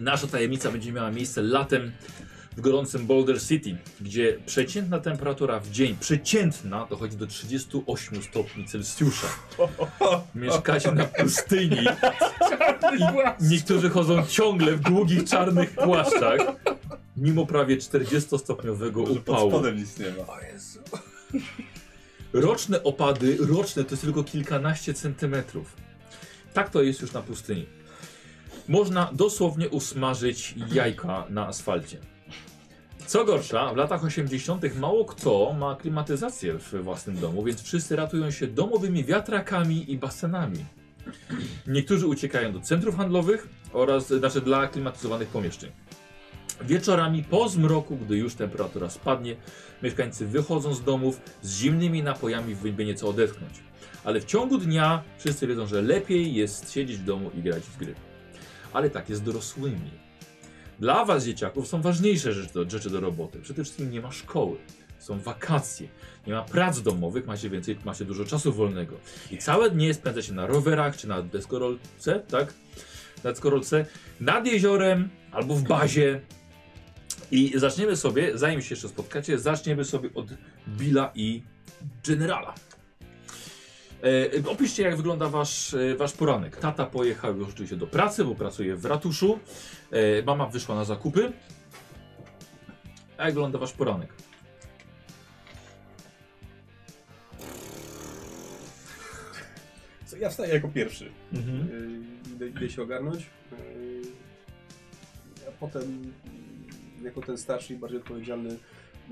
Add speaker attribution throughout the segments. Speaker 1: Nasza tajemnica będzie miała miejsce latem w gorącym Boulder City, gdzie przeciętna temperatura w dzień, przeciętna, dochodzi do 38 stopni Celsjusza. Mieszkacie na pustyni i niektórzy chodzą ciągle w długich czarnych płaszczach, mimo prawie 40-stopniowego
Speaker 2: Pod
Speaker 1: upału.
Speaker 2: spodem nic nie ma.
Speaker 1: Roczne opady, roczne to jest tylko kilkanaście centymetrów. Tak to jest już na pustyni. Można dosłownie usmażyć jajka na asfalcie. Co gorsza, w latach 80. mało kto ma klimatyzację w własnym domu, więc wszyscy ratują się domowymi wiatrakami i basenami. Niektórzy uciekają do centrów handlowych oraz znaczy dla klimatyzowanych pomieszczeń. Wieczorami po zmroku, gdy już temperatura spadnie, mieszkańcy wychodzą z domów z zimnymi napojami, by nieco odetchnąć. Ale w ciągu dnia wszyscy wiedzą, że lepiej jest siedzieć w domu i grać w gry. Ale tak jest z dorosłymi. Dla was, dzieciaków, są ważniejsze rzeczy do, rzeczy do roboty. Przede wszystkim nie ma szkoły, są wakacje, nie ma prac domowych, macie więcej, macie dużo czasu wolnego. I całe dnie spędza się na rowerach czy na deskorolce, tak? Na deskorolce, nad jeziorem albo w bazie. I zaczniemy sobie, zanim się jeszcze spotkacie, zaczniemy sobie od Billa i Generala. E, opiszcie, jak wygląda wasz, e, wasz poranek. Tata pojechał już oczywiście do pracy, bo pracuje w ratuszu. E, mama wyszła na zakupy. A jak wygląda wasz poranek?
Speaker 3: Co, ja wstaję jako pierwszy.
Speaker 1: Mhm.
Speaker 3: Yy, Idę, idę się ogarnąć. Yy, A potem, yy, jako ten starszy i bardziej odpowiedzialny,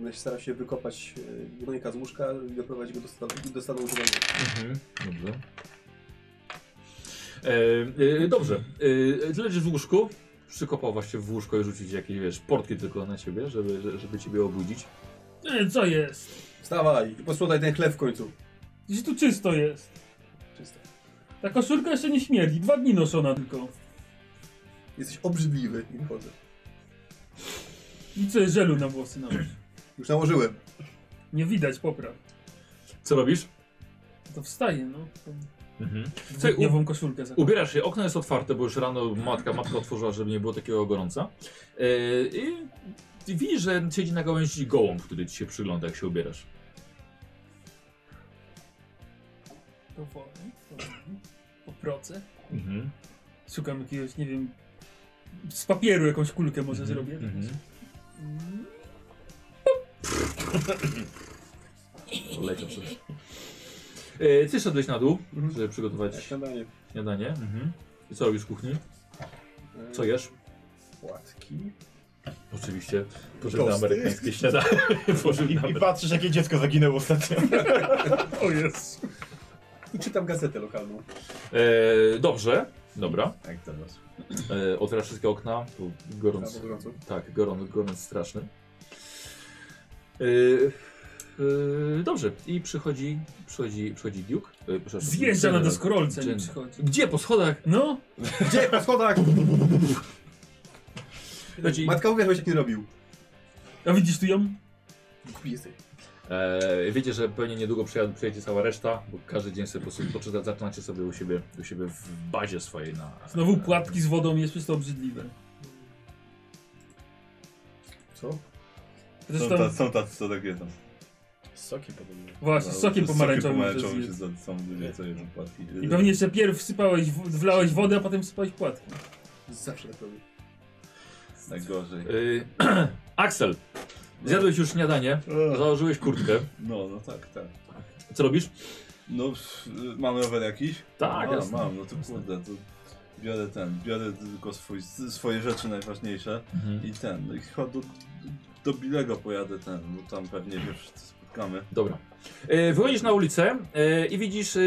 Speaker 3: yy, staram się wykopać yy, górnika z łóżka i doprowadzić go do stanu, do stanu używania.
Speaker 1: Mhm, dobrze. E, e, dobrze. E, ty leżysz w łóżku. Przykopał właśnie w łóżko i rzucić jakieś wiesz, portki tylko na ciebie, żeby, że- żeby ciebie obudzić.
Speaker 4: E, Co jest?
Speaker 3: Wstawaj i posłuchaj ten chleb w końcu.
Speaker 4: Gdzieś tu czysto jest.
Speaker 3: Czysto.
Speaker 4: Ta koszulka jeszcze nie śmierdzi. Dwa dni noszona tylko.
Speaker 3: Jesteś obrzydliwy i wychodzę.
Speaker 4: I co jest żelu na włosy nałoż.
Speaker 3: Już nałożyłem.
Speaker 4: Nie widać, popraw.
Speaker 1: Co robisz?
Speaker 4: To wstaje, no. Tą
Speaker 1: Mhm. Słuchaj, u,
Speaker 4: Dwudniową koszulkę za.
Speaker 1: ubierasz się, okno jest otwarte, bo już rano matka, matka otworzyła, żeby nie było takiego gorąca. E, I i widzisz, że siedzi na gałęzi gołąb, który ci się przygląda, jak się ubierasz.
Speaker 4: Powoli, powoli. Po proce.
Speaker 1: Mhm.
Speaker 4: Szukam jakiegoś, nie wiem, z papieru jakąś kulkę może zrobię.
Speaker 1: Mhm. Poleciał coś. E, ty szedłeś na dół,
Speaker 3: Mhm.
Speaker 1: żeby przygotować
Speaker 3: Śniadanie.
Speaker 1: śniadanie. Mhm. I co robisz w kuchni?
Speaker 3: Yy,
Speaker 1: Co jesz?
Speaker 3: Płatki.
Speaker 1: Oczywiście pożywne
Speaker 3: Tosty.
Speaker 1: amerykańskie śniadanie.
Speaker 2: I,
Speaker 1: pożywne
Speaker 2: I patrzysz, jakie dziecko zaginęło ostatnio.
Speaker 4: O jest.
Speaker 3: I czytam gazetę lokalną.
Speaker 1: E, dobrze, dobra.
Speaker 2: Tak, teraz.
Speaker 1: E, otwierasz wszystkie okna, bo gorąco.
Speaker 3: Albo gorąco.
Speaker 1: Tak, gorąc, gorąc straszny. E, e, dobrze, i przychodzi, przychodzi, przychodzi Duke. E, przepraszam,
Speaker 4: Zjeżdża na
Speaker 1: General.
Speaker 4: deskorolce, nie
Speaker 1: Dzień.
Speaker 4: przychodzi.
Speaker 1: Gdzie? Po schodach?
Speaker 4: No,
Speaker 3: Gdzie? Po schodach!
Speaker 1: Chodzi...
Speaker 3: Matka mówiła, żebyś tak nie robił.
Speaker 4: a widzisz tu ją?
Speaker 3: Głupi jesteś.
Speaker 1: E, wiecie, że pewnie niedługo przyjadę, przyjedzie cała reszta, bo każdy dzień sobie po prostu poczyta, zaczynacie sobie u siebie, u siebie w bazie swojej na...
Speaker 4: Znowu płatki z wodą jest wszystko obrzydliwe.
Speaker 3: Co?
Speaker 2: Są,
Speaker 4: Zresztą,
Speaker 2: ta, są tacy, co tak jedzą.
Speaker 5: Soki podobnie.
Speaker 4: właśnie, z sokiem pomarańczowym
Speaker 2: Soki
Speaker 4: to
Speaker 2: pomarańczowym się
Speaker 4: zjedz.
Speaker 2: za- są ludzie, co jedzą płatki. yy,
Speaker 4: I pewnie jeszcze pierw wsypałeś, w- wlałeś wodę, a potem wsypałeś płatki.
Speaker 3: Zawsze tak robię.
Speaker 2: Najgorzej.
Speaker 1: E, Axel, zjadłeś już śniadanie, założyłeś kurtkę,
Speaker 2: No, no tak, tak.
Speaker 1: co robisz?
Speaker 2: No, pff, y, mam rower jakiś?
Speaker 1: Tak,
Speaker 2: A,
Speaker 1: jasne.
Speaker 2: mam, no to kurde, to biorę ten, biorę tylko swój, swoje rzeczy najważniejsze
Speaker 1: Mhm.
Speaker 2: i ten, no i chyba do, do Bilego pojadę ten, bo tam pewnie się wszyscy spotkamy.
Speaker 1: Dobra. E, wychodzisz na ulicę e, i widzisz e,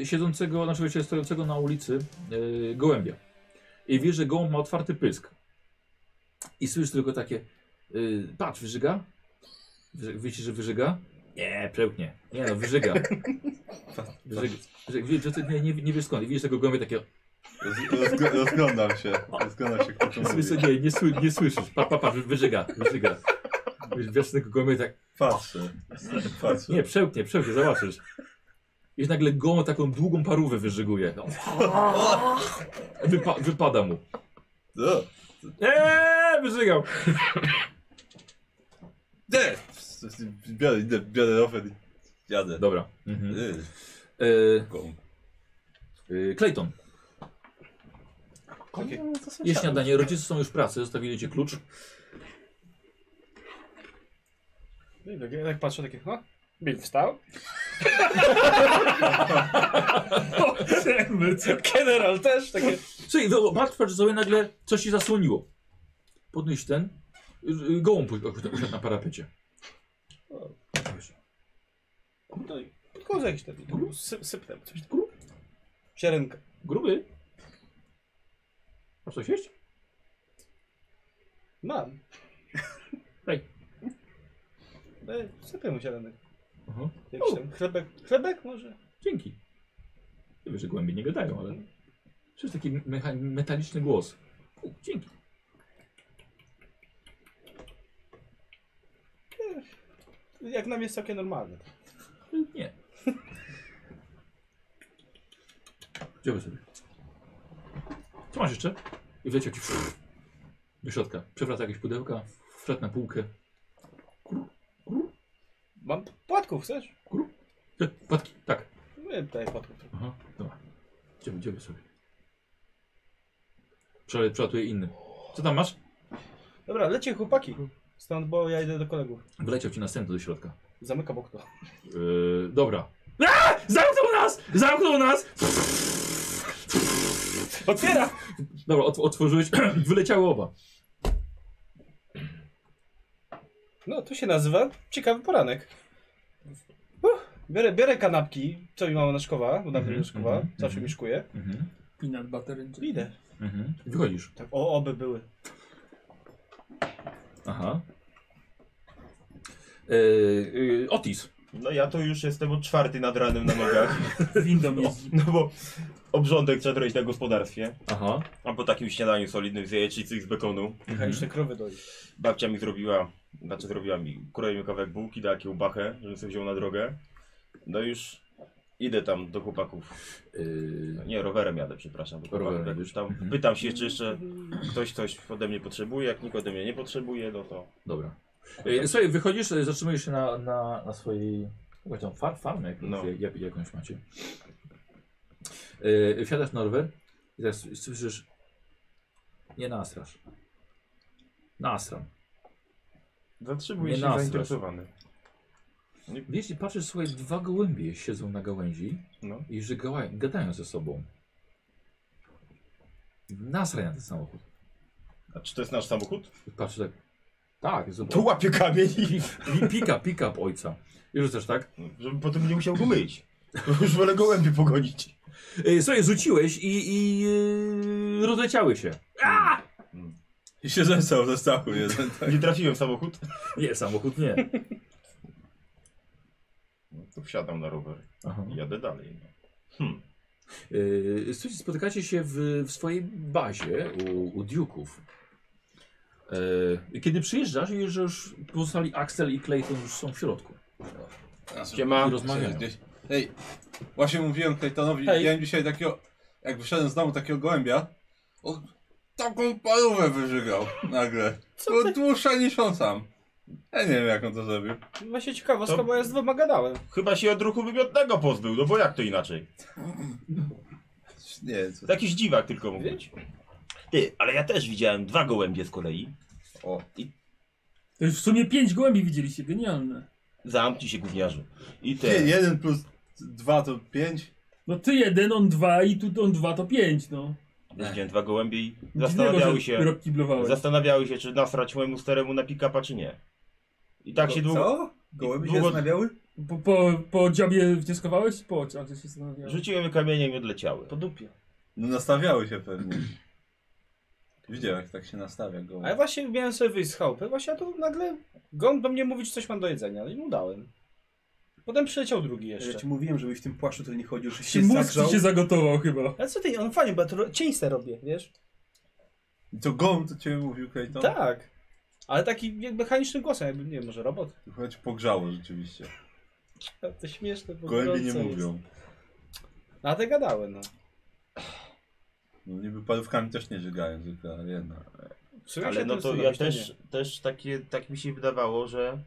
Speaker 1: e, siedzącego, znaczy wiecie, stojącego na ulicy e, gołębia. I wiesz, że gołąb ma otwarty pysk. I słyszysz tylko takie, e, patrz, wyżyga. Wy- Wiecie, że wyżyga? Nie, przełknie. Nie no, wyżyga. Wyżyga. Wyżyga. Widzisz, że ty nie, nie, nie wiesz skąd. I widzisz tego gołębia takiego,
Speaker 2: Roz, rozgl- rozglądam się, rozglądam się, kto to mówi.
Speaker 1: słyszę, nie, nie, sły, nie słyszysz. Pa, pa, pa, wyżyga, wyżyga. Wiesz tego gołębia tak,
Speaker 2: Patrzę, patrzę.
Speaker 1: Nie, przełknie, przełknie, zobaczysz. I nagle gołą taką długą No. parówę wyżyguje. Wypa wypada mu.
Speaker 2: O,
Speaker 1: Eee, wyżygał.
Speaker 2: Nie! Biorę, idę, biorę rower i jadę.
Speaker 1: Dobra. Mhm.
Speaker 2: Y,
Speaker 1: Y,
Speaker 2: gąb.
Speaker 1: y, Clayton,
Speaker 5: Takie...
Speaker 1: je śniadanie, rodzice są już w pracy, zostawili ci klucz.
Speaker 5: Jak ja tak patrzę, takie, ha? Bill wstał? General też, takie...
Speaker 1: Słuchaj, wyobraź że sobie nagle coś ci zasłoniło. Podnieś ten, y, y, gołąb u- usiadł na parapecie.
Speaker 5: No i podchodzę jakiś taki, sy, sypnę, coś tam. Ziarenka.
Speaker 1: Gruby. Masz coś jeść?
Speaker 5: Mam.
Speaker 1: Daj.
Speaker 5: Daj, Sypię mu ziarenek.
Speaker 1: Aha.
Speaker 5: E, Jakiś tam chlebek, chlebek może?
Speaker 1: Dzięki. Nie wiem, że głębiej nie gadają, ale... Przecież taki mecha- metaliczny głos. U, dzięki.
Speaker 5: Jak nam jest całkiem normalne.
Speaker 1: Y, Nie. Dziękuję sobie. Co masz jeszcze? I wleciał ci fff, do środka. Przewraca jakieś pudełka, wszedł na półkę.
Speaker 5: Mam płatków, chcesz?
Speaker 1: Te Płatki, tak.
Speaker 5: Nie, daj płatków.
Speaker 1: Aha, dobra. Idziemy, idziemy sobie. Prze- Przelatuje inny. Co tam masz?
Speaker 5: Dobra, lecie chłopaki. Stąd, bo ja idę do kolegów.
Speaker 1: Wleciał ci następny do środka.
Speaker 5: Zamykam okno.
Speaker 1: Yy, dobra. Aaa! Zamknął nas! Zamknął nas!
Speaker 5: Otwiera!
Speaker 1: Dobra, ot- otworzyłeś, wyleciały oba.
Speaker 5: No, to się nazywa ciekawy poranek. Uff, biorę, biorę kanapki, co mi mama naszkowa, bo dawno
Speaker 1: Mhm,
Speaker 5: nie naszkowa,
Speaker 1: mhm,
Speaker 5: zawsze
Speaker 1: mhm.
Speaker 5: mi szkuje.
Speaker 1: Mhm.
Speaker 4: Peanut butter and jelly.
Speaker 5: Idę.
Speaker 1: Mhm. Wychodzisz.
Speaker 5: Tak, o, oby były.
Speaker 1: Aha. Yy, yy, Otis.
Speaker 6: No ja to już jestem od czwarty nad ranem na nogach,
Speaker 4: Windą jeździ.
Speaker 6: no bo obrządek trzeba zrobić na gospodarstwie,
Speaker 1: Aha.
Speaker 6: a po takim śniadaniu solidnym z jajecznicy i z bekonu,
Speaker 5: Jechałem jeszcze krowy dojść.
Speaker 6: babcia mi zrobiła, znaczy zrobiła mi, kureje mi kawałek bułki, dała kiełbachę, żebym sobie wziął na drogę, no już idę tam do chłopaków, No
Speaker 1: Yy,
Speaker 6: nie, rowerem jadę, przepraszam, do chłopaków,
Speaker 1: Rowerem
Speaker 6: jak
Speaker 1: jadziesz.
Speaker 6: już tam
Speaker 1: Mhm.
Speaker 6: pytam się, czy jeszcze ktoś coś ode mnie potrzebuje, jak nikt ode mnie nie potrzebuje, no to
Speaker 1: dobra. Yy, słuchaj, wychodzisz, yy, zatrzymujesz się na, na, na swojej... Chyba tam far, farmę jak,
Speaker 6: No.
Speaker 1: jak, jakąś macie. Yy, wsiadasz na rower i teraz słyszysz... Nie nasrasz. Nasram.
Speaker 6: zatrzymuję
Speaker 1: Nie
Speaker 6: się
Speaker 1: nasrasz.
Speaker 6: zainteresowany.
Speaker 1: Wiesz, i patrzysz, słuchaj, dwa gołębie siedzą na gałęzi
Speaker 6: No.
Speaker 1: i że gała- gadają ze sobą. Nasraj na ten samochód.
Speaker 6: A czy to jest nasz samochód?
Speaker 1: I Patrzysz tak. Tak,
Speaker 6: To
Speaker 1: zobacz.
Speaker 6: łapie kamień i...
Speaker 1: Pi- Pika, pika up ojca. I rzucasz tak.
Speaker 6: No, Żeby potem nie musiał go myć. Już wolę gołębie pogonić.
Speaker 1: Yy, Słuchaj, rzuciłeś i, i yy, rozleciały się.
Speaker 2: I się zemstał ze stachu jeden.
Speaker 6: Nie trafiłem w samochód.
Speaker 1: Nie, samochód nie.
Speaker 6: No to wsiadam na rower
Speaker 1: Aha.
Speaker 6: i jadę dalej. No.
Speaker 1: Yy, Słuchajcie, spotykacie się w, w swojej bazie u, u Duków. Yy, kiedy przyjeżdżasz, widzisz, że już pozostali Axel i Clayton już są w środku.
Speaker 2: Siema.
Speaker 1: I rozmawiają.
Speaker 2: Gdzieś. Hej, właśnie mówiłem Claytonowi,
Speaker 5: Hej.
Speaker 2: miałem dzisiaj takiego, jak wyszedłem z domu, takiego gołębia, on taką parówę wyżygał nagle. Było dłuższa niż on sam. Ja nie wiem jak on to zrobił.
Speaker 5: Właśnie ciekawostka,
Speaker 6: To-
Speaker 5: bo ja z dwoma gadałem.
Speaker 6: Chyba się od ruchu wymiotnego pozbył, no bo jak to inaczej?
Speaker 2: Nie wiem co.
Speaker 6: Jakiś dziwak tylko mógł być. Ty, ale ja też widziałem dwa gołębie z kolei.
Speaker 2: O.
Speaker 6: I
Speaker 4: To już w sumie pięć gołębi widzieliście, genialne.
Speaker 6: zamknij się gówniarzu. I
Speaker 2: Nie,
Speaker 6: te...
Speaker 2: jeden plus dwa to pięć.
Speaker 4: No ty jeden, on dwa i tu on dwa to pięć, no.
Speaker 6: Ja widziałem dwa gołębie i
Speaker 4: Dziwnego,
Speaker 6: zastanawiały
Speaker 4: że
Speaker 6: się,
Speaker 4: Rob kiblowałeś.
Speaker 6: zastanawiały się, czy nasrać mojemu staremu na pick-upa, czy nie. I tak się długo...
Speaker 3: Co? Gołębie się
Speaker 6: długo-
Speaker 3: zastanawiały?
Speaker 4: Po, po, po dziobie wnioskowałeś? Po oczach, że się zastanawiałeś.
Speaker 6: Rzuciłem je kamieniem i odleciały.
Speaker 5: Po dupie.
Speaker 2: No nastawiały się pewnie. Widziałem jak tak się nastawia gołąb.
Speaker 5: A ja właśnie miałem sobie wyjść z chałupy, właśnie a tu nagle gąb do mnie mówi, czy coś mam do jedzenia, no i mu dałem. Potem przyleciał drugi
Speaker 3: Ja
Speaker 5: jeszcze.
Speaker 3: ci mówiłem, żebyś w tym płaszczu to nie chodził, żebyś
Speaker 4: Się
Speaker 3: się
Speaker 4: mózg
Speaker 3: zagrzał.
Speaker 4: ci się zagotował chyba.
Speaker 5: Ale co ty, on fajnie, bo ja tu cień se robię, wiesz?
Speaker 2: I To gołąb to ciebie mówił
Speaker 4: No.
Speaker 2: Clayton?
Speaker 5: Tak. Ale taki jakby mechanicznym głosem, jakby, nie wiem, może robot?
Speaker 2: Choć pogrzało rzeczywiście.
Speaker 5: To śmieszne, bo
Speaker 2: Gołębie nie
Speaker 5: gorąco jest.
Speaker 2: mówią.
Speaker 5: No, a te gadały, no.
Speaker 2: No niby parówkami też nie żygają, tylko jedna.
Speaker 5: W sumie
Speaker 6: Ale
Speaker 5: się
Speaker 6: no
Speaker 5: tym
Speaker 6: to ja
Speaker 5: zastanowić, nie.
Speaker 6: też, też takie, tak mi się wydawało, że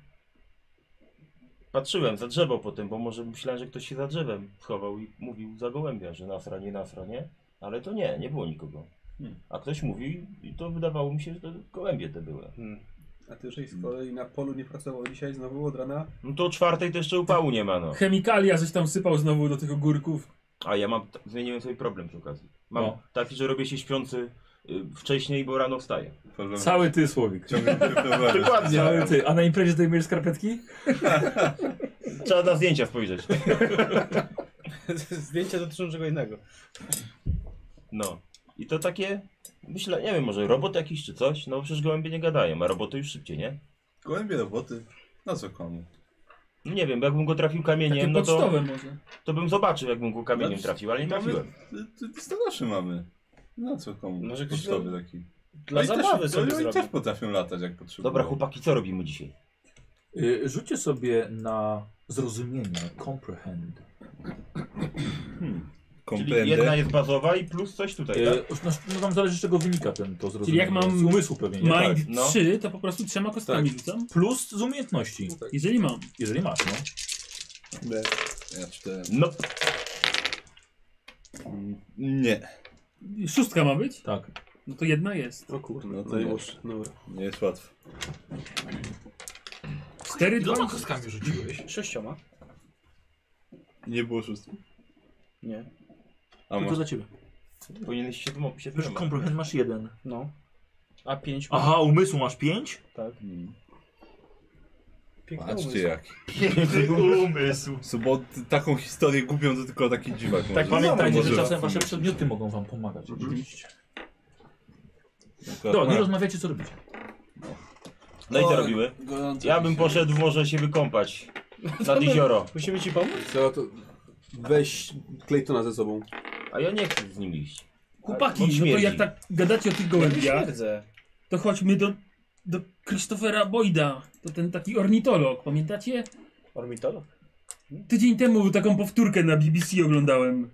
Speaker 6: patrzyłem za drzewo potem, bo może myślałem, że ktoś się za drzewem schował i mówił za gołębia, że nasra, nie nasra, nie? Ale to nie, nie było nikogo.
Speaker 2: Hmm.
Speaker 6: A ktoś mówił i to wydawało mi się, że to gołębie te były.
Speaker 5: Hmm.
Speaker 3: A ty, jeżeli z kolei na polu nie pracował dzisiaj znowu od rana,
Speaker 6: No to o czwartej to jeszcze upału nie ma, no.
Speaker 4: Chemikalia coś tam sypał znowu do tych ogórków.
Speaker 6: A ja mam, zmieniłem sobie problem przy okazji. Mam
Speaker 1: No.
Speaker 6: taki, że robię się śpiący y, wcześniej, bo rano wstaję.
Speaker 2: Problem.
Speaker 1: Cały ty, Słowik.
Speaker 2: Ciągle problemy.
Speaker 6: Dokładnie.
Speaker 1: Cały ty. A na imprezie zdejmujesz skarpetki?
Speaker 6: Trzeba na zdjęcia spojrzeć.
Speaker 5: Zdjęcia dotyczą czego innego.
Speaker 6: No. I to takie, myślę, nie wiem, może robot jakiś czy coś? No przecież gołębie nie gadają, a roboty już szybciej, nie?
Speaker 2: Gołębie roboty. Na co komu?
Speaker 6: No nie wiem, jakbym go trafił
Speaker 4: Takim
Speaker 6: kamieniem, no to,
Speaker 4: pocztowym może.
Speaker 6: to bym zobaczył, jakbym go kamieniem
Speaker 2: No,
Speaker 6: trafił, ale nie
Speaker 2: mamy-
Speaker 6: trafiłem.
Speaker 2: y, y, Stanoszy mamy. Na co komu?
Speaker 5: Może
Speaker 2: Może
Speaker 5: ktoś-
Speaker 2: pocztowy taki.
Speaker 5: Dla
Speaker 2: Oni no też-
Speaker 5: zabawy sobie
Speaker 2: Oni
Speaker 5: zrobię.
Speaker 2: też potrafią latać jak potrzebują.
Speaker 6: Dobra, chłopaki, co robimy dzisiaj?
Speaker 1: Y, rzućcie sobie na zrozumienie, comprehend.
Speaker 6: Czyli jedna jest bazowa i plus coś tutaj, tak?
Speaker 1: Y, no, no tam zależy z czego wynika ten, to zrozumienie.
Speaker 4: jak mam
Speaker 1: Z umysłu pewnie, nie? Tak.
Speaker 4: Mind
Speaker 6: no. Tak.
Speaker 4: 3 to po prostu trzema kostkami rzucam.
Speaker 1: Plus z umiejętności,
Speaker 4: Jeżeli mam.
Speaker 1: jeżeli masz, no.
Speaker 2: Ja cztery.
Speaker 6: No,
Speaker 2: Nie.
Speaker 4: Szóstka ma być?
Speaker 1: Tak.
Speaker 4: No to jedna jest.
Speaker 3: o kurde,
Speaker 2: No to
Speaker 3: no
Speaker 2: nie.
Speaker 3: już, dobra.
Speaker 2: Nie jest łatwo.
Speaker 4: Cztery, dwa.
Speaker 1: kostkami rzuciłeś?
Speaker 5: Sześcioma?
Speaker 2: Nie było szóstki?
Speaker 5: Nie.
Speaker 2: A
Speaker 1: Tylko
Speaker 2: może...
Speaker 1: za ciebie.
Speaker 6: powinieneś się dymą, się
Speaker 1: Wiesz,
Speaker 6: dymą.
Speaker 1: comprehend masz jeden.
Speaker 5: No. A pięć ma.
Speaker 1: Aha, umysłu masz pięć?
Speaker 5: Tak.
Speaker 2: Mm.
Speaker 5: Piękny umysł.
Speaker 2: Patrzcie jaki.
Speaker 6: Umysł.
Speaker 2: Bo t- taką historię głupią to tylko taki dziwak
Speaker 5: Tak
Speaker 2: może.
Speaker 1: Pamiętajcie, Tak, że
Speaker 2: Może.
Speaker 1: czasem wasze przedmioty mogą wam pomagać. Oczywiście.
Speaker 2: Akurat
Speaker 1: Dobra, nie
Speaker 2: ma-
Speaker 1: rozmawiajcie co robicie.
Speaker 6: No i co robimy?
Speaker 2: Gorąco
Speaker 6: Ja
Speaker 2: mi
Speaker 6: bym
Speaker 2: się-
Speaker 6: poszedł może się wykąpać nad jezioro.
Speaker 5: Musimy ci pomóc?
Speaker 3: Trzeba to... Weź Claytona ze sobą.
Speaker 6: A ja nie chcę z nim iść.
Speaker 4: Chłopaki,
Speaker 6: Bo
Speaker 4: no to
Speaker 6: śmierdzi.
Speaker 4: jak tak gadacie o tych
Speaker 5: Ja
Speaker 4: gołębiach,
Speaker 5: twierdzę.
Speaker 4: to chodźmy do, do Christophera Boyda. To ten taki ornitolog, pamiętacie?
Speaker 5: Ornitolog?
Speaker 4: Tydzień temu taką powtórkę na BBC oglądałem.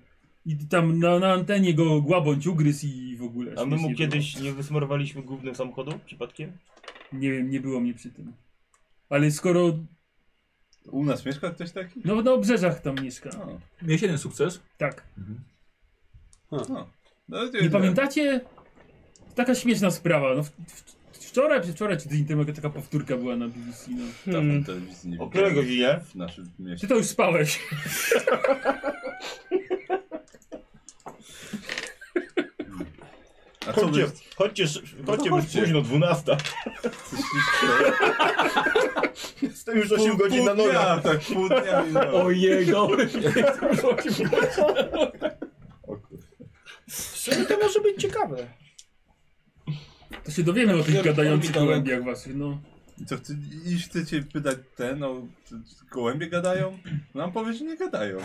Speaker 4: I tam na, na antenie go głabądź ugryzł i w ogóle.
Speaker 6: A my mu
Speaker 4: śmiesznie
Speaker 6: kiedyś nie wysmarowaliśmy głównym samochodu przypadkiem?
Speaker 4: Było. Nie wiem, nie było mnie przy tym. Ale skoro...
Speaker 2: U nas mieszka ktoś taki?
Speaker 4: No na obrzeżach tam mieszka.
Speaker 2: No.
Speaker 1: Miałeś jeden sukces.
Speaker 4: Tak.
Speaker 2: no. No,
Speaker 4: Nie pamiętacie? Taka śmieszna sprawa. No, w, w, wczoraj, przedwczoraj czy tydzień temu jaka taka powtórka była na BBC. No.
Speaker 2: Dawno telewizji nie widziałem
Speaker 6: O której godzinie?
Speaker 2: W naszym
Speaker 4: Ty
Speaker 2: mieście.
Speaker 4: to już spałeś.
Speaker 2: A co
Speaker 6: Chodźcie,
Speaker 2: byś...
Speaker 6: chodźcie, No chodźcie, bo już
Speaker 2: chodźcie.
Speaker 6: późno, 12. Jestem już 8 godzin na nogach.
Speaker 2: Ja tak pół dnia minęło.
Speaker 1: Ojej, dobry.
Speaker 5: W sumie to może być ciekawe.
Speaker 4: To się dowiemy o
Speaker 6: Tak,
Speaker 4: tych gadających
Speaker 5: ornitolog.
Speaker 4: gołębiach waszych. No.
Speaker 2: I co, chce, i chcecie pytać ten, o czy- czy gołębie gadają? Nam powie, że nie gadają.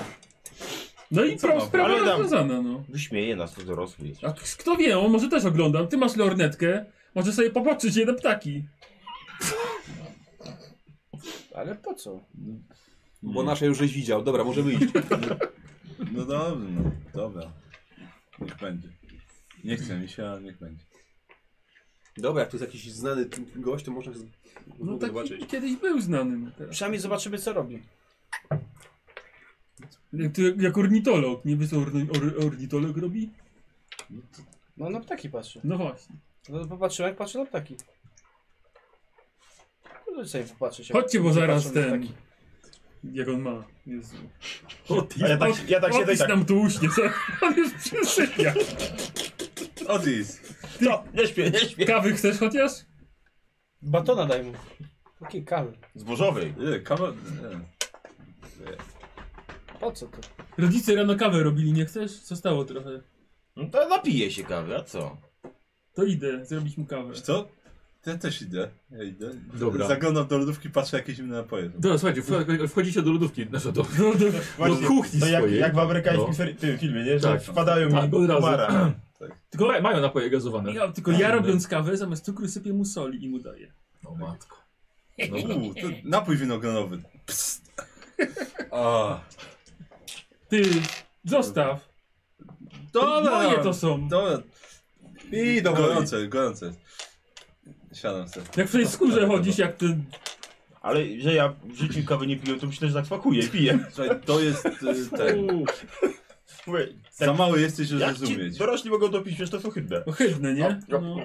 Speaker 4: No i
Speaker 2: Co
Speaker 4: pra-
Speaker 2: mam?
Speaker 4: sprawa
Speaker 6: Ale dam.
Speaker 4: rozwiązana, no.
Speaker 6: Wyśmieje nas to dorosły jest.
Speaker 4: A k- kto wie, on może też oglądam. Ty masz lornetkę, może sobie popatrzeć je na ptaki.
Speaker 5: Ale po co?
Speaker 3: Bo nasze już żeś widział. Dobra, możemy iść.
Speaker 2: No dobrze, no dobra. Niech będzie. Nie chce mi się, ale niech będzie.
Speaker 3: Dobra, jak tu jest jakiś znany t- gość, to można z...
Speaker 4: No
Speaker 3: tak
Speaker 4: taki
Speaker 3: zobaczyć.
Speaker 4: kiedyś był znany. No, teraz.
Speaker 5: Przynajmniej zobaczymy co robi.
Speaker 4: Jak, to- jak ornitolog. Nie wiesz co orni- or, ornitolog robi?
Speaker 5: No na ptaki patrzy.
Speaker 4: No właśnie.
Speaker 5: No popatrzymy jak patrzy na ptaki. Możemy sobie popatrzeć. jak-
Speaker 4: Chodźcie, bo
Speaker 5: jak
Speaker 4: zaraz
Speaker 5: patrzą na
Speaker 4: ten...
Speaker 5: ptaki.
Speaker 4: Jak on ma. Jezu.
Speaker 6: A ja tak, ja tak siedzę i
Speaker 4: Opis
Speaker 6: tak.
Speaker 4: nam tu uśnie, co? On już przysypia.
Speaker 2: Otis!
Speaker 6: Co? Nie śpię, nie śpię.
Speaker 4: Kawy chcesz chociaż?
Speaker 5: Batona daj mu. Taki kawy.
Speaker 6: Zbożowej.
Speaker 2: Nie, E, kawa...
Speaker 5: Po co to?
Speaker 4: Rodzice rano kawę robili, nie chcesz? Zostało trochę.
Speaker 6: No to napije się kawy, a co?
Speaker 4: To idę zrobić mu kawę.
Speaker 2: Wiesz e, co? Ja też idę. Ja idę.
Speaker 1: Dobra.
Speaker 2: Zaglądam do lodówki, patrzę jakieś inne napoje. są.
Speaker 1: Dobra, słuchajcie, wcho- wchodzicie do lodówki. Znaczy, do, do, do, do
Speaker 6: Właśnie,
Speaker 1: kuchni
Speaker 6: To jak,
Speaker 1: swojej.
Speaker 6: jak w amerykańskim
Speaker 1: No.
Speaker 6: seri- tym filmie, nie? Że
Speaker 1: Tak.
Speaker 6: wpadają
Speaker 1: Tak,
Speaker 6: mi
Speaker 1: od razu.
Speaker 6: kumara.
Speaker 1: Tylko ma- mają napoje gazowane.
Speaker 4: Ja,
Speaker 6: Tak,
Speaker 4: tylko ja robiąc kawę, zamiast cukru sypię mu soli i mu daję.
Speaker 1: O matko.
Speaker 2: Uuu, No to napój winogronowy. Psst. A,
Speaker 4: Ty, zostaw!
Speaker 2: dobra!
Speaker 1: No,
Speaker 4: Moje to są!
Speaker 2: Dobra. I do gorące, gorące. Siadam sobie.
Speaker 4: Jak
Speaker 1: No,
Speaker 4: w tej skórze chodzisz, jak ten...
Speaker 6: Ale że ja w życiu kawy nie piję, to myślę, że tak smakuję, piję.
Speaker 2: Słuchaj, to jest y, ten.
Speaker 6: Mówię, tak,
Speaker 2: Za mały jesteś, żeby
Speaker 6: jak ci
Speaker 2: zrozumieć.
Speaker 6: dorośli mogą to pić, przecież to są chybne.
Speaker 4: Ohydne, nie? No.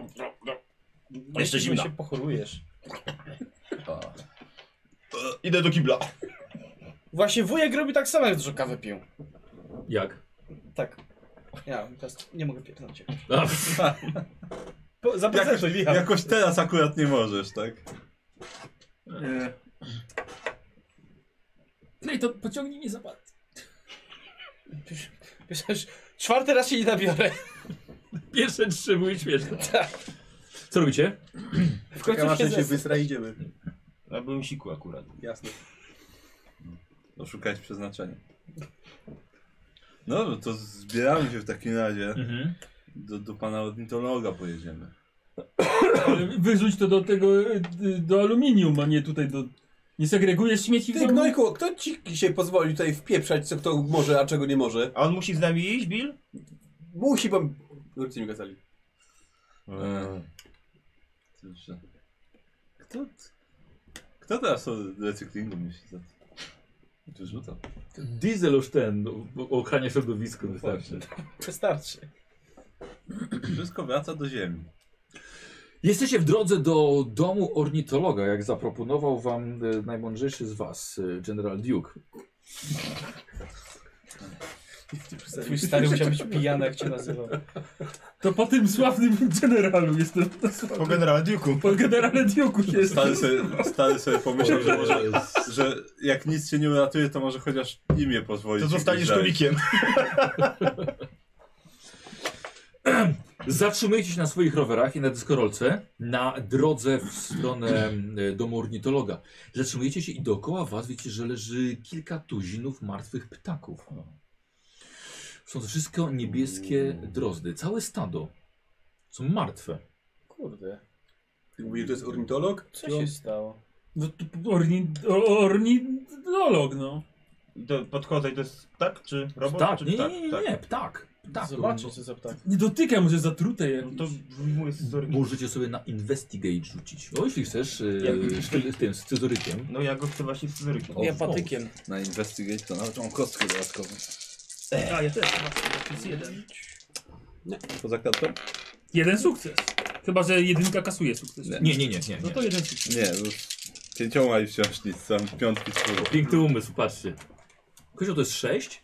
Speaker 6: Jeszcze zimna.
Speaker 5: się pochorujesz.
Speaker 2: A.
Speaker 6: Idę do kibla.
Speaker 5: Właśnie wujek robi tak samo, jak dużo kawy pił.
Speaker 1: Jak?
Speaker 5: Tak. Ja teraz nie mogę pierdolić.
Speaker 1: A,
Speaker 5: Po-
Speaker 2: Jakoś,
Speaker 5: Zaprezentuj, No. Michał.
Speaker 2: jakoś teraz akurat nie możesz, tak?
Speaker 1: no.
Speaker 4: E, No
Speaker 1: Clayton, pociągnij mnie za palec.
Speaker 5: Przecież czwarty raz się nie nabiorę.
Speaker 1: Pierwsze trzy były śmieszne.
Speaker 5: Tak.
Speaker 1: Co robicie?
Speaker 5: W
Speaker 3: Czekam,
Speaker 5: końcu
Speaker 3: aż
Speaker 5: się
Speaker 3: ten się
Speaker 5: zes...
Speaker 3: wysra i idziemy.
Speaker 6: Ja byłem siku akurat.
Speaker 3: Jasne.
Speaker 2: No, szukać przeznaczenia. No, no to zbieramy się w takim razie.
Speaker 1: Mhm.
Speaker 2: Do, do pana ornitologa pojedziemy.
Speaker 4: ale Wyrzuć to do tego, e, do aluminium, a nie tutaj do... Nie segregujesz śmieci w
Speaker 3: Ty,
Speaker 4: domu?
Speaker 3: Gnojku, kto ci dzisiaj pozwoli tutaj wpieprzać, co kto może, a czego nie może?
Speaker 6: A on musi z nami iść, Bill?
Speaker 3: Musi pan... Rodzice mi kazali.
Speaker 2: No, E. Dobrze. no. Kto, kto teraz o recyklingu myśli? za to? Czy rzuca?
Speaker 1: Diesel już ten, no, o- o ochrania środowiska wystarczy.
Speaker 2: tak.
Speaker 5: Wystarczy.
Speaker 2: Wszystko wraca do ziemi.
Speaker 1: Jesteście w drodze do domu ornitologa, jak zaproponował wam e, najmądrzejszy z was, e, General Duke.
Speaker 5: Twój stary musiał być pijany, jak cię nazywał.
Speaker 4: To po tym sławnym generalu jestem.
Speaker 6: Po generale Duke'u.
Speaker 4: Po generale Dioku się jest.
Speaker 2: Stary sobie, stary sobie pomyślał, że może, że jak nic się nie uratuje, to może chociaż imię pozwolić.
Speaker 6: To
Speaker 2: ci
Speaker 6: zostaniesz
Speaker 2: wyjrzeć.
Speaker 6: komikiem.
Speaker 1: Zatrzymujecie się na swoich rowerach i na dyskorolce na drodze w stronę e, domu ornitologa. Zatrzymujecie się i dookoła was wiecie, że leży kilka tuzinów martwych ptaków. Są to wszystko niebieskie drozdy. Całe stado. Są martwe.
Speaker 5: Kurde,
Speaker 3: Ty mówisz, że to jest ornitolog?
Speaker 5: co się stało?
Speaker 4: No to orni, o- ornitolog, no.
Speaker 6: I to podchodzę i to jest tak, czy robot?
Speaker 1: Ptak.
Speaker 6: czy tak,
Speaker 1: Nie, nie,
Speaker 6: ptak?
Speaker 1: nie, nie, nie. ptak. ptak.
Speaker 5: Zobaczcie, co za ptak.
Speaker 4: Nie dotykaj, może zatrute
Speaker 6: No
Speaker 4: jakieś.
Speaker 6: to wyjmuję z
Speaker 1: No, Możecie sobie na investigate rzucić. O, No, jeśli chcesz,
Speaker 6: Ja-
Speaker 1: e, sztyl, tym, z scyzorykiem.
Speaker 6: No ja go chcę właśnie z rykiem.
Speaker 1: O,
Speaker 5: Ja
Speaker 1: o.
Speaker 5: patykiem.
Speaker 2: Na investigate to nawet mam kostkę dodatkową.
Speaker 4: A, ja też mam plus jeden.
Speaker 2: Poza kartą?
Speaker 4: Jeden sukces. Chyba, że jedynka kasuje sukces.
Speaker 2: Nie.
Speaker 1: Nie, nie, nie, nie.
Speaker 4: No
Speaker 1: nie.
Speaker 4: to jeden sukces.
Speaker 2: Nie, bo pięcioma i wciąż nic, tam piątki z pół.
Speaker 1: Piękny umysł, patrzcie. Kozio, to jest 6?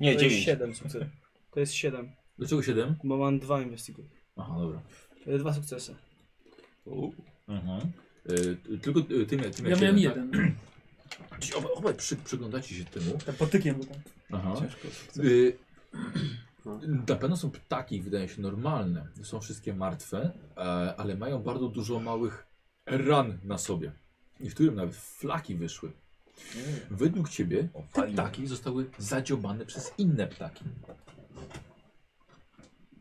Speaker 6: Nie,
Speaker 5: To jest
Speaker 6: dziewięć.
Speaker 5: 7 sukcesów. To jest 7,
Speaker 1: Dlaczego 7?
Speaker 5: bo mam dwa investigate.
Speaker 1: Aha, dobra.
Speaker 5: E, Dwa sukcesy.
Speaker 1: Mhm. Y, tylko y, ty, mia- ty
Speaker 4: Ja
Speaker 1: miałeś
Speaker 4: miałem
Speaker 1: tak?
Speaker 4: jeden.
Speaker 1: Czyli Obaj, obaj przy, przyglądacie się temu.
Speaker 4: Tak, Patykiem. bo tam-
Speaker 1: Aha.
Speaker 2: Ciężko.
Speaker 1: Y, na pewno są ptaki, wydaje się, normalne. Są wszystkie martwe, e, ale mają bardzo dużo małych ran na sobie. Niektórym nawet flaki wyszły. Według ciebie te ptaki zostały zadziobane przez inne ptaki.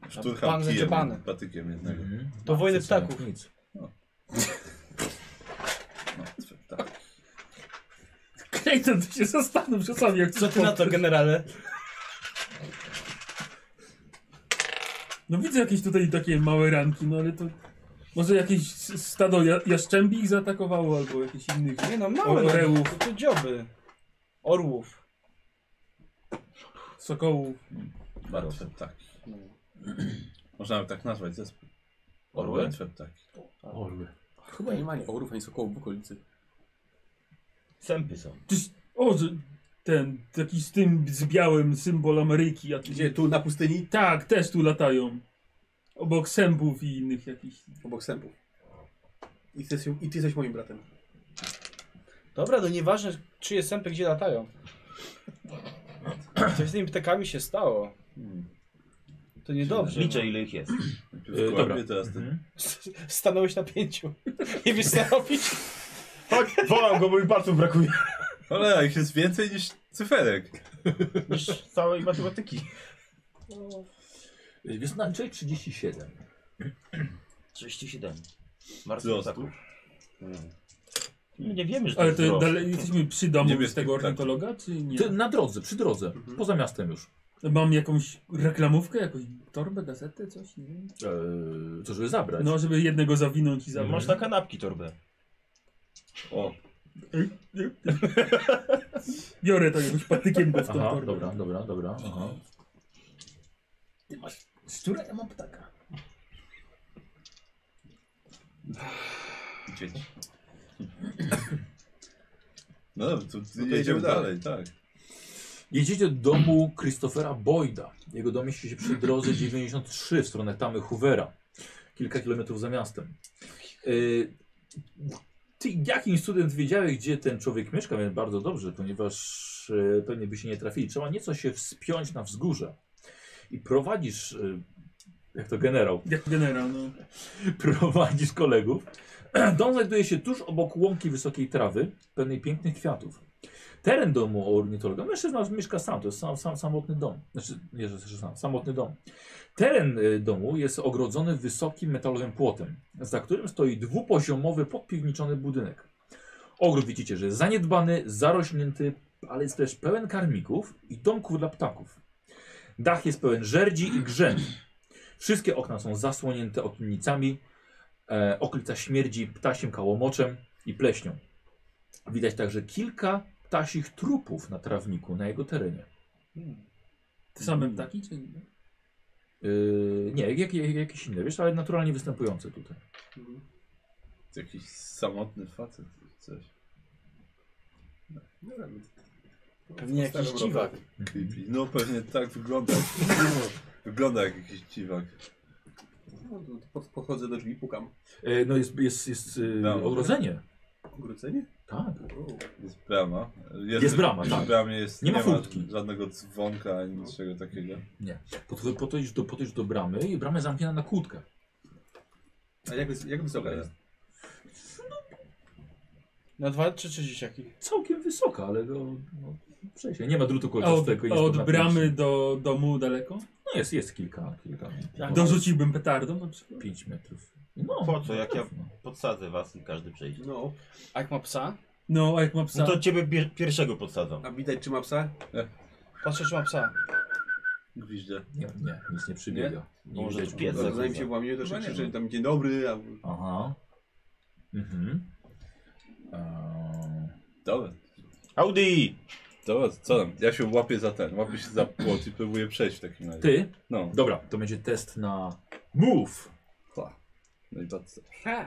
Speaker 2: Szturcham
Speaker 5: Pan zaczepany.
Speaker 2: kijem, patykiem jednego.
Speaker 1: Mhm.
Speaker 5: Do wojny
Speaker 1: Martwe są,
Speaker 5: ptaków.
Speaker 1: Nic.
Speaker 2: Martwe, tak.
Speaker 4: Clayton, ty się zastanów czasami, jak
Speaker 5: Co ty na to, generale?
Speaker 4: No widzę jakieś tutaj takie małe ranki, no ale to... Może jakieś s- stado ja- jaszczębi ich zaatakowało, albo jakichś innych.
Speaker 5: Nie no, małe no,
Speaker 4: Orłów.
Speaker 5: To, to dzioby. Orłów.
Speaker 4: Sokołów.
Speaker 2: Martwe ptaki. Można by tak nazwać zespół.
Speaker 1: Orły?
Speaker 2: Martwe ptaki.
Speaker 1: Orły.
Speaker 3: Chyba nie ma ani orów, ani sokołów w okolicy.
Speaker 6: Sępy są.
Speaker 4: Czyż... O, że ten, taki z tym, z białym symbol Ameryki. a tu-
Speaker 3: Gdzie? Tu na pustyni?
Speaker 4: Tak, też tu latają. Obok sępów i innych jakichś.
Speaker 3: Obok sępów. I ty, jesteś- I ty jesteś moim bratem.
Speaker 5: Dobra, no nieważne czyje sępy gdzie latają. Coś z tymi ptakami się stało. To niedobrze. no.
Speaker 6: Liczę ile ich jest.
Speaker 1: Y,
Speaker 2: Najpierw kłapie, teraz ty.
Speaker 1: Mhm.
Speaker 5: S- Stanąłeś na pięciu. Nie wiesz co robić.
Speaker 6: Tak, wołam go, bo mi palców brakuje.
Speaker 2: Cholera, ich jest więcej niż cyferek.
Speaker 6: Niż całej matematyki.
Speaker 1: Jest Y, na 37.
Speaker 6: 37.
Speaker 2: Wzrostu. Hmm.
Speaker 6: My nie wiemy, że to
Speaker 4: Ale
Speaker 6: jest
Speaker 4: to
Speaker 6: wzrost.
Speaker 4: dalej jesteśmy przy domu
Speaker 2: Niebieski
Speaker 4: z tego
Speaker 2: ptak.
Speaker 4: ornitologa, czy nie?
Speaker 1: Ty, na drodze, przy drodze, poza miastem już.
Speaker 4: Mam jakąś reklamówkę, jakąś torbę, gazetę, coś? Nie wiem.
Speaker 1: Eee, co, żeby zabrać?
Speaker 4: No, żeby jednego zawinąć i zabrać.
Speaker 6: Masz na kanapki torbę.
Speaker 2: O,
Speaker 4: Biorę to jakoś patykiem go w tą
Speaker 1: Aha,
Speaker 4: torbę.
Speaker 1: dobra, dobra, dobra. Aha.
Speaker 4: Ty masz szczura, ja mam ptaka.
Speaker 6: Dzieci.
Speaker 2: no dobrze, to, to
Speaker 3: No to
Speaker 2: jedziemy
Speaker 3: idziemy
Speaker 2: dalej, tak.
Speaker 1: Jedziecie do domu Christophera Boyda. Jego dom mieści się przy drodze 93 w stronę Tamy Hoovera. Kilka kilometrów za miastem. Yy, Ty jakimś cudem wiedziałeś, gdzie ten człowiek mieszka, więc bardzo dobrze, ponieważ yy, pewnie by się nie trafili. Trzeba nieco się wspiąć na wzgórze. I prowadzisz, yy, jak to generał,
Speaker 4: Jak generał, no.
Speaker 1: prowadzisz kolegów. Dom znajduje się tuż obok łąki wysokiej trawy, pełnej pięknych kwiatów. Teren domu ornitologa, mężczyzna mieszka sam, to jest sam, sam, samotny dom. Znaczy, nie, że że sam, samotny dom. Teren y, domu jest ogrodzony wysokim metalowym płotem, za którym stoi dwupoziomowy, podpiwniczony budynek. Ogród widzicie, że jest zaniedbany, zarośnięty, ale jest też pełen karmików i domków dla ptaków. Dach jest pełen żerdzi i grzędu. Wszystkie okna są zasłonięte okiennicami. E, okolica śmierdzi ptasim kałomoczem i pleśnią. Widać także kilka ptasich trupów na trawniku na jego terenie.
Speaker 4: Te same ptaki, czy nie?
Speaker 1: Yy, nie, jak, jak, jakieś inne, wiesz, ale naturalnie występujące tutaj.
Speaker 2: To Jakiś samotny facet, coś.
Speaker 3: Nie wiem.
Speaker 5: Pewnie jakiś
Speaker 3: Starą
Speaker 5: dziwak.
Speaker 3: robotę.
Speaker 2: Creepy. No pewnie tak wygląda. wygląda jak jakiś dziwak.
Speaker 3: No, to- to pod- Podchodzę do drzwi, pukam.
Speaker 1: E, no jest, jest, jest yy,
Speaker 2: Dobra.
Speaker 1: ogrodzenie.
Speaker 3: Ogrócenie?
Speaker 1: Tak.
Speaker 3: O.
Speaker 2: Jest brama.
Speaker 1: Jest brama,
Speaker 2: przy
Speaker 1: tak.
Speaker 2: bramie jest,
Speaker 1: Nie
Speaker 2: nie,
Speaker 1: ma
Speaker 2: ma
Speaker 1: furtki.
Speaker 2: żadnego dzwonka ani niczego takiego.
Speaker 1: Podchodzisz podchodź tak. do, podchodź do bramy i brama jest zamknięta na kłódkę.
Speaker 3: A jak, wys- jak wysoka
Speaker 2: Cholera.
Speaker 3: jest?
Speaker 5: Na dwa czy trzy dzieciaki.
Speaker 1: Całkiem wysoka, ale no, no, przejście. Nie ma drutu
Speaker 4: A od,
Speaker 1: kolczastego. i
Speaker 4: a
Speaker 1: jest
Speaker 4: od
Speaker 1: to na
Speaker 4: bramy
Speaker 1: pięć.
Speaker 4: do domu daleko?
Speaker 1: No jest, jest kilka, kilka.
Speaker 4: Tak. Dorzuciłbym petardą na przykład.
Speaker 1: 5 metrów. No,
Speaker 6: Po co, jak ja-
Speaker 1: no.
Speaker 6: Podsadzę was i każdy przejdzie.
Speaker 3: No,
Speaker 5: A jak ma psa?
Speaker 4: No, a jak ma psa?
Speaker 6: No to ciebie pier pierwszego podsadzam.
Speaker 3: a widać czy ma psa?
Speaker 5: Patrzę, czy ma psa.
Speaker 2: Gwiździe.
Speaker 1: Nie, nie, nic nie przybiega.
Speaker 6: No może
Speaker 1: widać
Speaker 6: to pies.
Speaker 1: go.
Speaker 6: Zaraz,
Speaker 3: Zanim się
Speaker 6: zaraz.
Speaker 3: włamie, to się
Speaker 2: No nie
Speaker 3: krzyczy
Speaker 2: wiem.
Speaker 3: tam dzień dobry, a
Speaker 1: Aha. Mhm. Eee,
Speaker 2: Dobra,
Speaker 6: Audi!
Speaker 2: dobra, co tam? Ja się łapię za ten, łapię się za płot i próbuję przejść w takim razie.
Speaker 1: Ty?
Speaker 2: No,
Speaker 1: Dobra, to będzie test na move.
Speaker 2: pa. No i bardzo dobrze.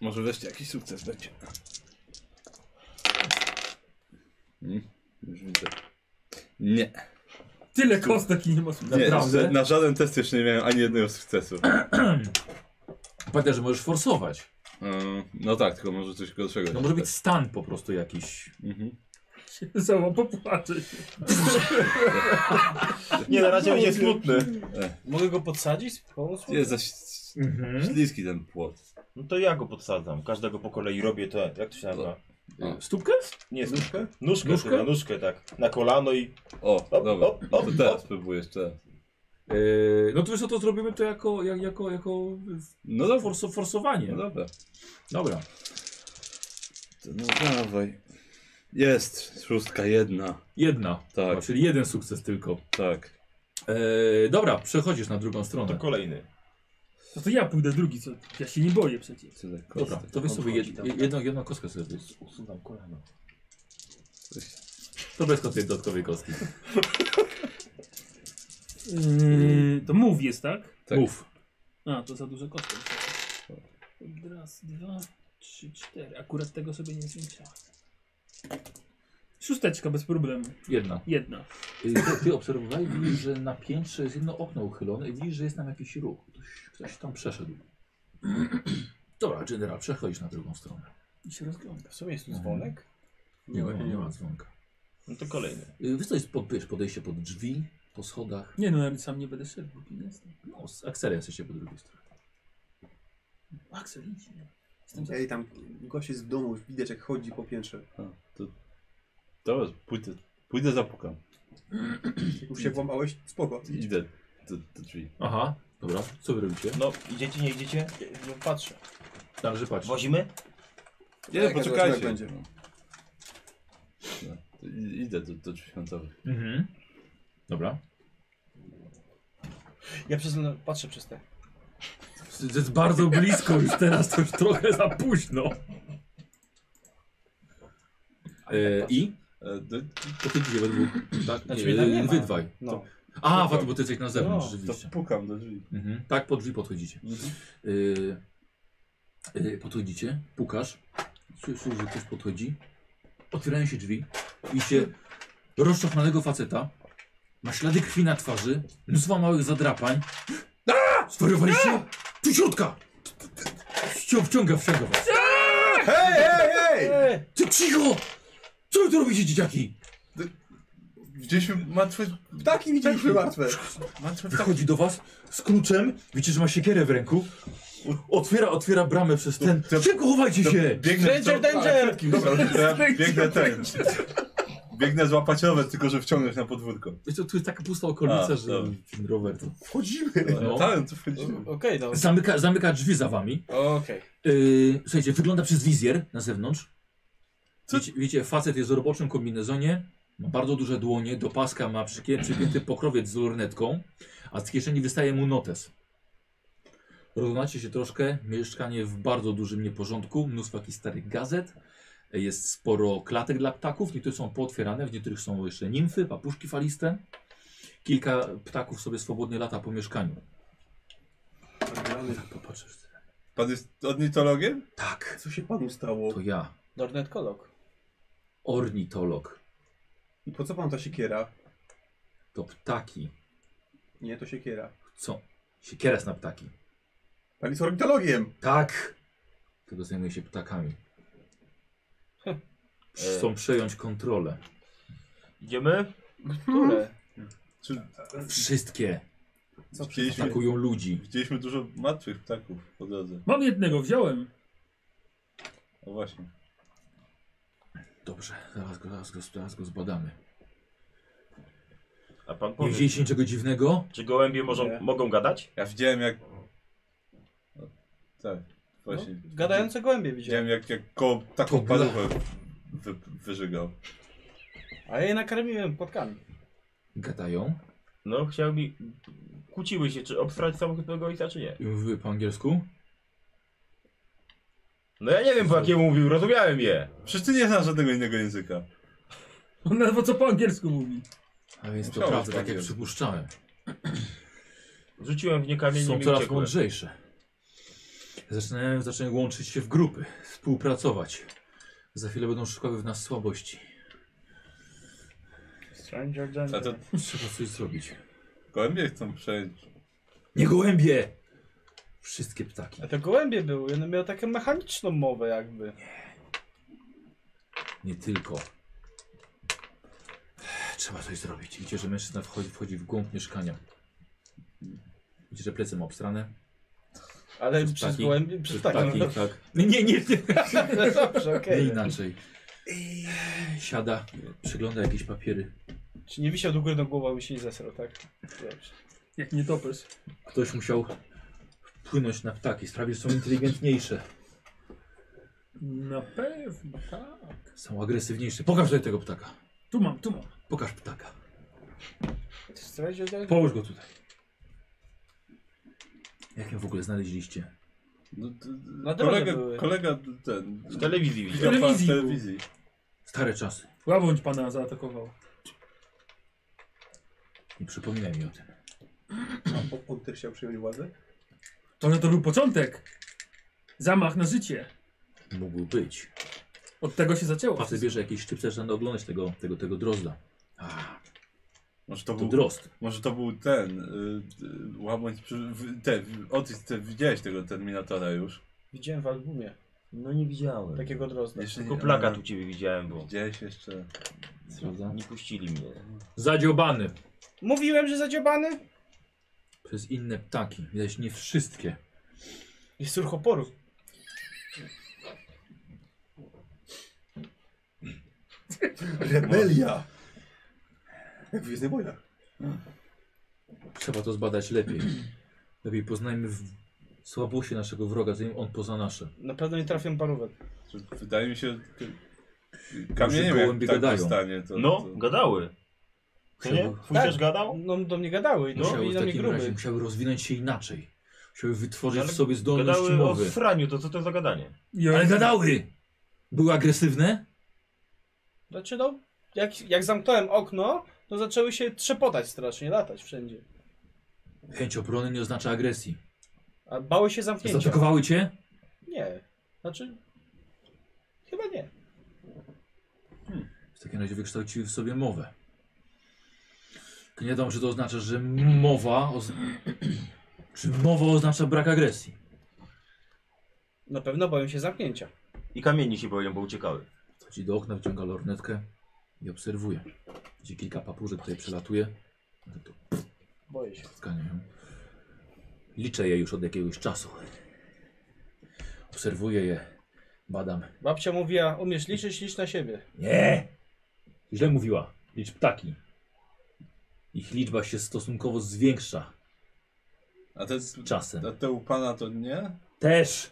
Speaker 2: Może wreszcie jakiś sukces będzie. Mm, już widzę. Nie.
Speaker 4: Tyle kostek i nie ma
Speaker 2: nie
Speaker 1: Naprawdę?
Speaker 2: że- na żaden test jeszcze nie miałem ani jednego sukcesu.
Speaker 1: Pamiętaj, że możesz forsować.
Speaker 2: Mm, no tak, tylko może coś gorszego.
Speaker 1: No może być stan po prostu jakiś.
Speaker 2: Mhm.
Speaker 4: Zała popłacze się.
Speaker 6: Nie, na razie będzie smutny.
Speaker 5: Mogę go podsadzić? Pomóc mu?
Speaker 2: Jest zaś
Speaker 1: Hmm?
Speaker 2: śliski ten płot.
Speaker 6: No to ja go podsadzam. Każdego po kolei robię to. Jak to się nazywa?
Speaker 1: Y, Stópkę?
Speaker 6: Nie,
Speaker 3: nóżkę?
Speaker 1: Nóżkę?
Speaker 6: nóżkę, nóżkę? Na nóżkę, tak. Na kolano i.
Speaker 2: O,
Speaker 6: Op,
Speaker 2: dobra.
Speaker 6: op, op,
Speaker 2: To teraz spróbuję jeszcze. raz.
Speaker 1: Eee, no to wiesz co, to zrobimy to jako, jak, jako, jako
Speaker 2: No dobra.
Speaker 1: forso, forsowanie.
Speaker 2: No dobra.
Speaker 1: Dobra.
Speaker 2: To no dawaj. Jest, szóstka jedna.
Speaker 1: Jedna.
Speaker 2: Tak.
Speaker 1: No, czyli jeden sukces tylko.
Speaker 2: Tak.
Speaker 1: Eee, dobra, przechodzisz na drugą
Speaker 6: To
Speaker 1: stronę.
Speaker 6: kolejny.
Speaker 4: No to ja pójdę drugi, co? Ja się nie boję przecież.
Speaker 2: Tyle kostek.
Speaker 1: Dobra, to wy sobie jed, jedną, jedną kostkę sobie zjedz.
Speaker 6: Usuwam kolano.
Speaker 1: To bez kostki dodatkowej kostki.
Speaker 4: Yy, to move jest, tak?
Speaker 2: Tak.
Speaker 1: Mów.
Speaker 4: A, to za dużo kostek. Raz, dwa, trzy, cztery. Akurat tego sobie nie zwiększałem. Szósteczka bez problemu.
Speaker 1: Jedna.
Speaker 4: Jedna.
Speaker 1: Y, Ty, ty obserwowałeś, widzisz, że na piętrze jest jedno okno uchylone i widzisz, że jest tam jakiś ruch. Ktoś, ktoś tam przeszedł. Dobra, generał, przechodzisz na drugą stronę.
Speaker 4: I się rozgląda.
Speaker 5: W sumie jest tu dzwonek.
Speaker 1: Nie, ma, nie ma dzwonka.
Speaker 6: No to kolejny.
Speaker 1: Y, Wiesz, to jest pod, wiesz, podejście pod drzwi, po schodach.
Speaker 4: Nie no, ja sam nie będę szedł, bo nie jestem.
Speaker 1: No, z akcelem jesteście po drugiej stronie.
Speaker 4: Axel, idź. no. Jestem za...
Speaker 3: Ej, tam gość jest w domu, już widać jak chodzi po piętrze.
Speaker 2: A, to... Dobra, pójdę, pójdę zapukam.
Speaker 3: Jak już się włamałeś, spoko.
Speaker 2: Idę do, do drzwi.
Speaker 1: Aha, dobra, co wy robicie?
Speaker 6: No, idziecie, nie idziecie?
Speaker 5: No patrzę.
Speaker 1: Należy patrzeć.
Speaker 6: Wozimy?
Speaker 2: Nie,
Speaker 3: Tak, ja zobaczymy,
Speaker 2: poczekajcie.
Speaker 3: jak będzie.
Speaker 2: No. No, to i-
Speaker 7: idę do, do drzwi końcowych.
Speaker 1: Mhm. Dobra.
Speaker 5: Ja przez no, patrzę przez te.
Speaker 1: To jest bardzo blisko już teraz, to już trochę za późno. E, I?
Speaker 7: E, do,
Speaker 1: To ty dzisiaj według... Tak?
Speaker 5: Znaczy,
Speaker 1: Nie,
Speaker 5: mnie tam nie ma.
Speaker 1: wy dwaj.
Speaker 5: No.
Speaker 1: A, Watu, bo ty jesteś na zewnątrz,
Speaker 5: No, Mhm.
Speaker 1: rzeczywiście.
Speaker 7: to pukam do drzwi.
Speaker 1: Mhm. Tak, pod drzwi podchodzicie. Yy, yy, podchodzicie, pukasz, słyszysz, że ktoś podchodzi, otwierają się drzwi i się rozczachmanego faceta, ma ślady krwi na twarzy, mnóstwo małych zadrapań. Aaa! Zwariowaliście? Tu środka! Cię wciąga, wciąga was.
Speaker 2: Hej, hej, hej!
Speaker 5: Eee,
Speaker 1: Ty cicho! Co wy tu robicie, dzieciaki?
Speaker 2: Gdzieś martwe...
Speaker 3: Ptaki widzieliśmy martwe.
Speaker 2: Martwe ptaki.
Speaker 1: Wychodzi do was z kluczem, widzicie, że ma siekierę w ręku. Otwiera, otwiera bramę przez ten... Szybko chowajcie się!
Speaker 2: Biegnę w
Speaker 5: Danger,
Speaker 2: to...
Speaker 5: danger!
Speaker 2: Dobra, to ja biegnę ten. Biegnę złapać rower, tylko że wciągnąć na podwórko.
Speaker 1: Wiesz co, tu jest taka pusta okolica,
Speaker 2: A,
Speaker 1: że
Speaker 2: dobra.
Speaker 1: ten rower to...
Speaker 2: Wchodzimy.
Speaker 1: No.
Speaker 2: Tak, to wchodzimy.
Speaker 5: Okej, no.
Speaker 1: Zamyka, zamyka drzwi za wami.
Speaker 5: Okej.
Speaker 1: Yy, słuchajcie, wygląda przez wizjer na zewnątrz. Wiecie, wiecie, facet jest w roboczym kombinezonie, ma bardzo duże dłonie, do paska ma przykie- przypięty pokrowiec z lornetką, a z kieszeni wystaje mu notes. Rozglądacie się troszkę, mieszkanie w bardzo dużym nieporządku, mnóstwo jakichś starych gazet, jest sporo klatek dla ptaków, niektóre są pootwierane, w niektórych są jeszcze nimfy, papuszki faliste. Kilka ptaków sobie swobodnie lata po mieszkaniu. Tak, popatrzysz.
Speaker 2: Pan jest ornitologiem?
Speaker 1: Tak,
Speaker 3: Co się panu stało?
Speaker 1: to ja,
Speaker 5: Lornetkolog.
Speaker 1: ornitolog,
Speaker 3: I po co pan ta siekiera?
Speaker 1: to ptaki.
Speaker 3: Nie, to siekiera.
Speaker 1: Co? Siekieres na ptaki.
Speaker 3: Pan jest ornitologiem.
Speaker 1: Tak! Tego zajmuje się ptakami.
Speaker 5: Heh.
Speaker 1: Chcą przejąć kontrolę.
Speaker 6: Idziemy?
Speaker 5: Które?
Speaker 2: Czy
Speaker 1: Wszystkie
Speaker 2: widzieliśmy,
Speaker 1: atakują ludzi.
Speaker 2: widzieliśmy dużo martwych ptaków po drodze?
Speaker 4: Mam jednego, wziąłem.
Speaker 2: O właśnie.
Speaker 1: Dobrze, zaraz go, zaraz go, zaraz go zbadamy.
Speaker 6: A pan
Speaker 1: Nie
Speaker 6: powie,
Speaker 1: widzieliście niczego dziwnego?
Speaker 6: czy gołębie może,
Speaker 3: Nie.
Speaker 6: mogą gadać?
Speaker 2: Ja widziałem jak... O, tak,
Speaker 5: No,
Speaker 2: właśnie.
Speaker 5: gadające gołębie widziałem.
Speaker 2: Widziałem jak, jak koło taką
Speaker 1: To bla-
Speaker 2: parówę wy, wyżygał.
Speaker 5: A ja je nakarmiłem płatkami.
Speaker 1: Gadają.
Speaker 6: No, chciałby... Kłóciły się, czy obstrać samochód ojca, czy nie.
Speaker 1: I Mówiły po angielsku?
Speaker 6: No ja nie wiem, po jakiemu mówił, rozumiałem je.
Speaker 2: Przecież ty nie znasz żadnego innego języka.
Speaker 4: On ledwo co po angielsku mówi.
Speaker 1: A więc to
Speaker 2: Musiało
Speaker 1: prawda,
Speaker 2: być po
Speaker 1: tak jak
Speaker 2: angielsku.
Speaker 1: przypuszczałem.
Speaker 6: Rzuciłem w nie kamieniem
Speaker 1: Są
Speaker 6: i
Speaker 1: coraz
Speaker 6: uciekłem.
Speaker 1: mądrzejsze. Zaczynają, zaczynają łączyć się w grupy, współpracować. Za chwilę będą szukały w nas słabości.
Speaker 5: Stranger
Speaker 2: A to
Speaker 1: Trzeba coś zrobić.
Speaker 2: gołębie chcą przejąć.
Speaker 1: Nie gołębie! Wszystkie ptaki.
Speaker 5: A to gołębie były, one miały taką mechaniczną mowę jakby.
Speaker 1: Nie tylko. Trzeba coś zrobić. Widzicie, że mężczyzna wchodzi, wchodzi w głąb mieszkania. Widzicie, że plecy ma obstrane.
Speaker 5: Ale
Speaker 1: Przez
Speaker 5: przez,
Speaker 1: ptaki?
Speaker 5: gołębie, przez ptaki.
Speaker 1: ptaki,
Speaker 5: no.
Speaker 1: tak. Nie, nie, nie.
Speaker 5: Dobrze,
Speaker 1: Nie
Speaker 5: okej.
Speaker 1: inaczej. Siada, przegląda jakieś papiery.
Speaker 5: Czy nie wisiał do góry na głową i się nie zesrał, tak? Dobrze.
Speaker 4: Jak nie topesz.
Speaker 1: Ktoś musiał wpłynąć na ptaki, sprawić, że są inteligentniejsze.
Speaker 4: Na pewno, tak.
Speaker 1: Są agresywniejsze. Pokaż tutaj tego ptaka.
Speaker 4: Tu mam, tu mam.
Speaker 1: Pokaż ptaka.
Speaker 5: Stranger Danger?
Speaker 1: Połóż go tutaj. Jak ją w ogóle znaleźliście?
Speaker 2: No, to-
Speaker 5: Na drodze
Speaker 2: kolega,
Speaker 5: były.
Speaker 2: kolega ten.
Speaker 6: W telewizji widziałem.
Speaker 2: widział pan
Speaker 4: telewizji
Speaker 2: w telewizji.
Speaker 1: Stare czasy.
Speaker 4: Łabądź pana zaatakował.
Speaker 1: Nie przypominaj mi o tym.
Speaker 3: A on- on też chciał przejąć władzę?
Speaker 4: Może to był początek. Zamach na życie.
Speaker 1: Mógł być.
Speaker 4: Od tego się zaczęło.
Speaker 1: Paty
Speaker 4: wszystko.
Speaker 1: bierze jakieś szczypce, żeby oglądać tego, tego, tego drozda. A,
Speaker 2: Może to,
Speaker 1: to
Speaker 2: był,
Speaker 1: drozd.
Speaker 2: może to był ten. Y, y, łabądź. przy- w- Te, w- Otis, ty widziałeś tego terminatora już?
Speaker 5: Widziałem w albumie.
Speaker 7: No nie widziałem.
Speaker 5: Takiego drozda.
Speaker 2: Jeszcze
Speaker 6: Tylko
Speaker 2: nie-
Speaker 6: plakat
Speaker 2: a,
Speaker 6: u ciebie widziałem, bo
Speaker 2: Widziałeś jeszcze.
Speaker 1: Prawda?
Speaker 6: nie puścili mnie.
Speaker 1: Zadziobany
Speaker 5: Mówiłem, że zadziobany?
Speaker 1: przez inne ptaki. Widać nie wszystkie.
Speaker 5: Jest surchoporów.
Speaker 3: Rebelia! Jak w Gwiezdnych Wojnach.
Speaker 1: Trzeba to zbadać lepiej. Lepiej poznajmy w słabości naszego wroga, zanim on pozna nasze.
Speaker 5: Na pewno nie trafią parówek.
Speaker 2: Wydaje mi się, że Kamieniem jak
Speaker 1: gołębie
Speaker 2: tak
Speaker 1: gadają.
Speaker 2: dostanie, to,
Speaker 6: No,
Speaker 2: to...
Speaker 6: gadały. Co nie? Fuj
Speaker 5: Tak.
Speaker 6: też gadał?
Speaker 5: No do mnie gadały, no,
Speaker 1: Musiały
Speaker 5: i
Speaker 1: w
Speaker 5: do mnie
Speaker 1: takim
Speaker 5: gruby.
Speaker 1: razie musiały rozwinąć się inaczej. Musiały wytworzyć
Speaker 6: No, Ale
Speaker 1: w sobie zdolność
Speaker 6: Gadały o
Speaker 1: mowy.
Speaker 6: franiu, to co to za gadanie?
Speaker 4: I
Speaker 1: Ale
Speaker 4: oni-
Speaker 1: gadały! Były agresywne?
Speaker 5: Znaczy no, jak, jak zamknąłem okno, to zaczęły się trzepotać strasznie, latać wszędzie.
Speaker 1: Chęć obrony nie oznacza agresji.
Speaker 5: A bały się zamknięcia.
Speaker 1: Zaatakowały cię?
Speaker 5: Nie. Znaczy, chyba nie.
Speaker 1: W takim razie wykształciły w sobie mowę. Tylko Nie wiadomo, czy to oznacza, że mowa. Oz... czy mowa oznacza brak agresji?
Speaker 5: Na pewno boją się zamknięcia.
Speaker 6: I kamieni się boją, bo uciekały.
Speaker 1: Wchodzi do okna, wyciąga lornetkę i obserwuje. Gdzie kilka papurek tutaj przelatuje. Ale to
Speaker 5: Boję się.
Speaker 1: spotkanie. Liczę je już od jakiegoś czasu. Obserwuję je, badam.
Speaker 5: Babcia mówiła, umiesz liczyć, licz na siebie.
Speaker 1: Nie! Źle mówiła. Licz ptaki. Ich liczba się stosunkowo zwiększa
Speaker 2: A to jest...
Speaker 1: czasem.
Speaker 2: A to u pana to nie?
Speaker 1: Też!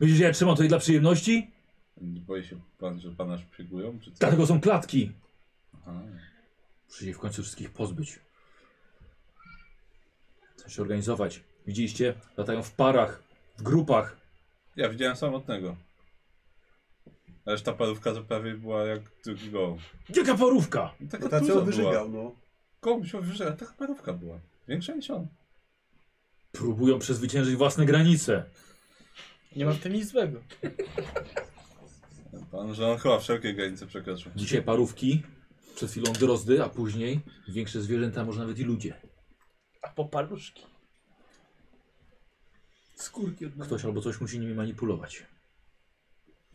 Speaker 1: Myślisz, że ja trzymam to i dla przyjemności?
Speaker 2: Nie Boi się pan, że pana szpiegują, czy co?
Speaker 1: Dlatego są klatki.
Speaker 2: Aha.
Speaker 1: Muszę się w końcu wszystkich pozbyć. Chcę się organizować. Widzieliście? Latają w parach, w grupach.
Speaker 2: Ja widziałem samotnego. Ależ ta parówka to prawie była jak drugi goł.
Speaker 1: Jaka porówka!
Speaker 2: I Taka
Speaker 3: No tacy
Speaker 2: duża
Speaker 3: on
Speaker 2: była.
Speaker 3: wyżygał, no.
Speaker 2: Komuś się wyżygał, taka parówka była. Większa niż on.
Speaker 1: Próbują przezwyciężyć własne granice.
Speaker 5: Nie ma w tym nic złego.
Speaker 2: Pan, że on chyba wszelkie granice przekroczył.
Speaker 1: Dzisiaj parówki, przed chwilą drozdy, a później większe zwierzęta, może nawet i ludzie.
Speaker 5: A po paluszki.
Speaker 4: Skórki od
Speaker 1: Ktoś albo coś musi nimi manipulować.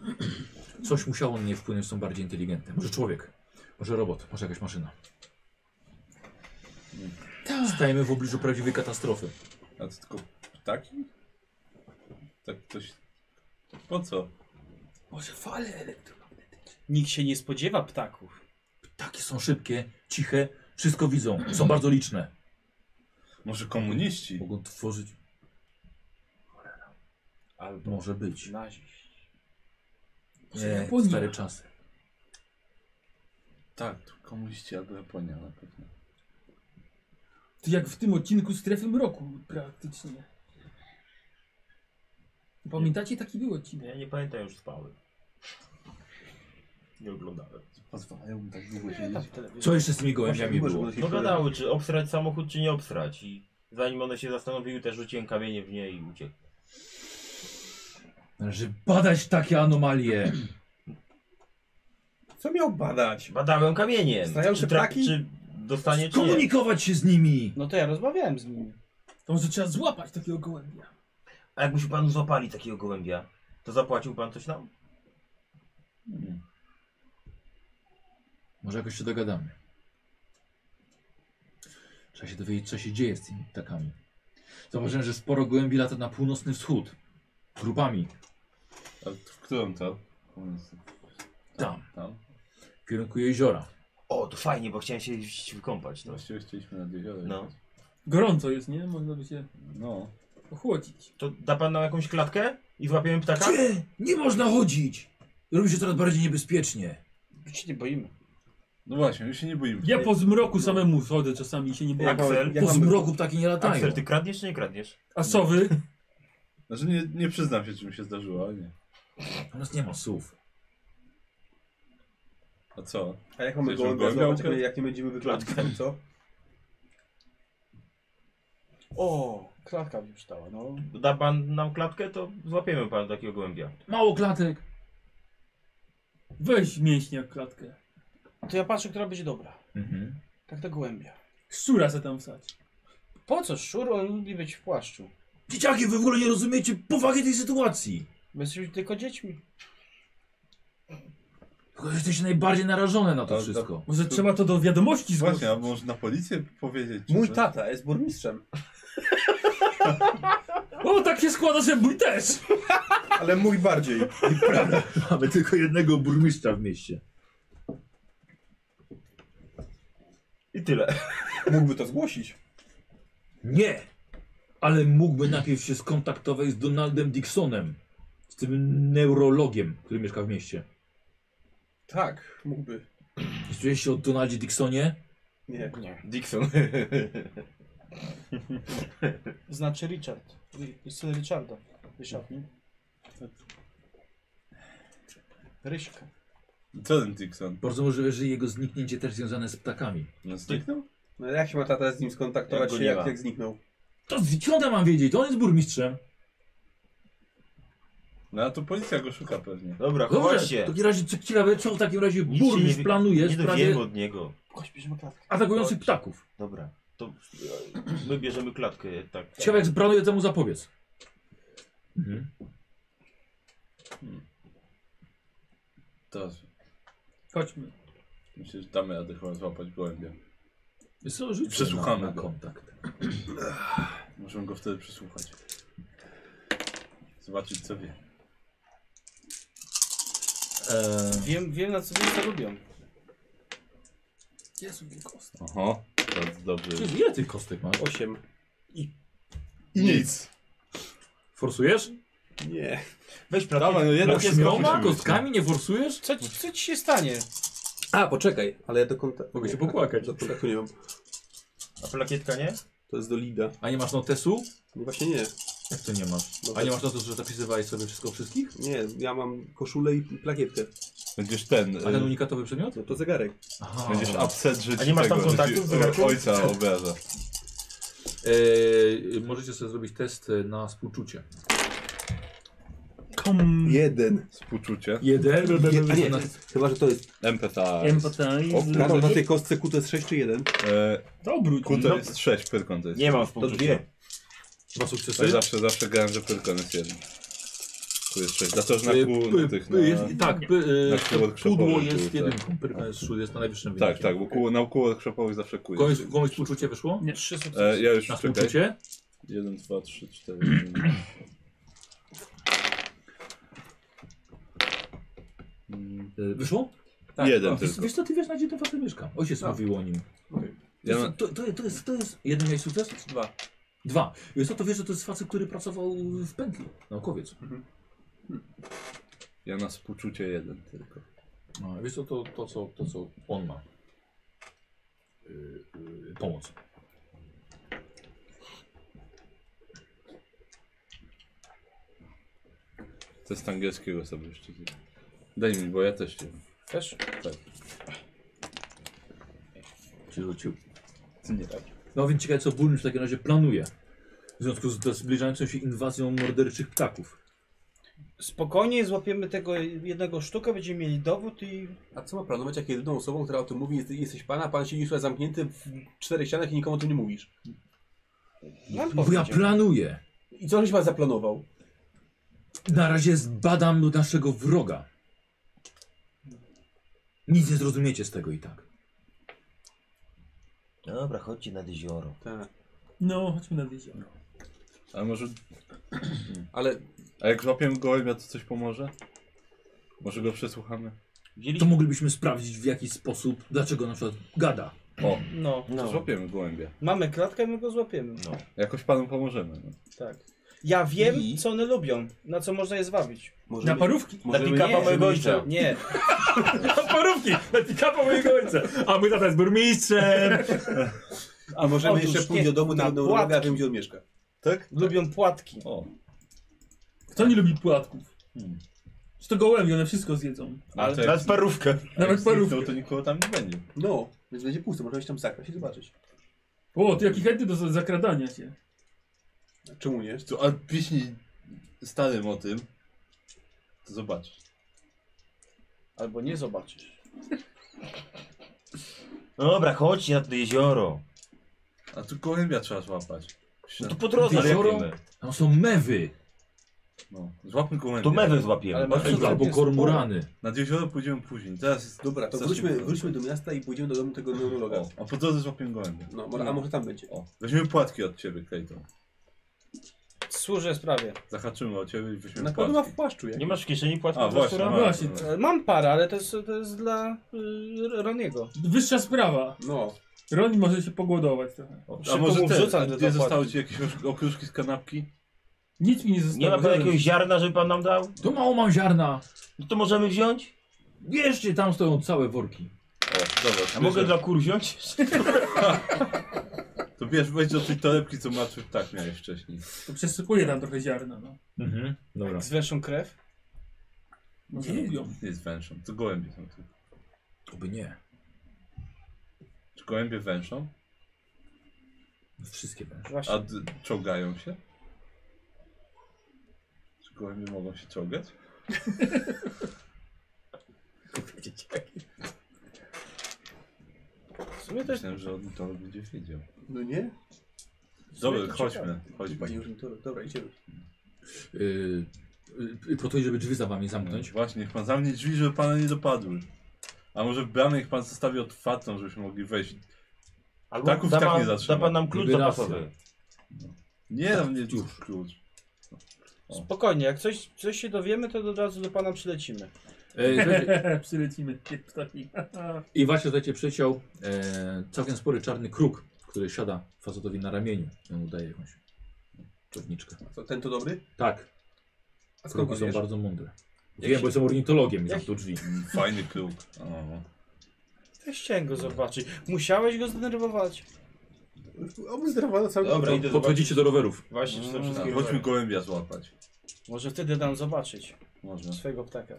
Speaker 1: Coś musiało na nie wpłynąć, są bardziej inteligentne. Może człowiek, może robot, może jakaś maszyna.
Speaker 6: Tak.
Speaker 1: Stajemy w obliczu prawdziwej katastrofy.
Speaker 2: A to tylko ptaki? Tak ktoś... Po co?
Speaker 4: Może fale elektromagnetyczne.
Speaker 5: Nikt się nie spodziewa ptaków.
Speaker 1: Takie są szybkie, ciche, wszystko widzą. Są bardzo liczne.
Speaker 2: Może komuniści?
Speaker 1: Mogą tworzyć.
Speaker 5: Albo
Speaker 1: Może być.
Speaker 5: naziść.
Speaker 4: Może
Speaker 1: Nie,
Speaker 4: Japonia.
Speaker 1: stare czasy.
Speaker 2: Tak, to komuniści albo Japonia na pewno.
Speaker 4: To jak w tym odcinku strefy mroku praktycznie. Pamiętacie taki był odcinek?
Speaker 6: Ja nie pamiętam, już spałem. Nie oglądałem.
Speaker 2: Pozwalają mu tak długo
Speaker 5: Tam
Speaker 2: siedzieć.
Speaker 5: w telewizji.
Speaker 1: Co jeszcze z tymi gołębiami
Speaker 3: Właśnie, może
Speaker 1: było?
Speaker 3: będą się
Speaker 6: No
Speaker 3: śmieją.
Speaker 6: gadały, czy obsrać samochód, czy nie obsrać. I zanim one się zastanowiły, też rzuciłem kamienie w nie i uciekł.
Speaker 1: Należy badać takie anomalie.
Speaker 3: Co miał badać?
Speaker 6: Badałem kamieniem.
Speaker 3: Znają się
Speaker 6: Czy
Speaker 3: ptaki?
Speaker 6: Czy dostanie, czy nie.
Speaker 1: Komunikować się z nimi.
Speaker 5: No to ja rozmawiałem z nimi.
Speaker 4: To może trzeba złapać takiego gołębia.
Speaker 6: A jakby się panu złapali takiego gołębia, to zapłacił pan coś nam?
Speaker 2: Hmm.
Speaker 1: Może jakoś się dogadamy. Trzeba się dowiedzieć, co się dzieje z tymi ptakami. Zauważyłem, że sporo gołębi lata na północny wschód. Grupami.
Speaker 2: A w którą to?
Speaker 1: Tam.
Speaker 2: Tam?
Speaker 1: W kierunku jeziora.
Speaker 6: O, to fajnie, bo chciałem się iść wykąpać. No.
Speaker 2: Właściwie chcieliśmy nad jezioro.
Speaker 6: No.
Speaker 2: jechać.
Speaker 4: Gorąco jest, nie? Można by się
Speaker 2: No.
Speaker 4: ochłodzić.
Speaker 6: To da pan nam jakąś klatkę i złapiemy ptaka?
Speaker 1: Gdzie? Nie można chodzić! Robi się coraz bardziej niebezpiecznie.
Speaker 5: My się nie boimy.
Speaker 2: No właśnie, już się nie boimy.
Speaker 4: Ja po zmroku samemu chodzę czasami i się nie boję.
Speaker 6: Jak- Aksel,
Speaker 1: Po zmroku ptaki nie latają.
Speaker 6: Aksel, ty kradniesz czy nie kradniesz?
Speaker 4: A sowy?
Speaker 2: Znaczy nie, nie przyznam się, czy mi się zdarzyło, ale nie.
Speaker 1: U nas nie ma słów.
Speaker 2: A co?
Speaker 3: A jak mamy
Speaker 2: Chcesz
Speaker 3: gołębia
Speaker 2: gołębia
Speaker 3: złapać,
Speaker 2: ukryć?
Speaker 3: jak nie będziemy wyglądać, co?
Speaker 5: O, klatka mi przydała, no.
Speaker 6: Da pan nam klatkę, to złapiemy pan takiego gołębia.
Speaker 1: Mało klatek.
Speaker 4: Weź mięśniak klatkę.
Speaker 5: To ja patrzę, która będzie dobra.
Speaker 1: Mhm.
Speaker 5: Tak to gołębia.
Speaker 4: Szczura se tam wsadź.
Speaker 5: Po co szczur? On lubi być w płaszczu.
Speaker 1: Dzieciaki, wy w ogóle nie rozumiecie powagi tej sytuacji.
Speaker 5: My jesteśmy tylko dziećmi.
Speaker 1: Tylko jesteście najbardziej narażone na to
Speaker 2: Ale
Speaker 1: wszystko.
Speaker 4: Może trzeba to do wiadomości zgłosić.
Speaker 2: Właśnie, a może na policję powiedzieć? czy
Speaker 3: Mój
Speaker 2: coś?
Speaker 3: tata jest burmistrzem,
Speaker 4: O, tak się składa, że mój też.
Speaker 3: ale mój bardziej.
Speaker 1: Mamy tylko jednego burmistrza w mieście.
Speaker 6: I tyle.
Speaker 3: Mógłby to zgłosić.
Speaker 1: Nie! Ale mógłby najpierw się skontaktować z Donaldem Dixonem, z tym neurologiem, który mieszka w mieście.
Speaker 3: Tak, mógłby.
Speaker 1: Słyszałeś się o Donaldzie Dixonie?
Speaker 3: Nie.
Speaker 6: Nie. Dixon.
Speaker 5: Znaczy Richard. I syn Richarda. Ryszard. Ryśka.
Speaker 2: Co ten Dixon?
Speaker 1: Bardzo możliwe, że jego zniknięcie też związane z ptakami.
Speaker 6: No zniknął?
Speaker 3: No jak się ma tata z nim
Speaker 6: Jak
Speaker 3: skontaktować
Speaker 6: go
Speaker 3: się,
Speaker 6: nie
Speaker 3: jak,
Speaker 6: ma.
Speaker 3: jak zniknął?
Speaker 1: To skąd ja mam wiedzieć? To on jest burmistrzem.
Speaker 2: No a to policja go szuka pewnie.
Speaker 6: Dobra, chowaj
Speaker 1: Dobrze,
Speaker 6: się.
Speaker 1: w takim razie co- ciekawe, co w takim razie
Speaker 6: Tak, Nic się
Speaker 1: burmistrz
Speaker 6: nie-
Speaker 1: planuje
Speaker 6: Nie
Speaker 1: w
Speaker 6: dowiemy
Speaker 1: sprawie
Speaker 6: od niego.
Speaker 5: Chodź, bierzemy klatkę.
Speaker 1: atakujących ptaków.
Speaker 6: Dobra, to e, my bierzemy klatkę, tak.
Speaker 1: Ciekawe, jak planuje temu zapobiec. Mhm.
Speaker 2: To
Speaker 4: Chodźmy.
Speaker 2: myślę, że damy radę chyba złapać gołębia.
Speaker 1: Wiesz Co, rzuć
Speaker 2: Przesłuchamy
Speaker 1: na, na
Speaker 2: go.
Speaker 1: kontakt.
Speaker 2: Możemy go wtedy przesłuchać. Zobaczyć co wie.
Speaker 1: Eee,
Speaker 5: Wiem, wiem na co ludzie lubią.
Speaker 2: Oho, bardzo dobrze.
Speaker 1: Jezu, ile tych kostek masz?
Speaker 3: Osiem.
Speaker 2: Nic.
Speaker 1: Forsujesz?
Speaker 3: Nie.
Speaker 5: Weź
Speaker 2: Dawaj,
Speaker 5: platę.
Speaker 2: no jednak nie
Speaker 1: Ośmioma
Speaker 2: skończył.
Speaker 1: kostkami nie forsujesz?
Speaker 5: Co, ci- co ci się stanie?
Speaker 3: A, poczekaj, ale ja do kontaktu.
Speaker 1: Mogę się popłakać.
Speaker 3: Do kontaktu nie tak. mam.
Speaker 6: A plakietka nie?
Speaker 3: To jest do Lida.
Speaker 1: A nie masz notesu?
Speaker 3: No właśnie nie.
Speaker 1: Jak to nie masz?
Speaker 3: No
Speaker 1: A nie
Speaker 3: tak.
Speaker 1: masz notesu, że zapisywałeś sobie wszystko o wszystkich?
Speaker 3: Nie, ja mam koszulę i plakietkę.
Speaker 2: Będziesz ten. y,
Speaker 1: A ten unikatowy przedmiot?
Speaker 3: No to zegarek.
Speaker 1: Aha.
Speaker 2: Będziesz upset, że
Speaker 6: A
Speaker 2: ci
Speaker 6: nie masz tam
Speaker 2: tego,
Speaker 6: kontaktów
Speaker 2: że
Speaker 6: z
Speaker 2: ci
Speaker 6: Iraku?
Speaker 2: ojca obraża.
Speaker 1: Eee, możecie sobie zrobić test e, na współczucie.
Speaker 4: Kom.
Speaker 3: Jeden.
Speaker 2: Współczucie.
Speaker 1: Jeden?
Speaker 3: A nie, to jest- chyba, że to jest.
Speaker 2: Empatha. O,
Speaker 4: Empathize.
Speaker 3: Karol, na tej kostce Q to jest 6 czy 1?
Speaker 2: E,
Speaker 4: To obróć.
Speaker 2: Q
Speaker 4: No.
Speaker 2: to jest 6, Pyrkon to jest.
Speaker 6: Nie mam
Speaker 3: To
Speaker 6: współczucia.
Speaker 3: dwie.
Speaker 1: Dwa
Speaker 2: Ja
Speaker 1: sukcesy.
Speaker 2: zawsze, zawsze grałem, że Pyrkon jest jeden. Q jest 6. Za to, że na
Speaker 1: E,
Speaker 2: Q
Speaker 1: p-
Speaker 2: na tych.
Speaker 1: p-
Speaker 2: Na...
Speaker 1: jest, tak, p- e,
Speaker 2: na kół
Speaker 1: to pudło
Speaker 2: workshopowy
Speaker 1: jest
Speaker 2: był, tak.
Speaker 1: jedynką, pyrka jest, jest na najwyższym
Speaker 2: Tak,
Speaker 1: wyniku.
Speaker 2: tak, bo kół, na kół workshopowych zawsze Q
Speaker 1: Komuś,
Speaker 2: jest.
Speaker 1: komuś współczucie wyszło?
Speaker 4: Nie.
Speaker 5: Trzy sukcesy.
Speaker 2: E, ja już
Speaker 1: Na
Speaker 2: czekaj.
Speaker 1: współczucie?
Speaker 2: 1, 2, 3, 4, 5.
Speaker 1: E, Wyszło?
Speaker 4: Tak.
Speaker 6: Tak,
Speaker 2: Jeden
Speaker 1: A, Wiesz,
Speaker 2: no tylko. No.
Speaker 1: wiesz co, ty wiesz, na gdzie ten facet mieszka. Ojciec mówił o nim. To,
Speaker 2: Ja
Speaker 1: jest,
Speaker 2: na-
Speaker 1: to, to, to jest, to jest, jeden miałeś sukces?
Speaker 3: Dwa.
Speaker 1: Dwa. Wiesz co, to wiesz, że to jest facet, który pracował w No, pętli, naukowiec.
Speaker 2: Ja na współczucie jeden tylko.
Speaker 1: No, wiesz co, to, to, co, to co on ma. Y, y, pomoc.
Speaker 2: To jest angielskiego sobie jeszcze. zjem. Daj mi, bo ja też nie.
Speaker 5: Też?
Speaker 1: Czy rzucił.
Speaker 2: Ty nie tak.
Speaker 1: No więc ciekawe, co burmistrz w takim razie planuje. W związku z zbliżającą się inwazją morderczych ptaków.
Speaker 5: Spokojnie złapiemy tego jednego sztukę, będziemy mieli dowód i
Speaker 3: A co ma planować, jak jedyną osobą, która o tym mówi, jest, jesteś pan, a pan siedzi tutaj zamknięty w czterech ścianach i nikomu o tym nie mówisz?
Speaker 5: nam
Speaker 1: Bo ja
Speaker 5: powiedział.
Speaker 1: planuję.
Speaker 3: I co żeś pan zaplanował?
Speaker 1: Na razie zbadam naszego wroga. Nic nie zrozumiecie z tego i tak.
Speaker 7: Dobra, chodźcie nad jezioro.
Speaker 3: Tak.
Speaker 4: No, chodźmy nad jezioro.
Speaker 2: A może.
Speaker 3: Ale
Speaker 2: A jak złapiemy gołębia, to coś pomoże? Może go przesłuchamy?
Speaker 1: To moglibyśmy sprawdzić w jaki sposób, dlaczego na przykład gada.
Speaker 2: O,
Speaker 5: No.
Speaker 2: to złapiemy gołębia.
Speaker 5: Mamy klatkę, my go złapiemy.
Speaker 6: No.
Speaker 2: Jakoś panu pomożemy. No.
Speaker 5: Tak. Ja wiem,
Speaker 3: I?
Speaker 5: co one lubią, na co można je zwabić.
Speaker 3: może.
Speaker 4: Na parówki.
Speaker 6: Na
Speaker 3: Możemy
Speaker 6: pick-upa
Speaker 5: nie,
Speaker 6: mojego
Speaker 3: żeby-
Speaker 6: ojca.
Speaker 5: Nie,
Speaker 1: Parówki! Na pikapa mojego ojca! A mój tata jest burmistrzem!
Speaker 3: A możemy
Speaker 5: Otóż
Speaker 3: jeszcze
Speaker 5: nie,
Speaker 3: pójść do domu
Speaker 5: na
Speaker 3: tego neurologa,
Speaker 5: płatki.
Speaker 3: wiem gdzie on mieszka.
Speaker 2: Tak?
Speaker 5: lubią płatki.
Speaker 2: O,
Speaker 4: Kto nie lubi płatków?
Speaker 2: Hmm.
Speaker 4: Czy to gołębie, one wszystko zjedzą.
Speaker 2: ale to
Speaker 6: Nas
Speaker 2: jak
Speaker 6: parówkę.
Speaker 4: Nawet
Speaker 2: znikną,
Speaker 4: parówki.
Speaker 2: to nikogo tam nie będzie.
Speaker 3: No, więc będzie pusto, możemy się tam zakraść i zobaczyć.
Speaker 4: O, ty jaki chętny do za- zakradania się.
Speaker 3: A Czemu nie?
Speaker 2: Tu, a piśni starym o tym, to zobaczysz.
Speaker 5: Albo nie zobaczysz.
Speaker 6: No Dobra, chodźcie na to jezioro.
Speaker 2: A tu gołębia trzeba złapać.
Speaker 6: No to po drodze
Speaker 1: Jezioro?
Speaker 6: złapiemy.
Speaker 1: Tam są mewy,
Speaker 2: No, złapmy gołębia.
Speaker 6: To mewę złapiemy.
Speaker 5: Ale masz-
Speaker 6: Ej,
Speaker 5: Tam
Speaker 1: albo
Speaker 5: jest
Speaker 1: kormorany.
Speaker 2: Nad jezioro pójdziemy później. Teraz jest
Speaker 3: Dobra, to
Speaker 2: strasznie
Speaker 3: wróćmy,
Speaker 2: gorąco.
Speaker 3: wróćmy do miasta i pójdziemy do domu tego neurologa.
Speaker 2: O, a po drodze złapiemy gołębia.
Speaker 3: No, może, a może tam będzie.
Speaker 2: O, weźmiemy płatki od ciebie, Clayton.
Speaker 5: Służę sprawie.
Speaker 2: Zahaczymy o ciebie i weźmiemy
Speaker 3: Na pewno ma
Speaker 2: płatki.
Speaker 3: w płaszczu, jak?
Speaker 6: Nie masz w kieszeni płatki?
Speaker 2: A, właśnie,
Speaker 4: No
Speaker 2: ma.
Speaker 4: właśnie.
Speaker 2: No.
Speaker 5: E, Mam parę, ale to jest, to jest dla y, Roniego.
Speaker 4: Wyższa sprawa.
Speaker 3: No,
Speaker 4: Roni może się pogłodować trochę.
Speaker 2: O, A
Speaker 5: Szybko
Speaker 2: może
Speaker 5: mu
Speaker 2: te,
Speaker 5: wrzucam
Speaker 2: a
Speaker 5: te
Speaker 2: gdzie
Speaker 5: zapłatki.
Speaker 2: zostały ci jakieś osz- okruszki z kanapki?
Speaker 4: Nic mi nie zostało.
Speaker 5: Tak,
Speaker 6: Nie ma pan
Speaker 4: żaden.
Speaker 6: jakiegoś ziarna, żeby pan nam dał?
Speaker 1: Tu mało mam ziarna.
Speaker 6: No to możemy wziąć?
Speaker 1: Bierzcie, tam stoją całe worki.
Speaker 2: O, dobra.
Speaker 6: A mogę
Speaker 2: bierze-
Speaker 6: dla kur wziąć?
Speaker 2: To wiesz, weź do tej torebki, co masz tak miałeś wcześniej.
Speaker 4: To przesypuję tam trochę ziarna, no.
Speaker 1: Mhm, dobra.
Speaker 5: Z węższą krew?
Speaker 4: Może lubią.
Speaker 2: Nie jest węszą, to gołębie są tu.
Speaker 1: Oby nie.
Speaker 2: Czy gołębie węszą?
Speaker 1: Wszystkie węże.
Speaker 5: Właśnie.
Speaker 2: A d- czołgają się? Czy gołębie mogą się czołgać?
Speaker 5: w sumie też
Speaker 2: Myślałem, że on to będzie wiedział.
Speaker 3: No nie?
Speaker 2: Dobra, chodźmy, chodźmy.
Speaker 3: Panie to, dobra, idziemy.
Speaker 1: Yy, yy, po to, żeby drzwi za wami zamknąć.
Speaker 2: No Właśnie, niech pan zamknie drzwi, żeby pana nie dopadły. A może bramę niech pan zostawi otwartą, żebyśmy mogli wejść.
Speaker 6: Albo
Speaker 2: Ptaków
Speaker 6: da
Speaker 2: tak
Speaker 6: pan-
Speaker 2: nie zatrzyma.
Speaker 6: Da pan nam klucz
Speaker 1: Liberacja.
Speaker 6: zapasowy.
Speaker 2: Nie, tam nie
Speaker 1: Już.
Speaker 2: klucz.
Speaker 5: Spokojnie, jak coś, coś się dowiemy, to od razu do pana przylecimy.
Speaker 1: Yy, słuchajcie,
Speaker 4: Przylecimy. Ptaki.
Speaker 1: I właśnie słuchajcie, przyciął e, całkiem spory czarny kruk, który siada facetowi na ramieniu. I On udaje jakąś czowniczkę.
Speaker 3: A co, ten to dobry?
Speaker 1: Tak,
Speaker 3: A skąd
Speaker 1: kruki
Speaker 3: pan
Speaker 1: są
Speaker 3: wiesz?
Speaker 1: bardzo mądre. Ja wiem, bo jestem ornitologiem i zamknął drzwi.
Speaker 2: Mm, Fajny klub. O.
Speaker 5: Też chciałem go zobaczyć. Musiałeś go zdenerwować.
Speaker 3: Oby zdrawana cały
Speaker 6: Dobra,
Speaker 3: czas.
Speaker 6: idę zobaczyć.
Speaker 1: Podchodzicie do rowerów.
Speaker 6: Właśnie, czy to wszystkie
Speaker 2: Tak, chodźmy gołębia złapać.
Speaker 5: Mm. Może wtedy dam zobaczyć
Speaker 2: Można.
Speaker 5: swojego ptaka.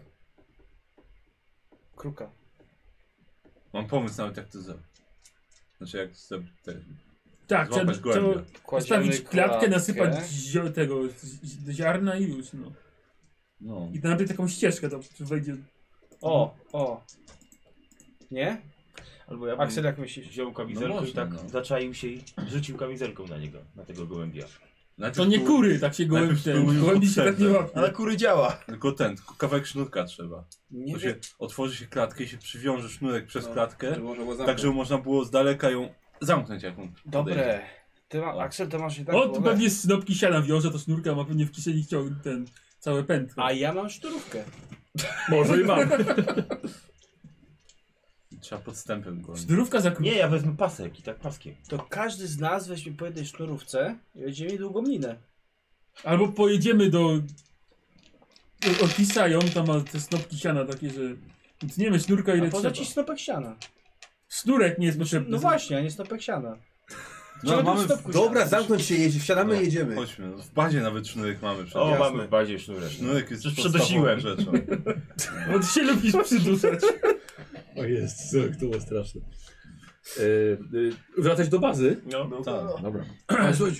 Speaker 5: Kruka.
Speaker 2: Mam pomysł nawet jak to zrobić. Znaczy jak zrobić te-
Speaker 4: Tak, trzeba,
Speaker 2: złapać
Speaker 4: trzeba
Speaker 2: gołębia.
Speaker 4: postawić klatkę, nasypać zio, tego z- z- ziarna i już, no.
Speaker 2: No.
Speaker 4: I najpierw taką ścieżkę to wejdzie.
Speaker 5: O, o. Nie?
Speaker 6: Albo ja bym
Speaker 5: Aksel, jak myślisz?
Speaker 6: wziął kamizelkę
Speaker 2: No
Speaker 6: i tak
Speaker 2: można, no.
Speaker 6: zaczaił się i rzucił kamizelką na niego, na tego gołębia.
Speaker 4: To
Speaker 2: Najpierw
Speaker 4: nie
Speaker 2: tu-
Speaker 4: kury, tak się gołębi
Speaker 2: najpierw
Speaker 4: ten.
Speaker 2: spróbuj
Speaker 4: Gołębi się tak nie
Speaker 2: obserwę.
Speaker 4: łapie.
Speaker 6: kury działa!
Speaker 2: Tylko ten, tylko kawałek sznurka trzeba.
Speaker 5: Nie
Speaker 2: To się otworzy się klatkę i się przywiąże sznurek przez
Speaker 3: No,
Speaker 2: klatkę,
Speaker 3: Żeby można było
Speaker 2: tak żeby można było z daleka ją zamknąć jak on podejdzie.
Speaker 5: Dobre. Ty ma,
Speaker 2: O.
Speaker 5: Aksel, to masz tak jednak
Speaker 4: O, tu
Speaker 5: głowę.
Speaker 4: pewnie snopki siana wiąże, to sznurka ma pewnie w kieszeni chciał ten, całe pętko.
Speaker 5: A ja mam szturówkę.
Speaker 1: Może i mam.
Speaker 2: Trzeba podstępem go.
Speaker 4: Zdrówka za
Speaker 6: Nie, ja wezmę pasek i tak paskiem.
Speaker 5: To każdy z nas weźmie po jednej sznurówce i będziemy mieli długą minę.
Speaker 4: Albo pojedziemy do do Otisa i on tam ma te snopki siana takie, że tniemy sznurka
Speaker 5: A
Speaker 4: ile
Speaker 5: poza
Speaker 4: trzeba.
Speaker 5: ci snopek siana.
Speaker 4: Snurek nie jest potrzebny.
Speaker 5: No właśnie, a nie snopek siana.
Speaker 2: No, mamy w...
Speaker 3: Dobra, zamknąć się, jedzie, wsiadamy,
Speaker 2: No,
Speaker 3: jedziemy.
Speaker 2: Chodźmy, w bazie nawet sznurek mamy przecież.
Speaker 6: O,
Speaker 3: Jasne.
Speaker 6: mamy w bazie sznurek.
Speaker 2: Sznurek jest
Speaker 6: Przecież
Speaker 2: podstawową
Speaker 6: przenosiłem.
Speaker 2: rzeczą.
Speaker 4: Bo ty się lubisz przyduszać.
Speaker 1: O jest, to było straszne. E, wracać do bazy?
Speaker 6: No,
Speaker 3: No,
Speaker 2: tak.
Speaker 3: no.
Speaker 1: Dobra. Ale Słuchaj,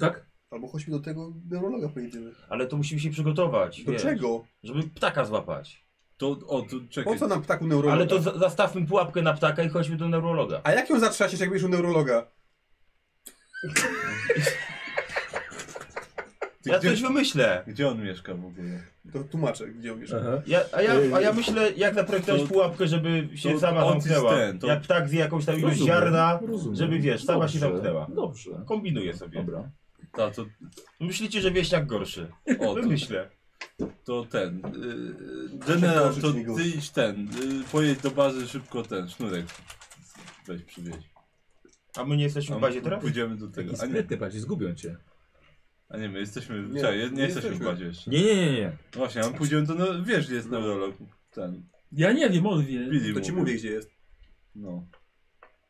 Speaker 1: tak?
Speaker 3: Albo chodźmy do tego neurologa pojedziemy.
Speaker 6: ale to musimy się przygotować.
Speaker 3: Do
Speaker 6: wiesz,
Speaker 3: czego?
Speaker 6: Żeby ptaka złapać.
Speaker 2: To, o, to czekaj.
Speaker 3: Po co nam ptaku neurologa?
Speaker 6: Ale to za zastawmy pułapkę na ptaka i chodźmy do neurologa.
Speaker 3: A jak ją zatrzasiesz, jak będziesz u neurologa?
Speaker 2: Ty,
Speaker 6: ja
Speaker 2: gdzie,
Speaker 6: coś wymyślę.
Speaker 2: gdzie on mieszka w ogóle?
Speaker 3: To tłumaczę, gdzie on mieszka.
Speaker 6: Ja, a, ja, a ja myślę, jak zaprojektować
Speaker 2: To-
Speaker 6: pułapkę, żeby się
Speaker 2: to
Speaker 6: sama
Speaker 2: Otis
Speaker 6: zamknęła.
Speaker 2: ten, to-
Speaker 6: Jak ptak zje jakąś tam ilość ziarna, żeby wiesz, sama się zamknęła.
Speaker 1: Dobrze.
Speaker 6: Kombinuję sobie.
Speaker 1: Dobra.
Speaker 2: Ta, to,
Speaker 6: Myślicie, że wieśniak gorszy.
Speaker 2: o, to,
Speaker 6: Myślę.
Speaker 2: to ten. Yy, generał, to
Speaker 3: Życzniku.
Speaker 2: ty idź ten. Yy, pojedź do bazy szybko ten sznurek. Weź przywieź.
Speaker 6: A my nie jesteśmy
Speaker 2: A
Speaker 6: w bazie teraz?
Speaker 2: Pójdziemy do tego.
Speaker 1: Taki
Speaker 2: A nie,
Speaker 1: sprytny bardziej, zgubią cię.
Speaker 2: a nie my jesteśmy.
Speaker 3: Nie,
Speaker 2: Nie, czekaj, nie,
Speaker 3: nie
Speaker 2: jesteśmy w
Speaker 3: jesteśmy.
Speaker 2: bazie jeszcze.
Speaker 1: Nie, nie, nie, nie.
Speaker 2: No Właśnie, a my pójdziemy do. No, wiesz, gdzie jest neurolog. Ten.
Speaker 4: Ja nie wiem, on wie.
Speaker 2: Billy
Speaker 3: To ci
Speaker 2: mówił.
Speaker 3: mówię, gdzie jest.
Speaker 2: No.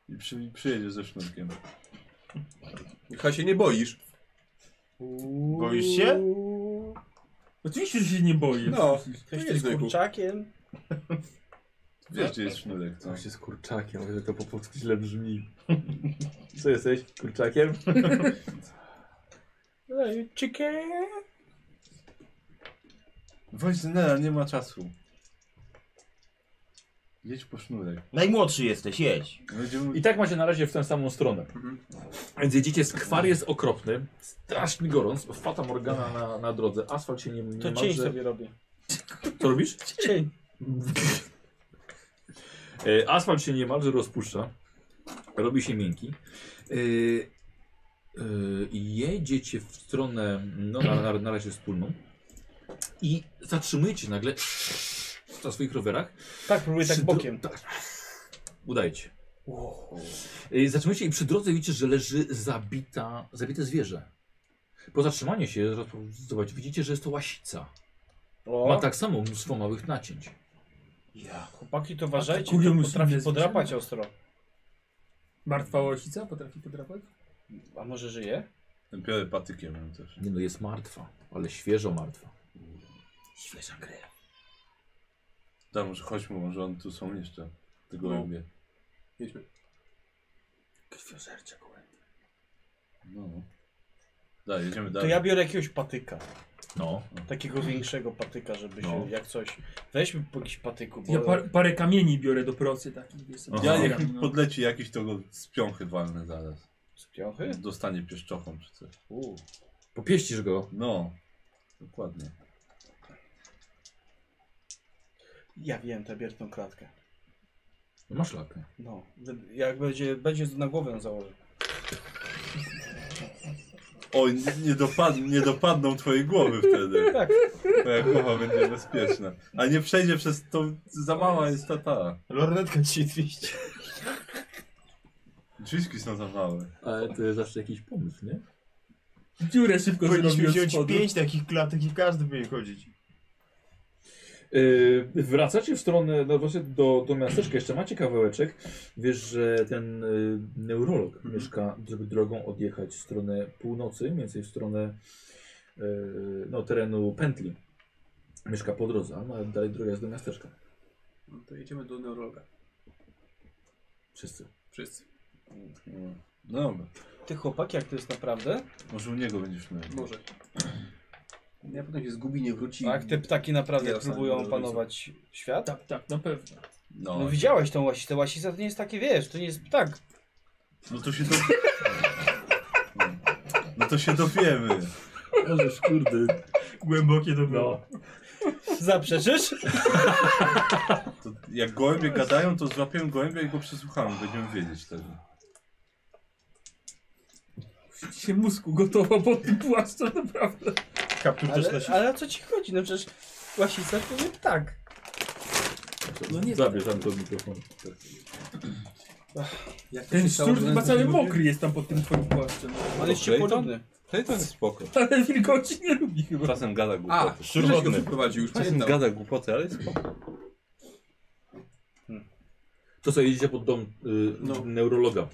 Speaker 2: I przy, przyjedziesz ze sznurkiem.
Speaker 3: Chyba się nie boisz.
Speaker 6: Boisz się?
Speaker 4: Oczywiście, że się nie boję.
Speaker 3: No.
Speaker 4: przecież.
Speaker 5: Ktoś
Speaker 3: To
Speaker 5: tu
Speaker 3: jest
Speaker 5: z
Speaker 3: zwykły.
Speaker 5: kurczakiem.
Speaker 2: Wiesz, gdzie jest sznurek. Co?
Speaker 1: się z kurczakiem, ale to po polsku źle brzmi. Co jesteś? Kurczakiem?
Speaker 5: Ej, Chicken.
Speaker 2: Weź generał, nie ma czasu. Jedź po sznurek. No,
Speaker 6: Najmłodszy jesteś, jedź.
Speaker 2: Będziemy...
Speaker 1: I tak macie na razie w tę samą stronę. Więc jedziecie, skwar jest okropny, straszny gorąc, fata morgana na, na drodze, asfalt się nie, nie
Speaker 5: To
Speaker 1: ma,
Speaker 5: cień
Speaker 1: że-
Speaker 5: sobie robię.
Speaker 1: Co robisz?
Speaker 5: Cień.
Speaker 1: E, Asfalt się niemalże rozpuszcza. Robi się miękki. E, e, Jedziecie w stronę, no na, na, na razie wspólną. I zatrzymujecie nagle na swoich rowerach.
Speaker 5: Tak, próbuję tak
Speaker 1: Przy
Speaker 5: bokiem.
Speaker 1: dro- tak. Udajecie. E, Zatrzymujecie i przy drodze widzicie, że leży zabita, zabite zwierzę. Po zatrzymaniu się, zaraz po- zobacz, widzicie, że jest to łasica. tak
Speaker 5: O,
Speaker 1: Ma tak samo mnóstwo małych nacięć.
Speaker 5: Ja, chłopaki, to uważajcie,
Speaker 4: Atakują
Speaker 5: to
Speaker 4: już
Speaker 5: potrafi
Speaker 4: inne
Speaker 5: podrapać
Speaker 4: zwierzęta.
Speaker 5: ostro.
Speaker 4: Martwa łosica potrafi podrapać?
Speaker 5: A może żyje?
Speaker 2: Ten biorę patykiem ją też.
Speaker 1: Nie no, jest martwa, ale świeżo martwa. Świeża krew.
Speaker 2: Dobra, może chodźmy, może on tu są jeszcze. Te
Speaker 3: No.
Speaker 2: gołębie.
Speaker 3: Jedźmy.
Speaker 1: Krwiożercze gołębie.
Speaker 2: No. Daj, jedziemy
Speaker 5: To
Speaker 2: dalej.
Speaker 5: ja biorę jakiegoś patyka.
Speaker 1: No.
Speaker 5: Takiego większego patyka, żeby się
Speaker 1: No.
Speaker 5: jak coś. Weźmy po jakiś patyku. Bo...
Speaker 4: Ja par, parę kamieni biorę do procy takich, wiesz, sobie
Speaker 2: Ja
Speaker 4: zbieram,
Speaker 2: jak mi
Speaker 4: no.
Speaker 2: podleci jakiś, to go z piąchy walnę zaraz.
Speaker 5: Z piąchy?
Speaker 2: Dostanie pieszczochą czy coś.
Speaker 5: U.
Speaker 1: Popieścisz go.
Speaker 2: No. Dokładnie.
Speaker 5: Ja wiem tę bierną klatkę.
Speaker 1: No Masz lakę.
Speaker 5: No. Jak będzie, będzie na głowę założył.
Speaker 2: Oj, nie, dopad, nie dopadną twojej głowy wtedy.
Speaker 5: Tak.
Speaker 2: Twoja głowa będzie bezpieczna. A nie przejdzie przez to. Za mała jest ta ta.
Speaker 5: Lornetka ci dwieście.
Speaker 2: Drzwiczki są za małe.
Speaker 1: Ale to jest zawsze jakiś pomysł, nie?
Speaker 4: Dziurę szybko zrobię od spodu.
Speaker 7: takich klatek i każdy by chodzić.
Speaker 1: Yy, wracacie w stronę, no właśnie do, do miasteczka, jeszcze macie kawałeczek. Wiesz, że ten yy, neurolog mieszka, żeby drogą odjechać w stronę północy, mniej więcej w stronę yy, no, terenu pętli. Mieszka po drodze, a no, dalej droga jest do miasteczka.
Speaker 3: No to jedziemy do neurologa.
Speaker 1: Wszyscy.
Speaker 3: Wszyscy.
Speaker 2: No. No dobra.
Speaker 5: Ty chłopak, jak to jest naprawdę?
Speaker 2: Może u niego będziesz miał. No.
Speaker 3: Może. Ja potem się zgubi, nie wróci.
Speaker 5: Tak, te ptaki naprawdę
Speaker 3: Ja sam
Speaker 5: próbują
Speaker 3: nie
Speaker 5: opanować świat?
Speaker 4: Tak, tak, na pewno.
Speaker 2: No,
Speaker 5: No widziałeś tą łasicę, ta łasica to nie jest takie, wiesz, to nie jest tak, ptak.
Speaker 2: no to się do... No to się dowiemy.
Speaker 1: Ależ kurde.
Speaker 4: Głębokie to
Speaker 1: No.
Speaker 5: Zaprzeczysz?
Speaker 2: To jak gołębie gadają, to złapiemy gołębia i go przesłuchamy. Będziemy wiedzieć wtedy.
Speaker 4: Się mózgu gotowa pod tym płaszczem, naprawdę.
Speaker 6: Kaptur też
Speaker 5: Ale,
Speaker 6: leci.
Speaker 5: ale o co ci chodzi? No przecież łasica to nie ptak.
Speaker 1: No nie Zabierz tam to mikrofon.
Speaker 3: Jak to się
Speaker 4: Ten
Speaker 3: stało,
Speaker 4: szczur
Speaker 3: że
Speaker 4: chyba
Speaker 3: ten
Speaker 4: cały
Speaker 3: ludzie-
Speaker 4: mokry jest tam pod tym twoim płaszczem.
Speaker 5: On jest ci
Speaker 2: Clayton?
Speaker 5: podobny.
Speaker 2: Clayton No jest spoko.
Speaker 4: Ale wilgoci nie lubi chyba.
Speaker 2: Czasem gada
Speaker 3: A,
Speaker 2: głupoty.
Speaker 3: szczur go przyprowadził, już
Speaker 2: Czasem
Speaker 3: pamiętam.
Speaker 2: gada głupoty, ale jest spoko.
Speaker 1: To co, jedziecie pod dom y,
Speaker 3: No.
Speaker 1: neurologa.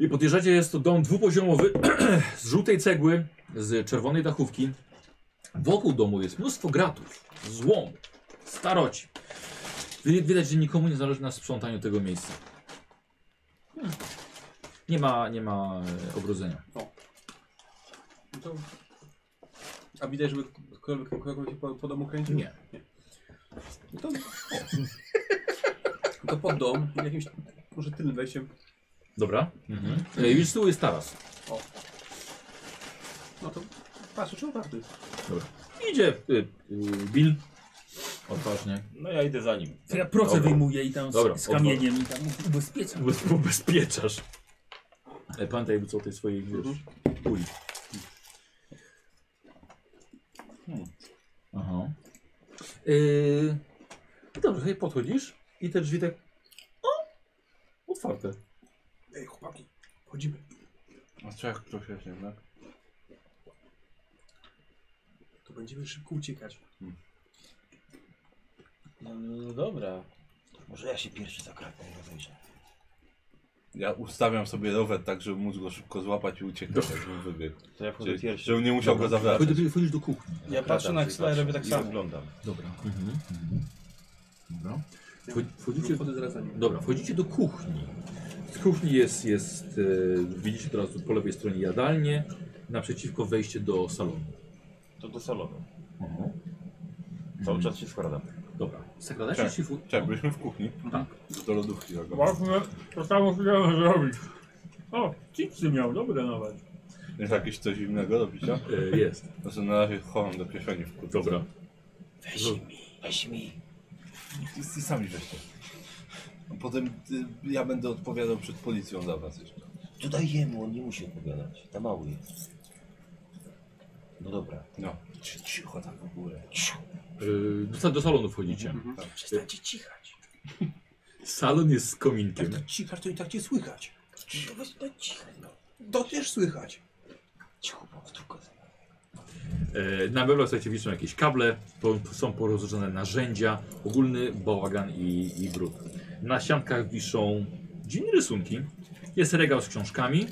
Speaker 1: I podjeżdżacie, jest to dom dwupoziomowy z żółtej cegły, z czerwonej dachówki. Wokół domu jest mnóstwo gratów, złom, staroci. Wi- Widać, że nikomu nie zależy na sprzątaniu tego miejsca. Hmm. Nie ma, nie ma e, ogrodzenia.
Speaker 3: No to... A widać, żeby ktokolwiek ktokolwiek się po, po domu kręcił?
Speaker 1: Nie.
Speaker 3: No to... No to pod dom, jakimś może tylnym wejściem.
Speaker 1: Dobra. Mhm. E, Widzisz, z tyłu jest taras.
Speaker 3: No to patrzę, czy otwarty.
Speaker 1: Idzie y, y, Bill. Odważnie.
Speaker 6: No ja idę za nim.
Speaker 4: To ja proce
Speaker 1: Dobra.
Speaker 4: wyjmuję i tam z,
Speaker 1: Dobra,
Speaker 4: z kamieniem i tam ubezpieczam.
Speaker 1: Ubez- Ubezpieczasz. Mhm. E, Pamiętaj jakby co o tej swojej wiesz, kuli.
Speaker 2: Hmm.
Speaker 1: Aha. Yy, dobrze, hej, podchodzisz i te drzwi tak... O! Otwarte.
Speaker 3: Ej, chłopaki, chodzimy.
Speaker 2: A co jak ktoś jest jednak?
Speaker 3: To będziemy szybko uciekać.
Speaker 5: No, no, no dobra.
Speaker 7: Może ja się pierwszy zakradnę i rozejrzę.
Speaker 2: Ja ustawiam sobie rower tak, żeby móc go szybko złapać i uciekać, żebym wybiegł.
Speaker 6: To ja wchodzę
Speaker 2: Czyli,
Speaker 6: pierwszy.
Speaker 2: żebym nie musiał go zawracać.
Speaker 1: Wchodzisz wchodzisz do kuchni.
Speaker 5: Ja patrzę na Xla i robię tak
Speaker 6: I
Speaker 5: samo.
Speaker 6: oglądam.
Speaker 1: Dobra. Mhm. mhm. Dobra. Wchodzi- Wchodzicie...
Speaker 3: Wchodzicie wchodzę zaraz za nim.
Speaker 1: Dobra, wchodzicie do kuchni. Z kuchni jest, jest e, widzicie teraz po lewej stronie jadalnię, naprzeciwko wejście do salonu.
Speaker 6: To do salonu.
Speaker 3: Mhm.
Speaker 6: Cały czas się skradam.
Speaker 1: Dobra, sekretarz
Speaker 2: Cześć.
Speaker 1: się fu-
Speaker 2: Czekaj, byliśmy w kuchni.
Speaker 3: mhm.
Speaker 1: Tak.
Speaker 2: Do lodówki. jak go-
Speaker 3: No.
Speaker 4: Właśnie, to samo chciałem zrobić. O, chipsy miał, dobre nawet.
Speaker 2: Jest jakieś coś innego do picia?
Speaker 1: E, jest.
Speaker 2: Znaczy na razie chowam do kieszeni w kurtce.
Speaker 1: Dobra.
Speaker 7: Weź
Speaker 1: Zrób.
Speaker 7: mi, weź mi.
Speaker 2: Ty, ty sami weźcie. A Potem ty, ja będę odpowiadał przed policją za was jeszcze.
Speaker 7: Tutaj jemu, on nie musi odpowiadać. Ta mały jest. No dobra.
Speaker 2: No. Cii- Cicho tam w ogóle.
Speaker 1: E, do, sa- do salonu
Speaker 3: Mhm,
Speaker 1: wchodzicie.
Speaker 7: Przestańcie cichać.
Speaker 1: Salon jest z kominkiem.
Speaker 3: Cichacz, to i tak cię słychać.
Speaker 7: Cicho, weź no cichać. No.
Speaker 3: To też słychać.
Speaker 7: Cicho, bo tylko
Speaker 1: E, Na meblach słuchajcie, wiszą jakieś kable, po, są porozrzucone narzędzia, ogólny bałagan i, i brud. Na ściankach wiszą dziwne rysunki. Jest regał z książkami.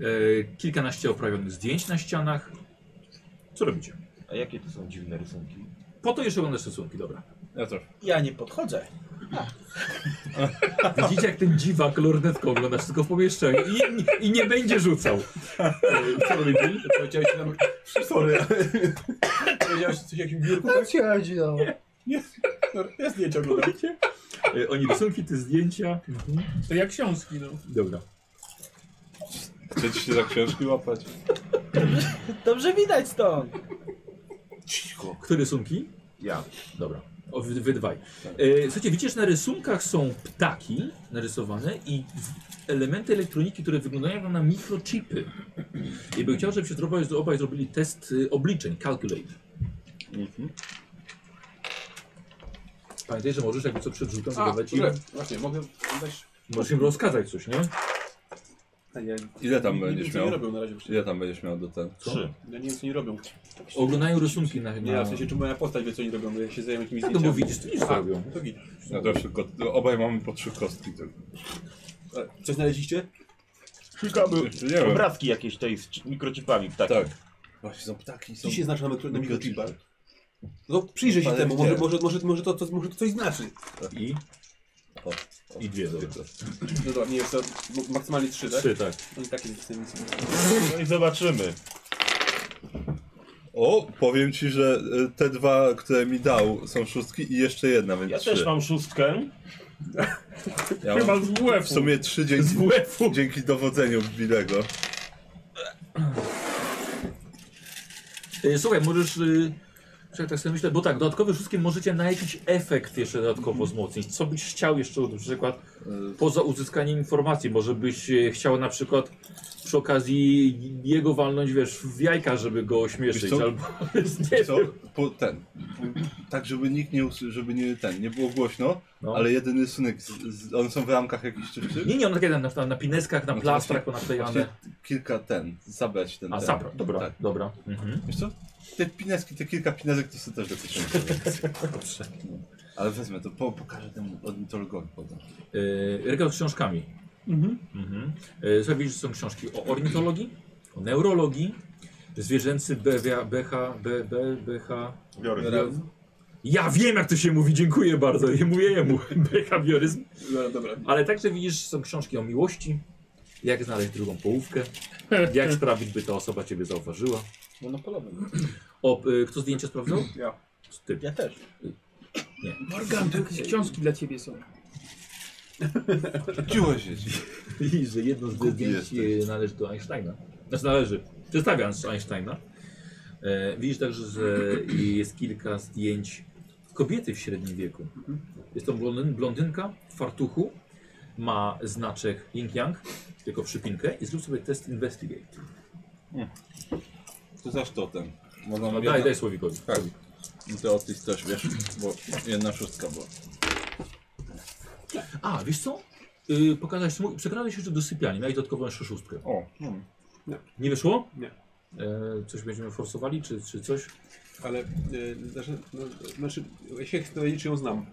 Speaker 1: E, Kilkanaście oprawionych zdjęć na ścianach. Co robicie?
Speaker 7: A jakie to są dziwne rysunki?
Speaker 1: Po to jeszcze oglądasz rysunki, dobra.
Speaker 2: Ja też.
Speaker 5: Ja nie podchodzę.
Speaker 1: Widzicie jak ten dziwak lornetką oglądasz tylko w pomieszczeniu i, i nie będzie rzucał. E, Co robi Bill?
Speaker 3: Powiedziałeś nam... Sorry. Powiedziałeś coś o jakimś biurku? Tak?
Speaker 5: Chodzi, no.
Speaker 3: Sorry, Ja zdjęcia oglądam.
Speaker 1: E, Oni rysunki, te zdjęcia.
Speaker 4: To jak książki, no.
Speaker 1: Dobra.
Speaker 2: Chcecie się za książki łapać?
Speaker 5: Dobrze widać stąd.
Speaker 1: Które rysunki?
Speaker 6: Ja.
Speaker 1: Dobra, o, wy, wy dwaj.
Speaker 3: Tak.
Speaker 1: E, słuchajcie, widzisz, na rysunkach są ptaki narysowane i w- elementy elektroniki, które wyglądają na mikrochipy. I bym chciał, żebyście obaj, obaj zrobili test y, obliczeń, calculate.
Speaker 3: Mhm.
Speaker 1: Pamiętaj, że możesz jakby co przed rzutem
Speaker 3: A,
Speaker 1: zadawać im,
Speaker 3: dobrze. Właśnie, mogę dać...
Speaker 1: możesz im rozkazać coś, nie?
Speaker 3: A ja
Speaker 2: Ile tam
Speaker 3: nie wiem,
Speaker 2: będziesz
Speaker 3: co oni
Speaker 2: miał?
Speaker 3: robią na razie właśnie.
Speaker 2: Ile tam będziesz miał do ten?
Speaker 6: Trzy.
Speaker 3: Ja nie wiem, co oni robią.
Speaker 1: Oglądają rysunki na...
Speaker 3: Nie,
Speaker 1: na...
Speaker 3: w sensie, czy moja postać wie, co oni robią, bo No. ja się zajmę jakimiś
Speaker 1: Tak, no bo
Speaker 3: zdjęciami.
Speaker 1: widzisz, ty widzisz, co robią.
Speaker 3: To git.
Speaker 2: Ja też tylko, No obaj mamy po trzy kostki tylko.
Speaker 3: E, Coś znaleźliście?
Speaker 6: Szukamy
Speaker 2: Czy nie wiem.
Speaker 6: obrazki jakieś tej z czy- mikrochipami ptakich.
Speaker 2: Tak. Właśnie są ptaki, są...
Speaker 3: Co się znaczy na, mikro- na
Speaker 2: Mikrochip.
Speaker 3: mikrochipach? No przyjrzę się
Speaker 2: Ale
Speaker 3: temu,
Speaker 2: gdzie?
Speaker 3: może, może, może, może, to, to, może to coś znaczy.
Speaker 1: I?
Speaker 2: O,
Speaker 1: I dwie, dobra.
Speaker 3: No dobra, nie jest to m- maksymalnie trzy, tak?
Speaker 1: Trzy, tak.
Speaker 3: No i takie jestem.
Speaker 6: No i zobaczymy.
Speaker 2: O, powiem ci, że y, te dwa, które mi dał, są szóstki i jeszcze jedna, więc
Speaker 6: Ja
Speaker 2: trzy.
Speaker 6: też mam szóstkę.
Speaker 2: Ja
Speaker 4: Chyba
Speaker 2: mam
Speaker 4: z WF.
Speaker 2: w sumie trzy dzięki, dzięki dowodzeniu Bilego.
Speaker 1: E, Słuchaj, możesz. y, Czekaj, tak sobie myślę, bo tak, dodatkowy szóstkiem możecie na jakiś efekt jeszcze dodatkowo wzmocnić. Co byś chciał jeszcze, na przykład, poza uzyskaniem informacji, może byś e, chciał na przykład przy okazji jego walnąć, wiesz, w jajka, żeby go ośmieszyć,
Speaker 2: Wiesz co?
Speaker 1: albo nie
Speaker 2: Co?
Speaker 1: wiem.
Speaker 2: Po, ten. Tak, żeby nikt nie usłyszał, żeby nie ten, nie było głośno,
Speaker 1: No.
Speaker 2: ale jedyny synek, z, z, one są w ramkach jakichś czy, czy?
Speaker 1: Nie, nie, on takie na, na, na pineskach, na
Speaker 2: No to
Speaker 1: plastrach
Speaker 2: właśnie-
Speaker 1: ponaklejane.
Speaker 2: Właśnie kilka ten, zabrać ten.
Speaker 1: A,
Speaker 2: ten.
Speaker 1: zapra, dobra,
Speaker 2: Tak.
Speaker 1: dobra. Mhm.
Speaker 2: Wiesz co? Te pineski, te kilka pinezek to sobie też do kieszonki.
Speaker 1: Dobrze.
Speaker 2: Ale wezmę to, po, pokażę temu ornitologowi potem.
Speaker 1: E, Regał z książkami.
Speaker 4: Mhm.
Speaker 1: Mhm. E, Sobie widzisz, że są książki o ornitologii, o neurologii, zwierzęcy BWA, BH, B, B, BH.
Speaker 6: Biorę.
Speaker 3: Bioryzm.
Speaker 1: Ja wiem, jak to się mówi, dziękuję bardzo. Nie mówię jemu. Behawioryzm.
Speaker 3: No dobra.
Speaker 1: Ale także widzisz, są książki o miłości, jak znaleźć drugą połówkę, jak sprawić, by ta osoba ciebie zauważyła.
Speaker 5: Monopolowym.
Speaker 1: O, y, kto zdjęcia sprawdzał?
Speaker 3: Ja.
Speaker 1: Ty.
Speaker 5: Ja też.
Speaker 4: Morgan, to jakieś książki dla ciebie są.
Speaker 2: Rzuciłeś się.
Speaker 1: I że jedno z
Speaker 2: Głupi
Speaker 1: zdjęć
Speaker 2: jesteś.
Speaker 1: e, należy do Einsteina. Znaczy należy, przedstawia z Einsteina. E, widzisz także, że jest kilka zdjęć kobiety w średnim wieku. Jest to blondyn, blondynka w fartuchu, ma znaczek yin-yang, tylko przypinkę i zrób sobie test investigate.
Speaker 2: To zaś to ten. Można
Speaker 1: No,
Speaker 2: no,
Speaker 1: daj, daj Słowikowi.
Speaker 2: Tak. No to od tych też wiesz, bo jedna szóstka była.
Speaker 1: A, wiesz co? Yy, pokazałeś, mu- przekonałeś jeszcze do sypialni, miałeś dodatkową jeszcze szóstkę.
Speaker 2: O, no.
Speaker 1: Nie wyszło?
Speaker 3: Nie.
Speaker 1: E, coś będziemy forsowali, czy, czy coś?
Speaker 3: Ale y, znaczy, no, znaczy, ja się chcę dowiedzieć, czy ją znam.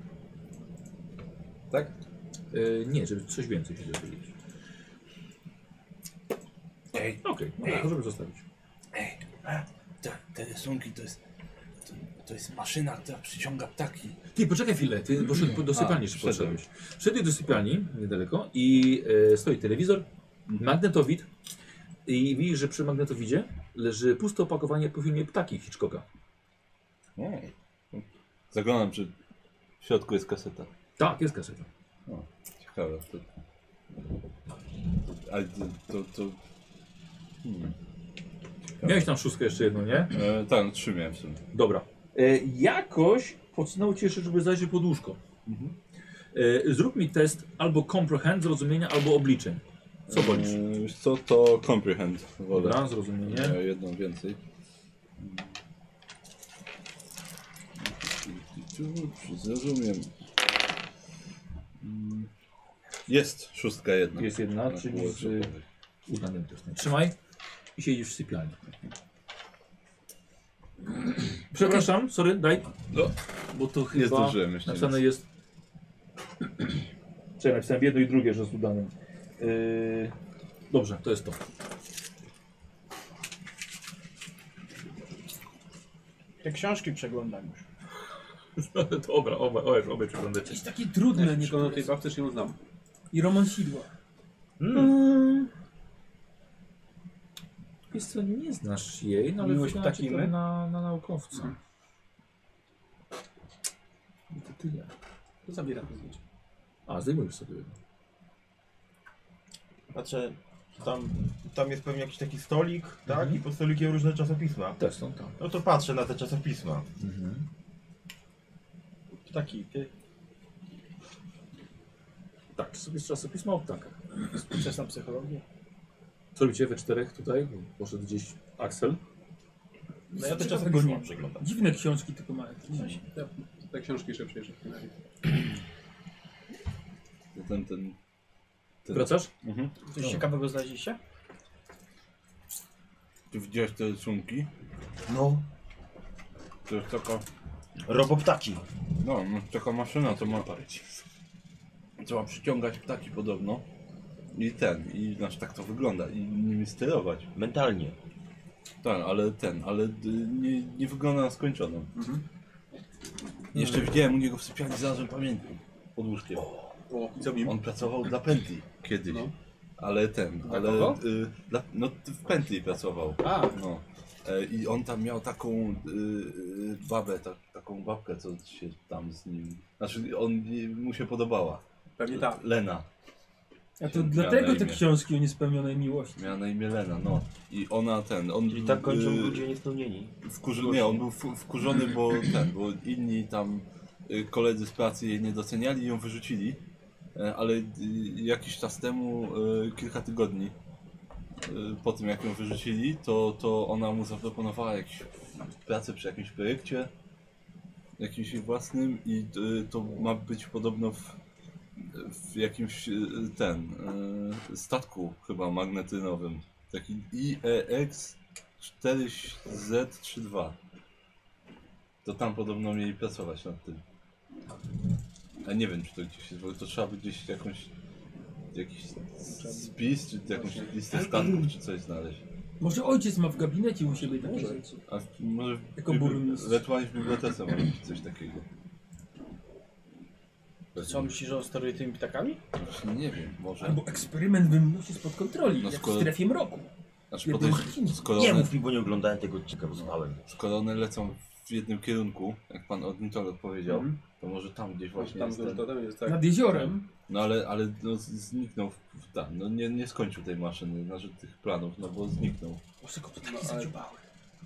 Speaker 3: Tak?
Speaker 1: E, nie, żeby coś więcej się dowiedzieć.
Speaker 7: Ej,
Speaker 1: Okej, no tak, możemy zostawić.
Speaker 7: ej, a, te, te rysunki to jest... To, to jest maszyna, która przyciąga ptaki.
Speaker 1: Ty, poczekaj chwilę, ty poszedł do sypialni, czy
Speaker 2: wszedłem.
Speaker 1: poszedłeś. Wszedłeś do sypialni, niedaleko, i e, stoi telewizor, magnetowid i widzisz, że przy magnetowidzie leży puste opakowanie po filmie Ptaki Hitchcocka.
Speaker 2: O. Zaglądam, czy w środku jest kaseta.
Speaker 1: Tak, jest kaseta.
Speaker 2: Ciekawe. To... Ale to... to, to... Hmm.
Speaker 1: Miałeś tam szóstkę jeszcze jedną, nie?
Speaker 2: E, tak, no, trzy miałem w sumie.
Speaker 1: Dobra. E, jakoś podsunął cię jeszcze, żeby zajrzeć pod łóżko.
Speaker 2: Mhm.
Speaker 1: E, zrób mi test albo comprehend, zrozumienia, albo obliczeń. Co wolisz?
Speaker 2: E, wiesz co, to comprehend wolę.
Speaker 1: Dobra, zrozumienie.
Speaker 2: E, jedną więcej. Czy Zrozumiem. Mm. Jest szóstka jedna.
Speaker 1: Jest jedna,
Speaker 2: Na
Speaker 1: czyli
Speaker 2: kółeczko
Speaker 1: z-
Speaker 2: powej.
Speaker 1: Uznanym testem. Trzymaj i siedzisz w sypialni. Przepraszam, sorry, daj.
Speaker 2: No.
Speaker 1: Bo to
Speaker 2: Nie
Speaker 1: chyba
Speaker 2: zdążyłem jeszcze.
Speaker 1: napisane
Speaker 2: nic.
Speaker 1: jest... Czekaj, napisałem jedno i drugie, że z udanym. Yy... Dobrze, to jest to.
Speaker 5: Te książki przeglądam już.
Speaker 1: Dobra, obaj, obaj, obaj przeglądacie.
Speaker 4: Jakieś takie trudne nie
Speaker 3: Tylko na tej bawce się ją znam.
Speaker 4: I Roman Sidła.
Speaker 1: Mm. Jest to nie znasz jej, no ale
Speaker 5: Miłość
Speaker 1: wygląda ci
Speaker 5: Takimy?
Speaker 1: to na, na naukowca. I to tyle.
Speaker 3: To zabiera to zdjęcie.
Speaker 1: A, zdejmujesz sobie jedno.
Speaker 6: Znaczy, tam, tam jest pewnie jakiś taki stolik, tak? I pod stolikiem różne czasopisma.
Speaker 1: Też są tam.
Speaker 6: No to patrzę na te czasopisma. Mhm.
Speaker 5: Ptaki, ty.
Speaker 1: Tak, sobie z czasopisma o ptakach.
Speaker 5: Współczesna psychologia.
Speaker 1: Co robicie we czterech tutaj? Poszedł gdzieś Aksel.
Speaker 6: No ja te
Speaker 4: Ciekawe
Speaker 6: czasopisma
Speaker 4: książki.
Speaker 6: przeglądam.
Speaker 4: Dziwne książki tylko ma jakieś.
Speaker 3: Te, te książki jeszcze przejrzę w tym razie.
Speaker 2: Zatem ten...
Speaker 1: Wracasz?
Speaker 5: Coś ciekawego znaleźliście?
Speaker 2: Czy widziałeś te rysunki?
Speaker 7: No,
Speaker 2: To jest taka...
Speaker 7: roboptaki.
Speaker 2: No, no, taka maszyna, co ma... Co ma przyciągać ptaki podobno. I ten, i znaczy tak to wygląda, i nimi sterować.
Speaker 7: Mentalnie.
Speaker 2: Tak, ale ten, ale d- nie, nie wygląda na skończoną.
Speaker 3: Mhm.
Speaker 2: Jeszcze widziałem u niego w sypialni znalazłem pamiętnik pod łóżkiem.
Speaker 3: O, i co w nim?
Speaker 2: On pracował dla Penti kiedyś.
Speaker 3: No.
Speaker 2: Ale ten,
Speaker 3: Dla
Speaker 2: ale
Speaker 3: kogo?
Speaker 2: y, dla, no t- w Penti pracował.
Speaker 3: A,
Speaker 2: No. E, I on tam miał taką y, y, babę, ta, taką babkę, co się tam z nim. Znaczy on y, mu się podobała.
Speaker 3: pewnie tak.
Speaker 2: Lena.
Speaker 4: A to
Speaker 2: Książka na
Speaker 4: dlatego te
Speaker 2: imię.
Speaker 4: książki o niespełnionej miłości.
Speaker 2: Miała na imię Lena, no. I ona ten, on
Speaker 7: Czyli tak kończą
Speaker 2: y,
Speaker 7: ludzie niespełnieni.
Speaker 2: Wkurzy... Nie, on był w- wkurzony, bo ten, bo inni tam y, koledzy z pracy jej nie doceniali i ją wyrzucili. E, Ale y, jakiś czas temu, y, kilka tygodni y, po tym jak ją wyrzucili, to, to ona mu zaproponowała jakąś pracę przy jakimś projekcie, jakimś jej własnym i y, to ma być podobno w, w jakimś y, ten y, statku chyba magnetynowym. Taki E IEX 4Z32. To tam podobno mieli pracować nad tym. A nie wiem, czy to gdzieś jest, bo to trzeba by gdzieś jakąś, jakiś spis, czy jakąś listę statków, czy coś znaleźć.
Speaker 4: Może ojciec ma w gabinecie u siebie takie
Speaker 3: Może.
Speaker 4: rzeczy.
Speaker 2: A w- może w
Speaker 4: Jako
Speaker 2: bibli-
Speaker 4: burmistrz.
Speaker 2: ewentualnie w bibliotece może być coś takiego.
Speaker 5: Co myślisz, że on steruje tymi ptakami?
Speaker 2: Właśnie nie wiem, może.
Speaker 4: Albo eksperyment wymusi spod kontroli,
Speaker 2: No
Speaker 4: jak
Speaker 2: skoro-
Speaker 4: w strefie mroku.
Speaker 2: Znaczy podejrz, skoro
Speaker 7: Nie
Speaker 2: one,
Speaker 7: mów mi, bo nie oglądałem tego odcinka, bo spałem.
Speaker 2: skoro one lecą w jednym kierunku, jak pan ornitolog powiedział,
Speaker 3: Mhm.
Speaker 2: to może tam gdzieś właśnie
Speaker 3: Tam
Speaker 2: jest
Speaker 3: to,
Speaker 2: ten...
Speaker 3: to tam jest, tak.
Speaker 4: Nad jeziorem.
Speaker 2: No ale, ale no, z- zniknął w, w tam, no nie, nie skończył tej maszyny, znaczy tych planów, no bo zniknął.
Speaker 4: Może go ptaki
Speaker 3: No, ale-
Speaker 4: zadziubały.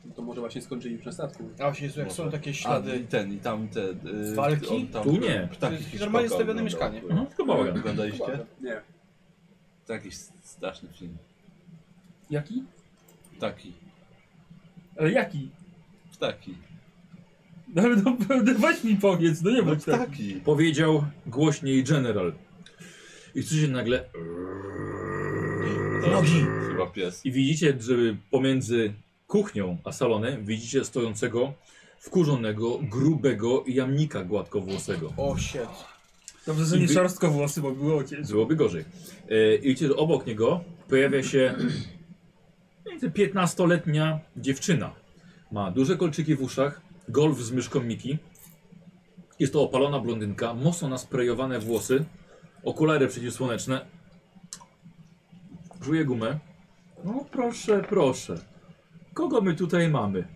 Speaker 3: No To może właśnie skończyli przy statku.
Speaker 5: A właśnie, jak są
Speaker 2: Może.
Speaker 5: takie
Speaker 2: A i
Speaker 5: ślady.
Speaker 2: ten, i tam te... y,
Speaker 5: Walki?
Speaker 2: on tam,
Speaker 1: Tu nie.
Speaker 5: To
Speaker 2: Ptaki
Speaker 5: jest
Speaker 2: Hitchcocka
Speaker 5: normalnie stawione
Speaker 2: oglądał.
Speaker 5: mieszkanie.
Speaker 3: Mhm.
Speaker 1: No, tylko bałagan.
Speaker 2: Oglądaliście?
Speaker 3: Nie.
Speaker 2: To jakiś straszny film.
Speaker 4: Jaki?
Speaker 2: Ptaki,
Speaker 4: Ale jaki?
Speaker 2: ptaki,
Speaker 4: No ale naprawdę weź mi powiedz, no nie
Speaker 2: no
Speaker 4: bądź tak.
Speaker 2: ptaki.
Speaker 1: Powiedział głośniej General. I słyszycie nagle...
Speaker 2: Nogi! Chyba pies.
Speaker 1: I widzicie, że pomiędzy kuchnią a salonem widzicie stojącego, wkurzonego, grubego jamnika gładkowłosego.
Speaker 5: O, shit.
Speaker 4: Dobrze, że nie
Speaker 1: Wy-
Speaker 4: szorstko włosy, bo było ojciec.
Speaker 1: Byłoby gorzej. E, I widzicie, że obok niego pojawia się mniej więcej 15-letnia dziewczyna. Ma duże kolczyki w uszach, golf z myszką Miki. Jest to opalona blondynka, mocno nasprejowane włosy, okulary przeciwsłoneczne. Żuje gumę. No proszę, proszę. Kogo my tutaj mamy?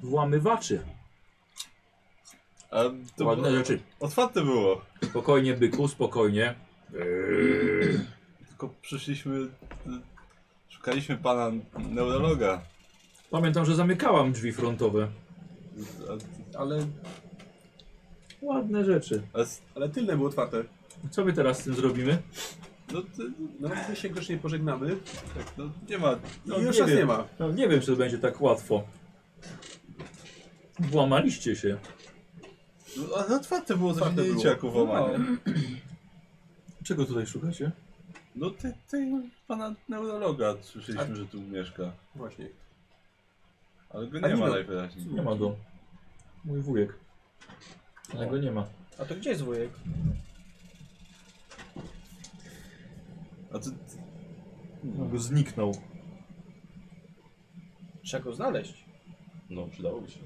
Speaker 1: Włamywaczy.
Speaker 2: A to
Speaker 1: Ładne
Speaker 2: było-
Speaker 1: rzeczy.
Speaker 2: Otwarte było.
Speaker 1: Spokojnie, byku, spokojnie.
Speaker 2: Eee. Tylko przyszliśmy... y, Szukaliśmy pana neurologa.
Speaker 1: Pamiętam, że zamykałam drzwi frontowe.
Speaker 2: A-
Speaker 3: Ale,
Speaker 1: Ładne rzeczy.
Speaker 2: A, s-
Speaker 3: ale tylne było otwarte.
Speaker 1: Co my teraz z tym zrobimy?
Speaker 2: no, to,
Speaker 3: No, my się grzecznie pożegnamy.
Speaker 2: tak, no nie ma...
Speaker 1: No,
Speaker 3: I już
Speaker 1: nie
Speaker 3: nas
Speaker 1: wiem.
Speaker 3: nie ma.
Speaker 1: No, nie wiem, czy to będzie tak łatwo. Włamaliście się.
Speaker 2: No, ale otwarte było, to się
Speaker 3: Otwarte
Speaker 2: nie
Speaker 3: było.
Speaker 2: liczy jako włamanie.
Speaker 1: Czego tutaj szukacie?
Speaker 2: No ty, ty pana neurologa słyszeliśmy, że tu mieszka.
Speaker 3: Właśnie.
Speaker 2: Ale go
Speaker 1: A
Speaker 2: nie
Speaker 1: nie
Speaker 2: ma
Speaker 1: ma.
Speaker 2: najwyraźniej.
Speaker 1: Nie ma go. Mój wujek. Ale go nie ma.
Speaker 5: A to gdzie jest wujek?
Speaker 2: A ty,
Speaker 1: On go zniknął.
Speaker 5: Trzeba go znaleźć.
Speaker 6: No, przydałoby się.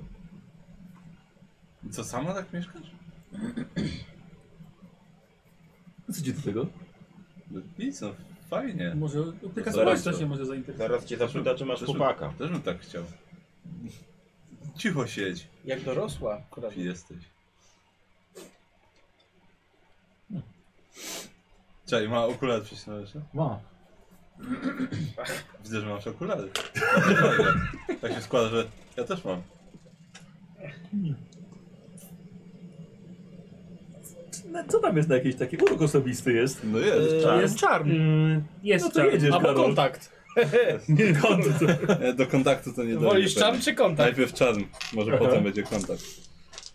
Speaker 2: i co, sama tak mieszkasz?
Speaker 1: Co ci do tego?
Speaker 2: No Nic, no fajnie.
Speaker 4: Może opieka
Speaker 6: zaraz
Speaker 4: społeczna
Speaker 6: to.
Speaker 4: się może zainteresować.
Speaker 6: Zaraz cię zapyta, czy masz
Speaker 2: Też bym-
Speaker 6: chłopaka.
Speaker 2: Też bym tak chciał. Cicho siedź,
Speaker 5: Jak dorosła akurat.
Speaker 2: głupi jesteś. Czekaj, ma okulary prześnależne?
Speaker 1: Ma.
Speaker 2: Widzę, że masz okulary. tak się składa, że ja też mam.
Speaker 1: No, co tam jest na jakiś taki urok osobisty jest?
Speaker 2: No jest.
Speaker 1: czarny.
Speaker 5: Jest czarny.
Speaker 4: Jest
Speaker 1: No to jedziesz,
Speaker 5: Albo
Speaker 1: Karol.
Speaker 5: kontakt.
Speaker 1: Kontakt.
Speaker 2: E, Do kontaktu to nie dojdzie
Speaker 5: Wolisz
Speaker 2: pewnie.
Speaker 5: czarn czy kontakt?
Speaker 2: Najpierw czarn, może
Speaker 1: Aha.
Speaker 2: potem będzie kontakt.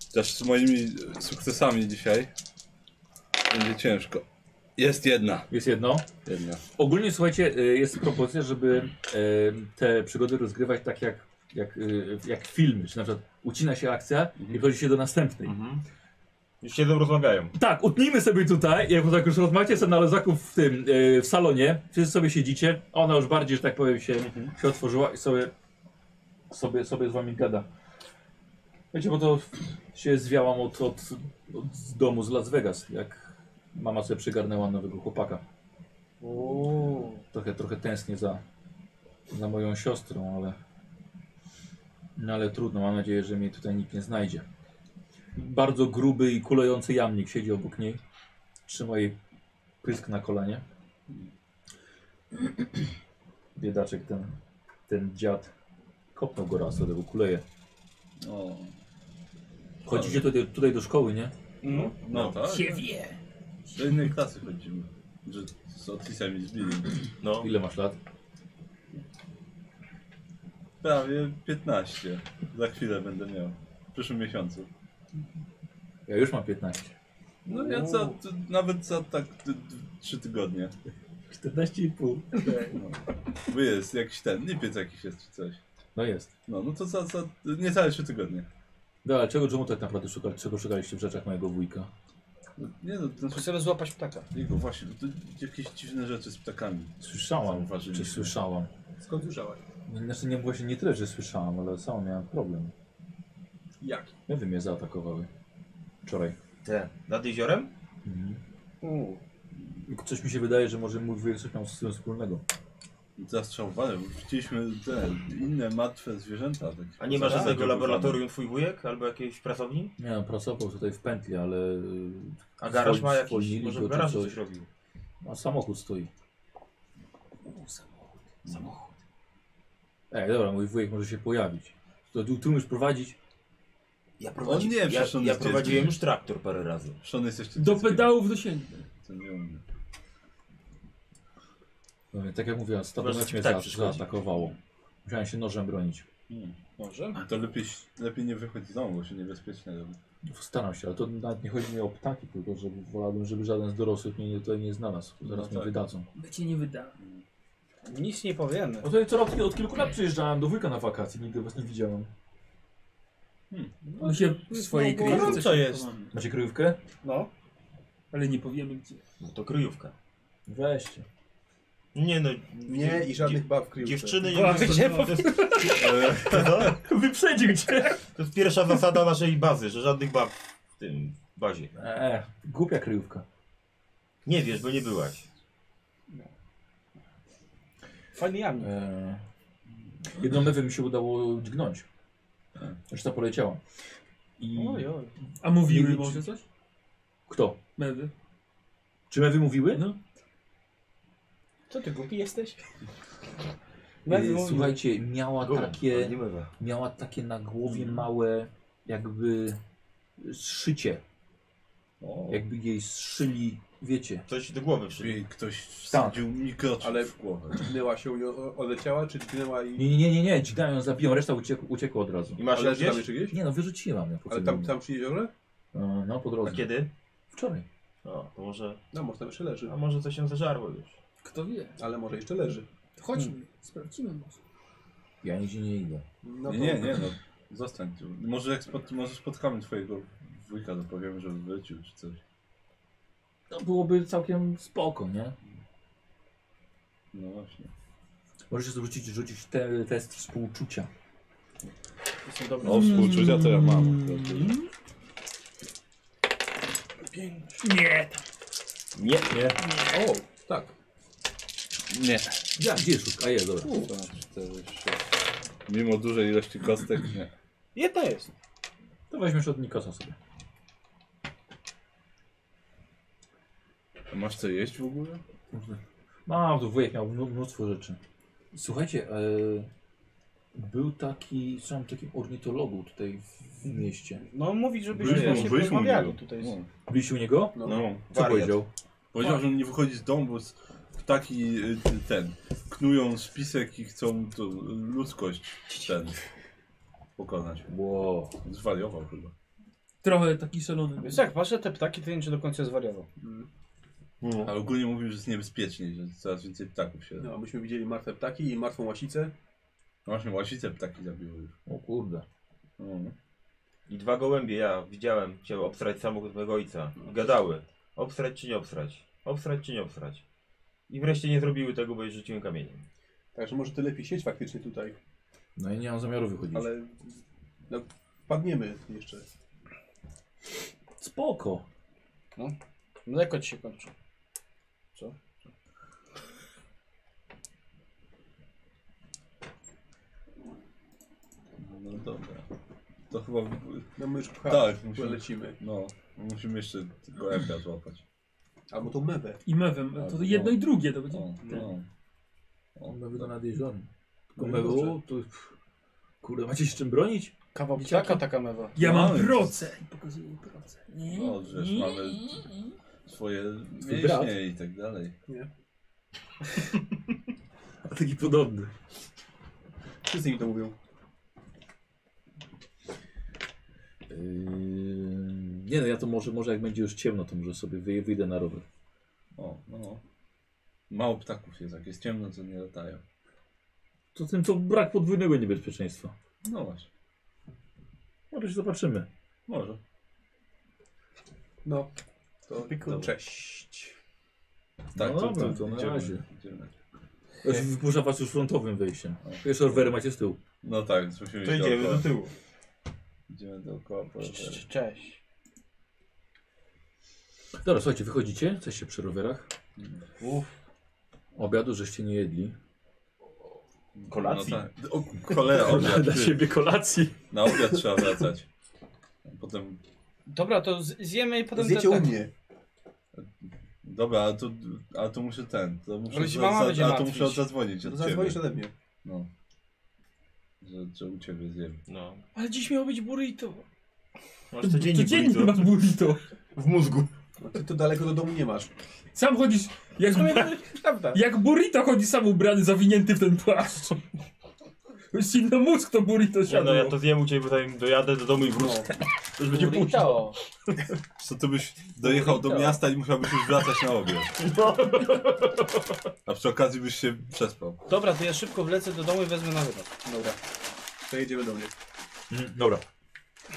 Speaker 2: Chociaż z moimi sukcesami dzisiaj będzie ciężko. Jest jedna.
Speaker 1: Jest jedno.
Speaker 2: Jedna.
Speaker 1: Ogólnie słuchajcie, y, jest propozycja, żeby y, te przygody rozgrywać tak jak, jak, y, jak filmy, czy na przykład ucina się akcja
Speaker 5: Mhm.
Speaker 1: i wchodzi się do następnej.
Speaker 6: Już siedzą, rozmawiają.
Speaker 1: Tak, utnijmy sobie tutaj, jak tak już rozmacie sobie nalezaków w tym, y, w salonie, wszyscy sobie siedzicie, a ona już bardziej, że tak powiem, się, się otworzyła i sobie, sobie, sobie z wami gada. Wiecie, bo to się zwiałam od, od, od z domu z Las Vegas, jak mama sobie przygarnęła nowego chłopaka.
Speaker 5: Uuu.
Speaker 1: trochę, trochę tęsknię za, za moją siostrą, ale. No ale trudno, mam nadzieję, że mnie tutaj nikt nie znajdzie. Bardzo gruby i kulejący jamnik siedzi obok niej. Trzyma jej pysk na kolanie. Biedaczek ten, ten dziad kopnął go raz, ale go kuleje.
Speaker 2: O.
Speaker 1: Chodzicie tutaj, tutaj do szkoły, nie?
Speaker 5: No.
Speaker 2: No tak.
Speaker 4: Się wie.
Speaker 2: Do innej klasy chodzimy. Że z Otisem i z Billim.
Speaker 6: No,
Speaker 1: Ile masz lat?
Speaker 2: Prawie 15. Za chwilę będę miał. W przyszłym miesiącu.
Speaker 1: Ja już mam 15.
Speaker 2: No ja za, t- nawet za tak 3 tygodnie.
Speaker 1: 14,5.
Speaker 2: No. Bo jest jakiś ten, lipiec jakiś jest czy coś.
Speaker 1: No jest.
Speaker 2: No, no to za, za niecałe 3 tygodnie.
Speaker 1: No ale czego, czemu tak naprawdę szuka, czego szukaliście w rzeczach mojego wujka?
Speaker 2: No, Nie no, to znaczy,
Speaker 5: Chcemy złapać ptaka.
Speaker 2: jego właśnie, to, to jakieś dziwne rzeczy z ptakami.
Speaker 1: Słyszałam,
Speaker 2: Zauważyliśmy.
Speaker 1: czy słyszałam.
Speaker 3: Skąd słyszałaś?
Speaker 1: Znaczy nie właśnie nie tyle, że słyszałam, ale sama miałem problem.
Speaker 3: Jak?
Speaker 1: Mewy mnie zaatakowały. Wczoraj.
Speaker 6: te. Nad jeziorem?
Speaker 1: Mhm.
Speaker 5: Uuu.
Speaker 1: Coś mi się wydaje, że może mój wujek coś miał z tym wspólnego.
Speaker 2: Zastrzałowali, chcieliśmy te inne martwe zwierzęta. Tak,
Speaker 6: A nie ma
Speaker 2: Tak.
Speaker 6: żadnego laboratorium twój wujek? Albo jakiejś pracowni?
Speaker 1: Nie no, pracował tutaj w pętli, ale... y,
Speaker 6: A garaż
Speaker 1: swoi-
Speaker 6: ma jakiś?
Speaker 1: swojili
Speaker 6: Może
Speaker 1: go
Speaker 6: w
Speaker 1: czy
Speaker 6: garażu coś robił.
Speaker 1: A samochód stoi. samochód. Samochód. Ej, dobra, mój wujek może się pojawić. To tu, tu już prowadzić?
Speaker 6: Ja,
Speaker 2: prowadzi- nie, ja- przecież on ja
Speaker 6: ja
Speaker 2: jest prowadziłem
Speaker 6: prowadziłem
Speaker 2: dzieckiem.
Speaker 6: już traktor parę razy.
Speaker 2: Szony jest jeszcze
Speaker 4: Do
Speaker 2: dzieckiem.
Speaker 4: pedałów dosięgnę.
Speaker 2: To nie umie.
Speaker 1: No, nie, tak jak mówiłem,
Speaker 6: Może
Speaker 1: statować mnie
Speaker 6: tak
Speaker 1: za,
Speaker 6: przeszkodzi.
Speaker 1: zaatakowało. Musiałem się nożem bronić.
Speaker 2: Hmm.
Speaker 5: Może?
Speaker 2: To lepiej, lepiej nie wychodzić z domu, bo się niebezpiecznie robi.
Speaker 1: Staram się, ale to nawet nie chodzi mi o ptaki, tylko że wolałbym, żeby żaden z dorosłych mnie nie- tutaj nie znalazł. bo Zaraz
Speaker 2: No
Speaker 1: mnie
Speaker 2: tak.
Speaker 1: wydadzą.
Speaker 4: By cię nie wydało.
Speaker 5: Nic nie powiemy.
Speaker 1: No to co od, od kilku lat przyjeżdżałem do wujka na wakacje, nigdy was nie widziałem.
Speaker 4: On się w swojej
Speaker 5: bo
Speaker 4: kryjówce...
Speaker 5: gorąco
Speaker 4: się
Speaker 5: jest.
Speaker 4: chowa.
Speaker 1: Macie kryjówkę?
Speaker 5: No.
Speaker 4: Ale nie powiemy gdzie.
Speaker 6: No to kryjówka.
Speaker 1: Weźcie.
Speaker 6: Nie no.
Speaker 3: Nie i żadnych baw kryjówce.
Speaker 6: Dziewczyny
Speaker 5: Bo,
Speaker 6: nie
Speaker 5: gdzie
Speaker 6: to, jest, to,
Speaker 1: Wyprzedził cię!
Speaker 6: to jest pierwsza zasada naszej bazy, że żadnych bab w tym bazie.
Speaker 1: E, głupia kryjówka.
Speaker 6: Nie wiesz, bo nie byłaś.
Speaker 5: Fajny jamnik.
Speaker 1: E, jedną mewę mi się udało dźgnąć. Reszta poleciała. I...
Speaker 5: Oj, oj.
Speaker 4: A mówiły
Speaker 1: Mieli-
Speaker 4: może coś?
Speaker 1: Kto?
Speaker 4: Mewy.
Speaker 1: Czy mewy mówiły?
Speaker 4: No.
Speaker 5: Co ty głupi
Speaker 1: E,
Speaker 5: jesteś? Mewy,
Speaker 1: Słuchajcie, miała takie...
Speaker 6: Nie bywa.
Speaker 1: miała takie na głowie
Speaker 3: Mhm.
Speaker 1: małe jakby szycie. Jakby jej zszyli, wiecie.
Speaker 6: Coś do głowy przyjdzie.
Speaker 2: Czyli ktoś wsadził mikroczop
Speaker 3: Tak. Ale-
Speaker 2: w głowę.
Speaker 3: Dźgnęła się, i o- odleciała, czy dźgnęła i...
Speaker 1: Nie, nie, nie, nie, nie, dźgają, zabiją, reszta uciekła, uciekła od razu.
Speaker 6: I masz
Speaker 3: Ale
Speaker 6: ją
Speaker 3: leży tam
Speaker 6: gdzieś?
Speaker 3: jeszcze gdzieś?
Speaker 1: Nie no, wyrzuciłam ją po
Speaker 3: Ale
Speaker 1: tym.
Speaker 2: no.
Speaker 3: tam, tam przy jeziorze?
Speaker 1: E, No, po
Speaker 6: A
Speaker 1: drodze.
Speaker 6: kiedy?
Speaker 1: Wczoraj.
Speaker 6: O, to może.
Speaker 3: No, może tam jeszcze leży.
Speaker 6: A może coś się zażarło już.
Speaker 4: Kto wie.
Speaker 3: Ale może jeszcze leży.
Speaker 4: Hmm. To chodźmy. Sprawdzimy może.
Speaker 7: Ja nigdzie nie idę.
Speaker 3: No to...
Speaker 2: nie, nie, nie, no. Zostań tu. Może, jak spot, może spotkamy twojego wujka, to powiemy, że wrócił czy coś.
Speaker 1: No byłoby całkiem spoko, nie?
Speaker 2: No właśnie.
Speaker 1: Możesz zwrócić, rzucić te, test współczucia.
Speaker 3: To są dobre.
Speaker 2: O, współczucia to ja mam.
Speaker 4: Hmm. Nie, tak.
Speaker 6: Nie, nie.
Speaker 3: O, tak.
Speaker 2: Nie.
Speaker 1: Ja, gdzie jest szóstka? A jest, dobra.
Speaker 2: Dwa, cztery, sześć. Mimo dużej ilości kostek, nie.
Speaker 5: Jedna jest.
Speaker 1: To weźmiesz od Nikosa sobie.
Speaker 2: A Masz co jeść w ogóle?
Speaker 1: Mam, tu No, wujek miał mnó- mnóstwo rzeczy. Słuchajcie, e, był taki, słyszałem o takim ornitologu tutaj w, w mieście.
Speaker 5: No mówi, żebyśmy
Speaker 6: Byliśmy-
Speaker 5: właśnie
Speaker 6: byliśmy u
Speaker 5: porozmawiali
Speaker 6: niego.
Speaker 5: tutaj.
Speaker 2: No.
Speaker 1: Byliście u niego?
Speaker 3: No.
Speaker 2: no.
Speaker 1: Co powiedział?
Speaker 2: Powiedział, że on nie wychodzi z domu, bo s- ptaki y, t- ten knują spisek i chcą to, y, ludzkość ten pokonać.
Speaker 1: Wow.
Speaker 2: Zwariował chyba.
Speaker 4: trochę taki szalony.
Speaker 5: Więc jak patrzę te ptaki, to nie wiem, czy do końca zwariował.
Speaker 2: Ale ogólnie mówił, że jest niebezpiecznie, że coraz więcej ptaków się. No
Speaker 3: No, myśmy widzieli martwe ptaki i martwą łasicę.
Speaker 2: właśnie łasice ptaki zabiły już.
Speaker 1: O kurde.
Speaker 2: No.
Speaker 6: I dwa gołębie, ja widziałem cię obsrać samochód mego ojca. I gadały. Obsrać czy nie obsrać? Obsrać czy nie obsrać? I wreszcie nie zrobiły tego, bo je rzuciłem kamieniem.
Speaker 3: Także może ty lepiej sieć faktycznie tutaj,
Speaker 1: No i nie mam zamiaru wychodzić.
Speaker 3: ale no, padniemy jeszcze.
Speaker 1: Spoko.
Speaker 5: Mleko ci się kończy.
Speaker 2: no dobra. To chyba.
Speaker 3: No my już pcha,
Speaker 2: Tak,
Speaker 3: musimy.
Speaker 2: musimy.
Speaker 3: lecimy.
Speaker 2: No, musimy jeszcze tego Epia złapać.
Speaker 3: Albo tą mewę.
Speaker 4: I mewem, to jedno i drugie to będzie.
Speaker 2: O, no. O,
Speaker 1: On mewy do nadjeżdżony. Tylko
Speaker 2: No i dobrze.
Speaker 1: mewu, to... pff, Kurde, macie się z czym bronić?
Speaker 5: Kawał
Speaker 4: Dzieciaki?
Speaker 5: ptaka taka mewa.
Speaker 4: Ja
Speaker 2: No,
Speaker 4: mam
Speaker 2: jest.
Speaker 4: proce! I pokazuję proce. Nie,
Speaker 2: No, żeż mamy swoje
Speaker 1: brat.
Speaker 2: mięśnie i tak dalej.
Speaker 1: A taki podobny.
Speaker 3: Wszyscy mi to mówią.
Speaker 1: Yy, nie no, ja to może, może jak będzie już ciemno, to może sobie wyj- wyjdę na rower.
Speaker 2: O, no. Mało ptaków jest, jak jest ciemno, to nie latają.
Speaker 1: To tym to brak podwójnego niebezpieczeństwa.
Speaker 2: No właśnie,
Speaker 1: Może się zobaczymy.
Speaker 2: może.
Speaker 3: No, to
Speaker 2: Dobra.
Speaker 3: cześć.
Speaker 2: Tak,
Speaker 1: No dobra, to na
Speaker 2: idziemy,
Speaker 1: razie.
Speaker 2: idziemy.
Speaker 1: Znaczy, Wypuszcza was już frontowym wyjściem. Wiesz, rowery macie z tyłu.
Speaker 2: No tak, więc musimy
Speaker 6: To
Speaker 2: iść
Speaker 6: idziemy
Speaker 2: dookoła.
Speaker 6: do tyłu.
Speaker 2: Idziemy dookoła. Po
Speaker 5: Cześć, Cześć. cześć.
Speaker 1: Dobra, słuchajcie, wychodzicie, coś się przy rowerach.
Speaker 5: Uff.
Speaker 1: Obiadu żeście nie jedli.
Speaker 6: Kolacji.
Speaker 2: No tak. O, cholera, obiad.
Speaker 1: Dla siebie kolacji.
Speaker 2: Na obiad trzeba wracać. Potem,
Speaker 5: Dobra, to z- zjemy i potem tak-
Speaker 3: Zjecie
Speaker 5: te
Speaker 3: u
Speaker 5: ptaki.
Speaker 3: mnie.
Speaker 2: dobra, a to, a to muszę ten, to muszę,
Speaker 5: Ale ci mama będzie
Speaker 2: a to
Speaker 5: martwić.
Speaker 2: muszę zadzwonić
Speaker 3: No,
Speaker 2: od
Speaker 3: Zadzwonisz
Speaker 2: ciebie.
Speaker 3: ode mnie.
Speaker 2: No. Że, że u ciebie zjem.
Speaker 6: No.
Speaker 5: Ale dziś miało być burrito.
Speaker 6: Masz codziennie,
Speaker 4: Codziennie
Speaker 6: burrito.
Speaker 4: masz burrito.
Speaker 6: W mózgu.
Speaker 3: No, Ty to daleko do domu nie masz.
Speaker 4: Sam chodzisz, jak,
Speaker 5: W sumie
Speaker 4: bra-
Speaker 5: to jest prawda.
Speaker 4: jak burrito chodzi sam ubrany, zawinięty w ten płaszcz. Silno mózg to burrito
Speaker 6: Nie, no
Speaker 4: siadło.
Speaker 6: ja to zjem u ciebie, potem dojadę do domu i wrócę. To już będzie późno.
Speaker 5: Burrito.
Speaker 2: Co ty byś dojechał do miasta i musiałbyś już wracać na obiad. A przy okazji byś się przespał.
Speaker 5: Dobra, to ja szybko wlecę do domu i wezmę na wylot.
Speaker 3: Dobra. To jedziemy do mnie.
Speaker 1: Mm, dobra.
Speaker 3: A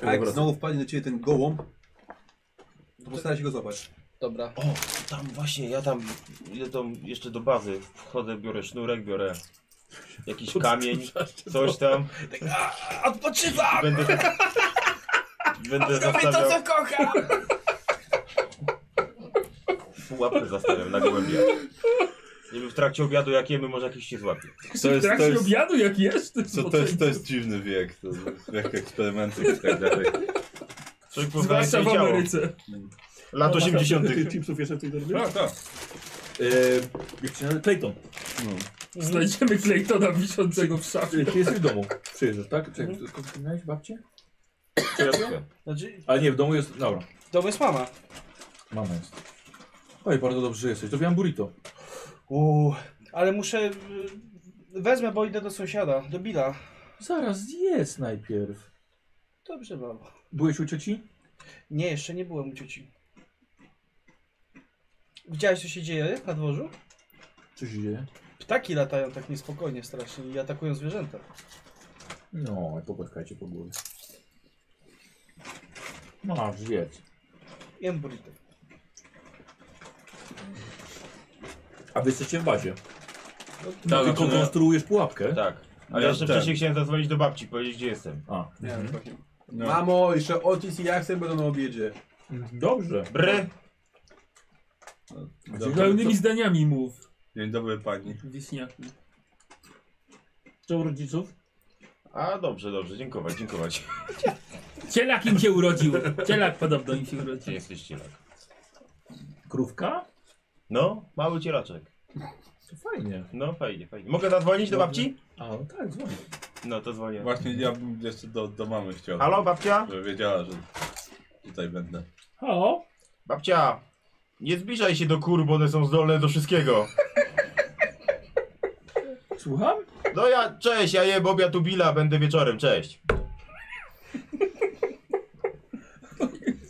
Speaker 2: Tak,
Speaker 3: jak
Speaker 1: Dobra.
Speaker 3: znowu wpadnie do ciebie ten gołąb, to postaraj się go złapać.
Speaker 5: Dobra.
Speaker 6: O, tam właśnie, ja tam idę tam jeszcze do bazy. Wchodzę, biorę sznurek, biorę jakiś kamień, coś tam. Odpoczywam! Będę, będę zastawiał,
Speaker 5: kocha!
Speaker 6: łapę zastawiam na gołębia. Nie wiem, w trakcie obiadu jak jemy, może jakiś się złapie.
Speaker 2: To
Speaker 4: W
Speaker 2: jest, to
Speaker 4: trakcie
Speaker 2: jest,
Speaker 4: obiadu jak jesz, to jest,
Speaker 2: co, to, jest, to jest dziwny wiek, to jest wiek eksperymenty i tak dalej.
Speaker 6: Człowiek
Speaker 4: Zwłaszcza
Speaker 6: poznaje swoje
Speaker 4: w
Speaker 6: ciało.
Speaker 4: Ameryce.
Speaker 6: Lat 80.
Speaker 1: chipsów jeszcze w tej torbie?
Speaker 2: Tak, tak.
Speaker 1: Yy, Jak się nazywa? Clayton.
Speaker 2: No.
Speaker 4: Znajdziemy Claytona wiszącego w szafie.
Speaker 1: Ty jesteś w domu. Przyjeżdżasz, tak? Czekaj, skąd ty miałeś babcię?
Speaker 6: Kojarzę.
Speaker 5: Znaczy,
Speaker 1: Ale nie, w domu jest... Dobra,
Speaker 5: w domu jest mama.
Speaker 1: mama jest. Oj, bardzo dobrze że jesteś. Zrobiłam burrito.
Speaker 5: Uuu, ale muszę... y, Wezmę, bo idę do sąsiada, do Billa.
Speaker 1: Zaraz, zjedz najpierw.
Speaker 5: Dobrze, babo.
Speaker 1: Byłeś u cioci?
Speaker 5: Nie, jeszcze nie byłem u cioci. Widziałeś, co się dzieje na dworzu?
Speaker 1: Co się dzieje?
Speaker 5: Ptaki latają tak niespokojnie strasznie i atakują zwierzęta.
Speaker 1: No, i pogłaskajcie po głowie. Masz, No, zjedz.
Speaker 5: Jem burrito.
Speaker 1: A wy jesteście w bazie.
Speaker 6: Tak,
Speaker 1: Tylko
Speaker 6: znaczy,
Speaker 1: No, konstruujesz pułapkę.
Speaker 6: Tak. A
Speaker 2: Ja
Speaker 6: ja jeszcze
Speaker 2: ten.
Speaker 6: wcześniej chciałem zadzwonić do babci, powiedzieć gdzie jestem.
Speaker 1: A,
Speaker 3: Nie,
Speaker 1: mhm.
Speaker 3: właśnie.
Speaker 2: No.
Speaker 3: Mamo, jeszcze Otis i Jackson będą na obiedzie.
Speaker 1: Dobrze.
Speaker 6: Bry!
Speaker 2: Dzień dobry,
Speaker 4: Pełnymi zdaniami mów,
Speaker 2: Dzień dobry pani.
Speaker 4: wieśniaki.
Speaker 1: Co u rodziców?
Speaker 6: A dobrze, dobrze, dziękować, dziękować.
Speaker 4: Cielak im się urodził. Cielak podobno im się
Speaker 6: Gdzie
Speaker 4: urodził.
Speaker 6: jesteś cielak?
Speaker 1: Krówka?
Speaker 6: No, mały cielaczek.
Speaker 1: To fajnie.
Speaker 6: No fajnie, fajnie. Mogę zadzwonić do babci?
Speaker 1: A, no tak, dzwonię.
Speaker 6: No to dzwonię.
Speaker 2: Właśnie ja bym jeszcze do, do mamy chciał.
Speaker 6: Halo babcia?
Speaker 2: Żeby wiedziała, że tutaj będę.
Speaker 1: O,
Speaker 6: Babcia! Nie zbliżaj się do kur, bo one są zdolne do wszystkiego.
Speaker 1: słucham?
Speaker 6: No ja, cześć, ja je Bobia Tubila, będę wieczorem, cześć.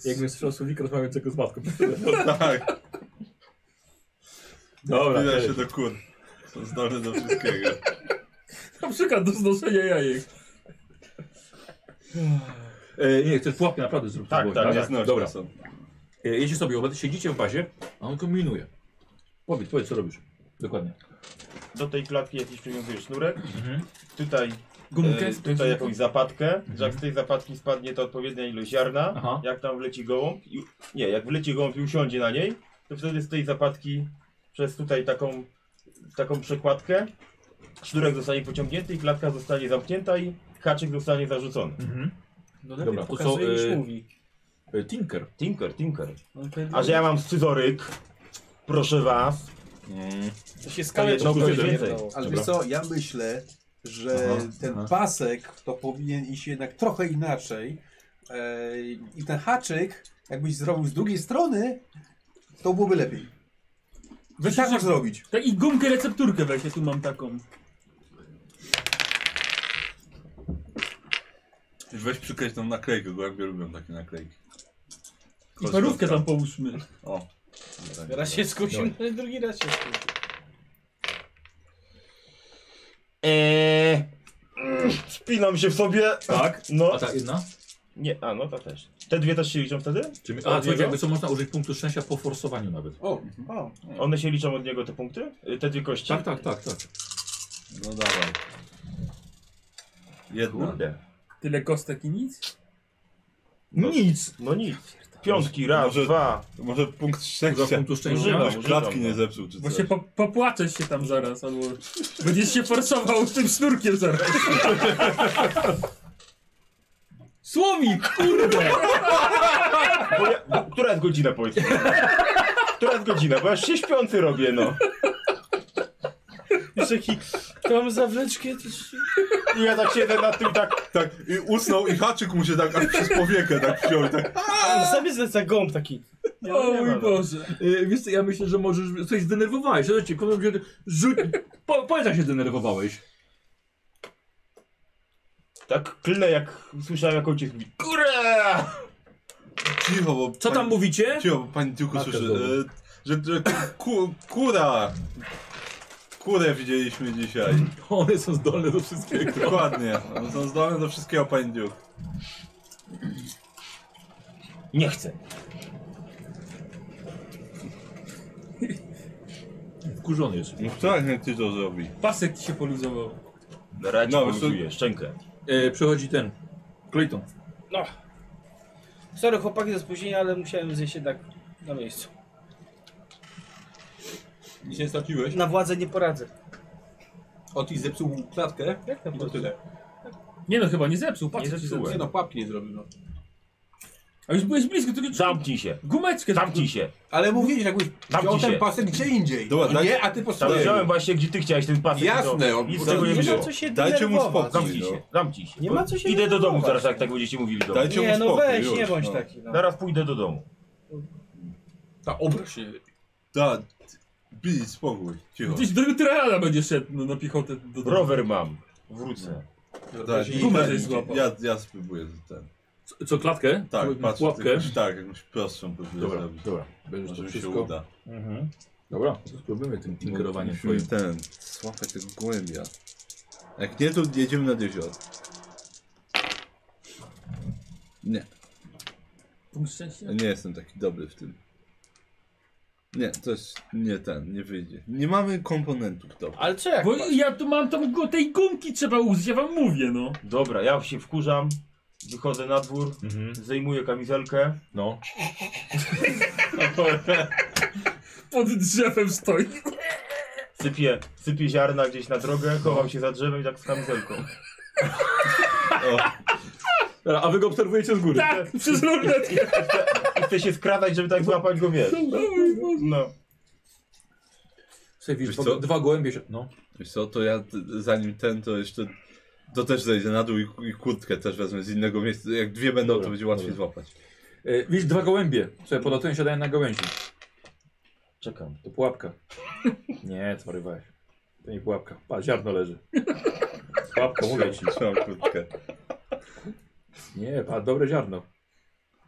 Speaker 1: Jakby słyszał słowika rozmawiającego z matką.
Speaker 2: Tak,
Speaker 1: Dobra,
Speaker 2: zbliża się
Speaker 1: cześć.
Speaker 2: do kur. Są zdolne do wszystkiego.
Speaker 4: Na przykład do znoszenia jajek.
Speaker 1: E, nie, chcesz pułapkę naprawdę zrobić.
Speaker 6: Tak, tak,
Speaker 2: Nie znośne
Speaker 1: Dobra,
Speaker 2: są.
Speaker 1: e, jedziesz sobie obad, siedzicie w bazie, a on kombinuje. Powiedz, powiedz, co robisz. Dokładnie.
Speaker 6: Do tej klatki jakiś przywiązuje sznurek. Tutaj,
Speaker 4: Gumkę
Speaker 6: e,
Speaker 4: z
Speaker 6: tutaj jakąś zapadkę. Że jak z tej zapadki spadnie to odpowiednia ilość ziarna.
Speaker 1: Mhm. Aha.
Speaker 6: Jak tam wleci gołąb, i, nie, jak wleci gołąb i usiądzie na niej, to wtedy z tej zapadki przez tutaj taką, taką przekładkę sznurek zostanie pociągnięty i klatka zostanie zamknięta i haczyk zostanie zarzucony.
Speaker 1: Mhm.
Speaker 5: No
Speaker 1: lepiej Dobra, to pokazuje, co, niż e, E, Tinker.
Speaker 6: Tinker, tinker. A że ja mam scyzoryk, proszę was.
Speaker 2: Mm.
Speaker 5: To się
Speaker 1: To
Speaker 5: skalę
Speaker 1: jedno
Speaker 5: to
Speaker 1: plus jeden.
Speaker 5: więcej.
Speaker 3: Ale
Speaker 1: Dobra.
Speaker 3: wiesz co, ja myślę, że
Speaker 1: Aha,
Speaker 3: ten
Speaker 1: aha.
Speaker 3: pasek to powinien iść jednak trochę inaczej. E, I ten haczyk, jakbyś zrobił z drugiej strony, to byłoby lepiej. Wy tak masz zrobić.
Speaker 4: Tak i gumkę recepturkę weź, ja tu mam taką.
Speaker 2: Weź przykreś tą naklejkę, głębiej lubią takie naklejki.
Speaker 4: I parówkę
Speaker 2: tak.
Speaker 4: tam połóżmy.
Speaker 2: O.
Speaker 5: Raz się skusił, drugi raz się skusił.
Speaker 6: Eee, mm, spinam się w sobie.
Speaker 1: Tak?
Speaker 6: No.
Speaker 1: A ta jedna?
Speaker 6: Nie, a no to też. Te dwie też się liczą wtedy?
Speaker 1: Czy mi,
Speaker 6: Od
Speaker 1: a,
Speaker 6: niego?
Speaker 1: czyli jakby co można użyć punktu szczęścia po forsowaniu nawet.
Speaker 3: O,
Speaker 5: O,
Speaker 6: One się liczą od niego te punkty? Y, Te dwie kości?
Speaker 1: Tak, tak, tak, tak.
Speaker 2: No dawaj. Jedna.
Speaker 6: Kurde.
Speaker 4: Tyle kostek i nic?
Speaker 1: Nic.
Speaker 6: No nic. Piątki, raz,
Speaker 2: Może-
Speaker 6: dwa.
Speaker 2: Może punkt
Speaker 1: Za
Speaker 2: szczęścia.
Speaker 1: punktu szczęścia.
Speaker 6: Używam,
Speaker 2: Żebyś
Speaker 6: używam.
Speaker 2: klatki nie zepsuł czy
Speaker 4: Bo
Speaker 2: coś.
Speaker 4: się po, popłaczesz się tam zaraz, albo będziesz się forsował tym sznurkiem zaraz. Słowik, kurde!
Speaker 6: Bo ja, bo, która jest godzina, powiedz mi? Która jest godzina? Bo ja się śpiący robię, no.
Speaker 5: jeszcze hik. To mam zawleczkę. to się-
Speaker 6: I ja tak siedzę nad tym tak...
Speaker 2: Tak, i usnął i haczyk mu się tak aż przez powiekę tak wziął i tak.
Speaker 5: On sobie zleca gąb taki.
Speaker 4: O
Speaker 6: nie ma,
Speaker 4: mój
Speaker 6: no.
Speaker 4: Boże.
Speaker 1: Yy, wiesz co, ja myślę, że możesz... Coś zdenerwowałeś. Słuchajcie, powiem, że... Rzuć... Po, powiedz, jak się zdenerwowałeś.
Speaker 6: Tak klnę, jak słyszałem, jak ojciec mówi KURE!
Speaker 2: Cicho, bo.
Speaker 1: Co tam
Speaker 2: pani-
Speaker 1: mówicie?
Speaker 2: Cicho, bo pani tylko
Speaker 1: Matkę
Speaker 2: słyszy,
Speaker 1: znowu.
Speaker 2: e, że, że ku, kura. Kurę widzieliśmy dzisiaj.
Speaker 1: One są zdolne do wszystkiego.
Speaker 2: Dokładnie. One są zdolne do wszystkiego, pani Duke.
Speaker 6: Nie chcę.
Speaker 1: Wkurzony jest.
Speaker 2: No tak, jak ty to zrobi.
Speaker 4: Pasek ci się poluzował.
Speaker 6: Na razie
Speaker 2: No,
Speaker 6: no,
Speaker 2: to-
Speaker 6: szczękę.
Speaker 1: E, przechodzi ten. Clayton.
Speaker 5: No. Sorry chłopaki za spóźnienie, ale musiałem zjeść jednak na miejscu.
Speaker 3: nic nie straciłeś.
Speaker 5: Na władzę nie poradzę.
Speaker 3: Otis zepsuł klatkę
Speaker 5: Jak na
Speaker 3: i to tyle.
Speaker 4: Nie no, chyba nie zepsuł,
Speaker 6: Nie
Speaker 4: patrz. co ci
Speaker 6: zepsułem.
Speaker 4: zepsuł.
Speaker 3: Nie no, pułapki nie zrobił. No.
Speaker 4: A już byłeś blisko, tylko
Speaker 6: Zamknij się.
Speaker 4: gumeczkę.
Speaker 6: Zamknij się.
Speaker 3: Ale mówiłeś, jakbyś
Speaker 6: Tam
Speaker 3: wziął
Speaker 6: ci się.
Speaker 3: ten pasek gdzie indziej.
Speaker 2: Dobra,
Speaker 3: Dobra,
Speaker 2: daj-
Speaker 3: nie, a ty
Speaker 6: Tam
Speaker 3: poszedłeś.
Speaker 6: wziąłem właśnie, gdzie ty chciałeś ten pasek.
Speaker 3: Jasne,
Speaker 6: to
Speaker 3: on-
Speaker 6: Nic z tego nie
Speaker 5: Nie ma
Speaker 6: było.
Speaker 5: co się
Speaker 2: Dajcie mu
Speaker 5: denerwować.
Speaker 2: spokój.
Speaker 6: Zamknij
Speaker 2: no.
Speaker 6: się, zamknij się.
Speaker 5: Nie ma co się
Speaker 6: Idę do domu
Speaker 5: denerwować.
Speaker 6: zaraz, jak tak będziecie mówili do domu.
Speaker 2: Dajcie mu
Speaker 5: Nie no
Speaker 2: spokój,
Speaker 5: weź,
Speaker 2: już,
Speaker 5: nie bądź
Speaker 2: no.
Speaker 5: taki. No.
Speaker 6: Zaraz pójdę do domu.
Speaker 3: Ta obraz się.
Speaker 2: Da, bij spokój, cicho.
Speaker 4: Gdzieś do Jutrala będzie szedł no, na piechotę. Do domu.
Speaker 6: Rower tak. mam. Wrócę.
Speaker 2: Da,
Speaker 3: Obrazi-
Speaker 4: gumę
Speaker 2: da-
Speaker 4: żeś złapał.
Speaker 2: ja, ja spróbuję ten.
Speaker 1: Co, co klatkę?
Speaker 2: Tak,
Speaker 1: Pu-
Speaker 2: patrzę,
Speaker 1: Pułapkę.
Speaker 2: jakąś, tak, jakąś prostszą próbuję
Speaker 1: Dobra,
Speaker 2: zrobić.
Speaker 1: dobra. Będziesz
Speaker 2: Może
Speaker 1: to
Speaker 2: mi się
Speaker 1: wszystko...
Speaker 2: uda.
Speaker 1: Dobra, to spróbujemy tym tinkerowaniem
Speaker 2: Musimy
Speaker 1: twoim.
Speaker 2: ten złapać tego gołębia. Jak nie, to jedziemy nad jezioro. Nie,
Speaker 4: Punkt szczęścia?
Speaker 2: ja nie jestem taki dobry w tym. Nie, to jest nie ten, nie wyjdzie. Nie mamy komponentów dobrych.
Speaker 6: Ale co jak
Speaker 4: Bo
Speaker 6: masz?
Speaker 4: ja tu mam tą, gu- tej gumki trzeba użyć, ja wam mówię, no.
Speaker 6: Dobra, ja się wkurzam, wychodzę na dwór,
Speaker 1: Mhm.
Speaker 6: zdejmuję kamizelkę.
Speaker 1: No.
Speaker 4: Pod drzewem stoi.
Speaker 6: Sypię, sypię ziarna gdzieś na drogę, chowam się za drzewem i tak z kamizelką.
Speaker 1: Dobra, A wy go obserwujecie z góry.
Speaker 4: Tak, przez lornetkę.
Speaker 6: I chcę się skradać, żeby tak złapać go, wiesz.
Speaker 4: No mój Boże.
Speaker 6: No.
Speaker 1: Słuchaj, widzisz,
Speaker 2: Wiesz
Speaker 1: dwa,
Speaker 2: co?
Speaker 1: dwa gołębie się... No.
Speaker 2: Wiesz co, to ja t- zanim ten, to jeszcze... To też zejdzie na dół i, i kurtkę też wezmę z innego miejsca. Jak dwie będą,
Speaker 1: Dobra,
Speaker 2: to będzie łatwiej złapać.
Speaker 1: E, widzisz, dwa gołębie. Słuchaj, podlatują siadają na gałęzi.
Speaker 6: Czekam.
Speaker 1: To pułapka. Nie, co rywałeś. To nie pułapka. Pa, ziarno leży. Pułapka, mówię ci.
Speaker 2: Trzymam kurtkę.
Speaker 1: Nie, pa, dobre ziarno.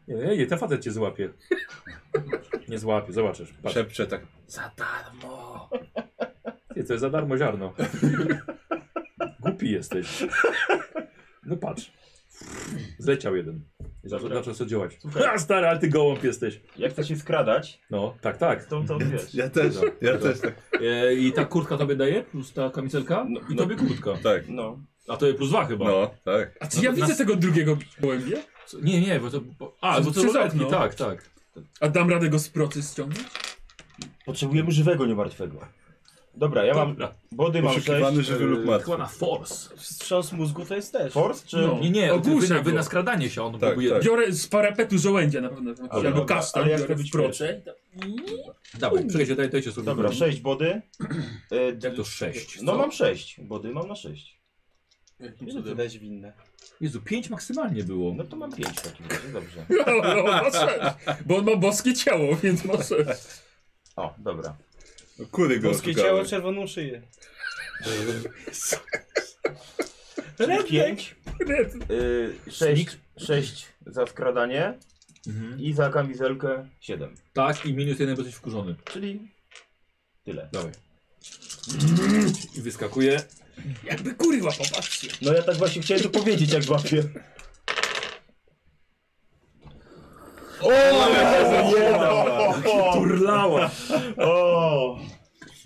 Speaker 1: Nie, nie, nie, ten facet cię złapie. Nie złapie, zobaczysz. Patrz.
Speaker 2: Szepczę tak.
Speaker 1: Za darmo. Nie, to jest za darmo ziarno. Głupi jesteś. No patrz. Zleciał jeden. I zaczął,
Speaker 6: Dobra.
Speaker 1: zaczął sobie działać.
Speaker 6: Słuchaj.
Speaker 1: A stary, ale ty gołąb jesteś.
Speaker 6: Jak chcę się skradać,
Speaker 1: No, tak, tak.
Speaker 6: to to wiesz.
Speaker 2: Ja też, ja też tak.
Speaker 1: E, I ta kurtka tobie daje, plus ta kamizelka
Speaker 6: No,
Speaker 1: i
Speaker 6: no.
Speaker 1: tobie kurtka.
Speaker 2: Tak.
Speaker 6: No.
Speaker 1: A to jest plus dwa chyba.
Speaker 2: No, tak.
Speaker 4: A czy ja widzę tego drugiego gołębia?
Speaker 1: Co- Nie, nie, bo to... Bo, a, bo to
Speaker 4: Przez
Speaker 1: lornetki,
Speaker 4: okno.
Speaker 1: tak, tak.
Speaker 4: A dam radę go z procy ściągnąć?
Speaker 6: Potrzebujemy żywego, nie martwego. Dobra, ja mam.
Speaker 1: Dobra.
Speaker 6: Body mam e,
Speaker 2: Poszukiwany
Speaker 6: 6.
Speaker 2: żywy lub martwy.
Speaker 1: Chyba na force.
Speaker 5: Wstrząs mózgu to jest też.
Speaker 6: Force czy.
Speaker 4: No.
Speaker 1: Nie, nie,
Speaker 4: Ogłusza
Speaker 1: wy, na- wy
Speaker 4: go.
Speaker 1: na skradanie się on
Speaker 2: Tak,
Speaker 1: próbuje...
Speaker 2: tak.
Speaker 4: Biorę z parapetu żołędzia na pewno.
Speaker 1: Ale-
Speaker 4: Albo kasztan
Speaker 6: ale jak
Speaker 4: biorę
Speaker 6: to
Speaker 4: w
Speaker 6: być
Speaker 4: proce.
Speaker 1: Dawaj, przejdźcie, daj, dajcie sobie.
Speaker 6: Dobra, 6 body. E, d-
Speaker 1: Jak Tak, to sześć?
Speaker 6: No
Speaker 1: Co?
Speaker 6: mam 6. Body mam na 6.
Speaker 5: Jakim cudem? Dać winne.
Speaker 1: Jezu, pięć maksymalnie było.
Speaker 6: No to mam 5 w takim razie, dobrze.
Speaker 4: No, no, ma sześć. Bo on ma boskie ciało, więc ma sześć.
Speaker 6: O, dobra.
Speaker 2: No, Kury go
Speaker 5: Polskie
Speaker 2: oszukały.
Speaker 5: ciało, czerwoną szyję.
Speaker 6: Czyli 5,
Speaker 4: Red.
Speaker 6: 6, 6 Y, za skradanie i za kamizelkę 7.
Speaker 1: Tak, i minus jeden, bo jesteś wkurzony.
Speaker 6: Czyli tyle.
Speaker 1: Dawaj. I wyskakuje.
Speaker 4: Jakby kurwa, popatrzcie.
Speaker 6: No ja tak właśnie chciałem to powiedzieć, jak łapię. O, o,
Speaker 1: Turlała!
Speaker 6: o,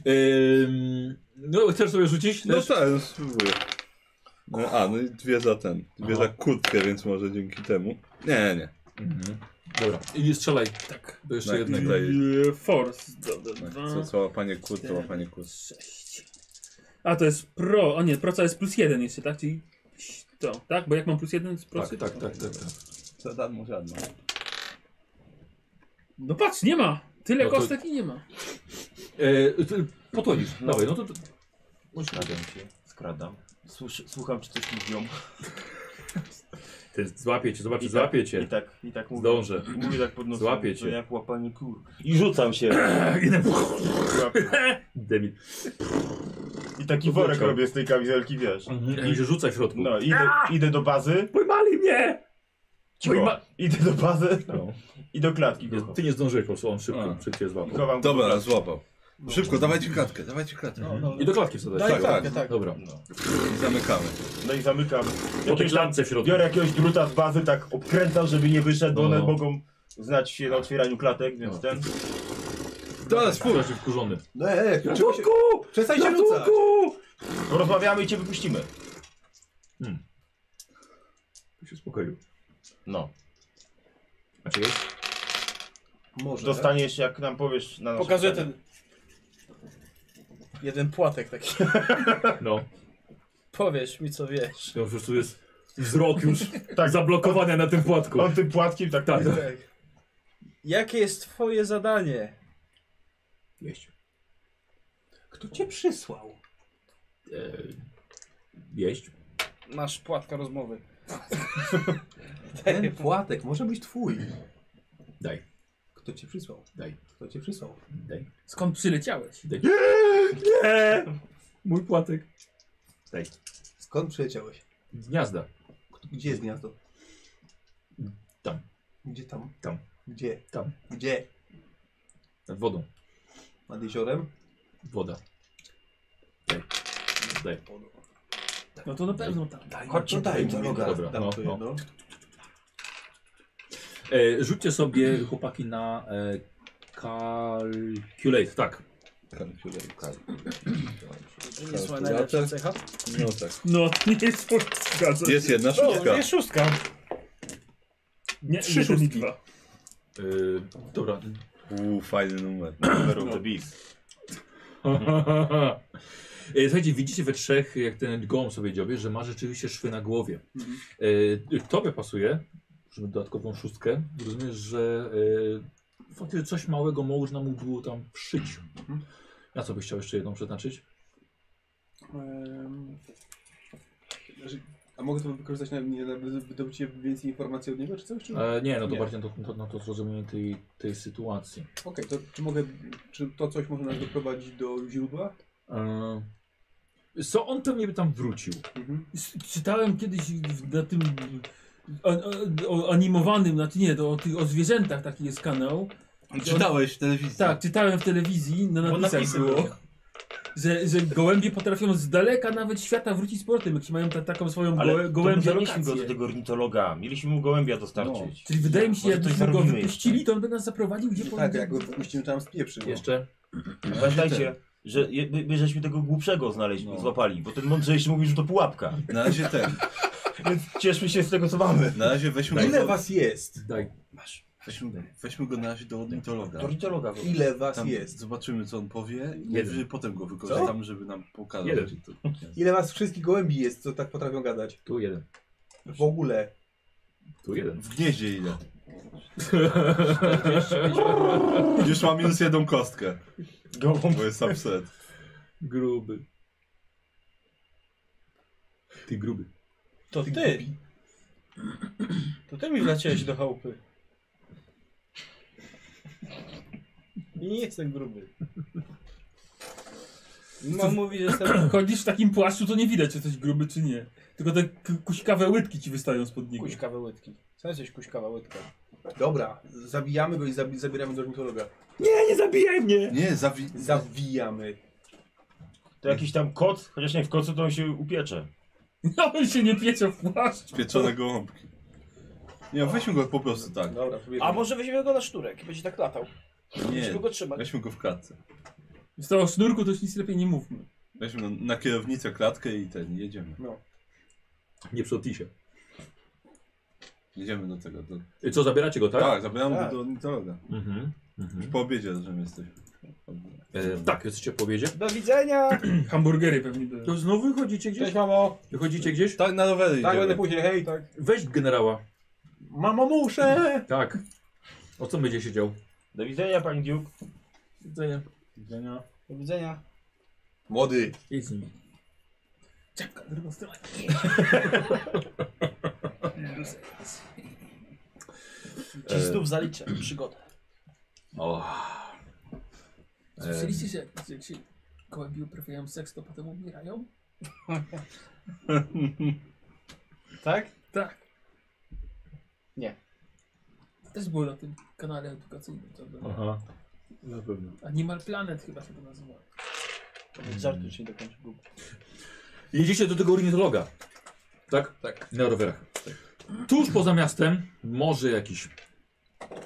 Speaker 1: Ym, no, chcesz sobie rzucić?
Speaker 2: No
Speaker 1: Też?
Speaker 2: tak, no spróbuję. No, a, no i dwie za ten. Dwie za kurtkę, więc może dzięki temu. Nie, nie.
Speaker 1: Mhm. Dobra, i strzelaj. Tak. Do jeszcze
Speaker 2: Tak,
Speaker 1: jednego.
Speaker 2: tak.
Speaker 4: Eee, Force. Do, do,
Speaker 2: No,
Speaker 4: dwa,
Speaker 2: Co, co łapanie kurt, to łapanie kurt.
Speaker 4: sześć. A to jest pro. O nie, proca jest plus jeden jeszcze, tak? Czyli to, tak? Bo jak mam plus jeden, to jest
Speaker 1: Tak,
Speaker 4: procy.
Speaker 1: tak, tak, tak, tak.
Speaker 2: Co tam mu żadno.
Speaker 4: No patrz, nie ma. Tyle
Speaker 1: No to-
Speaker 4: kostek i nie ma.
Speaker 1: Yy, ty potonisz. Dawaj, no to. to...
Speaker 6: Skradam się, skradam. Słyszę, słucham, czy coś mówią.
Speaker 1: Znaczy, Ty złapie cię, zobaczy,
Speaker 6: I tak-
Speaker 1: złapie
Speaker 6: I
Speaker 1: cię.
Speaker 6: tak, i tak mówię.
Speaker 1: Zdążę.
Speaker 6: Mówię tak pod nosem.
Speaker 1: Złapię cię.
Speaker 6: To jak łapanie kur. I rzucam się.
Speaker 1: Inne
Speaker 6: Łapię.
Speaker 1: Debil.
Speaker 6: I taki worek robię z tej kamizelki, wiesz.
Speaker 1: Mhm. I się rzuca w środku.
Speaker 6: No, idę, idę do bazy.
Speaker 1: Pojmali mnie!
Speaker 6: Cicho.
Speaker 1: ma-
Speaker 6: Idę do bazy
Speaker 1: No.
Speaker 6: i do klatki.
Speaker 1: Nie,
Speaker 6: go chowam.
Speaker 1: ty nie zdążyłeś po prostu, on szybko,
Speaker 2: A.
Speaker 1: szybko cię
Speaker 6: I
Speaker 1: złapał.
Speaker 6: chowam go do
Speaker 2: Dobra,
Speaker 6: klatki.
Speaker 2: złapał. Szybko, dawajcie klatkę, dawajcie klatkę.
Speaker 5: No,
Speaker 1: Mhm. I do klatki wsadzasz.
Speaker 2: Daj klatkę,
Speaker 5: tak.
Speaker 1: Dobra.
Speaker 6: No.
Speaker 2: I zamykamy.
Speaker 6: no i zamykam.
Speaker 1: Po tej
Speaker 6: Jakieś tam-
Speaker 1: klatce w środku.
Speaker 6: Biorę jakiegoś druta z bazy, tak obkręcam, żeby nie wyszedł, bo
Speaker 1: No,
Speaker 6: one
Speaker 1: no.
Speaker 6: mogą znać się na otwieraniu klatek, więc
Speaker 1: No.
Speaker 6: ten...
Speaker 2: Teraz
Speaker 1: Spójrz,
Speaker 2: spójrz.
Speaker 1: jesteś wkurzony.
Speaker 3: No ej, ej, czemu się-
Speaker 1: Ratunku!
Speaker 3: przestań się rzucać!
Speaker 1: Ratunku!
Speaker 6: Rozmawiamy i cię wypuścimy.
Speaker 1: Tu się spokoju.
Speaker 6: No.
Speaker 1: Znaczy jest?
Speaker 3: Może.
Speaker 5: tak?
Speaker 6: Dostaniesz, jak nam powiesz na nasze
Speaker 5: Pokazuję
Speaker 6: pytania.
Speaker 5: ten... Jeden płatek taki.
Speaker 1: No.
Speaker 5: Powiesz mi, co wiesz.
Speaker 1: To po prostu jest wzrok już tak zablokowania na tym płatku.
Speaker 6: On tym płatkiem tak...
Speaker 1: Tak.
Speaker 5: Tak. Jakie jest twoje zadanie?
Speaker 1: Jeść.
Speaker 3: Kto cię przysłał?
Speaker 1: Eee, jeść.
Speaker 5: Masz płatka rozmowy.
Speaker 3: Ten płatek może być twój.
Speaker 1: Daj,
Speaker 3: Kto cię przysłał?
Speaker 1: daj,
Speaker 3: Kto cię przysłał?
Speaker 1: daj.
Speaker 4: Skąd przyleciałeś?
Speaker 1: daj. Nie! Nie! Mój płatek.
Speaker 3: Skąd przyleciałeś?
Speaker 1: Gniazda.
Speaker 3: Gdzie jest gniazdo?
Speaker 1: Tam.
Speaker 3: Gdzie tam?
Speaker 1: Tam.
Speaker 3: Gdzie?
Speaker 1: Tam.
Speaker 3: Gdzie?
Speaker 1: Nad wodą.
Speaker 3: Nad jeziorem?
Speaker 1: Woda. Daj.
Speaker 4: No to na pewno tam.
Speaker 3: Tak.
Speaker 7: Chodźcie daj, to noga.
Speaker 1: Dobra,
Speaker 2: Tam
Speaker 1: no,
Speaker 2: to
Speaker 1: no.
Speaker 2: jedno.
Speaker 1: E, rzućcie sobie chłopaki na e, calculate, tak.
Speaker 2: Kalkulator.
Speaker 5: Nie jest moja najlepsza cecha.
Speaker 2: No tak.
Speaker 4: No, nie jest to zgadza.
Speaker 2: Jest jedna
Speaker 5: O,
Speaker 2: szóstka.
Speaker 5: jest szóstka.
Speaker 4: Nie,
Speaker 2: trzy
Speaker 4: jeden i
Speaker 2: szóstki.
Speaker 4: dwa.
Speaker 1: E, dobra.
Speaker 2: Uuu, fajny numer.
Speaker 6: Number of the beast.
Speaker 1: Mhm. E, Słuchajcie, widzicie we trzech, jak ten gołąb sobie dziobie, że ma rzeczywiście szwy na głowie.
Speaker 4: Mhm.
Speaker 1: E, tobie pasuje, żeby dodatkową szóstkę, rozumiesz, że e, faktycznie coś małego można mu było tam wszyć. Na co byś chciał jeszcze jedną przeznaczyć? no.
Speaker 3: Em, znaczy, A mogę to wykorzystać na, nie, na wy- wydobycie więcej informacji od niego, czy coś? Czy... Okej,
Speaker 1: E, nie, no to
Speaker 3: Nie.
Speaker 1: bardziej na to, to, na to zrozumienie tej, tej sytuacji.
Speaker 3: to czy mogę, czy to coś może nas doprowadzić do źródła?
Speaker 1: E, co on pewnie by tam wrócił.
Speaker 3: Mhm.
Speaker 4: S- Czytałem kiedyś w- na tym o, o, o animowanym, znaczy nie, to o, tych, o zwierzętach taki jest kanał.
Speaker 2: Czytałeś w telewizji.
Speaker 4: Tak, czytałem w telewizji, na
Speaker 5: Bo
Speaker 4: napisach
Speaker 5: napisy
Speaker 4: było,
Speaker 5: były.
Speaker 4: że, że gołębie potrafią z daleka nawet świata wrócić z powrotem, jak się mają ta, taką swoją
Speaker 6: Ale
Speaker 4: gołę, gołębię
Speaker 6: gołębia zanieśmy
Speaker 4: lokację.
Speaker 6: go do tego ornitologa. Mieliśmy mu gołębia dostarczyć.
Speaker 4: Czyli wydaje mi się,
Speaker 6: Może coś
Speaker 4: jakbyśmy go
Speaker 6: zarobimy
Speaker 4: wypuścili, to on by nas zaprowadził gdzie
Speaker 3: No tak,
Speaker 4: powinien-
Speaker 3: jak go wypuścimy, tam spieprzył.
Speaker 1: Jeszcze?
Speaker 6: Pamiętajcie, że je- my, my żeśmy tego głupszego znaleźli,
Speaker 2: No.
Speaker 6: złapali, bo ten mądrzejszy mówił, że to pułapka.
Speaker 2: Na razie ten.
Speaker 6: Więc cieszmy się z tego, co mamy.
Speaker 2: Na razie weźmy go, do,
Speaker 3: was jest?
Speaker 1: Daj.
Speaker 2: weźmy, weźmy go na razie do ornitologa.
Speaker 6: Do ornitologa. go.
Speaker 3: Ile was
Speaker 2: Tam Zobaczymy co on powie i
Speaker 1: Jeden.
Speaker 2: najwyżej potem go wykorzystamy, żeby nam pokazać.
Speaker 1: Jeden.
Speaker 2: że to-
Speaker 3: Ile was wszystkich gołębi jest, co tak potrafią gadać?
Speaker 1: Tu jeden.
Speaker 3: W ogóle.
Speaker 1: Tu jeden.
Speaker 2: W gnieździe ile? Już mam minus jedną kostkę,
Speaker 6: Gołąb.
Speaker 2: bo jest upset.
Speaker 1: Gruby. Ty gruby.
Speaker 5: To ty. To ty mi wleciałeś do chałupy. I nie jestem gruby. Mam mówić, że jestem...
Speaker 4: Chodzisz w takim płaszczu, to nie widać, czy jesteś gruby, czy nie. Tylko te k- kuśkawe łydki ci wystają spod niego.
Speaker 5: Kuśkawe łydki. Co jesteś kuśkawa łydka?
Speaker 3: Dobra, zabijamy go i zabi zabieramy do ornitologa.
Speaker 2: Nie, zawi...
Speaker 3: Zawijamy.
Speaker 6: To jakiś tam kot, chociaż nie, w kocu to on się upiecze.
Speaker 4: No, on się nie piecze w płaszczu.
Speaker 2: pieczone gołąbki. Nie, no, weźmy go po prostu tak.
Speaker 3: Dobra, próbujemy.
Speaker 5: A może weźmiemy go na szturek i będzie tak latał.
Speaker 2: Nie,
Speaker 5: Musimy go trzymać.
Speaker 2: weźmy go w klatce.
Speaker 4: Z tego sznurku to już nic lepiej nie mówmy.
Speaker 2: Weźmy go na kierownicę klatkę i ten, jedziemy.
Speaker 1: Nie przy Otisie.
Speaker 2: Jedziemy do tego. Do...
Speaker 1: Y, Co, zabieracie go, tak?
Speaker 2: Tak, zabieramy
Speaker 5: Tak.
Speaker 2: go do ornitologa.
Speaker 1: Mhm. mhm.
Speaker 2: Już po obiedzie, że jesteśmy.
Speaker 1: E, tak, jesteście po obiedzie.
Speaker 5: Do widzenia!
Speaker 4: Hamburgery pewnie były.
Speaker 1: To znowu wychodzicie
Speaker 5: Cześć
Speaker 1: gdzieś?
Speaker 5: mamo!
Speaker 1: Wychodzicie gdzieś?
Speaker 2: Tak, na rowery
Speaker 3: Tak, będę
Speaker 2: idziemy.
Speaker 3: później, hej, tak.
Speaker 1: Weź generała.
Speaker 3: Mamo, muszę!
Speaker 1: Tak. O co będzie siedział?
Speaker 6: Do widzenia, pani Duke.
Speaker 1: Widzenia.
Speaker 5: Do widzenia.
Speaker 3: Młody.
Speaker 1: Idź z nim.
Speaker 4: Czapka, drugą stronę. Ehm.
Speaker 2: E.
Speaker 5: Ci znów zaliczę przygodę.
Speaker 1: O.
Speaker 4: Słyszeliście, że jak się gołębi uprawiają seks, to potem umierają?
Speaker 5: Tak?
Speaker 4: Tak.
Speaker 5: Nie.
Speaker 4: To też było na tym kanale edukacyjnym, co było.
Speaker 1: Aha. Na pewno.
Speaker 4: Animal Planet chyba się to nazywa.
Speaker 5: To był żart, już nie do końca był.
Speaker 1: Jedziecie do tego ornitologa. Tak?
Speaker 3: Tak.
Speaker 1: Na rowerach. Tuż poza miastem, może jakiś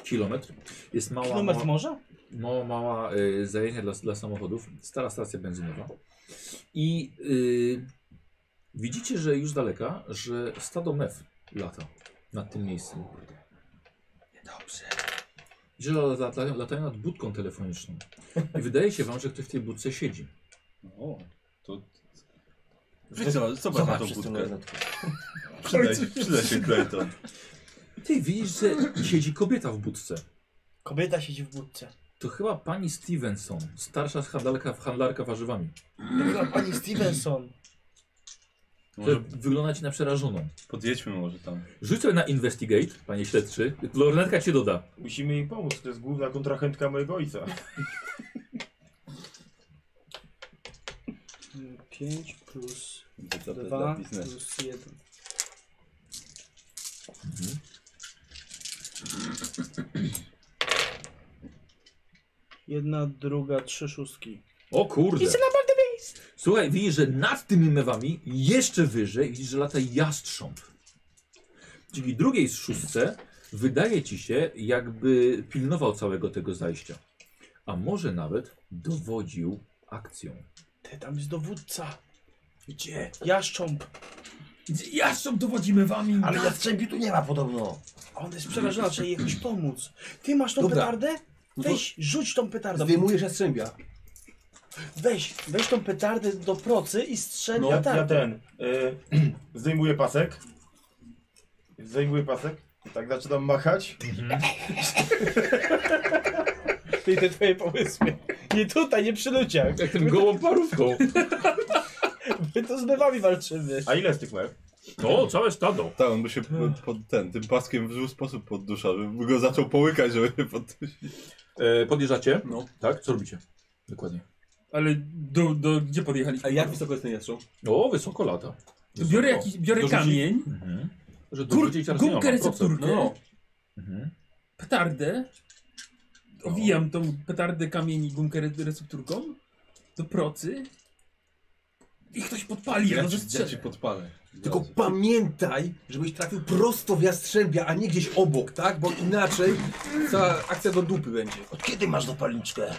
Speaker 1: kilometr, jest mała...
Speaker 5: Kilometr
Speaker 1: mała-
Speaker 5: morza?
Speaker 1: no, mała y, zajęcia dla, dla samochodów, stara stacja benzynowa. I y, widzicie, że już z daleka, że stado mew lata nad tym miejscem. Dobrze. Widzicie, że latają, latają nad budką telefoniczną. I wydaje się wam, że ktoś w tej budce siedzi.
Speaker 2: O, to... Weź zobacz, zobacz na tą budkę. Przyda się, przyda się Clayton.
Speaker 1: Ty widzisz, że siedzi kobieta w budce.
Speaker 5: Kobieta siedzi w budce.
Speaker 1: To chyba pani Stevenson, starsza handlarka, handlarka warzywami.
Speaker 5: Była Tak pani Stevenson.
Speaker 1: Może...
Speaker 2: Może
Speaker 1: Wygląda ci na przerażoną.
Speaker 2: podjedźmy może tam.
Speaker 1: Rzuć sobie na investigate, panie śledczy. Lornetka cię doda.
Speaker 6: Musimy jej pomóc, to jest główna kontrahentka mojego ojca.
Speaker 5: 5 plus
Speaker 2: To dla- dla
Speaker 5: 2
Speaker 2: biznesu.
Speaker 5: plus 1. Jedna, druga, trzy szóstki.
Speaker 1: O kurde.
Speaker 5: Jestem
Speaker 1: naprawdę Słuchaj, widzisz, że nad tymi mewami, jeszcze wyżej, widzisz, że lata jastrząb. Czyli drugiej z szóstce wydaje ci się, jakby pilnował całego tego zajścia. A może nawet dowodził akcją.
Speaker 5: Ty, tam jest dowódca. Gdzie? Jaszcząb.
Speaker 4: Jastrząb dowodzimy wami.
Speaker 7: Ale jastrzębi tu nie ma podobno.
Speaker 5: A On jest przerażony, trzeba jej jakoś pomóc. Ty masz tą
Speaker 3: Dobra.
Speaker 5: petardę? Weź, rzuć tą petardę.
Speaker 3: Zdejmujesz jastrzębia.
Speaker 5: Weź, weź tą petardę do procy i strzel
Speaker 6: No, ja, ja
Speaker 5: petardę.
Speaker 6: ten. Y, zdejmuję pasek. Zdejmuję pasek. I tak zaczynam machać.
Speaker 5: Ty te twoje pomysły. Nie tutaj, nie przy ludziach.
Speaker 1: Jak ten gołą parówką.
Speaker 5: My to z bywami walczymy.
Speaker 6: A ile z tych łeb?
Speaker 1: No, całe stado.
Speaker 2: Tak, on by się pod, pod ten, tym paskiem w zły sposób podduszał, żeby go zaczął połykać, żeby nie poddusić.
Speaker 1: E, podjeżdżacie? No. Tak? Co robicie? Dokładnie.
Speaker 4: Ale do, do, gdzie podjechaliśmy?
Speaker 3: A jak wysoko jest ten jastrząb?
Speaker 1: O, wysoko lata. Wysoko.
Speaker 4: Biorę, jakiś, biorę
Speaker 1: Dorzuci-
Speaker 4: kamień,
Speaker 1: Mhm. Że
Speaker 4: kur,
Speaker 1: dorzucić teraz nie ma,
Speaker 4: gumkę
Speaker 1: procent.
Speaker 4: recepturkę,
Speaker 3: No.
Speaker 1: Mhm.
Speaker 4: petardę, owijam tą petardę, kamień i gumkę re, recepturką do procy i ktoś podpali, ja,
Speaker 2: Ja,
Speaker 4: no
Speaker 2: ci, ja ci
Speaker 4: zastrzelę.
Speaker 2: podpalę.
Speaker 3: Tylko pamiętaj, żebyś trafił prosto w jastrzębia, a nie gdzieś obok, tak? Bo inaczej cała akcja do dupy będzie.
Speaker 7: Od kiedy masz zapalniczkę?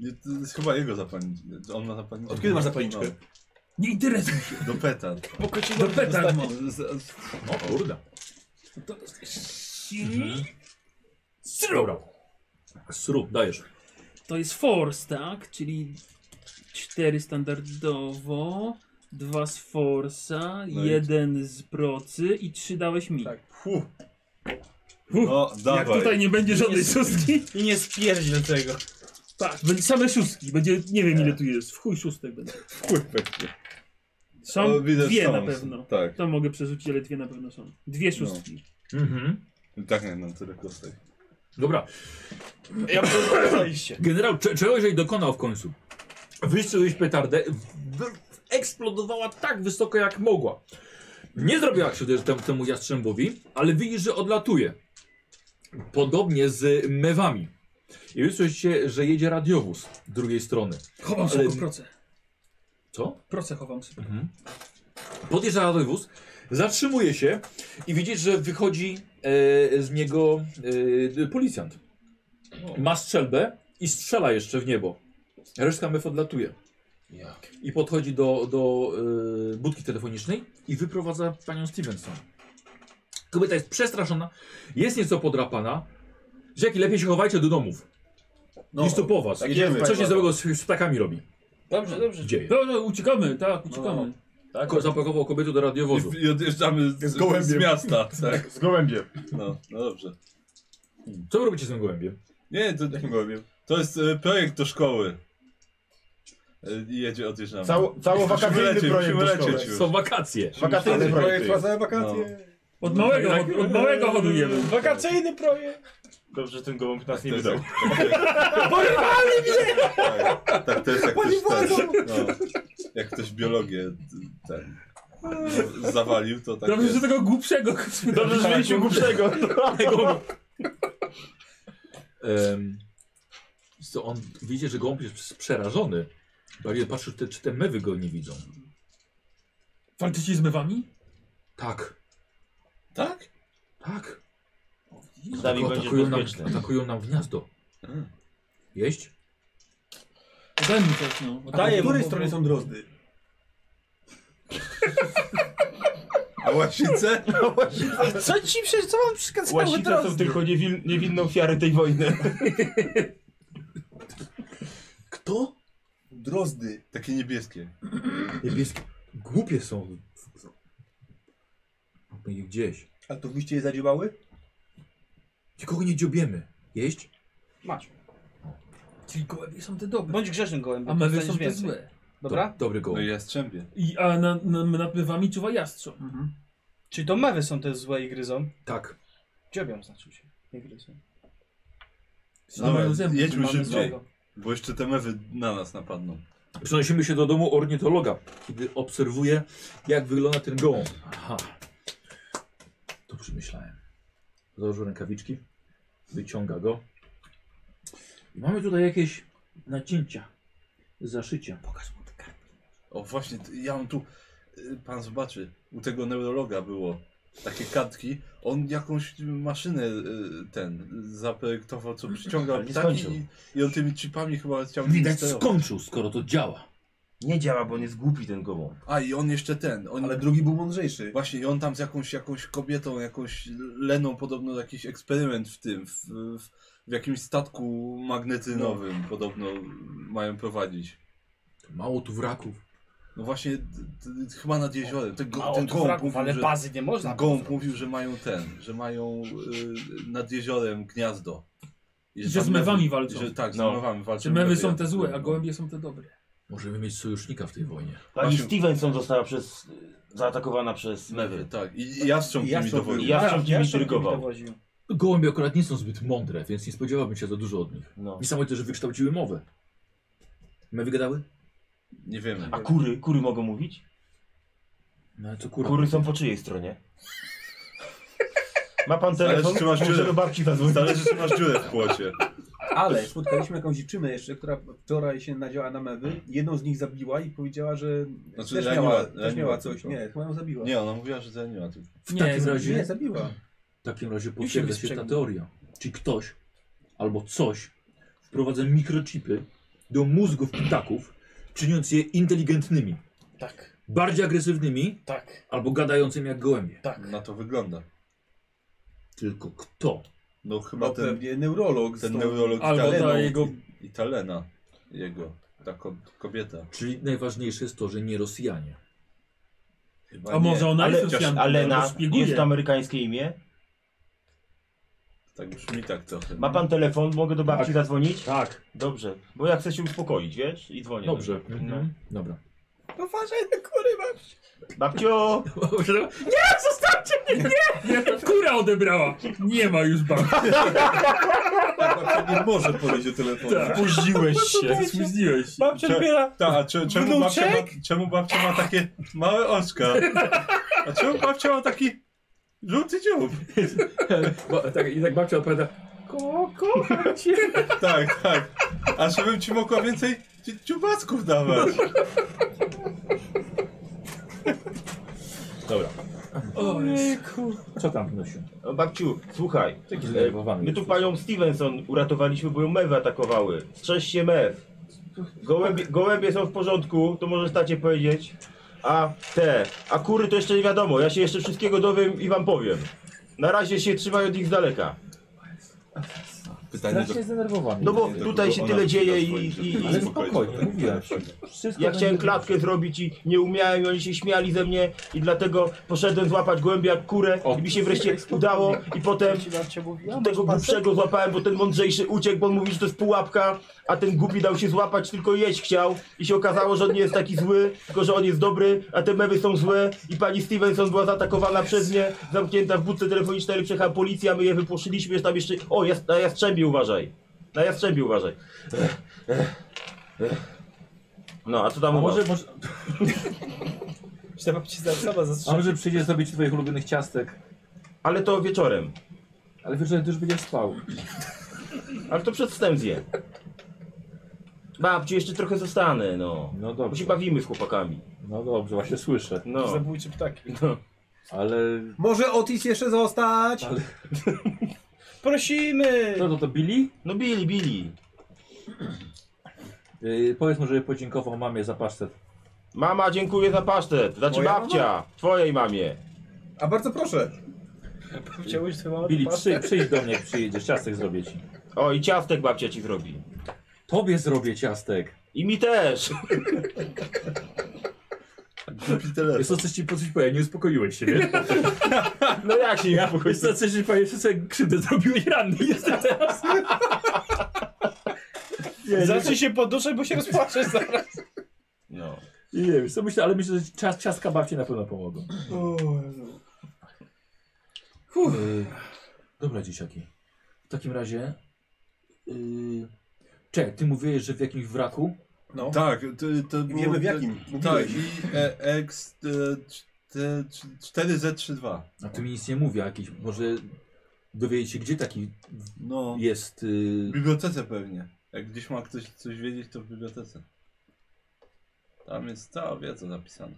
Speaker 2: Nie, to jest chyba jego zapalniczka. On ma zapalniczkę.
Speaker 3: Od kiedy masz zapalniczkę? Tak,
Speaker 4: Nie interesuj się,
Speaker 2: No, do petard.
Speaker 4: do petard mam.
Speaker 2: Z- z-
Speaker 1: O No, kurde.
Speaker 4: To-
Speaker 1: Dobra. Sru, dajesz.
Speaker 4: To jest force, tak? Czyli 4 standardowo, 2 z force'a,
Speaker 2: No i-
Speaker 4: 1 z procy i 3 dałeś mi.
Speaker 3: Tak.
Speaker 2: Fu.
Speaker 4: Hu,
Speaker 2: No,
Speaker 4: Jak
Speaker 2: dawaj.
Speaker 4: tutaj nie będzie żadnej szóstki,
Speaker 5: I nie spierć do tego.
Speaker 4: tak, będzie same szóstki, będzie, nie wiem ile tu jest, w chuj szóstek będzie.
Speaker 2: Kurwa.
Speaker 4: Są
Speaker 2: O, No, widzę,
Speaker 4: dwie
Speaker 2: są. No.
Speaker 4: na pewno.
Speaker 2: Tak.
Speaker 4: To mogę przerzucić, ale dwie na pewno są. Dwie szóstki.
Speaker 1: Mhm.
Speaker 2: Tak, nie mam tyle kostek.
Speaker 1: Dobra.
Speaker 5: Ja przejście.
Speaker 1: Generał, cze- czegoś jej dokonał w końcu. Wystrzeliłeś petardę, w- eksplodowała tak wysoko jak mogła. Nie zrobiła krzywdy tem- temu jastrzębowi, ale widzisz, że odlatuje. Podobnie z mewami. I wysłyszeliście, że jedzie radiowóz drugiej strony.
Speaker 4: Chowam
Speaker 1: Ale-
Speaker 4: sobie w proce.
Speaker 1: Co?
Speaker 4: Proce chowam sobie.
Speaker 1: Podjeżdża radiowóz, zatrzymuje się i widzisz, że wychodzi e, z niego e, policjant. Ma strzelbę i strzela jeszcze w niebo. Reszta mef odlatuje. I podchodzi do, do e, budki telefonicznej i wyprowadza panią Stevenson. Kobieta jest przestraszona, jest nieco podrapana. Rzeki, lepiej się chowajcie do domów.
Speaker 2: No,
Speaker 1: niż to po was.
Speaker 2: tak jest,
Speaker 1: Coś
Speaker 2: tak.
Speaker 1: się złego z, z ptakami robi.
Speaker 5: Dobrze,
Speaker 2: No
Speaker 5: dobrze.
Speaker 1: Dzieje.
Speaker 4: Dobra, uciekamy, tak, uciekamy.
Speaker 1: Tak, zapakował kobietę do radiowozu.
Speaker 2: I, I odjeżdżamy z,
Speaker 6: Z gołębiem.
Speaker 2: z miasta. Tak.
Speaker 6: Z gołębiem.
Speaker 2: No, no dobrze.
Speaker 1: Co wy robicie z tym gołębiem?
Speaker 2: Nie, to jakim gołębiem? To jest e, projekt do szkoły. E, I jedzie, odjeżdżamy.
Speaker 6: Cało, cało
Speaker 2: Musimy
Speaker 6: wakacyjny
Speaker 2: lecieć,
Speaker 6: projekt
Speaker 2: musimy
Speaker 6: do
Speaker 2: lecieć
Speaker 6: szkoły.
Speaker 2: już.
Speaker 1: Są wakacje.
Speaker 6: Wakacyjny projekt. jest.
Speaker 3: całe
Speaker 4: Od małego, od, od małego hodujemy.
Speaker 5: Wakacyjny projekt.
Speaker 6: Dobrze, że ten gołąb nas nie
Speaker 2: To jest
Speaker 6: wydał.
Speaker 2: tak. Tak, tak, to jest jak ktoś ten, no, Jak ktoś biologię t- ten no, zawalił, to tak
Speaker 4: Dobrze,
Speaker 2: jest.
Speaker 4: że tego głupszego Tak. spytałem.
Speaker 6: Dobrze, że mieliśmy głupszego. Tak.
Speaker 1: Em, co on widzi, że gołąb jest przerażony. Bardziej patrzy, czy te, czy te mewy go nie widzą.
Speaker 4: Walczycie z mewami?
Speaker 1: Tak,
Speaker 2: Tak?
Speaker 1: tak.
Speaker 6: Z nami
Speaker 1: Tylko
Speaker 6: będziesz
Speaker 1: atakują, nam,
Speaker 6: bezpieczny.
Speaker 1: atakują nam gniazdo. Jeść?
Speaker 4: Daj mi coś, no.
Speaker 3: A po
Speaker 5: Daję mu,
Speaker 3: której
Speaker 5: bo-
Speaker 3: stronie są drozdy?
Speaker 2: A łasice?
Speaker 5: Co ci przecież, co
Speaker 3: No.
Speaker 5: mam przeszkadzało
Speaker 6: Łasice są
Speaker 5: teraz?
Speaker 6: tylko niewin, niewinną ofiary tej wojny.
Speaker 1: Kto?
Speaker 3: Drozdy.
Speaker 2: Takie niebieskie.
Speaker 1: Niebieskie. Głupie są. Będzie gdzieś.
Speaker 3: A to wyście je zadziałały?
Speaker 1: Nikogo nie dziobiemy. Jeść?
Speaker 5: Masz.
Speaker 4: Czyli gołębie są te dobre.
Speaker 5: Bądź grzecznym
Speaker 4: A
Speaker 5: gołębiem.
Speaker 4: mewy
Speaker 5: dostaniesz
Speaker 4: są te
Speaker 5: więcej.
Speaker 4: złe.
Speaker 5: Dobra?
Speaker 1: Do, dobry
Speaker 2: No
Speaker 1: gołąb.
Speaker 2: i jastrzębie.
Speaker 4: I, a na, na, nad mewami czuwa jastrząb.
Speaker 5: Czyli to mewy są te złe i gryzą?
Speaker 1: Tak.
Speaker 5: Dziobią znaczy się. Nie gryzą.
Speaker 2: Dobra,
Speaker 4: Same zęby.
Speaker 2: jedźmy
Speaker 5: Mamy
Speaker 2: szybciej,
Speaker 5: złego.
Speaker 2: bo jeszcze te mewy na nas napadną.
Speaker 1: Przenosimy się do domu ornitologa, kiedy obserwuję, jak wygląda ten gołąb. Aha. Dobrze myślałem. Założył rękawiczki, wyciąga go. I mamy tutaj jakieś nacięcia, zaszycia. Pokaż mu te kartki.
Speaker 2: O właśnie, t- ja mam tu, y, pan zobaczy, u tego neurologa było takie kartki, on jakąś maszynę y, ten zaprojektował, co przyciąga
Speaker 6: Ale nie
Speaker 2: ptaki
Speaker 6: skończył.
Speaker 2: i, i on tymi chipami chyba chciał nimi
Speaker 6: Widać
Speaker 2: sterować.
Speaker 6: skończył, skoro to działa. Nie działa, bo on jest głupi ten gołąb.
Speaker 2: A i on jeszcze ten, on,
Speaker 3: Ale drugi był mądrzejszy.
Speaker 2: właśnie i on tam z jakąś, jakąś kobietą, jakąś Leną podobno jakiś eksperyment w tym, w, w, w jakimś statku magnetynowym podobno mają prowadzić.
Speaker 1: Mało tu wraków.
Speaker 2: No właśnie, d- d- chyba nad jeziorem. Ten, go,
Speaker 5: Mało
Speaker 2: ten
Speaker 5: tu
Speaker 2: gołąb
Speaker 5: wraków,
Speaker 2: mówił,
Speaker 5: ale
Speaker 2: że,
Speaker 5: bazy nie można.
Speaker 2: ten gołąb mówił, że mają ten, że mają y, nad jeziorem gniazdo. I
Speaker 4: Że
Speaker 2: tam
Speaker 4: z mewami
Speaker 2: mewy-
Speaker 4: walczą.
Speaker 2: Że, tak, z
Speaker 8: No.
Speaker 2: mewami walczą.
Speaker 4: Czy mewy są te złe, a gołębie są te dobre.
Speaker 1: Możemy mieć sojusznika w tej wojnie.
Speaker 6: Pani
Speaker 2: Właśnie-
Speaker 6: Stevenson została przez, zaatakowana przez mewy.
Speaker 2: Mewy, tak. I, i jastrząb
Speaker 3: I
Speaker 2: nimi
Speaker 3: jastrząb
Speaker 2: dowodził.
Speaker 6: I jastrząb
Speaker 5: Tak,
Speaker 6: nimi
Speaker 5: jastrząb nimi
Speaker 6: dyrygował.
Speaker 5: dowodził.
Speaker 1: Gołębie akurat nie są zbyt mądre, więc nie spodziewałbym się za dużo od nich.
Speaker 6: No.
Speaker 1: Niesamowite, że wykształciły mowę. Mewy gadały?
Speaker 2: Nie wiemy.
Speaker 6: A kury, kury mogą mówić?
Speaker 1: No ale co kurwa.
Speaker 6: Kury są po czyjej stronie? Ma pan telefon?
Speaker 2: Zależy, czy masz
Speaker 6: Muszę
Speaker 2: dziurę.
Speaker 6: do babci zadzwonić.
Speaker 2: Zależy, czy masz dziurę w płocie.
Speaker 3: Ale spotkaliśmy jakąś dziewczynę jeszcze, która wczoraj się nadziała na mewy. Jedną z nich zabiła i powiedziała, że
Speaker 2: Znaczy,
Speaker 3: też,
Speaker 2: raniła-
Speaker 3: miała, też
Speaker 2: raniła
Speaker 3: miała coś.
Speaker 2: tylko.
Speaker 3: Nie, chyba ją zabiła.
Speaker 2: Nie, no ona mówiła, że zraniła tylko.
Speaker 1: W
Speaker 4: Nie,
Speaker 1: takim
Speaker 4: za-
Speaker 1: razie
Speaker 3: nie zabiła.
Speaker 1: W takim razie
Speaker 3: Już
Speaker 1: potwierdza się
Speaker 3: się
Speaker 1: ta
Speaker 3: wystrzegł.
Speaker 1: teoria. Czyli ktoś albo coś wprowadza mikrochipy do mózgów ptaków, czyniąc je inteligentnymi,
Speaker 5: Tak,
Speaker 1: bardziej agresywnymi
Speaker 5: tak,
Speaker 1: albo gadającymi jak gołębie.
Speaker 5: tak.
Speaker 2: Na to wygląda.
Speaker 1: Tylko kto?
Speaker 2: No chyba
Speaker 3: No
Speaker 2: ten,
Speaker 3: pewnie neurolog. z
Speaker 2: ten
Speaker 3: tą-
Speaker 2: neurolog
Speaker 4: Albo
Speaker 2: Italeną
Speaker 4: ta jego-
Speaker 2: i, i ta Lena, jego, ta ko kobieta.
Speaker 1: Czyli najważniejsze jest to, że nie Rosjanie.
Speaker 2: Chyba
Speaker 4: A może ona
Speaker 6: Ale,
Speaker 4: jest Rosjanką,
Speaker 6: ale
Speaker 4: albo
Speaker 2: no,
Speaker 6: na,
Speaker 4: szpieguje.
Speaker 6: jest to amerykańskie imię?
Speaker 2: Tak brzmi tak trochę.
Speaker 6: Ma pan telefon? Mogę do babci
Speaker 1: Tak.
Speaker 6: zadzwonić?
Speaker 1: Tak.
Speaker 6: Dobrze, bo ja chcę się uspokoić, wiesz? I dzwonię.
Speaker 1: Dobrze.
Speaker 6: No.
Speaker 1: Mhm. Dobra.
Speaker 5: No Uważaj na kury, babci.
Speaker 6: Babcio!
Speaker 4: Nie, kura odebrała! Nie ma już babci.
Speaker 2: pan nie może powiedzieć o telefonie.
Speaker 4: Tak.
Speaker 6: Uziłeś się.
Speaker 4: Spóźniłeś się.
Speaker 5: Babcia odbiera.
Speaker 2: Ta, Tak, a cze- czemu, babcia ma,
Speaker 5: Wnuczek?
Speaker 2: czemu babcia ma takie małe oczka? A czemu babcia ma taki żółty dziób?
Speaker 1: Ba, tak, I tak babcia odpowiada. Ko, kocham cię.
Speaker 2: Tak, tak. A żebym ci mogła więcej ci- dziubacków dawać.
Speaker 1: Dobra.
Speaker 5: Ojejku.
Speaker 1: Co tam wnosił?
Speaker 6: O, Babciu, słuchaj.
Speaker 1: Taki
Speaker 6: e,
Speaker 1: zdenerwowany
Speaker 6: My
Speaker 1: jesteś.
Speaker 6: tu panią Stevenson uratowaliśmy, bo ją mewy atakowały. Strzeż się mew. Gołębie, gołębie są w porządku, to możesz tacie powiedzieć. A te, a kury to jeszcze nie wiadomo, ja się jeszcze wszystkiego dowiem i wam powiem. Na razie się trzymaj od nich z daleka.
Speaker 2: Pytanie do...
Speaker 1: zdenerwowany.
Speaker 6: No bo
Speaker 2: do
Speaker 6: tutaj
Speaker 2: kogo
Speaker 6: się
Speaker 2: ona
Speaker 6: tyle dzieje
Speaker 2: zadzwoni,
Speaker 6: i-
Speaker 2: żeby
Speaker 6: i- i-
Speaker 1: Ale
Speaker 2: uspokoić go
Speaker 1: spokojnie,
Speaker 2: tak?
Speaker 1: mówiłem ci. Wszystko będzie
Speaker 6: Ja chciałem
Speaker 1: dobrze.
Speaker 6: klatkę zrobić i nie umiałem i oni się śmiali ze mnie i dlatego poszedłem złapać gołębia jak kurę
Speaker 1: O.
Speaker 6: i mi się wreszcie udało i potem
Speaker 5: Ci babcia
Speaker 1: No,
Speaker 5: mówiła?
Speaker 6: tego głupszego złapałem, bo ten mądrzejszy uciekł, bo on mówi, że to jest pułapka, a ten głupi dał się złapać, tylko jeść chciał i się okazało, że on nie jest taki zły, tylko że on jest dobry, a te mewy są złe i pani Stevenson była zaatakowana przez nie, zamknięta w budce telefonicznej, ale przyjechała policja, my je wypłoszyliśmy, jest tam jeszcze... O, jas na jastrzębie uważaj, na jastrzębie uważaj. No, a co tam
Speaker 1: A
Speaker 6: u was?
Speaker 1: może, może,
Speaker 5: Czy ta babcia za- sama
Speaker 1: a
Speaker 5: zastrzeli?
Speaker 1: może przyjdzie zrobić twoich ulubionych ciastek,
Speaker 6: Ale to wieczorem,
Speaker 1: ale wiesz, że ty już będziesz spał.
Speaker 6: ale to przed snem zje. Babciu, jeszcze trochę zostanę, no.
Speaker 1: No
Speaker 6: Bo się
Speaker 1: dobrze,
Speaker 6: bawimy z chłopakami.
Speaker 1: no dobrze, właśnie słyszę.
Speaker 6: No.
Speaker 5: Zabójczy ptaki.
Speaker 1: Ale
Speaker 3: Może Otis jeszcze zostać?
Speaker 1: Ale-
Speaker 5: Prosimy!
Speaker 1: co to, to Billy?
Speaker 6: No bili, bili.
Speaker 1: Yy, powiedz mu, żeby podziękował mamie za pasztet.
Speaker 6: Mama, dziękuję za pasztet. Znaczy
Speaker 3: Moja
Speaker 6: babcia, twojej mamie.
Speaker 3: A bardzo proszę.
Speaker 5: Chciałbyś twoją mamę
Speaker 1: Billy,
Speaker 5: zobaczyć?
Speaker 1: przy, przyjdź do mnie, jak przyjedziesz, ciastek zrobię ci.
Speaker 6: O, i ciastek babcia ci zrobi.
Speaker 1: Tobie zrobię ciastek.
Speaker 6: I mi też.
Speaker 2: Głupi telefon.
Speaker 1: Jest to coś ci po coś powiem, nie uspokoiłeś się, wiesz?
Speaker 6: No jak się nie
Speaker 1: Jest to coś ci powiem, że sobie krzywdę zrobiłeś ranny jestem teraz.
Speaker 5: Zacznij się poduszać, bo się rozpłaczesz zaraz.
Speaker 6: No.
Speaker 1: Nie wiem, co myślę, ale myślę, że cias, ciastka babci na pewno pomogą. Yy, dobra, dzieciaki. W takim razie... Yy, Czekaj, ty mówiłeś, że w jakimś wraku?
Speaker 3: No.
Speaker 2: Tak, to, to było-
Speaker 3: Wiemy w jakim.
Speaker 2: Tak,
Speaker 3: Mówiłeś.
Speaker 2: i e, X e, czte- cz- 4Z32.
Speaker 1: A ty mi nic nie mówi, a jakiś, może dowiedzieć się, gdzie taki
Speaker 2: No,
Speaker 1: jest...
Speaker 2: w
Speaker 1: Yy...
Speaker 2: bibliotece pewnie. Jak gdzieś ma ktoś coś wiedzieć, to w bibliotece. Tam jest cała wiedza napisana.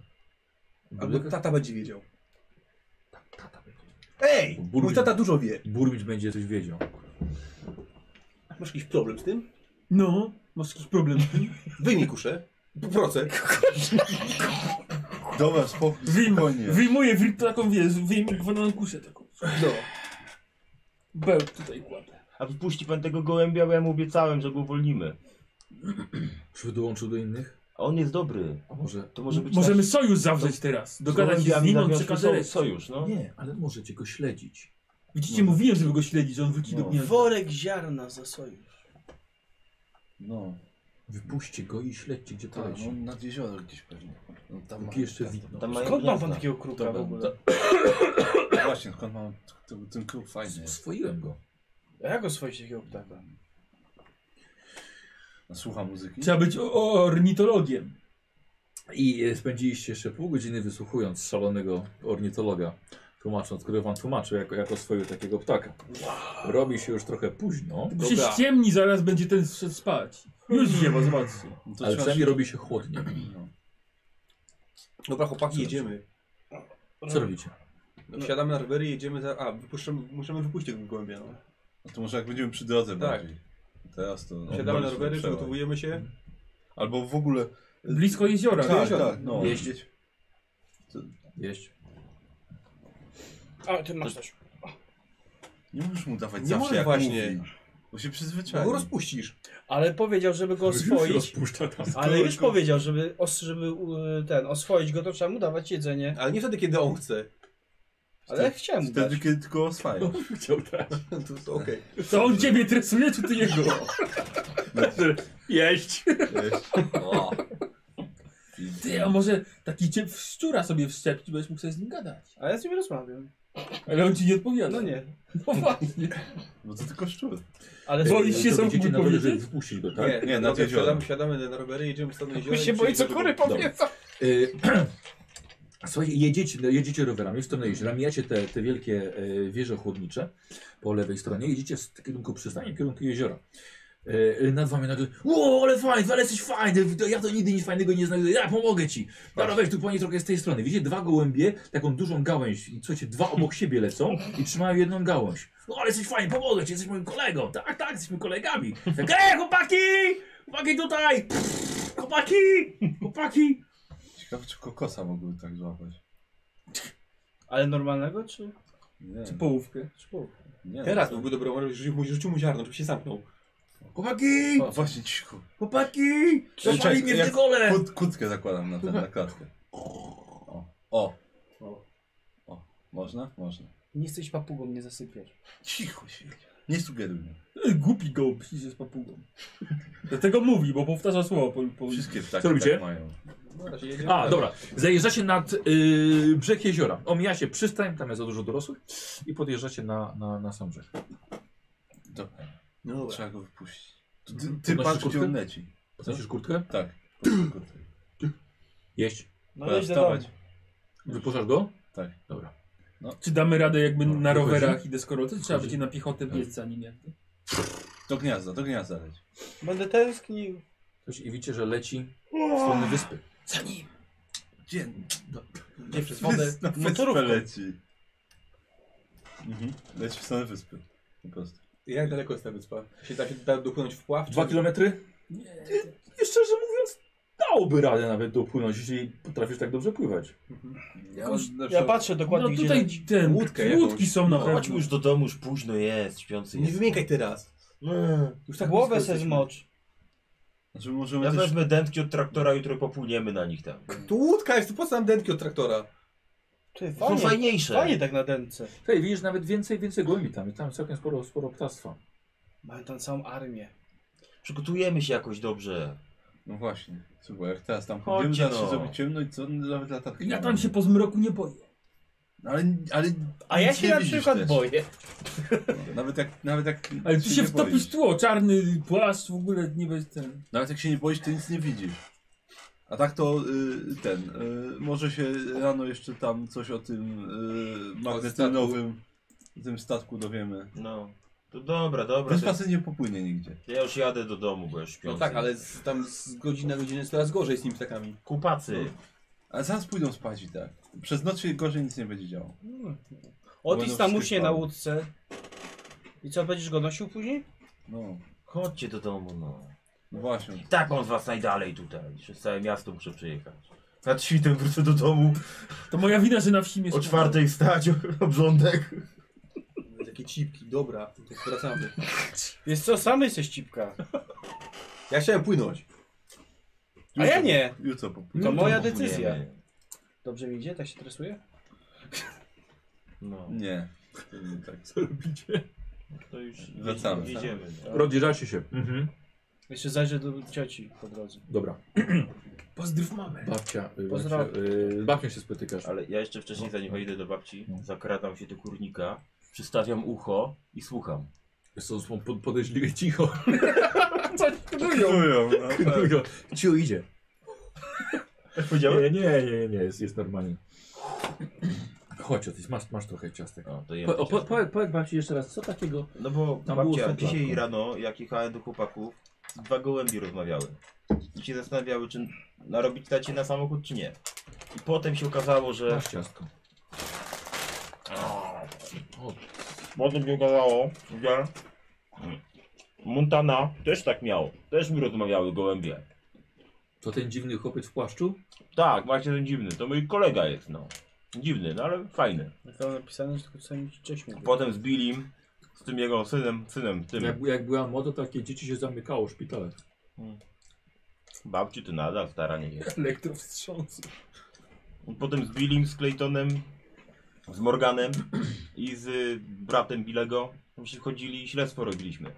Speaker 3: Albo tata będzie wiedział.
Speaker 1: Tata będzie.
Speaker 3: Ej! Mój
Speaker 1: Burmistrz.
Speaker 3: tata dużo wie.
Speaker 1: Burmistrz będzie coś wiedział.
Speaker 3: Masz jakiś problem z tym?
Speaker 4: No, masz jakiś problem z tym?
Speaker 3: Wyjmij kuszę. Procę.
Speaker 2: Dobra, spokój,
Speaker 4: Wyjm,
Speaker 2: spokojnie.
Speaker 4: wyjmuję w, taką, wiesz, wyjmuję kuszę taką.
Speaker 3: No.
Speaker 4: Bełt tutaj kładę.
Speaker 7: A wypuści pan tego gołębia, bo ja mu obiecałem, że go uwolnimy.
Speaker 1: Czy dołączył do innych?
Speaker 7: A on jest dobry.
Speaker 1: A może...
Speaker 7: To może być
Speaker 4: Możemy
Speaker 7: nasz-
Speaker 4: sojusz zawrzeć teraz. Dogadać się z
Speaker 7: gołębiami
Speaker 4: nim, on
Speaker 7: zawiążmy
Speaker 4: przekaże
Speaker 7: so-
Speaker 4: resztę.
Speaker 7: sojusz, no.
Speaker 1: Nie, ale możecie go śledzić.
Speaker 4: Widzicie, mówiłem, żeby go śledzić, że on wróci do
Speaker 2: No.
Speaker 4: gniazda.
Speaker 9: Worek ziarna za sojusz.
Speaker 2: No,
Speaker 1: Wypuśćcie go i śledźcie, gdzie
Speaker 2: tak,
Speaker 1: poleci.
Speaker 2: on nad jezioro gdzieś pewnie. No, tam
Speaker 1: Póki jeszcze widno.
Speaker 7: Tam mają
Speaker 5: Skąd ma pan
Speaker 7: gniazda.
Speaker 5: takiego kruka w ogóle?
Speaker 2: To, właśnie, skąd mam t- t- ten klub fajny. jest.
Speaker 1: Swoiłem go.
Speaker 5: A jak oswoić takiego ptaka?
Speaker 2: A Słucha muzyki.
Speaker 4: Trzeba być o- o- ornitologiem.
Speaker 1: I e, spędziliście jeszcze pół godziny wysłuchując szalonego ornitologa, tłumacząc, który wam tłumaczył jako, jako swojego takiego ptaka. Robi się już trochę późno,
Speaker 4: Bo się ściemni, zaraz będzie ten szedł spać. Już ziewa, zobaczcie.
Speaker 2: No to
Speaker 1: ale
Speaker 2: trzeba
Speaker 1: przynajmniej
Speaker 2: się-
Speaker 1: robi się chłodniej.
Speaker 2: No.
Speaker 3: Dobra, chłopaki, jedziemy.
Speaker 1: Co robicie?
Speaker 3: Wsiadamy na rowery, jedziemy za... A, wypuszczamy, musimy wypuścić tego gołębia. No.
Speaker 2: no to może jak będziemy przy drodze
Speaker 3: Tak.
Speaker 2: bardziej. Teraz to... No,
Speaker 3: Wsiadamy na
Speaker 2: bardziej
Speaker 3: rowery,
Speaker 2: trzeba.
Speaker 3: przygotowujemy się.
Speaker 2: Albo w ogóle...
Speaker 4: Blisko jeziora.
Speaker 2: Tak,
Speaker 4: wiesz?
Speaker 2: tak, no.
Speaker 1: Jeść. Jeść.
Speaker 5: A, ty masz coś.
Speaker 2: Nie możesz mu dawać
Speaker 3: Nie
Speaker 2: zawsze
Speaker 3: możesz
Speaker 2: jak
Speaker 3: właśnie.
Speaker 2: mówi. Bo się
Speaker 3: Bo
Speaker 2: przyzwyczai.
Speaker 3: No, go rozpuścisz.
Speaker 5: Ale powiedział, żeby go oswoić.
Speaker 1: Rozpuszcza tam.
Speaker 5: Ale już powiedział, żeby, os, żeby u- ten, oswoić go, to trzeba mu dawać jedzenie.
Speaker 3: Ale nie wtedy, kiedy on chce.
Speaker 5: Ale ja chciałem mu dać.
Speaker 2: Wtedy, kiedy tylko oswajasz.
Speaker 1: Chciał dać.
Speaker 3: To, to okej.
Speaker 4: To on ciebie tresuje, czy ty jego?
Speaker 1: Jeść.
Speaker 2: O.
Speaker 4: Ty, a może taki cię w szczura sobie wszczepić, będziesz mógł sobie z nim gadać.
Speaker 5: A ja z nim rozmawiam.
Speaker 4: Ale on ci nie odpowiada.
Speaker 5: No nie.
Speaker 4: No właśnie.
Speaker 2: Bo No to tylko szczur.
Speaker 5: Ale
Speaker 4: Bo- Boisz się, co
Speaker 1: Będziecie
Speaker 4: mógł
Speaker 1: na tyle, żeby
Speaker 4: powiedzieć?
Speaker 1: wypuścić go, tak?
Speaker 3: Okay.
Speaker 2: Nie, na
Speaker 3: dobra,
Speaker 2: jezioro.
Speaker 3: wsiadamy, wsiadamy na rowery, jedziemy w stronę jeziora.
Speaker 5: Bo się
Speaker 3: i
Speaker 5: boi, co kury
Speaker 3: przyjedziemy do-
Speaker 5: powiedzą.
Speaker 1: Y, Słuchajcie, jedziecie, no, jedziecie rowerami w stronę jeziora, mijacie te, te wielkie e, wieże chłodnicze po lewej stronie, jedziecie w kierunku przystani, w kierunku jeziora. E, nad wami nagle, o, ale fajny, ale jesteś fajny, ja to nigdy nic fajnego nie znajdę, ja pomogę ci. Dobra, weź tu po niej trochę z tej strony. Widzicie dwa gołębie, taką dużą gałęź, i słuchajcie, dwa obok siebie lecą i trzymają jedną gałąź. O, ale jesteś fajny, pomogę ci, jesteś moim kolegą, tak, tak, jesteśmy kolegami. Tak, e, chłopaki, chłopaki tutaj, Pff, chłopaki, chłopaki.
Speaker 2: Ciekawe, czy kokosa mogłyby tak złapać.
Speaker 5: Ale normalnego czy?
Speaker 2: Nie,
Speaker 4: Czy połówkę?
Speaker 5: czy połówkę?
Speaker 2: nie.
Speaker 3: Teraz byłby dobry moment, rzucił mu, rzucił mu ziarno, żeby się zamknął.
Speaker 1: Chłopaki!
Speaker 4: No.
Speaker 2: A, właśnie, cicho.
Speaker 1: Chłopaki! Zapali
Speaker 2: Czekaj,
Speaker 1: mnie w
Speaker 2: jak-
Speaker 1: tygole!
Speaker 2: Kut, kutkę zakładam na ten, na klatkę. O. O. O. Można? Można.
Speaker 5: Nie jesteś papugą, nie zasypiasz.
Speaker 2: Cicho się. Nie sugeruj mnie.
Speaker 4: E, Głupi gołb się z papugą. Dlatego mówi, bo powtarza słowo po, po...
Speaker 2: Wszystkie ptaki
Speaker 1: Co robicie?
Speaker 2: tak mają.
Speaker 3: No, raczej jedziemy.
Speaker 1: A, dobra. Zajeżdżacie nad y, brzeg jeziora. Omijacie przystań, tam jest za dużo dorosłych i podjeżdżacie na, na, na sam brzeg.
Speaker 2: Dobra.
Speaker 3: No dobra.
Speaker 2: Trzeba go wypuścić. To ty,
Speaker 1: Mhm.
Speaker 2: ty
Speaker 1: Podnosisz
Speaker 2: patrz, gdzie on
Speaker 1: kurtkę?
Speaker 2: leci.
Speaker 1: Znosisz kurtkę?
Speaker 2: Tak. Kutkę.
Speaker 1: Jeść.
Speaker 5: No
Speaker 2: Dobra,
Speaker 5: idź do
Speaker 2: wstawać.
Speaker 5: domu.
Speaker 1: Wypuszczasz go?
Speaker 2: Tak.
Speaker 1: Dobra.
Speaker 4: Czy damy radę jakby
Speaker 1: No,
Speaker 4: na
Speaker 1: wychodzi.
Speaker 4: rowerach i deskorolce? Trzeba
Speaker 1: Wychodzi.
Speaker 4: będzie na piechotę
Speaker 1: Tak.
Speaker 4: biec za nim jakby.
Speaker 2: Do gniazda, do gniazda leci.
Speaker 5: Będę tęsknił.
Speaker 1: Coś i widzicie, że leci w stronę wyspy.
Speaker 2: Gdzie?
Speaker 3: Gdzie przez wodę?
Speaker 4: No
Speaker 2: Na wyspę leci. Mhm. Leci w stronę wyspy. Po prostu.
Speaker 3: Jak daleko jest ta wyspa? Się da się da dopłynąć w pław?
Speaker 1: Dwa
Speaker 3: czy-
Speaker 1: kilometry?
Speaker 4: Nie.
Speaker 1: I szczerze mówiąc, dałoby radę nawet dopłynąć, jeśli potrafisz tak dobrze pływać.
Speaker 2: Ja,
Speaker 5: Ja patrzę dokładnie
Speaker 4: No
Speaker 5: gdzie
Speaker 4: tutaj
Speaker 5: leci.
Speaker 4: ten,
Speaker 3: Łódkę jakąś.
Speaker 4: łódki są
Speaker 6: No,
Speaker 4: na
Speaker 7: Chodź
Speaker 4: pewno.
Speaker 7: już do domu, już późno jest, śpiący
Speaker 3: Nie
Speaker 7: jest.
Speaker 3: wymiękaj teraz.
Speaker 7: Eee.
Speaker 3: Już tak
Speaker 5: Głowę
Speaker 3: blisko
Speaker 5: se
Speaker 3: jesteśmy.
Speaker 5: zmocz.
Speaker 2: Znaczy możemy
Speaker 7: Ja
Speaker 2: też...
Speaker 7: wezmę dętki od traktora, jutro popłyniemy na nich tam.
Speaker 3: Tu łódka jest, tu po co nam dętki od traktora?
Speaker 5: Ty,
Speaker 6: No,
Speaker 7: Są
Speaker 5: fajnie,
Speaker 7: fajniejsze.
Speaker 5: fajnie tak na dętce.
Speaker 1: Hej, widzisz nawet więcej, więcej głębi tam. Jest Tam całkiem sporo, sporo ptactwa.
Speaker 5: Mają tam całą armię.
Speaker 7: Przygotujemy się jakoś dobrze.
Speaker 2: No właśnie. Słuchaj, jak teraz tam
Speaker 7: Chodźcie,
Speaker 2: chodzimy, zaraz się
Speaker 7: no.
Speaker 2: zrobi ciemno i co? Nawet latarki
Speaker 4: Ja
Speaker 2: nie
Speaker 4: tam
Speaker 2: mamy.
Speaker 4: się po zmroku nie boję.
Speaker 2: Ale, ale
Speaker 5: A ja
Speaker 2: nic
Speaker 5: się
Speaker 2: nie
Speaker 5: na
Speaker 2: widzisz
Speaker 5: przykład
Speaker 2: też.
Speaker 5: boję.
Speaker 2: No, Nawet jak, nawet jak
Speaker 4: Ale ty się
Speaker 2: nie
Speaker 4: wtopisz
Speaker 2: boisz.
Speaker 4: w tło, czarny płaszcz, w ogóle nie będzie ten...
Speaker 2: Nawet jak się nie boisz, to nic nie widzisz. A tak to y, ten, y, może się rano jeszcze tam coś o tym y, magnetynowym, tym statku dowiemy.
Speaker 7: No.
Speaker 6: To dobra, dobra.
Speaker 2: Ten
Speaker 6: To
Speaker 2: facet nie popłynie nigdzie.
Speaker 6: ja już jadę do domu, bo ja śpiący.
Speaker 3: No tak, ale z, tam z godziny na godzinę jest coraz gorzej z tymi ptakami.
Speaker 6: Kupacy.
Speaker 2: A zaraz pójdą spać i tak. Przez noc się gorzej nic nie będzie działo.
Speaker 5: Otis tam uśnie na
Speaker 2: Będą
Speaker 5: łódce. I co, będziesz go nosił później?
Speaker 2: No,
Speaker 6: Chodźcie do domu, no.
Speaker 2: no właśnie.
Speaker 6: I tak mam z was najdalej tutaj. Przez całe miasto muszę przejechać. Nad świtem wrócę do domu
Speaker 4: To moja wina, że na wsi
Speaker 6: o
Speaker 4: mieszkam.
Speaker 6: czwartej wstać, obrządek.
Speaker 3: Takie cipki, dobra, to wracamy.
Speaker 5: Wiesz co, sam jesteś cipka.
Speaker 3: Ja chciałem płynąć.
Speaker 5: A ja nie.
Speaker 2: Jutro popłynie.
Speaker 5: To moja
Speaker 6: Popłyniemy.
Speaker 5: decyzja. Dobrze mi idzie? Tak się stresuję?
Speaker 6: No,
Speaker 2: Nie. To nie tak.
Speaker 1: Co robicie?
Speaker 6: to już
Speaker 2: Wracamy.
Speaker 6: jedziemy. No.
Speaker 1: Rozjeżdżacie się. Mhm.
Speaker 5: Jeszcze zajrzę do cioci po drodze.
Speaker 1: Dobra.
Speaker 4: Pozdrów mamy.
Speaker 1: Babcia, y, babcia
Speaker 5: Pozdrawiam.
Speaker 1: y, z babcią się spotykasz.
Speaker 6: no. Ale ja jeszcze wcześniej, zanim wejdę do babci, zakradam się do kurnika, przystawiam ucho i słucham.
Speaker 1: Są, są pod- podejrzliwie cicho. Coś
Speaker 2: Knują, no, tak.
Speaker 1: knują. Cicho idzie.
Speaker 6: Powiedziałem?
Speaker 1: Nie, nie, nie, nie, jest, jest normalnie. Chodź, Otis, masz, masz trochę ciastek.
Speaker 6: O, No, to jem
Speaker 1: Po, o, po,
Speaker 6: chociaż.
Speaker 1: powiedz, Tak, powiedz babci jeszcze raz, co takiego?
Speaker 6: No bo
Speaker 1: Tam było
Speaker 6: babcia,
Speaker 1: słodko.
Speaker 6: dzisiaj rano, jak jechałem do chłopaków, dwa gołębie rozmawiały. I się zastanawiały, czy narobić tacie na samochód, czy nie. I potem się okazało, że...
Speaker 1: Masz ciastko. O,
Speaker 6: No, Potem się okazało, że... Montana też tak miał. Też mi rozmawiały gołębie.
Speaker 1: to ten dziwny chłopiec w płaszczu?
Speaker 6: Tak, właśnie ten dziwny, to mój kolega jest, no. Dziwny, no ale fajny.
Speaker 5: Jak tam napisane, że tylko czasami cześć mówię.
Speaker 6: Potem zbili im z tym jego synem, synem, tym.
Speaker 1: Jak, jak była młoda, takie dzieci się zamykało w szpitale.
Speaker 6: Babci to nadal stara nie wie.
Speaker 4: Elektrowstrząs.
Speaker 6: Potem z Billim, z Claytonem, z Morganem i z y, bratem Bilego. Przychodzili i śledztwo robiliśmy.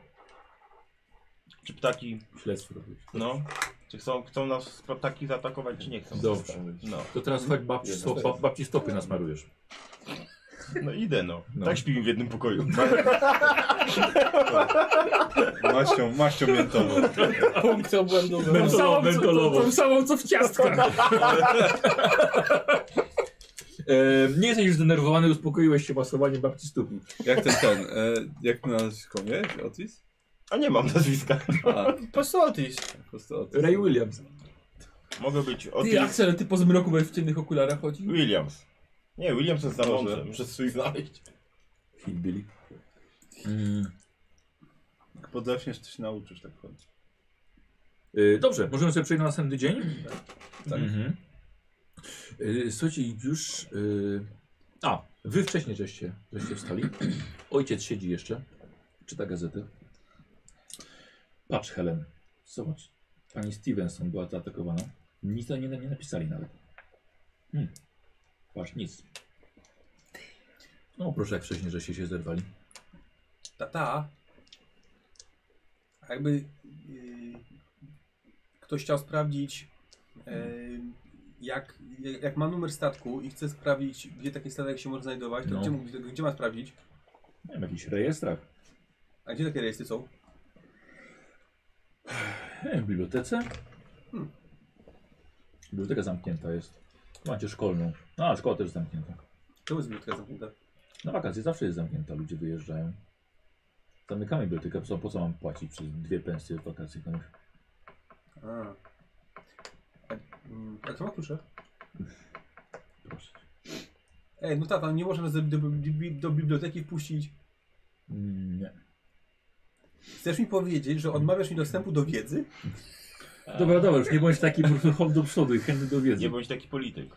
Speaker 6: Czy ptaki,
Speaker 1: Śledztwo robisz.
Speaker 6: no, czy chcą, chcą nas ptaki zaatakować, czy nie chcą?
Speaker 1: Dobrze.
Speaker 6: No,
Speaker 1: To teraz chodź babci, sto, bab, babci stopy nasmarujesz.
Speaker 6: no idę no.
Speaker 1: No.
Speaker 6: Tak śpimy w jednym pokoju.
Speaker 2: Maścią, maścią miętową.
Speaker 5: Punkt obłędowy.
Speaker 4: Tą samą, co,
Speaker 1: mentolowo.
Speaker 4: tą, tą samą, co w ciastkach.
Speaker 1: E, nie jesteś już zdenerwowany, uspokoiłeś się masowaniem babci stóp.
Speaker 2: Jak ten ten, e, jak na nazwisko miałeś? Otis?
Speaker 6: A nie mam nazwiska.
Speaker 2: A,
Speaker 5: Postotis.
Speaker 2: po prostu Otis.
Speaker 1: Ray Williams.
Speaker 6: Mogę być
Speaker 4: Ty,
Speaker 6: Otis
Speaker 4: Axel, ty po zmroku będziesz w ciemnych okularach chodził?
Speaker 6: Williams. Nie, Williams jest za
Speaker 2: Może.
Speaker 6: mądrze, muszę swój znaleźć.
Speaker 1: Hillbilly. Mm.
Speaker 2: Jak Podraśniesz, to się nauczysz tak chodzić.
Speaker 1: Y, Dobrze, możemy sobie przejść na następny dzień.
Speaker 2: Tak.
Speaker 1: Mhm. Y, Słuchajcie, już. y, A, wy wcześniej żeście, żeście wstali. Ojciec siedzi jeszcze, czyta gazety. Patrz, Helen, zobacz. Pani Stevenson była zaatakowana. Nic na nie, nie napisali nawet. Hmm. Patrz, nic. No proszę, jak wcześniej żeście się zerwali.
Speaker 3: Tata. A jakby yy, ktoś chciał sprawdzić, yy, jak, jak ma numer statku i chce sprawdzić, gdzie taki statek się może znajdować, Tak, to
Speaker 1: No.
Speaker 3: gdzie, mógł- gdzie ma sprawdzić?
Speaker 1: Nie wiem, w jakichś rejestrach.
Speaker 3: A gdzie takie rejestry są?
Speaker 1: Nie wiem, E, w bibliotece? Hmm. Biblioteka zamknięta jest. Macie szkolną. A, szkoła też zamknięta.
Speaker 3: To jest biblioteka zamknięta.
Speaker 1: Na wakacje zawsze jest zamknięta, ludzie wyjeżdżają. Zamykamy bibliotekę, po co, po co mam płacić przez dwie pensje w wakacje komuś?
Speaker 3: A. A, mm, a kto ma klucze?
Speaker 1: Proszę.
Speaker 3: Ej, no tata, nie można nas do, do, do biblioteki wpuścić.
Speaker 1: Mm, Nie.
Speaker 3: Chcesz mi powiedzieć, że odmawiasz mi dostępu do wiedzy?
Speaker 1: Dobra, dobra, już nie bądź taki hop do przodu i chętny do wiedzy.
Speaker 6: Nie bądź taki polityk.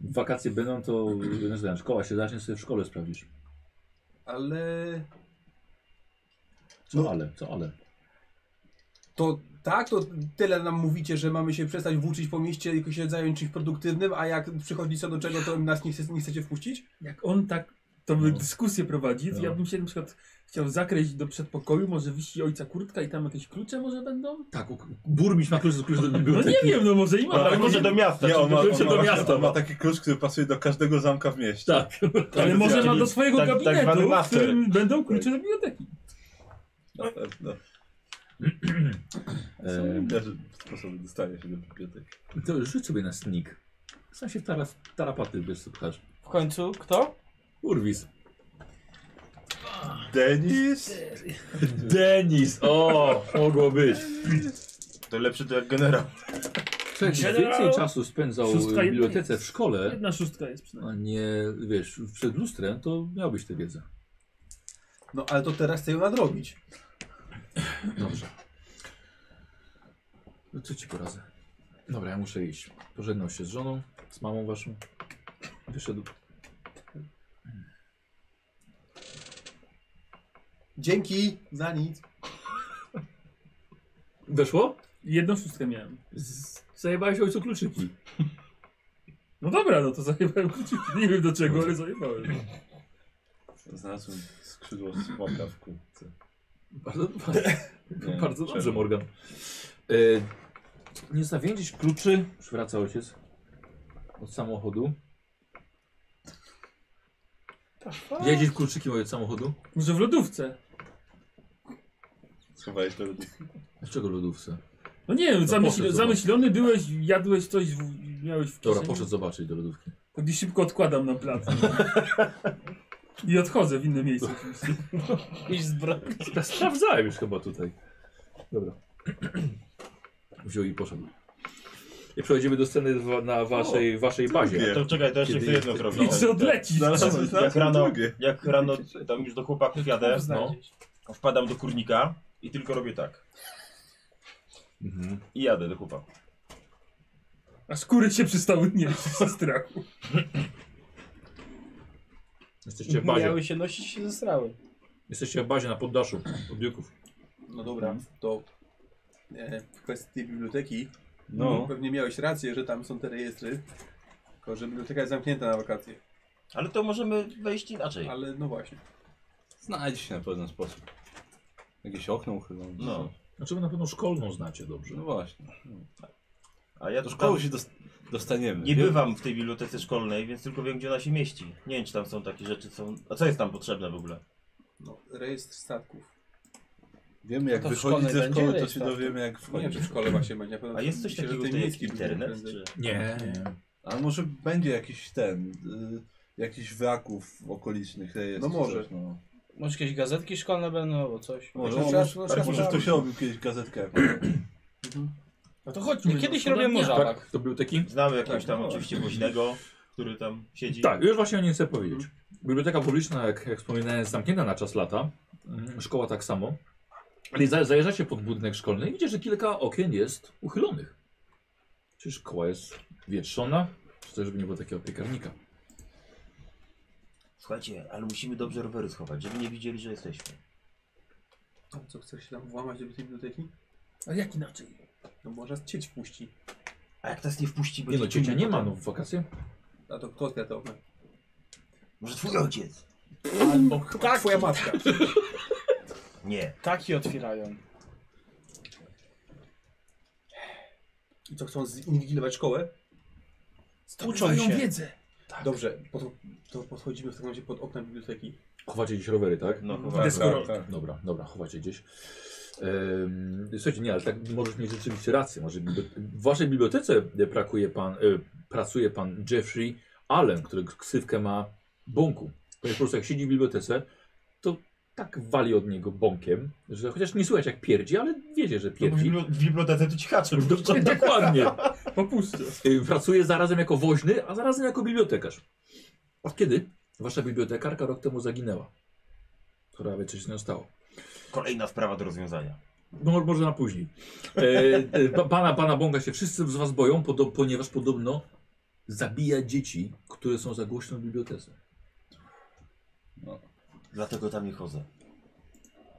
Speaker 1: Wakacje będą, to nie wiem, szkoła się zacznie, sobie w szkole sprawdzisz.
Speaker 3: Ale
Speaker 1: Co ale, co ale.
Speaker 3: to tak, to tyle nam mówicie, że mamy się przestać włóczyć po mieście i się zająć czymś produktywnym, a jak przychodzi co do czego, to nas nie, chce, nie chcecie wpuścić?
Speaker 4: Jak on tak to by dyskusję prowadzi, to
Speaker 1: No.
Speaker 4: ja bym się na przykład chciał zakryć do przedpokoju, może wisi ojca kurtka i tam jakieś klucze może będą?
Speaker 1: Tak, burmistrz ma klucz do klucz do
Speaker 4: No nie wiem, no może i ma,
Speaker 6: Ale
Speaker 4: ale,
Speaker 6: może
Speaker 4: może,
Speaker 6: do miasta.
Speaker 2: Nie,
Speaker 6: czy
Speaker 2: on ma, on
Speaker 1: wrócę Znaczy,
Speaker 2: ma,
Speaker 1: do
Speaker 2: właśnie-
Speaker 1: miasta. no.
Speaker 2: on ma taki klucz, który pasuje do każdego zamka w mieście.
Speaker 1: Tak.
Speaker 4: ale może ma do swojego
Speaker 6: tak- tak zwany
Speaker 4: gabinetu, w
Speaker 6: master.
Speaker 4: którym będą klucze
Speaker 1: Tak.
Speaker 4: do biblioteki.
Speaker 2: Na pewno.
Speaker 3: E,
Speaker 2: Są
Speaker 1: Em.
Speaker 2: inne że- sposoby dostania się do biblioteki.
Speaker 1: E, To rzuć sobie na sneak. Sam się w tara, w tarapaty wiesz, co pchasz.
Speaker 5: W końcu kto?
Speaker 1: Urwis.
Speaker 2: Denis?
Speaker 1: Denis! O, mogło być.
Speaker 7: To lepszy to jak generał.
Speaker 1: Więcej czasu spędzał w
Speaker 4: Szóstka
Speaker 1: bibliotece w szkole,
Speaker 4: Jedna szóstka jest przynajmniej.
Speaker 1: a nie, wiesz, przed lustrem, to miałbyś tę wiedzę.
Speaker 3: No ale to teraz chcę ją nadrobić.
Speaker 1: Dobrze. No co ci poradzę? Dobra, ja muszę iść. Pożegnał się z żoną, z mamą waszą. Wyszedł.
Speaker 3: Dzięki za nic.
Speaker 1: Weszło?
Speaker 4: Jedną szóstkę miałem.
Speaker 1: Z... Zajebałeś ojcu kluczyki.
Speaker 4: No dobra, no to zajebałem kluczyki. Nie wiem do czego, ale zajebałem.
Speaker 2: Znalazłem skrzydło z łapka w kurtce.
Speaker 1: Bardzo, bardzo,
Speaker 2: Nie,
Speaker 1: bardzo dobrze,
Speaker 2: czemu?
Speaker 1: Morgan. E, nie zawięzisz kluczy. Już wraca ojciec. Od samochodu. Jedziesz kluczykiem od samochodu?
Speaker 4: Może w lodówce?
Speaker 2: Schowałeś to lodówkę.
Speaker 1: Dlaczego lodówce?
Speaker 4: No nie wiem,
Speaker 1: No
Speaker 4: zamyśl,
Speaker 1: poszedł,
Speaker 4: zamyślony byłeś, jadłeś coś, w, miałeś w
Speaker 1: Dobra,
Speaker 4: kieszeni.
Speaker 1: poszedł zobaczyć do lodówki.
Speaker 4: To gdzieś szybko odkładam na plac. I odchodzę w inne miejsce oczywiście.
Speaker 5: Iść z bra...
Speaker 1: Sprawdzałem już chyba tutaj. Dobra. Wziął i poszedł. I przechodzimy do sceny wa- na waszej, waszej bazie.
Speaker 6: To czekaj, to jeszcze
Speaker 1: Kiedy
Speaker 6: chcę jedno
Speaker 1: jest-
Speaker 6: zrobić.
Speaker 4: I czy odlecisz?
Speaker 1: No,
Speaker 2: Znalazłem,
Speaker 6: Jak
Speaker 2: znalazłem
Speaker 6: rano,
Speaker 2: Znaczy, drugie.
Speaker 6: jak rano tam już do chłopaków jadę, no,
Speaker 5: znajdziesz.
Speaker 6: wpadam do kurnika i tylko robię tak.
Speaker 1: Mhm.
Speaker 6: I jadę do chłopaków.
Speaker 4: A skóry się przystały nie ze strachu.
Speaker 1: Jesteście
Speaker 4: Mhm.
Speaker 1: w bazie.
Speaker 5: Miały się nosić się zesrały.
Speaker 1: Jesteście w bazie na poddaszu odbiórków.
Speaker 3: No dobra, to e, w kwestii tej biblioteki
Speaker 2: No.
Speaker 3: pewnie miałeś rację, że tam są te rejestry. Tylko, że biblioteka jest zamknięta na wakacje.
Speaker 6: Ale to możemy wejść inaczej.
Speaker 3: Ale no właśnie.
Speaker 2: Znajdzie się na pewien sposób. Jakieś okno uchylone.
Speaker 6: No.
Speaker 1: Znaczy wy na pewno szkolną znacie dobrze.
Speaker 2: No właśnie.
Speaker 6: A ja
Speaker 2: Do
Speaker 6: do
Speaker 2: szkoły się dos- dostaniemy.
Speaker 6: nie bywam w tej bibliotece szkolnej, więc tylko wiem, gdzie ona się mieści. Nie wiem, czy tam są takie rzeczy, co... A co jest tam potrzebne w ogóle?
Speaker 3: No, rejestr statków.
Speaker 2: Wiemy jak
Speaker 5: To w
Speaker 2: wychodzić
Speaker 5: szkole
Speaker 2: ze
Speaker 5: będzie
Speaker 2: szkoły, to się
Speaker 5: rejestr,
Speaker 2: dowiemy jak
Speaker 3: tak. Nie wiem,
Speaker 2: wchodzić.
Speaker 3: czy w szkole właśnie będzie. Na pewno
Speaker 6: A jest coś
Speaker 3: myślę, że
Speaker 6: takiego
Speaker 3: ten
Speaker 6: tutaj jak
Speaker 3: miejski będzie
Speaker 6: internet,
Speaker 3: prędzej.
Speaker 6: czy...
Speaker 1: Nie, nie.
Speaker 2: A może będzie jakiś ten, y, jakiś wraków okolicznych
Speaker 3: No
Speaker 2: rejestrów.
Speaker 3: może.
Speaker 2: coś, No.
Speaker 5: Może jakieś gazetki szkolne będą albo coś.
Speaker 2: Może,
Speaker 3: No,
Speaker 2: no,
Speaker 3: trzeba- no,
Speaker 2: może,
Speaker 3: trzeba
Speaker 2: tak, może ktoś
Speaker 3: sprawdzić.
Speaker 2: robił kiedyś gazetkę. jak-
Speaker 4: No to chodźmy.
Speaker 5: Kiedyś
Speaker 4: no,
Speaker 5: robię
Speaker 4: szkoda dnia.
Speaker 5: morza.
Speaker 1: Tak, do biblioteki?
Speaker 6: Znamy jakiegoś
Speaker 2: Tak,
Speaker 6: tam
Speaker 2: no.
Speaker 6: oczywiście woźnego, który tam siedzi.
Speaker 1: Tak, już właśnie o niej chcę powiedzieć. Biblioteka publiczna, jak, jak wspominałem, jest zamknięta na czas lata. Mm, Szkoła tak samo. Ale za- zajeżdżacie pod budynek szkolny i widzicie, że kilka okien jest uchylonych. Czy szkoła jest wietrzona? Czy też żeby nie było takiego piekarnika?
Speaker 6: Słuchajcie, ale musimy dobrze rowery schować, żeby nie widzieli, że jesteśmy.
Speaker 3: A co, chcesz się tam włamać do tej biblioteki?
Speaker 4: A jak inaczej?
Speaker 3: No może cieć puści.
Speaker 6: A jak nas nie wpuści,
Speaker 1: Nie
Speaker 6: będzie
Speaker 1: no, ciecia
Speaker 6: tłum
Speaker 1: nie ma,
Speaker 6: potem.
Speaker 1: no w wakacje.
Speaker 3: A to kto otwiera te okna?
Speaker 6: Może twój ojciec?
Speaker 3: Albo chyba
Speaker 5: Tak.
Speaker 3: twoja matka.
Speaker 6: Nie.
Speaker 5: Taki otwierają.
Speaker 3: I co, chcą zinwigilować szkołę?
Speaker 5: Uczą się.
Speaker 4: wiedzę.
Speaker 3: Dobrze, po to, to podchodzimy w takim razie pod okna biblioteki.
Speaker 1: Chowacie gdzieś rowery, tak?
Speaker 6: No chyba.
Speaker 4: Desk- Deskorolka.
Speaker 1: Dobra, dobra, chowacie gdzieś. Ym, słuchajcie, nie, ale tak możesz mieć rzeczywiście rację. Może bibli- w waszej bibliotece brakuje pan, y, pracuje pan Jeffrey Allen, który ksywkę ma Bąku. Ponieważ po prostu jak siedzi w bibliotece, to tak wali od niego bąkiem, że chociaż nie słychać jak pierdzi, ale wiecie, że
Speaker 6: No, bo w
Speaker 1: pierdzi.
Speaker 6: bibli- w bibliotece to cichacze.
Speaker 1: Do, dokładnie.
Speaker 4: Popuszczę.
Speaker 1: Y, Pracuje zarazem jako woźny, a zarazem jako bibliotekarz. Od kiedy wasza bibliotekarka rok temu zaginęła? Która wie, co się z nią stało.
Speaker 6: Kolejna sprawa do rozwiązania.
Speaker 1: No, może na później. E, e, pa- pana, pana Bonga się wszyscy z was boją, podo ponieważ podobno zabija dzieci, które są za głośno w bibliotece.
Speaker 6: Dlatego tam nie chodzę.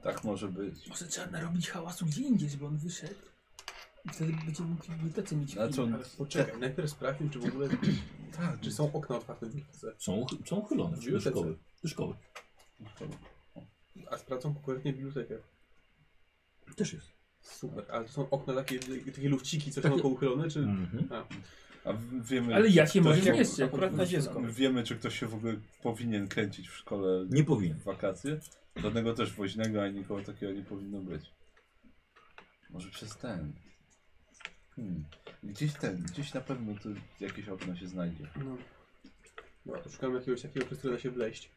Speaker 2: Tak może być.
Speaker 4: Może trzeba narobić hałasu gdzie indziej, żeby on wyszedł. I wtedy będziemy mógł w bibliotece mieć
Speaker 2: Znaczy
Speaker 4: film.
Speaker 2: on,
Speaker 3: Ale poczekaj, najpierw sprawdźmy, czy w ogóle
Speaker 2: tak,
Speaker 3: czy są okna otwarte w bibliotece.
Speaker 1: Są, uch- są uchylone do
Speaker 3: Bibliotece.
Speaker 1: szkoły. Do szkoły.
Speaker 3: A sprawdzą konkretnie bibliotekę.
Speaker 1: Też jest.
Speaker 3: Super, ale to są okna takie, takie lufciki, co
Speaker 1: Takie-
Speaker 3: są pochylone, czy...
Speaker 1: Mhm.
Speaker 2: a wiemy,
Speaker 4: Ale ja się
Speaker 2: ktoś
Speaker 4: może
Speaker 2: się-
Speaker 4: zmieścić, akurat na dziecko.
Speaker 2: wiemy, czy ktoś się w ogóle powinien kręcić w szkole
Speaker 1: Nie powinien.
Speaker 2: w wakacje. Żadnego też woźnego, ani nikogo takiego nie powinno być. Może przez ten. Hmm. Gdzieś ten, gdzieś na pewno tu jakieś okno się znajdzie.
Speaker 3: No. Dobra, to szukamy jakiegoś takiego, przez które da się wleść.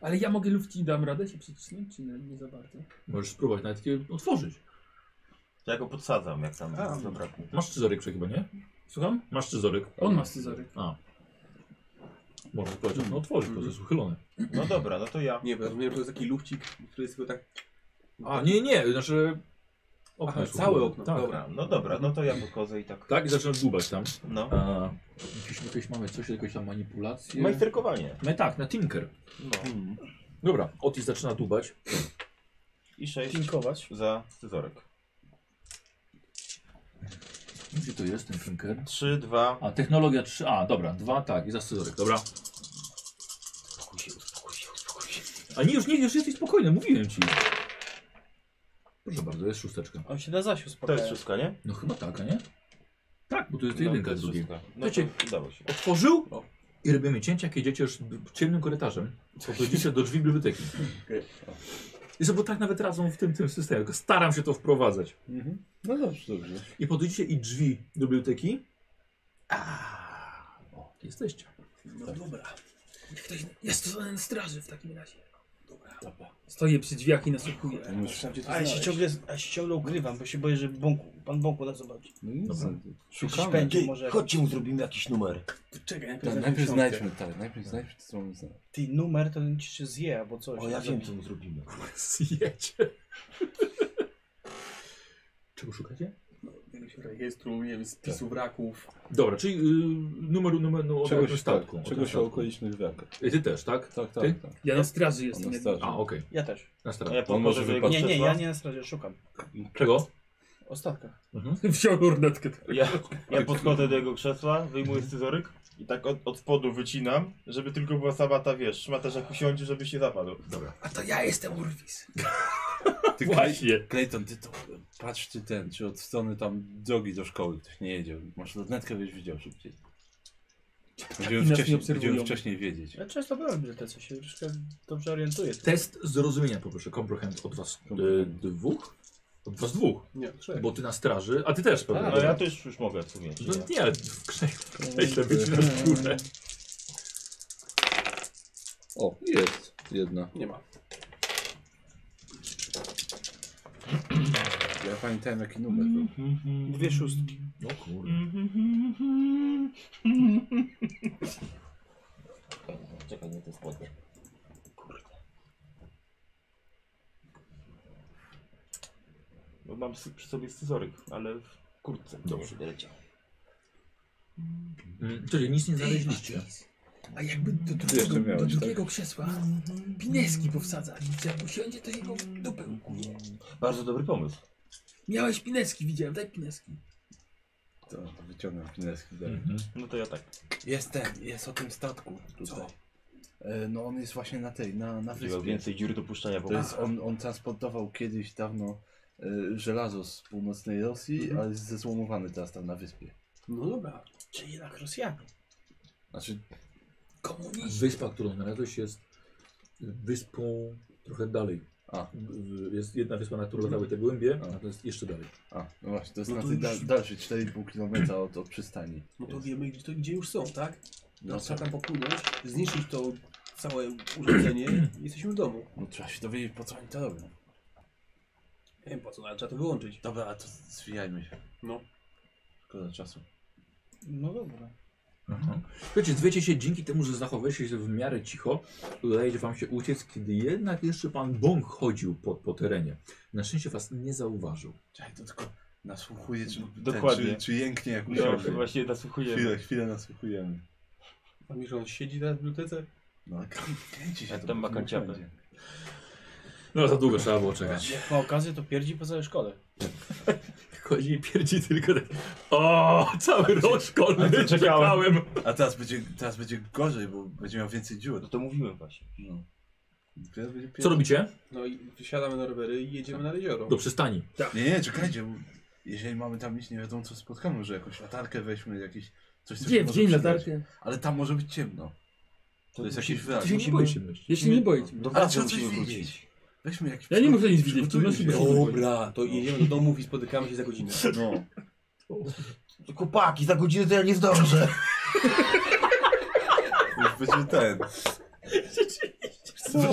Speaker 4: Ale ja mogę lufci, dam radę się przycisnąć, czy nie, nie za bardzo?
Speaker 1: Możesz spróbować nawet je otworzyć.
Speaker 6: Ja go podsadzam, jak tam
Speaker 4: A.
Speaker 6: nic zabraknie.
Speaker 1: Masz scyzoryk prze- chyba, nie?
Speaker 4: Słucham?
Speaker 1: Masz scyzoryk.
Speaker 4: On ma scyzoryk.
Speaker 1: A. Możesz powiedzieć, no otworzyć, bo to jest uchylone.
Speaker 6: No dobra, no to ja.
Speaker 3: Nie, bo rozumiem, że to jest taki lufcik, który jest tylko tak...
Speaker 1: A, nie, nie, znaczy...
Speaker 3: Aha,
Speaker 1: jest
Speaker 3: całe
Speaker 1: uchylone.
Speaker 3: okno,
Speaker 1: Tak,
Speaker 3: dobra.
Speaker 6: Dobra, no dobra, no to ja podchodzę i tak.
Speaker 1: tak i zaczynasz dłubać tam.
Speaker 6: No.
Speaker 1: A, jakieś, jakieś mamy coś, jakieś tam manipulacje.
Speaker 6: Majsterkowanie.
Speaker 1: No i tak, na Tinker.
Speaker 6: No.
Speaker 1: Dobra, Otis zaczyna dłubać.
Speaker 6: I sześć
Speaker 5: Tinkować.
Speaker 6: za scyzorek.
Speaker 1: Gdzie to jest ten Tinker?
Speaker 6: Trzy, dwa.
Speaker 1: A, technologia 3. A, dobra, dwa, tak, i za scyzoryk, dobra.
Speaker 6: Uspokój się, uspokój się, uspokój się.
Speaker 1: A nie, już nie, już jesteś spokojny, mówiłem ci. Proszę bardzo, jest szósteczka.
Speaker 5: On się na Zasiu
Speaker 6: To
Speaker 5: spotkał.
Speaker 6: jest szóstka, nie?
Speaker 1: No chyba tak, a nie? Tak, bo tu jest
Speaker 6: No,
Speaker 1: jedynka
Speaker 6: to jest
Speaker 1: drugiej.
Speaker 6: szóstka. No to udało się.
Speaker 1: Otworzył i robimy cięcia, jak jedziecie już d- ciemnym korytarzem. Podchodzicie do drzwi biblioteki. I bo tak nawet razem w tym, tym systemie, tylko staram się to wprowadzać.
Speaker 2: No dobrze, dobrze.
Speaker 1: I podchodzicie i drzwi do biblioteki. A, o, jesteście.
Speaker 9: No dobra. Niech Ktoś jest to ten straży w takim razie. Dobra.
Speaker 4: Stoję przy drzwiach i nasłuchuję.
Speaker 3: Patrzę, gdzie to
Speaker 5: A ja się
Speaker 3: znaleźć.
Speaker 5: ciągle, a ja się ciągle ukrywam, bo się boję, że bąku, pan bąku nas zobaczy.
Speaker 2: No nic.
Speaker 1: Dobra.
Speaker 5: Szukamy.
Speaker 7: Ty,
Speaker 5: Będzie może.
Speaker 7: chodźcie mu zrobimy jakiś numer.
Speaker 9: Czekaj, najpierw
Speaker 2: Tak,
Speaker 9: znajdę
Speaker 2: najpierw
Speaker 9: książkę.
Speaker 2: znajdźmy, tak, najpierw znajdźmy, co mamy znaleźć.
Speaker 5: Ty numer to on ci się zje albo coś.
Speaker 7: O, ja wiem co mu zrobimy.
Speaker 1: Zjecie. Czego szukacie?
Speaker 3: No,
Speaker 1: Tak.
Speaker 3: Jakiegoś rejestru, nie wiem, spisu wraków.
Speaker 1: Dobra, czyli y, numeru, numeru, numeru o tym
Speaker 2: Czegoś, tak,
Speaker 1: statku. o tym
Speaker 2: czegoś o
Speaker 1: statku.
Speaker 2: okolicznych wiakach.
Speaker 1: I ty też, tak?
Speaker 2: Tak,
Speaker 1: Ty?
Speaker 2: tak, tak.
Speaker 4: Ja na straży jestem.
Speaker 2: On
Speaker 4: jakby.
Speaker 2: starzy.
Speaker 1: A, okej.
Speaker 5: Ja też.
Speaker 1: Na
Speaker 6: A
Speaker 1: stronę.
Speaker 6: ja podchodzę
Speaker 2: może
Speaker 6: do jego
Speaker 5: Nie, nie,
Speaker 6: krzesła.
Speaker 5: ja nie na straży, szukam.
Speaker 1: Czego?
Speaker 5: Ostatka.
Speaker 4: Wziął lornetkę.
Speaker 6: Ja, ja podchodzę do jego krzesła, wyjmuję scyzoryk i tak od, od spodu wycinam, żeby tylko była sama ta, wiesz, szmata, że jak usiądzie, żeby się zapadł.
Speaker 1: Dobra.
Speaker 9: A to ja jestem Urwis.
Speaker 2: Ty,
Speaker 1: Właśnie.
Speaker 2: Clayton, ty to patrz ty ten, czy od strony tam drogi do szkoły ktoś nie jedzie. Masz lornetkę, byś widział szybciej. Będziemy
Speaker 4: nas nie
Speaker 2: wcześniej,
Speaker 4: obserwują.
Speaker 2: będziemy wcześniej wiedzieć.
Speaker 5: Ja często byłem w bibliotece, się troszkę dobrze orientuję.
Speaker 1: Test zrozumienia poproszę. Comprehend od was y,
Speaker 2: Comprehend.
Speaker 1: dwóch? Od was dwóch.
Speaker 3: Nie, trzech.
Speaker 1: Bo ty na straży, a ty też pewnie.
Speaker 5: Tak,
Speaker 6: No ja też już mogę w sumie.
Speaker 1: No nie, ale w krześle wycinasz górę.
Speaker 2: O, jest jedna.
Speaker 3: Nie ma.
Speaker 2: Ja pamiętałem jaki numer był.
Speaker 5: Dwie szóstki.
Speaker 1: No kurde.
Speaker 6: Czekaj, nie to jest spodnie. Bo mam sy- przy sobie scyzoryk, ale w kurtce.
Speaker 1: Dobrze.
Speaker 6: Nie leciał.
Speaker 1: Mm, Czyli nic nie znaleźliście.
Speaker 9: A jakby do
Speaker 2: jeszcze
Speaker 9: drugiego,
Speaker 2: miałeś,
Speaker 9: do
Speaker 2: tak?
Speaker 9: drugiego krzesła pineski powsadzać. Jak usiądzie, to jego w dupę ukuje.
Speaker 6: Bardzo dobry pomysł.
Speaker 9: Miałeś pineski, widziałem, daj pineski.
Speaker 2: To, to wyciągam chineski dalej.
Speaker 1: Mhm.
Speaker 6: No to ja tak.
Speaker 2: Jest ten, jest o tym statku tutaj. E, No on jest właśnie na tej, na, na
Speaker 6: Zrobił
Speaker 2: wyspie.
Speaker 6: więcej dziur do puszczania
Speaker 2: To jest, on, on transportował kiedyś dawno e, żelazo z północnej Rosji,
Speaker 3: Mhm.
Speaker 2: ale jest zezłomowany teraz tam na wyspie.
Speaker 3: No dobra.
Speaker 5: Czyli jednak Rosjanie.
Speaker 2: Znaczy,
Speaker 9: Komuniści.
Speaker 1: Wyspa, którą znalazłeś jest wyspą trochę dalej.
Speaker 2: a,
Speaker 1: W- Jest jedna wyspa, na którą latały te głębie,
Speaker 2: A.
Speaker 1: a to jest jeszcze dalej.
Speaker 2: a, no właśnie, to jest
Speaker 3: No
Speaker 2: na
Speaker 3: to
Speaker 2: tej
Speaker 3: już-
Speaker 2: dal, dalszej 4,5 km od, od przystani.
Speaker 3: No to
Speaker 2: Jest.
Speaker 3: wiemy, gdzie, to, gdzie już są, tak?
Speaker 2: No,
Speaker 3: No, trzeba
Speaker 2: tak.
Speaker 3: tam popłynąć, zniszczyć to całe urządzenie i jesteśmy w domu.
Speaker 2: no trzeba się dowiedzieć po co oni to robią.
Speaker 3: Nie wiem po co, no, ale trzeba to wyłączyć.
Speaker 2: Dobra, a to zwijajmy się.
Speaker 3: No.
Speaker 2: Szkoda czasu.
Speaker 5: No dobra.
Speaker 1: Mhm. Słuchajcie, dowiecie się dzięki temu, że zachowaliście się w miarę cicho, udaje się wam się uciec, kiedy jednak jeszcze pan Bąk chodził po, po terenie. Na szczęście was nie zauważył.
Speaker 2: Czekaj, to tylko nasłuchuję, czy,
Speaker 6: Dokładnie.
Speaker 2: Ten, czy, czy jęknie jak
Speaker 6: No
Speaker 2: usiądzie.
Speaker 6: właśnie nasłuchujemy.
Speaker 2: chwilę, chwilę nasłuchujemy.
Speaker 3: A mi, że on siedzi teraz w bibliotece?
Speaker 2: No, ale kręci się.
Speaker 6: Jak
Speaker 2: to
Speaker 6: tam ma
Speaker 2: pewnie
Speaker 6: kanciapę.
Speaker 2: będzie.
Speaker 1: No za długo trzeba było czekać.
Speaker 5: Jak ma okazję, to pierdzi po całej szkole.
Speaker 1: Chodzi i pierdzi tylko tak. O, cały rok szkolny
Speaker 6: a ty czekałem.
Speaker 1: czekałem.
Speaker 2: A teraz będzie, teraz będzie gorzej, bo będzie miał więcej
Speaker 6: No
Speaker 2: dziur.
Speaker 6: to mówiłem właśnie.
Speaker 2: No. Teraz będzie
Speaker 1: Co
Speaker 2: pier-
Speaker 1: robicie? No,
Speaker 3: No i wysiadamy na rowery i jedziemy na jezioro.
Speaker 1: Do przystani.
Speaker 2: Nie, nie, czekajcie, bo jeżeli mamy tam iść, nie wiadomo co spotkamy, może jakąś latarkę weźmy, jakieś coś, co się
Speaker 4: Gdzie? W
Speaker 2: może
Speaker 4: dzień
Speaker 2: przydać.
Speaker 4: latarkę.
Speaker 2: Ale tam może być ciemno. To jest jakiś
Speaker 1: Ty
Speaker 2: wyraz.
Speaker 1: No, się nie boisz ciemności.
Speaker 4: Jeśli nie boicie.
Speaker 6: Do
Speaker 2: Ale
Speaker 6: was
Speaker 2: trzeba
Speaker 6: musimy
Speaker 2: coś
Speaker 6: wrócić.
Speaker 2: wiedzieć. Weźmy jakiś
Speaker 4: Ja nie muszę nic
Speaker 2: przygotujmy
Speaker 4: widzieć, to nosi
Speaker 2: się.
Speaker 4: bez-
Speaker 3: Dobra, to jedziemy do domów i spotykamy się za godzinę.
Speaker 2: No.
Speaker 7: Chłopaki, za godzinę to ja nie zdążę.
Speaker 2: Już będzie ten.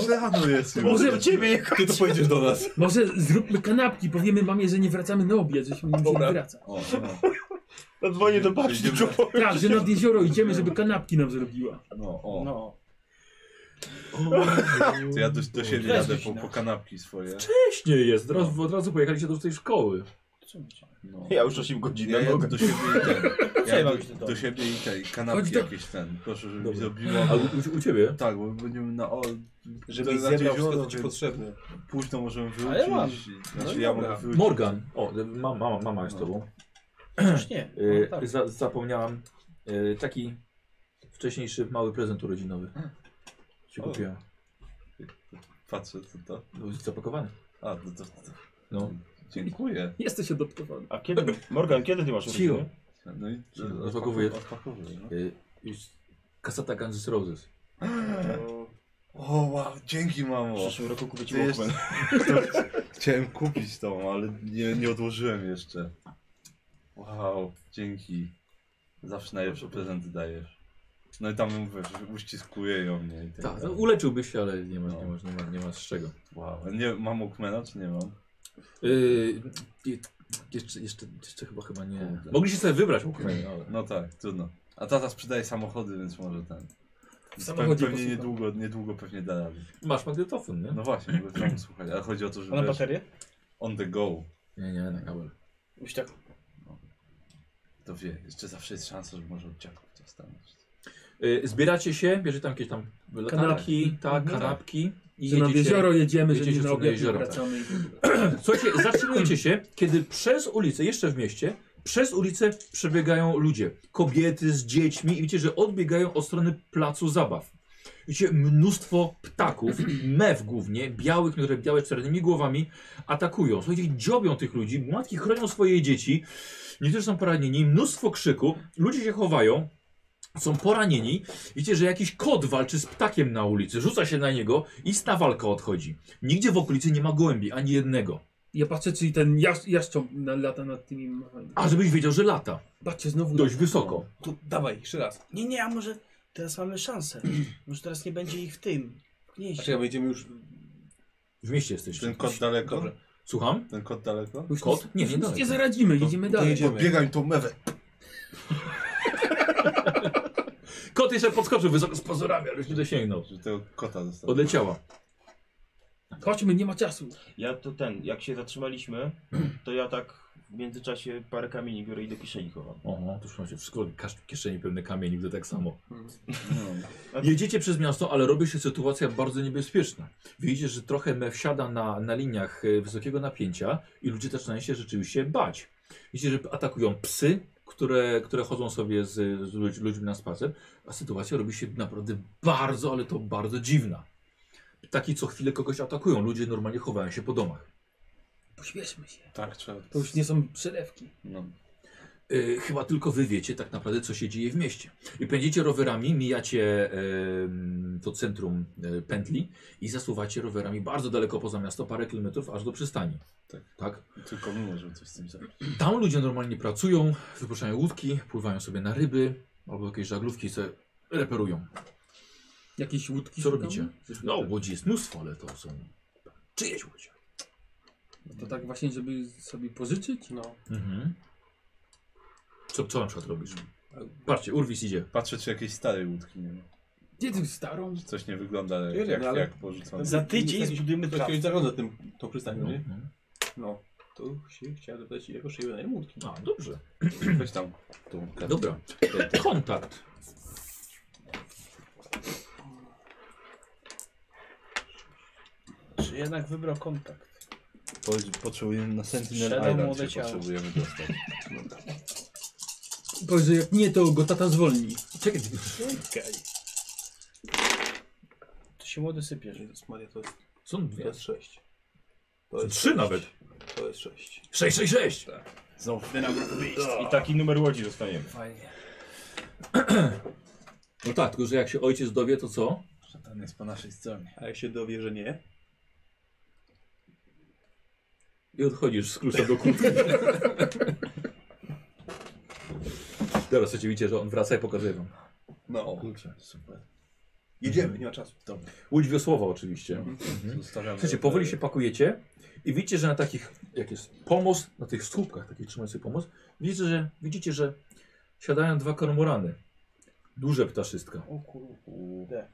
Speaker 2: Źle rano jest już.
Speaker 4: Może ciebie jako...
Speaker 2: Ty to pojedziesz do nas.
Speaker 4: Może zróbmy kanapki, powiemy mamie, że nie wracamy na obiad, żeśmy nie musieli
Speaker 3: Dobra.
Speaker 4: wracać.
Speaker 2: O, no.
Speaker 7: Zadzwonię do babci,
Speaker 2: Idziemy.
Speaker 7: tylko powiem.
Speaker 4: Tak, że nad jezioro idziemy, żeby kanapki nam zrobiła.
Speaker 2: no, o.
Speaker 5: No.
Speaker 2: To ja do,
Speaker 1: no.
Speaker 2: do siebie
Speaker 5: Weź no.
Speaker 2: jadę po,
Speaker 5: Zosina.
Speaker 2: po kanapki swoje.
Speaker 1: Wcześnie jest, od razu, od razu pojechaliście do tej szkoły.
Speaker 2: No.
Speaker 7: Ja już 8 godzin
Speaker 2: Ja jadę do siebie i ten. Ja
Speaker 5: mam
Speaker 2: do, do siebie i tej kanapki
Speaker 4: Chodź do-
Speaker 2: jakieś ten. Proszę, żeby mi
Speaker 1: Dobra.
Speaker 2: zrobiła.
Speaker 1: A u, u ciebie?
Speaker 2: Tak, bo będziemy na o.
Speaker 5: Żebyś
Speaker 2: na
Speaker 5: zebrał
Speaker 2: jezioro,
Speaker 5: wszystko, co
Speaker 3: To ci
Speaker 2: więc
Speaker 3: potrzebne.
Speaker 2: Późno możemy
Speaker 5: Ale
Speaker 2: wrócić.
Speaker 5: mam.
Speaker 2: Znaczy
Speaker 5: No
Speaker 2: ja
Speaker 5: dobra.
Speaker 2: mogę wrócić.
Speaker 1: Morgan. O, ma, mama, mama jest z tobą.
Speaker 5: Przecież nie.
Speaker 1: Y,
Speaker 5: No, tak.
Speaker 1: za, zapomniałem. Y, taki wcześniejszy mały prezent urodzinowy. Ci
Speaker 2: O.
Speaker 1: kupiłem.
Speaker 2: Patrzę co to.
Speaker 1: Był zapakowany.
Speaker 2: A, no to, to.
Speaker 1: No.
Speaker 2: Dziękuję.
Speaker 4: Jesteś adoptowany.
Speaker 6: A kiedy, Morgan, kiedy ty masz
Speaker 1: Cicho.
Speaker 6: urodziny?
Speaker 2: No i
Speaker 1: Dzień, odpakowuję.
Speaker 2: Odpakowuję. no.
Speaker 1: Y, już kasata Guns N' Roses.
Speaker 2: O, wow, dzięki mamo.
Speaker 6: W przyszłym roku kupię ci
Speaker 2: Ty jeszcze-
Speaker 6: Walkman.
Speaker 2: Chciałem kupić tą, ale nie, nie odłożyłem jeszcze. Wow, dzięki. Zawsze najlepsze prezenty dajesz. No i tam mówię, że uściskuję ją mnie i tak.
Speaker 1: Tak, no,
Speaker 2: dalej.
Speaker 1: uleczyłbyś się, ale nie masz,
Speaker 2: No.
Speaker 1: nie masz, nie masz, nie masz z czego.
Speaker 2: Wow. A Nie, mam Walkmana czy nie mam?
Speaker 1: Y, i- jeszcze, jeszcze, jeszcze chyba chyba nie.
Speaker 2: Kurde.
Speaker 1: Mogliście sobie wybrać Walkmana, ale...
Speaker 2: No tak, trudno. A tata sprzedaje samochody, więc może ten.
Speaker 1: W
Speaker 2: Pe-
Speaker 1: samochodzie
Speaker 2: pewnie
Speaker 1: posłucham.
Speaker 2: niedługo, niedługo pewnie da radę.
Speaker 1: Masz magnetofon, nie?
Speaker 2: No właśnie, mogę tam słuchać, ale chodzi o to,
Speaker 5: A na
Speaker 2: że wiesz,
Speaker 5: baterię?
Speaker 2: on the go,
Speaker 1: Nie, nie, na kabel.
Speaker 5: Już tak.
Speaker 2: to wie, jeszcze zawsze jest szansa, że może od dziadków dostanąć.
Speaker 1: Y, zbieracie się, bierzecie tam jakieś tam latarki,
Speaker 4: Kanapki.
Speaker 1: tak,
Speaker 4: Mhm.
Speaker 1: kanapki i
Speaker 4: Że nad
Speaker 1: jedziecie.
Speaker 4: jezioro jedziemy, że
Speaker 1: jedziecie w
Speaker 4: nie na
Speaker 1: stronę
Speaker 4: obiad nie
Speaker 1: jeziora, tak.
Speaker 4: wracamy. i w ogóle.
Speaker 1: Słuchajcie, zatrzymujecie się, kiedy przez ulicę, jeszcze w mieście, przez ulicę przebiegają ludzie. Kobiety z dziećmi i widzicie, że odbiegają od strony placu zabaw. Widzicie mnóstwo ptaków, mew głównie, białych, które białe z czarnymi głowami atakują. Słuchajcie, dziobią tych ludzi, matki chronią swoje dzieci, niektórzy są poranieni, mnóstwo krzyku, ludzie się chowają, są poranieni. Widzicie, że jakiś kot walczy z ptakiem na ulicy, rzuca się na niego i ta walka odchodzi. Nigdzie w okolicy nie ma gołębi, ani jednego.
Speaker 4: Ja patrzę, czy ten jasz, jaszcząb na, lata nad tymi machami.
Speaker 1: A żebyś wiedział, że lata.
Speaker 4: Patrzcie, znowu...
Speaker 1: Dość wysoko.
Speaker 3: Tu, dawaj, jeszcze raz.
Speaker 10: Nie, nie, a może teraz mamy szansę. Może teraz nie będzie ich w tym. W
Speaker 3: A
Speaker 10: gnieździe.
Speaker 3: czekaj, będziemy już...
Speaker 1: W mieście jesteś.
Speaker 2: Ten kot daleko?
Speaker 3: Dobrze.
Speaker 1: Słucham?
Speaker 2: Ten kot daleko?
Speaker 4: Już
Speaker 1: Kot? Nie, nie
Speaker 4: nic
Speaker 1: dalej.
Speaker 4: nie zaradzimy, jedziemy
Speaker 3: to
Speaker 4: dalej.
Speaker 3: jedziemy.
Speaker 2: Biegaj tą mewę.
Speaker 1: Kot jeszcze podskoczył wysoko z pozorami, ale już nie dosięgnął.
Speaker 2: Że tego kota zostawił.
Speaker 1: Odleciała.
Speaker 4: Chodźmy, nie ma czasu.
Speaker 6: Ja to ten, jak się zatrzymaliśmy, to ja tak w międzyczasie parę kamieni biorę i do kieszeni chowam.
Speaker 1: Oho, no, tu macie wszystko, kasz- kieszeni pełne kamieni, to tak samo.
Speaker 2: No.
Speaker 1: Jedziecie przez miasto, ale robi się sytuacja bardzo niebezpieczna. Widzicie, że trochę me wsiada na, na liniach e, wysokiego napięcia i ludzie zaczynają się rzeczywiście bać. Widzicie, że atakują psy, które, które chodzą sobie z, z ludź- ludźmi na spacer, a sytuacja robi się naprawdę bardzo, ale to bardzo dziwna. Ptaki co chwilę kogoś atakują, ludzie normalnie chowają się po domach.
Speaker 4: Pośpieszmy się.
Speaker 2: Tak, trzeba.
Speaker 4: To już nie są przelewki.
Speaker 2: No.
Speaker 1: E, chyba tylko wy wiecie tak naprawdę, co się dzieje w mieście. I pędzicie rowerami, mijacie em, to centrum e, pętli i zasuwacie rowerami bardzo daleko poza miasto, parę kilometrów, aż do przystani.
Speaker 2: Tak.
Speaker 1: tak?
Speaker 2: Tylko my możemy coś z tym zrobić.
Speaker 1: Tam ludzie normalnie pracują, wypuszczają łódki, pływają sobie na ryby albo jakieś żaglówki sobie reperują.
Speaker 4: Jakieś łódki
Speaker 1: Co
Speaker 4: szukamy?
Speaker 1: robicie? No, łodzi jest mnóstwo, ale to są czyjeś łodzi.
Speaker 4: To tak właśnie, żeby sobie pożyczyć? No.
Speaker 1: Mhm. Co, co na przykład robisz? Patrzcie, Urwis idzie.
Speaker 2: Patrzę, czy jakiejś starej łódki nie ma.
Speaker 4: Gdzie ty starą?
Speaker 2: Czy coś nie wygląda jak,
Speaker 3: Wiesz,
Speaker 2: jak,
Speaker 3: no ale-
Speaker 2: jak porzucone.
Speaker 5: Za tydzień
Speaker 3: Jakiś-
Speaker 5: zbudujemy
Speaker 3: Ktoś
Speaker 5: trakt.
Speaker 3: ktoś zarządza tym, tą
Speaker 2: No.
Speaker 3: przystanią, nie?
Speaker 1: Mhm.
Speaker 3: No. To się chciałem zapytać, jak szyję na łódki.
Speaker 1: no. A, dobrze.
Speaker 2: Weź tam tą kartę.
Speaker 1: Dobra. Kontakt.
Speaker 5: Czy jednak wybrał kontakt?
Speaker 2: Po- Potrzebujemy na Sentinel
Speaker 5: Shadow
Speaker 2: Island
Speaker 5: młode
Speaker 2: się
Speaker 5: ciało.
Speaker 2: potrzebujemy dostać.
Speaker 4: Powiedz, że jak nie, to go tata zwolni.
Speaker 1: Czekaj,
Speaker 5: To się młody sypiesz.
Speaker 3: Jezus Maria, to jest,
Speaker 1: są
Speaker 3: to
Speaker 1: dwie.
Speaker 3: jest 6.
Speaker 1: Są
Speaker 3: To
Speaker 1: trzy
Speaker 3: sześć.
Speaker 1: nawet.
Speaker 3: To jest Tak. 6.
Speaker 1: 666!
Speaker 2: Znowu.
Speaker 6: I taki numer łodzi dostaniemy.
Speaker 1: No tak, tylko że jak się ojciec dowie, to co?
Speaker 2: Szatan jest po naszej stronie.
Speaker 3: A jak się dowie, że nie?
Speaker 1: I odchodzisz z klucza do kurtki. Teraz słuchajcie, widzicie, że on wraca i pokazuje wam.
Speaker 2: No.
Speaker 1: Kurczę, super.
Speaker 3: Jedziemy, nie ma czasu.
Speaker 1: Łódź wiosłowa oczywiście.
Speaker 2: Zostawiamy.
Speaker 1: Słuchajcie, powoli się pakujecie i widzicie, że na takich, jak jest pomost, na tych słupkach takich trzymających pomost, widzicie, że, widzicie, że siadają dwa kormorany. Duże ptaszystka.
Speaker 5: O kurde.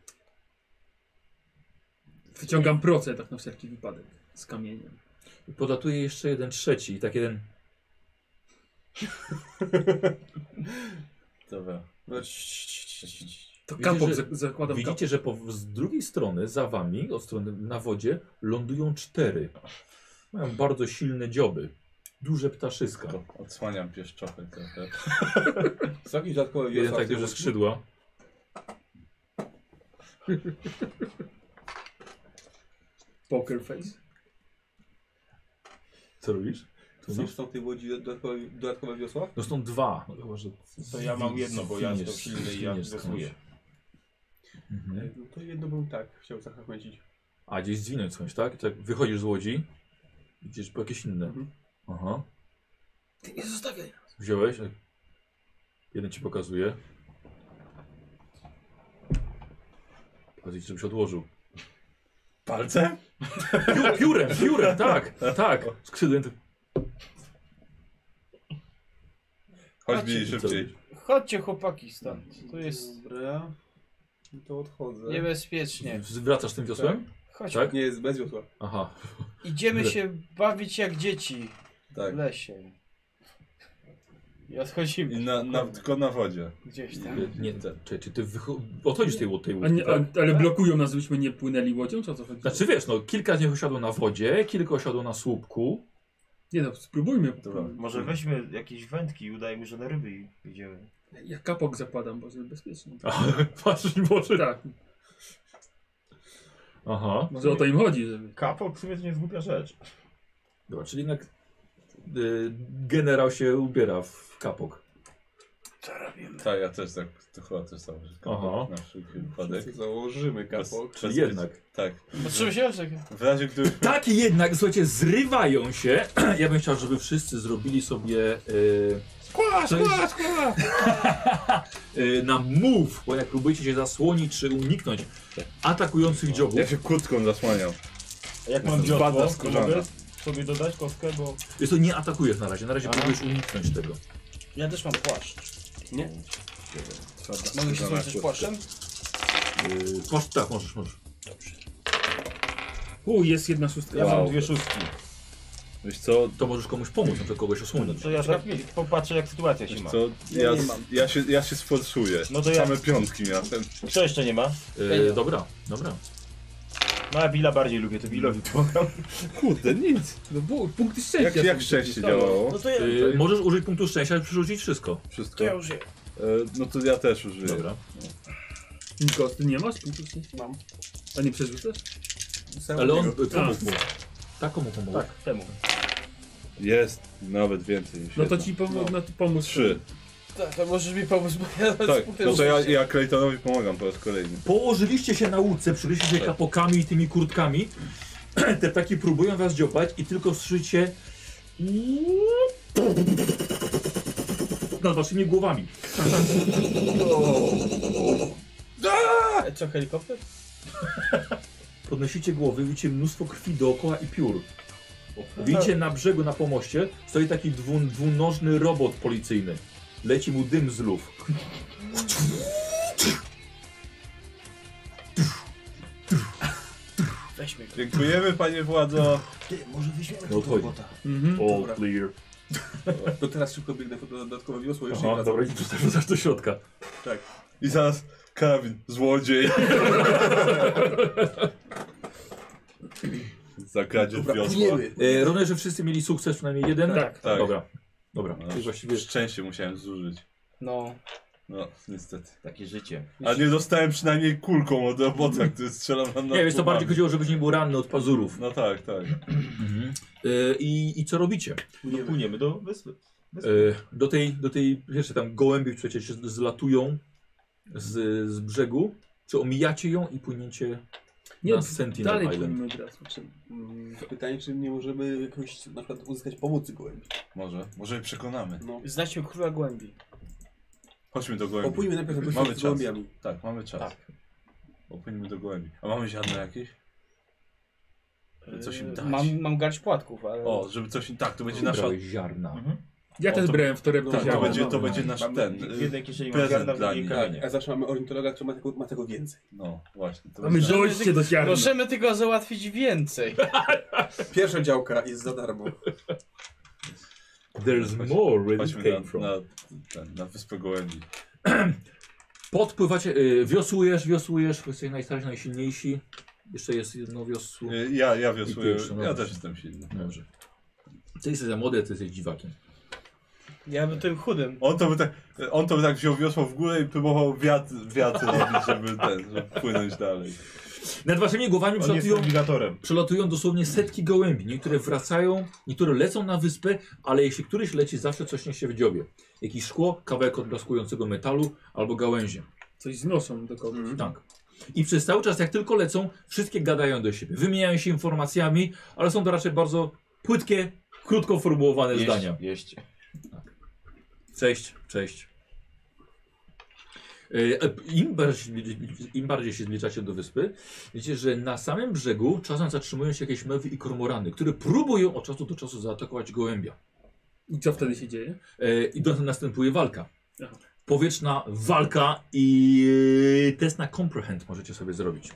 Speaker 4: Wyciągam proce tak na wszelki wypadek. Z kamieniem.
Speaker 1: I podatuje jeszcze jeden trzeci i tak jeden...
Speaker 2: Dobra.
Speaker 3: No,
Speaker 4: To
Speaker 1: Widzicie,
Speaker 4: kapok
Speaker 1: że-
Speaker 4: zak- zakładam kapok.
Speaker 1: Widzicie, że po, z drugiej strony, za wami, od strony na wodzie, lądują cztery. Mają bardzo silne dzioby. Duże ptaszyska.
Speaker 2: To Odsłaniam pieszczotę trochę.
Speaker 3: Są jakieś dodatkowe
Speaker 1: Jeden
Speaker 3: wiosła w
Speaker 1: tak
Speaker 3: tej
Speaker 1: duże
Speaker 3: łódki?
Speaker 1: skrzydła.
Speaker 4: Poker face.
Speaker 1: Co robisz? Tu
Speaker 3: Są
Speaker 1: masz?
Speaker 3: są w tej łodzi dodatkowe, dodatkowe wiosła?
Speaker 1: No są dwa. No, chyba, że
Speaker 6: To ja mam jedno, bo ja
Speaker 1: zwiniesz-
Speaker 6: jestem silny i ja
Speaker 1: zwiniesz skądś.
Speaker 6: wiosłuję.
Speaker 1: Mhm.
Speaker 3: No to jedno bym tak chciał zachęcić.
Speaker 1: A gdzieś zwinąć skądś, tak? Tak wychodzisz z łodzi, idziesz po jakieś inne.
Speaker 3: Mhm.
Speaker 1: Aha.
Speaker 9: Ty nie zostawiaj.
Speaker 1: Wziąłeś? tak. Jeden ci pokazuje. Chodzi, żebyś odłożył.
Speaker 2: Palce?
Speaker 1: Piu, piórem, piórem, tak, tak. Skrzydłem. to-
Speaker 2: Chodź mi szybciej.
Speaker 5: Chodźcie chłopaki stąd. Tu jest
Speaker 3: Dobra. No To odchodzę. Nie,
Speaker 5: niebezpiecznie.
Speaker 1: Wracasz tym wiosłem?
Speaker 5: Chodź.
Speaker 1: Tak?
Speaker 3: nie jest bez wiosła.
Speaker 1: Aha.
Speaker 5: Idziemy
Speaker 1: Le-
Speaker 5: się bawić jak dzieci
Speaker 2: Tak.
Speaker 5: w lesie. I odchodzimy.
Speaker 2: I na, na, tylko na wodzie.
Speaker 5: Gdzieś tam.
Speaker 1: Nie, nie, czy, czy ty wycho- odchodzisz z tej, łód- tej
Speaker 4: A
Speaker 1: łódki,
Speaker 4: nie,
Speaker 1: tak?
Speaker 4: a, ale blokują nas, żebyśmy nie płynęli łodzią, czy o co chodzi?
Speaker 1: Znaczy wiesz, no kilka z nich osiadło na wodzie, kilka osiadło na słupku.
Speaker 4: Nie no, spróbujmy.
Speaker 6: Może weźmy jakieś wędki i udajmy, że na ryby i idziemy.
Speaker 4: Ja kapok zakładam, bo żeby bezpiecznie.
Speaker 1: Patrz, może...
Speaker 4: Tak,
Speaker 1: Aha.
Speaker 4: może o to im chodzi, żeby...
Speaker 6: Kapok w sumie to nie jest głupia rzecz.
Speaker 1: Dobra, czyli jednak y, generał się ubiera w kapok.
Speaker 2: Tak, ja też tak, to chyba też tak.
Speaker 1: Aha.
Speaker 2: Na wszelki wypadek.
Speaker 3: Założymy kapok.
Speaker 2: Przez- przez-
Speaker 1: Jednak.
Speaker 2: Tak.
Speaker 5: Patrzymy się że-
Speaker 2: W razie gdyby
Speaker 1: Takie jednak, słuchajcie, zrywają się. Ja bym chciał, żeby wszyscy zrobili sobie... Y, skła, skła, skła! y, na move, bo jak próbujecie się zasłonić czy uniknąć atakujących dziobów.
Speaker 2: ja się kłódką zasłaniam.
Speaker 6: A jak mam
Speaker 2: Spada
Speaker 6: wiodło,
Speaker 2: z
Speaker 6: to
Speaker 2: korzenia.
Speaker 6: mogę sobie dodać kostkę, bo...
Speaker 1: Jest to nie atakujesz na razie, na razie próbujesz uniknąć tego.
Speaker 5: Ja też mam płaszcz.
Speaker 2: Spada
Speaker 5: Mogę się
Speaker 2: skórzana
Speaker 5: skończyć
Speaker 2: kłódka.
Speaker 5: płaszczem?
Speaker 1: Yy, posz, tak, możesz, możesz.
Speaker 4: U, jest jedna szóstka.
Speaker 6: Ja mam
Speaker 2: Wow.
Speaker 6: dwie szóstki.
Speaker 2: Wiesz co,
Speaker 1: To możesz komuś pomóc, na przykład kogoś osłonić. Y,
Speaker 6: To ja tak popatrzę jak sytuacja się
Speaker 2: wiesz
Speaker 6: ma.
Speaker 2: co, ja,
Speaker 3: nie mam.
Speaker 2: ja się, ja się sforsuję.
Speaker 6: No to ja-
Speaker 2: Same piątki miałem.
Speaker 6: Kto jeszcze nie ma?
Speaker 1: Yy, dobra, dobra.
Speaker 6: No ja Billa bardziej lubię, to Billowi pomagam.
Speaker 2: Kurde, nic.
Speaker 4: No, bu- punkty szczęścia.
Speaker 2: Jak, jak
Speaker 4: są.
Speaker 2: szczęście działało?
Speaker 10: No to ja,
Speaker 1: Yy, możesz użyć punktu szczęścia i przerzucić wszystko.
Speaker 2: Wszystko.
Speaker 10: to ja użyję.
Speaker 2: E, No to ja też użyję.
Speaker 1: Dobra.
Speaker 4: Niko, ty nie masz punktu szczęścia?
Speaker 3: Mam.
Speaker 4: A nie przerzucasz?
Speaker 3: Sam
Speaker 1: Ale on
Speaker 3: tego.
Speaker 1: y, pomógł mu. Tak, komu pomógł?
Speaker 6: Tak, temu.
Speaker 2: Jest nawet więcej niż
Speaker 4: No to
Speaker 2: jedna.
Speaker 4: ci pom- no. to pomóż.
Speaker 2: Trzy.
Speaker 5: Tak, to możesz mi pomóc, bo ja
Speaker 2: Tak, no to ja, ja Claytonowi pomagam po raz kolejny.
Speaker 1: Położyliście się na łódce, przykryliście się kapokami i tymi kurtkami. Te ptaki próbują was dziobać i tylko słyszycie... nad waszymi głowami.
Speaker 5: Co, helikopter?
Speaker 1: Podnosicie głowy, widzicie mnóstwo krwi dookoła i piór. Widzicie na brzegu, na pomoście, stoi taki dwu, dwunożny robot policyjny. Leci mu dym z luf.
Speaker 10: Weźmy go.
Speaker 2: Dziękujemy panie władzo.
Speaker 10: Ty, może weźmiemy
Speaker 1: No
Speaker 10: tego
Speaker 1: odchodzi.
Speaker 10: robota.
Speaker 4: Mhm.
Speaker 1: All clear.
Speaker 3: To teraz szybko biegnę po dodatkowe wiosło jeszcze
Speaker 1: Aha,
Speaker 3: raz.
Speaker 1: dobra, i wrzucasz do środka.
Speaker 2: I zaraz karabin, złodziej. Za kradzież
Speaker 3: Dobra,
Speaker 2: wiosła.
Speaker 3: płyniemy.
Speaker 1: E, Rodzę, że wszyscy mieli sukces, przynajmniej jeden?
Speaker 4: Tak.
Speaker 2: Tak.
Speaker 1: Dobra. Dobra.
Speaker 2: No.
Speaker 1: Czyli właściwie...
Speaker 2: Szczęście musiałem zużyć.
Speaker 5: No.
Speaker 2: No, niestety.
Speaker 6: Takie życie.
Speaker 2: A nie dostałem przynajmniej kulką od robota, który strzelał na
Speaker 1: Nie, więc to bardziej chodziło, żebyś nie był ranny od pazurów.
Speaker 2: No tak, tak.
Speaker 1: E, I, I co robicie?
Speaker 6: No płyniemy do wyspy.
Speaker 1: E, do tej, do tej, wiesz, tam gołębie przecież z- zlatują z, z brzegu. Czy omijacie ją i płyniecie
Speaker 4: Nie,
Speaker 1: na Sentinel
Speaker 4: dalej
Speaker 1: Island?
Speaker 4: płynimy od razu. Czy-
Speaker 3: Mm, Pytanie, czy nie możemy jakoś na przykład uzyskać pomocy gołębi.
Speaker 2: Może, może je przekonamy.
Speaker 3: No.
Speaker 5: Znajdźmy króla głębi.
Speaker 2: Chodźmy do gołębi.
Speaker 3: Popójmy najpierw do
Speaker 2: Mamy
Speaker 3: gości z
Speaker 2: czas.
Speaker 3: gołębiami.
Speaker 2: Tak, mamy czas. Popłyńmy do gołębi. A mamy ziarno jakieś? Żeby coś im dać.
Speaker 5: Yy, Mam, mam garść płatków, ale...
Speaker 2: O, żeby coś im... Tak, to będzie nasza...
Speaker 1: Wybrałeś ziarna.
Speaker 4: Ja
Speaker 2: O,
Speaker 4: też
Speaker 2: to-
Speaker 4: brałem w torebce
Speaker 2: Tak, to
Speaker 4: ziarno.
Speaker 2: będzie, to będzie nasz
Speaker 6: Mamy
Speaker 2: ten...
Speaker 6: w
Speaker 2: y,
Speaker 6: jednej kieszeni mam
Speaker 2: prezent
Speaker 6: ziarna, w
Speaker 2: dla
Speaker 6: drugiej
Speaker 2: nich. Tak.
Speaker 6: kamienie.
Speaker 3: A zawsze mamy ornitologa, który ma tego, ma tego więcej.
Speaker 2: No, właśnie. To
Speaker 4: A my
Speaker 2: będzie nasz-
Speaker 4: dojście do ziarna.
Speaker 5: Możemy tego załatwić więcej.
Speaker 3: Pierwsza działka jest za darmo.
Speaker 2: Chodź-
Speaker 1: There's more where it
Speaker 2: Chodźmy
Speaker 1: came
Speaker 2: na,
Speaker 1: from.
Speaker 2: na, ten, na wyspę gołębi.
Speaker 1: Podpływacie, y, wiosłujesz, wiosłujesz, jesteś najstarsi, najsilniejsi. Jeszcze jest jedno wiosło.
Speaker 2: Y, Ja, ja
Speaker 1: I ty
Speaker 2: wiosłuję.
Speaker 1: już, no
Speaker 2: Ja
Speaker 1: dobrze.
Speaker 2: też jestem silny.
Speaker 1: Dobrze. Ty jesteś za młody, ty jesteś dziwakiem.
Speaker 5: Ja bym tym chudym.
Speaker 2: On to by tak, on to by tak wziął wiosło w górę i próbował wiatr, wiatr robić, żeby ten, żeby płynąć dalej.
Speaker 1: Nad waszymi głowami
Speaker 6: On jest
Speaker 1: przelatują,
Speaker 6: nawigatorem.
Speaker 1: przelatują dosłownie setki gołębi. Niektóre wracają, niektóre lecą na wyspę, ale jeśli któryś leci, zawsze coś niesie w dziobie. Jakieś szkło, kawałek odblaskującego metalu albo gałęzie.
Speaker 4: Coś znoszą do kogoś.
Speaker 2: Mhm.
Speaker 1: Tak. I przez cały czas, jak tylko lecą, wszystkie gadają do siebie, wymieniają się informacjami, ale są to raczej bardzo płytkie, krótko formułowane zdania.
Speaker 6: jeść.
Speaker 1: Cześć, cześć. E, e, Im bardziej, Im bardziej się zbliżacie do wyspy, wiecie, że na samym brzegu czasem zatrzymują się jakieś mewy i kormorany, które próbują od czasu do czasu zaatakować gołębia.
Speaker 4: I co wtedy się dzieje?
Speaker 1: E, I do, następuje walka.
Speaker 4: Aha.
Speaker 1: Powietrzna walka i e, test na comprehend możecie sobie zrobić.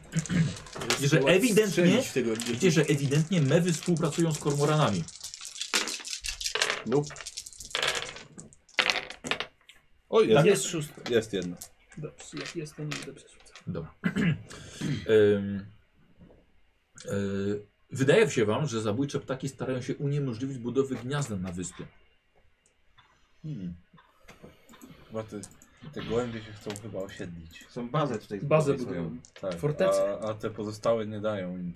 Speaker 1: Widzicie, że ewidentnie,
Speaker 3: Strzelić w tego.
Speaker 1: widzicie, że ewidentnie mewy współpracują z kormoranami.
Speaker 3: Nope.
Speaker 2: O, jest,
Speaker 4: Jest szóstka.
Speaker 2: jest jedno.
Speaker 4: Dobrze, jak jest, to nie będę przerzucał.
Speaker 1: Dobra. Ym, y, wydaje się wam, że zabójcze ptaki starają się uniemożliwić budowy gniazda na wyspie.
Speaker 2: Hmm. Chyba te, te gołębie się chcą chyba osiedlić.
Speaker 6: Są bazę tutaj
Speaker 4: Bazę
Speaker 6: zbudować swoją.
Speaker 4: budują.
Speaker 2: Tak,
Speaker 4: Fortece.
Speaker 2: A, a te pozostałe nie dają im.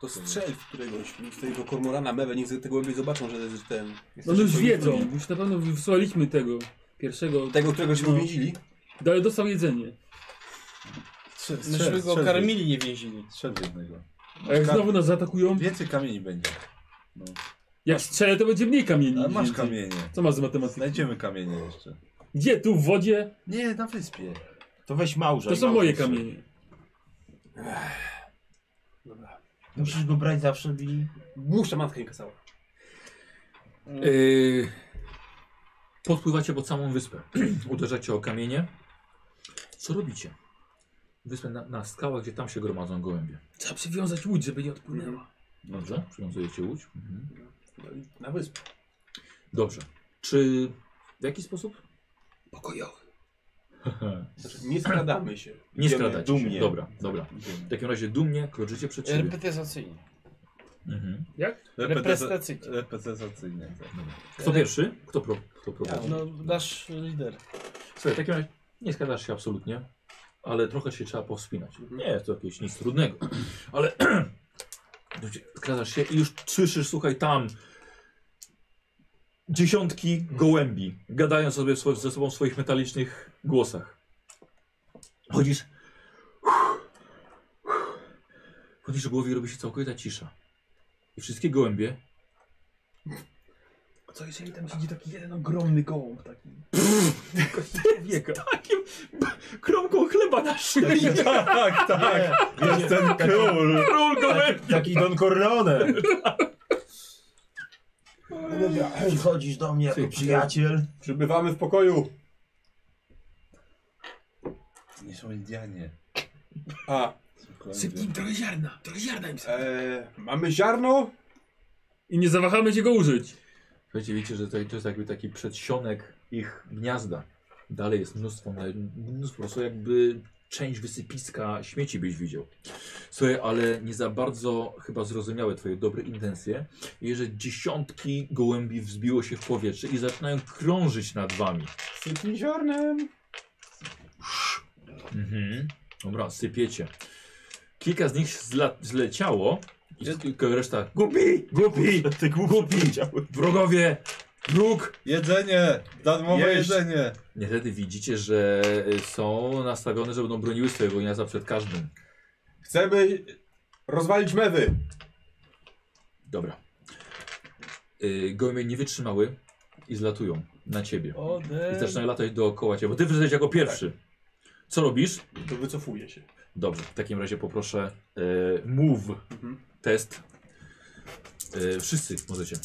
Speaker 3: To strzel w któregoś, w tego kormorana mewę, niech z- te głębiej zobaczą, że że ten...
Speaker 4: No
Speaker 3: jesteście
Speaker 4: już
Speaker 3: swoimi
Speaker 4: wiedzą,
Speaker 3: ludźmi.
Speaker 4: już na pewno wysłaliśmy tego pierwszego.
Speaker 2: Tak.
Speaker 3: Tego, którego się
Speaker 4: No.
Speaker 3: uwięzili.
Speaker 4: Daje dostał jedzenie.
Speaker 2: Strzel,
Speaker 5: Myśmy go karmili, nie więzili.
Speaker 2: Strzel w jednego.
Speaker 4: A jak znowu nas zaatakują,
Speaker 2: Więcej kamieni będzie.
Speaker 4: jak strzelę, to będzie mniej kamieni.
Speaker 2: A
Speaker 4: niż
Speaker 2: masz
Speaker 4: więcej.
Speaker 2: kamienie.
Speaker 4: Co masz z matematyki?
Speaker 2: Znajdziemy kamienie jeszcze.
Speaker 4: Gdzie? Tu w wodzie?
Speaker 2: Nie, na wyspie.
Speaker 6: To weź małża.
Speaker 4: To są moje kamienie.
Speaker 7: Musisz go brać zawsze i...
Speaker 3: Muszę matka nie kazała.
Speaker 1: Yy, podpływacie pod samą wyspę. Uderzacie o kamienie. Co robicie? Wyspę na, na skałach, gdzie tam się gromadzą gołębie.
Speaker 4: Trzeba przywiązać łódź, żeby nie odpłynęła.
Speaker 1: Dobrze? Przywiązujecie łódź? Mhm.
Speaker 3: No i Na wyspę.
Speaker 1: Dobrze. Czy w jaki sposób?
Speaker 4: Pokojowy.
Speaker 3: Znaczy, nie skradamy się.
Speaker 1: Nie
Speaker 3: Idziemy
Speaker 1: skradacie. się.
Speaker 6: dumnie.
Speaker 1: Dobra, dobra. W takim razie dumnie kroczycie przed siebie.
Speaker 5: Reprytyzacyjnie.
Speaker 1: Mhm.
Speaker 5: Reprezentacyjnie.
Speaker 2: Reprezentacyjnie. tak.
Speaker 1: Kto pierwszy? Kto, pro, kto prowadzi?
Speaker 5: No, nasz lider.
Speaker 1: Słuchaj, w takim razie nie zgadzasz się absolutnie, ale trochę się trzeba powspinać. Nie jest to jakieś nic trudnego, ale zgadzasz się i już słyszysz, słuchaj, tam dziesiątki gołębi gadają sobie swo- ze sobą w swoich metalicznych głosach. Chodzisz, chodzisz w głowie i robi się całkowita cisza. I wszystkie gołębie
Speaker 9: Co jeżeli tam siedzi taki jeden ogromny gołąb taki? Wieka.
Speaker 4: No
Speaker 1: kromką chleba na szyi.
Speaker 2: Tak, tak. Jest ten król.
Speaker 1: Król gołębi.
Speaker 7: Taki Don Corleone. Przychodzisz do mnie jako przyjaciel.
Speaker 3: Przybywamy w pokoju.
Speaker 2: Nie są Indianie.
Speaker 3: A,
Speaker 2: są gołębie.
Speaker 9: Sypnij im trochę ziarna, trochę ziarna im syp.
Speaker 3: e, mamy ziarno?
Speaker 4: I nie zawahamy się go użyć.
Speaker 1: Słuchajcie, wiecie, że to, to jest jakby taki przedsionek ich gniazda. Dalej jest mnóstwo, na- mnóstwo, po prostu jakby część wysypiska śmieci byś widział. Słuchaj, ale nie za bardzo chyba zrozumiałe twoje dobre intencje i że dziesiątki gołębi wzbiło się w powietrze i zaczynają krążyć nad wami.
Speaker 3: Sypnij ziarnem.
Speaker 1: Mhm. Dobra, sypiecie. Kilka z nich zla, zleciało i tylko reszta głupi, głupi,
Speaker 7: Ty
Speaker 1: głupi, wrogowie, wróg.
Speaker 2: Jedzenie! Darmowe
Speaker 1: Jeść.
Speaker 2: jedzenie!
Speaker 1: Niestety widzicie, że y, są nastawione, że będą broniły swojego gniazda przed każdym.
Speaker 3: Chcemy rozwalić mewy.
Speaker 1: Dobra. Yy, gołębie nie wytrzymały i zlatują na ciebie.
Speaker 5: O,
Speaker 1: I
Speaker 5: de...
Speaker 1: zaczynają latać dookoła ciebie, bo ty wyszedłeś jako pierwszy. Co robisz?
Speaker 3: To wycofuję się.
Speaker 1: Dobrze, w takim razie poproszę e, move
Speaker 3: Mhm.
Speaker 1: test. E, wszyscy możecie.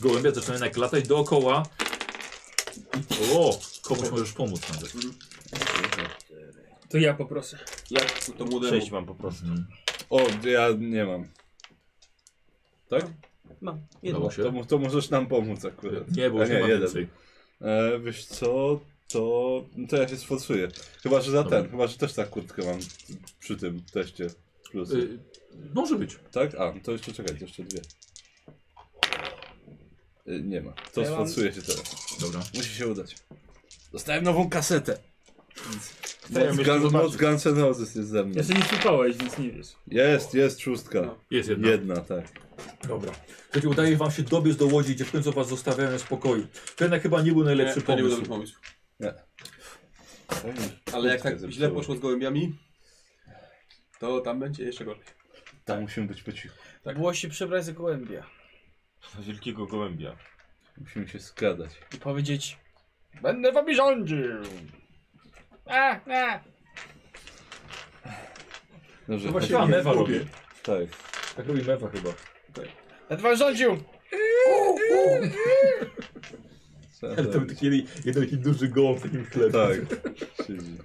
Speaker 1: Gołębia zaczynają jak latać dookoła. O, komuś możesz pomóc nawet.
Speaker 4: To ja poproszę.
Speaker 3: Jak to, to młodemu?
Speaker 6: Sześć mam po prostu.
Speaker 2: Mhm. O, ja nie mam. Tak?
Speaker 10: Mam.
Speaker 6: No
Speaker 1: Udało
Speaker 10: Jedno.
Speaker 1: się?
Speaker 2: no, To, mo- to możesz nam pomóc akurat.
Speaker 1: Nie, bo
Speaker 2: A
Speaker 1: już nie ma
Speaker 2: jeden.
Speaker 1: więcej.
Speaker 2: E, wiesz co, to, to ja się sforsuję. Chyba, że za
Speaker 1: Dobra.
Speaker 2: ten, chyba, że też tak kurtkę mam przy tym teście. Plus.
Speaker 1: Y, może być.
Speaker 2: Tak? A, to jeszcze czekajcie, jeszcze dwie. Y, Nie ma. To
Speaker 5: Ja mam-
Speaker 2: sfalsuje się teraz.
Speaker 1: Dobra.
Speaker 2: Musi się udać. Dostałem nową kasetę.
Speaker 7: Chciałem
Speaker 2: Moc
Speaker 7: jeszcze
Speaker 2: Guns-
Speaker 7: zobaczyć.
Speaker 2: Moc Guns N' Roses jest ze mną.
Speaker 4: Jeszcze nie słuchałeś, więc nie wiesz.
Speaker 2: Jest, jest szóstka.
Speaker 1: Jest
Speaker 3: No.
Speaker 1: jedna.
Speaker 2: Jedna, tak.
Speaker 1: Dobra. Słuchajcie, udaje wam się dobiec do łodzi, gdzie w końcu was zostawiają w spokoju. To jednak chyba nie był najlepszy
Speaker 3: Nie, to nie był
Speaker 1: pomysł.
Speaker 3: dobry pomysł.
Speaker 2: Kurtkę
Speaker 3: Ale jak tak źle
Speaker 2: zepsułem.
Speaker 3: poszło z gołębiami, to tam będzie jeszcze gorzej.
Speaker 2: Tam musimy być po cichu.
Speaker 6: tak.
Speaker 10: Było się przebrać za gołębia
Speaker 6: Wielkiego gołębia.
Speaker 2: Musimy się skradać.
Speaker 10: i powiedzieć
Speaker 5: Będę wami rządził. E, A, a.
Speaker 2: Dobrze,
Speaker 1: To No właśnie
Speaker 2: tak,
Speaker 1: chyba mewa robi.
Speaker 2: tak.
Speaker 1: Tak robi mewa chyba.
Speaker 5: Będę wam rządził.
Speaker 2: Trzeba
Speaker 1: Ale to był
Speaker 2: zrobić.
Speaker 1: taki jeden, jeden taki duży gołąb w takim chlebie.
Speaker 2: Tak. Czyli...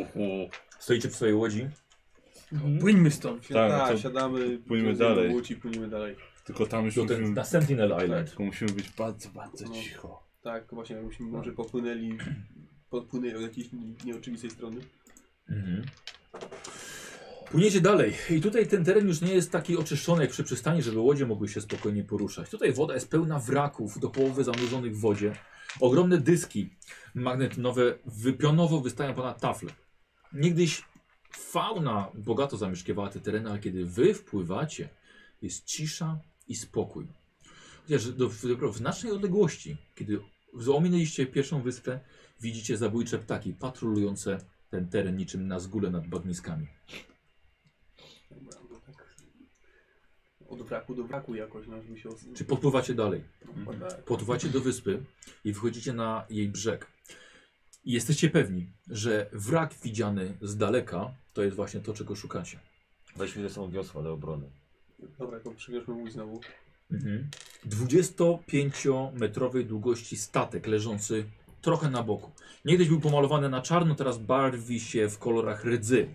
Speaker 2: Uhu.
Speaker 1: Stoicie przy swojej łodzi.
Speaker 4: Płyńmy stąd.
Speaker 2: Tak,
Speaker 3: Tak,
Speaker 2: to
Speaker 3: siadamy,
Speaker 2: pójdźmy
Speaker 3: idziemy do
Speaker 2: dalej.
Speaker 3: Łódź i płyniemy dalej.
Speaker 2: Tylko tam już
Speaker 1: Do ten,
Speaker 2: musimy...
Speaker 1: na Sentinel
Speaker 2: Tak,
Speaker 1: Island.
Speaker 2: tylko musimy być bardzo, bardzo
Speaker 3: No.
Speaker 2: cicho.
Speaker 3: Tak, właśnie, jakbyśmy może popłynęli, podpłynęli od jakiejś nieoczywistej strony.
Speaker 1: Mhm. Płyniecie dalej. I tutaj ten teren już nie jest taki oczyszczony jak przy przystani, żeby łodzie mogły się spokojnie poruszać. Tutaj woda jest pełna wraków, do połowy zanurzonych w wodzie. Ogromne dyski magnetynowe wypionowo wystają ponad tafle. Niegdyś fauna bogato zamieszkiwała te tereny, ale kiedy wy wpływacie, jest cisza i spokój. Chociaż do, w, dopiero w znacznej odległości, kiedy ominęliście pierwszą wyspę, widzicie zabójcze ptaki patrolujące ten teren niczym na zgóle nad bagniskami.
Speaker 3: Dobra, no tak. Od braku do braku jakoś, no, żeby się...
Speaker 1: Czy podpływacie dalej?
Speaker 3: Chyba tak.
Speaker 1: Podpływacie do wyspy i wychodzicie na jej brzeg. I jesteście pewni, że wrak widziany z daleka to jest właśnie to, czego szukacie.
Speaker 6: Weźmy ze sobą wiosła do obrony.
Speaker 3: Dobra, to przygrzeszmy łódź znowu.
Speaker 1: 25-metrowej długości statek leżący trochę na boku. Niegdyś był pomalowany na czarno, teraz barwi się w kolorach rdzy.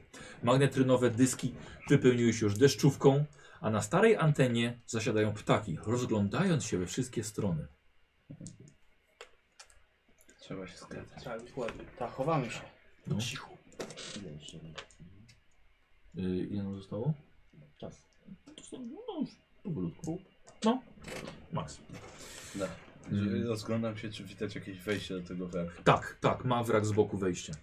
Speaker 1: Magnetrynowe dyski wypełniły się już deszczówką, a na starej antenie zasiadają ptaki, rozglądając się we wszystkie strony.
Speaker 2: Trzeba się skradać.
Speaker 3: Tak, dokładnie.
Speaker 5: Tak, chowamy się.
Speaker 1: No.
Speaker 5: Cicho.
Speaker 1: Yy, ile nam zostało? Czas. No, już powolutku. No, max.
Speaker 2: No.
Speaker 1: Mhm.
Speaker 2: Rozglądam się, czy widać jakieś wejście do tego werfu.
Speaker 1: Tak, tak, ma wrak z boku wejścia.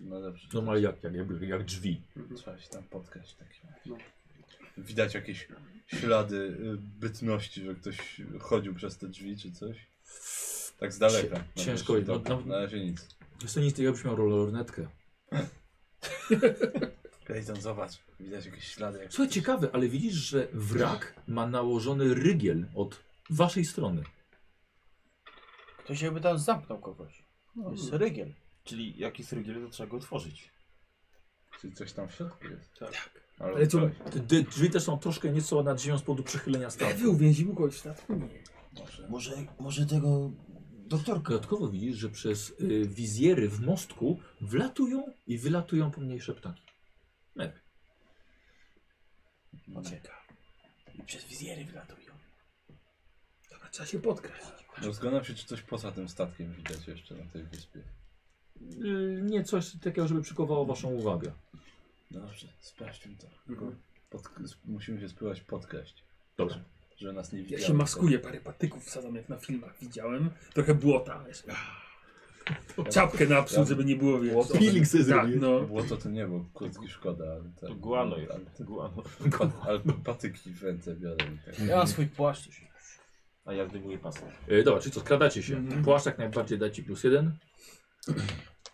Speaker 2: No dobrze.
Speaker 1: Normalnie jak, jak, jak drzwi.
Speaker 2: Trzeba się tam spotkać w takim razie.
Speaker 3: No.
Speaker 2: Widać jakieś ślady y, bytności, że ktoś chodził przez te drzwi czy coś. Tak z daleka.
Speaker 1: Cię- ciężko
Speaker 2: razie
Speaker 1: i-
Speaker 2: tak,
Speaker 1: no-
Speaker 2: Na razie nic.
Speaker 1: Wiesz co, nic, ja byś miał rolornetkę.
Speaker 2: Clayton, zobacz. Widać jakieś ślady. Jak...
Speaker 1: Słuchaj, ciekawe, ale widzisz, że wrak ma nałożony rygiel od waszej strony.
Speaker 5: Ktoś jakby tam zamknął kogoś. To jest
Speaker 6: No.
Speaker 5: rygiel.
Speaker 6: Czyli jak jest rygiel, to trzeba go otworzyć.
Speaker 2: Czy coś tam w środku jest?
Speaker 3: Tak.
Speaker 1: Ale co, te drzwi też są troszkę nieco nad ziemią z powodu przechylenia
Speaker 4: Wy
Speaker 1: statku.
Speaker 4: uwięził kogoś w statku? Nie.
Speaker 6: Może, może tego doktorka.
Speaker 1: Dodatkowo widzisz, że przez y, wizjery w mostku wlatują i wylatują pomniejsze ptaki. Mewy.
Speaker 10: Ucieka. I przez wizjery wylatują.
Speaker 6: Mhm.
Speaker 4: Dobra, trzeba się podkraść.
Speaker 2: Rozglądam się, czy coś poza tym statkiem widać jeszcze na tej wyspie.
Speaker 1: Y, nie coś takiego, żeby przykowało waszą uwagę.
Speaker 2: No dobrze, sprawdźmy to.
Speaker 3: Mhm.
Speaker 2: Pod, musimy się spróbować podkraść,
Speaker 1: Dobrze.
Speaker 2: że nas nie
Speaker 4: Ja
Speaker 2: widziały.
Speaker 4: się maskuję, parę patyków wsadzam jak na filmach widziałem. Trochę błota. wiesz. Czapkę napsuł, żeby nie było wiesz.
Speaker 2: Błoto.
Speaker 1: Peeling sobie
Speaker 4: Tak,
Speaker 1: zrobiłeś.
Speaker 4: no.
Speaker 2: Było to, to nie było, kurtki szkoda, ale tak.
Speaker 6: To guano jest.
Speaker 2: Ale,
Speaker 6: Guano.
Speaker 2: pa- ale patyki w ręce biorę. i Tak.
Speaker 5: Ja mam swój płaszcz. to się-
Speaker 6: A ja zdejmuję pasek.
Speaker 1: Y, dobra, czyli co, skradacie się. Płaszcz jak najbardziej da ci plus jeden.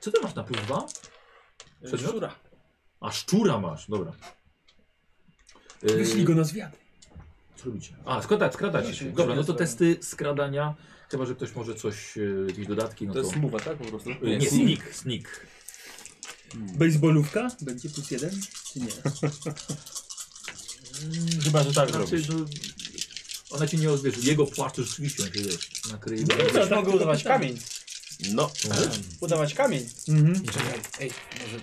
Speaker 1: Co ty masz na plus dwa? Przedmiot?
Speaker 4: Szczura.
Speaker 1: A szczura masz, dobra. Y,
Speaker 4: Wyszli go na zwiady.
Speaker 1: co robicie? A, skrada, skradacie się. Dobra, no to testy skradania. Chyba, że ktoś może coś, e, jakieś dodatki, no
Speaker 2: To
Speaker 1: to...
Speaker 2: jest mowa, tak? Po prostu?
Speaker 1: Nie, sneak, sneak.
Speaker 5: Hmm.
Speaker 4: Bejsbolówka?
Speaker 10: Będzie plus jeden? Czy nie?
Speaker 6: Chyba, że tak
Speaker 1: Raczej,
Speaker 6: zrobisz.
Speaker 1: no, ona cię nie odbierze. Jego płaszcz rzeczywiście on cię wiesz, nakryje.
Speaker 5: No to
Speaker 6: tak
Speaker 5: mogę udawać kamień.
Speaker 7: No,
Speaker 5: Udawać kamień.
Speaker 4: Mhm.
Speaker 2: Czekaj, ej, może...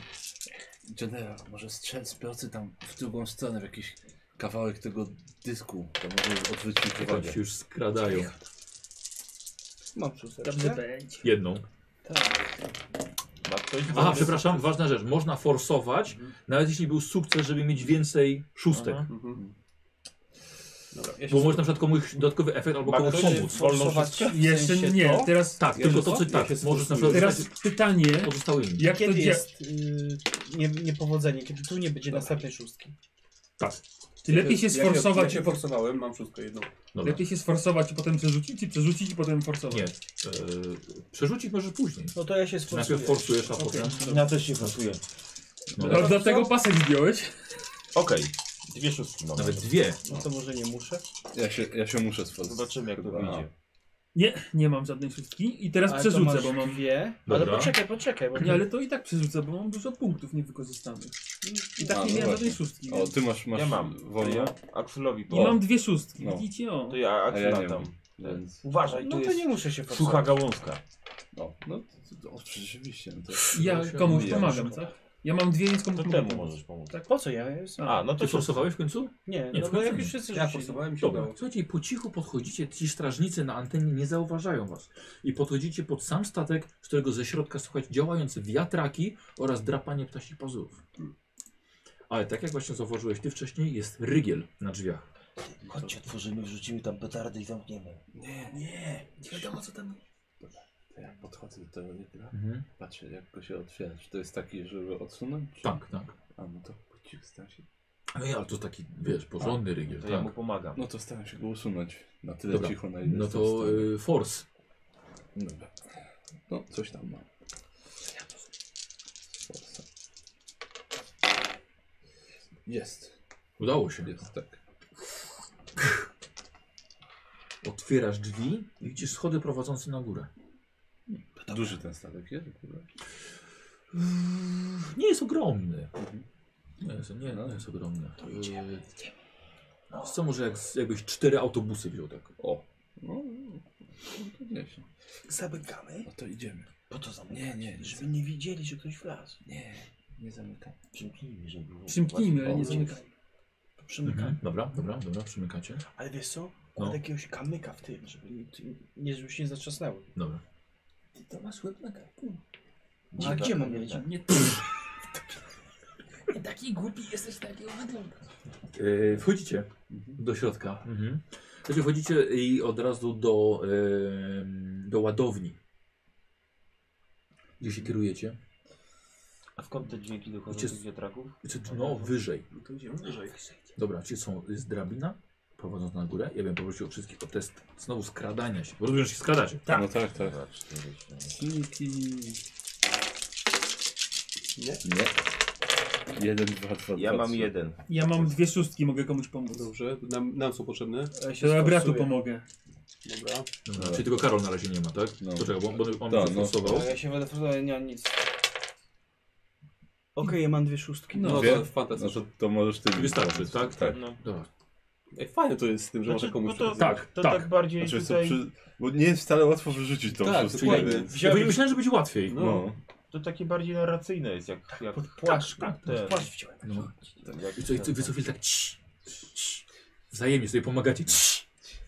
Speaker 2: Generał, może strzel z procy tam w drugą stronę, w jakiś kawałek tego dysku. To może odwrócić
Speaker 1: Tam
Speaker 2: uwagę.
Speaker 1: Tak się już skradają.
Speaker 5: Mam szósteczkę.
Speaker 10: Dobrze będzie.
Speaker 1: Jedną.
Speaker 6: Ma ktoś
Speaker 1: Aha, przepraszam, ważna rzecz. Można forsować, nawet jeśli był sukces, żeby mieć więcej szóstek.
Speaker 6: Aha.
Speaker 3: Mhm.
Speaker 5: Dobra, ja się
Speaker 1: Bo można na przykład komuś dodatkowy efekt albo
Speaker 6: Ma
Speaker 1: komuś
Speaker 6: ktoś
Speaker 1: pomóc.
Speaker 6: wolną
Speaker 5: forsować?
Speaker 6: szóstkę?
Speaker 4: Jeszcze
Speaker 5: sensie
Speaker 4: nie,
Speaker 5: to?
Speaker 4: teraz
Speaker 1: Tak,
Speaker 2: Ja
Speaker 1: tylko
Speaker 2: się
Speaker 1: to co
Speaker 2: co? Ja
Speaker 1: tak,
Speaker 2: się
Speaker 1: możesz na przykład
Speaker 2: stosuję.
Speaker 4: Teraz
Speaker 1: zostać
Speaker 4: pytanie,
Speaker 1: pozostałymi.
Speaker 4: jak to
Speaker 5: Kiedy
Speaker 4: dzia-
Speaker 5: jest y, nie, niepowodzenie, kiedy tu nie będzie następnej szóstki.
Speaker 4: Czy lepiej się
Speaker 3: Jak ja-
Speaker 4: sforsować,
Speaker 3: Ja się forsowałem, mam szóstkę jedną.
Speaker 1: Dobra.
Speaker 4: lepiej się sforsować i potem przerzucić, czy przerzucić i potem forsować?
Speaker 1: Nie. Eee, przerzucić możesz później.
Speaker 5: No to ja się
Speaker 1: Czy najpierw
Speaker 5: sforsuję.
Speaker 1: forsujesz, a potem...
Speaker 6: Ja też się fasuję.
Speaker 1: No,
Speaker 4: A dlatego pasek zdjąłeś?
Speaker 6: Okej, dwie szóstki mam.
Speaker 1: nawet dwie.
Speaker 5: No to może nie muszę.
Speaker 2: Ja się, ja się muszę sforsowałem.
Speaker 6: Zobaczymy jak to
Speaker 2: Chyba.
Speaker 6: wyjdzie.
Speaker 4: Nie, nie mam żadnej szóstki i teraz
Speaker 5: Ale to
Speaker 4: przerzucę,
Speaker 5: masz
Speaker 4: bo mam...
Speaker 5: Dwie. Ale
Speaker 1: Dobra.
Speaker 5: poczekaj, poczekaj, bo
Speaker 4: Nie, ale to i tak przerzucę, bo mam dużo punktów niewykorzystanych. I tak
Speaker 2: A,
Speaker 4: nie
Speaker 2: no
Speaker 4: miałem żadnej
Speaker 2: właśnie.
Speaker 4: szóstki.
Speaker 2: O, ty masz, masz
Speaker 6: Ja mam.
Speaker 2: wolno,
Speaker 6: Ja tak Axelowi
Speaker 4: I
Speaker 2: o.
Speaker 6: po.
Speaker 4: mam dwie szóstki,
Speaker 2: No.
Speaker 4: widzicie? O.
Speaker 6: To ja
Speaker 2: a ja nie
Speaker 6: Axela
Speaker 2: mam.
Speaker 6: tam.
Speaker 2: Więc...
Speaker 6: Uważaj,
Speaker 5: No
Speaker 6: tu
Speaker 5: to
Speaker 6: jest
Speaker 5: nie muszę się
Speaker 6: sucha
Speaker 5: forsować.
Speaker 6: gałązka.
Speaker 2: No, no to, o, rzeczywiście. No to...
Speaker 4: Ja
Speaker 1: się
Speaker 4: komuś
Speaker 2: odbija.
Speaker 4: pomagam, co? Ja mam dwie, więc komuś
Speaker 6: To
Speaker 4: pomagam.
Speaker 6: temu możesz pomóc.
Speaker 5: Tak, Po co ja jestem?
Speaker 1: A,
Speaker 6: A, no to
Speaker 1: Ty
Speaker 6: się
Speaker 1: forsowałeś w końcu?
Speaker 5: Nie,
Speaker 1: Nie,
Speaker 5: no
Speaker 1: w
Speaker 5: bo
Speaker 1: końcu
Speaker 5: jak
Speaker 1: nie.
Speaker 5: już wszyscy
Speaker 3: Ja
Speaker 5: rzucili.
Speaker 3: forsowałem się
Speaker 1: Dobra.
Speaker 3: udało.
Speaker 1: Słuchajcie, po cichu podchodzicie, ci strażnicy na antenie nie zauważają was. I podchodzicie pod sam statek, z którego ze środka słychać działające wiatraki oraz drapanie ptasich pazurów. Ale tak jak właśnie zauważyłeś ty wcześniej, jest rygiel na drzwiach.
Speaker 6: Chodźcie, otworzymy, wrzucimy tam petardy i zamkniemy.
Speaker 9: Nie wiadomo co tam.
Speaker 2: To ja podchodzę do tego litra,
Speaker 1: Mhm.
Speaker 2: patrzę jak go się otwiera. Czy to jest taki, żeby odsunąć? Czy...
Speaker 1: Tak, tak.
Speaker 2: A no to po cichu staram się.
Speaker 1: No ja, ale to taki, wiesz, porządny rygiel.
Speaker 6: To ja mu
Speaker 1: tak.
Speaker 6: pomagam.
Speaker 2: No to staram się go usunąć. Na tyle
Speaker 1: Dobra.
Speaker 2: cicho, na ile
Speaker 1: No
Speaker 2: jestem w
Speaker 1: to
Speaker 9: tak.
Speaker 2: stanie.
Speaker 1: y, force.
Speaker 2: Dobra. No, coś tam mam. Jest,
Speaker 1: Udało się.
Speaker 2: jest, tak.
Speaker 1: Otwierasz drzwi i widzisz schody prowadzące na górę.
Speaker 2: Duży ten statek jest? Kurwa.
Speaker 1: Nie jest ogromny.
Speaker 2: Mhm.
Speaker 1: Nie, jest- nie, no nie jest ogromny.
Speaker 9: To idziemy,
Speaker 6: Yy,
Speaker 1: Y, no, Co może jak, jakbyś cztery autobusy wziął tak?
Speaker 2: O, no, no, to nieźle.
Speaker 10: Zamykamy?
Speaker 2: No to idziemy.
Speaker 10: Po to zamykamy?
Speaker 2: Nie, nie,
Speaker 10: Żeby nie widzieli, że ktoś wlazł.
Speaker 2: nie, nie zamykam.
Speaker 6: Przymknijmy, żeby było.
Speaker 4: Przymknijmy, ale no, nie
Speaker 2: O,
Speaker 4: zamykaj.
Speaker 10: To
Speaker 9: Mhm.
Speaker 10: przymykamy.
Speaker 5: Mhm.
Speaker 1: Mhm. Dobra, dobra, dobra, przymykacie.
Speaker 10: Ale wiesz co?
Speaker 1: No.
Speaker 10: Kładę jakiegoś kamyka w tym, żeby...
Speaker 5: Żeby Nie, żeby się nie zatrzasnęło.
Speaker 1: Dobra.
Speaker 9: Ty to masz łeb na karku.
Speaker 5: No,
Speaker 10: A gdzie mam mieć?
Speaker 4: Nie,
Speaker 9: Nie taki głupi jesteś, takiego wyglądasz.
Speaker 1: Yy, wchodzicie do środka. Mhm. Znaczy wchodzicie i od razu do, yy, do ładowni. Gdzie się kierujecie?
Speaker 6: A skąd te dźwięki dochodzą
Speaker 1: Gdzie-
Speaker 6: z tych wiatraków?
Speaker 1: Czy- No, wyżej.
Speaker 3: No to idziemy wyżej.
Speaker 1: Dobra, czy są, jest drabina prowadząca na górę? Ja bym poprosił wszystkich o test znowu skradania się. Bo rozumiem, że się skradacie.
Speaker 2: No tak, tak.
Speaker 6: Dwa, cztery, siedem.
Speaker 2: Nie? Nie. Jeden, dwa, dwa,
Speaker 6: Ja
Speaker 2: dwa,
Speaker 6: mam
Speaker 2: trzy.
Speaker 6: jeden.
Speaker 4: ja mam dwie szóstki, mogę komuś pomóc.
Speaker 3: No Dobrze, nam, nam są potrzebne.
Speaker 5: Ja się
Speaker 4: To ja bratu
Speaker 5: sforsuję.
Speaker 4: pomogę.
Speaker 3: Dobra.
Speaker 1: Dobra. Czyli tylko Karol na razie nie ma, tak?
Speaker 2: No.
Speaker 1: Poczekaj, bo, bo on
Speaker 2: Tak,
Speaker 1: to
Speaker 2: no.
Speaker 1: forsował.
Speaker 5: No, Ja się będę forsował, nie mam nic.
Speaker 10: Okej, ja mam dwie szóstki.
Speaker 4: No.
Speaker 3: No
Speaker 2: Dwie?
Speaker 3: to
Speaker 2: No
Speaker 3: fantastycznie.
Speaker 2: to, to możesz ty. mi
Speaker 1: Wystarczy,
Speaker 2: pomóc.
Speaker 1: tak?
Speaker 2: Tak.
Speaker 6: No.
Speaker 1: Dobra.
Speaker 3: Ej, fajne to jest z tym, że
Speaker 6: Znaczy,
Speaker 3: można komuś
Speaker 6: no to,
Speaker 3: przekazać.
Speaker 1: tak,
Speaker 6: to
Speaker 1: tak.
Speaker 6: tak bardziej
Speaker 2: Znaczy, jest to
Speaker 6: tutaj...
Speaker 2: przy... Bo nie jest wcale łatwo wyrzucić tą
Speaker 3: Tak,
Speaker 2: szóstkę.
Speaker 3: dokładnie.
Speaker 1: Ja
Speaker 6: Wziąłeś,
Speaker 1: myślałem, że będzie łatwiej.
Speaker 2: No.
Speaker 6: to takie bardziej narracyjne jest, jak... jak
Speaker 5: Pod płaszcz.
Speaker 6: tak,
Speaker 5: Pod
Speaker 6: ten.
Speaker 5: płaszcz wciąłem.
Speaker 1: No.
Speaker 6: jak
Speaker 1: I co, i co, wy co chwilę tak cii, cii. Wzajemnie sobie pomagacie. Cii,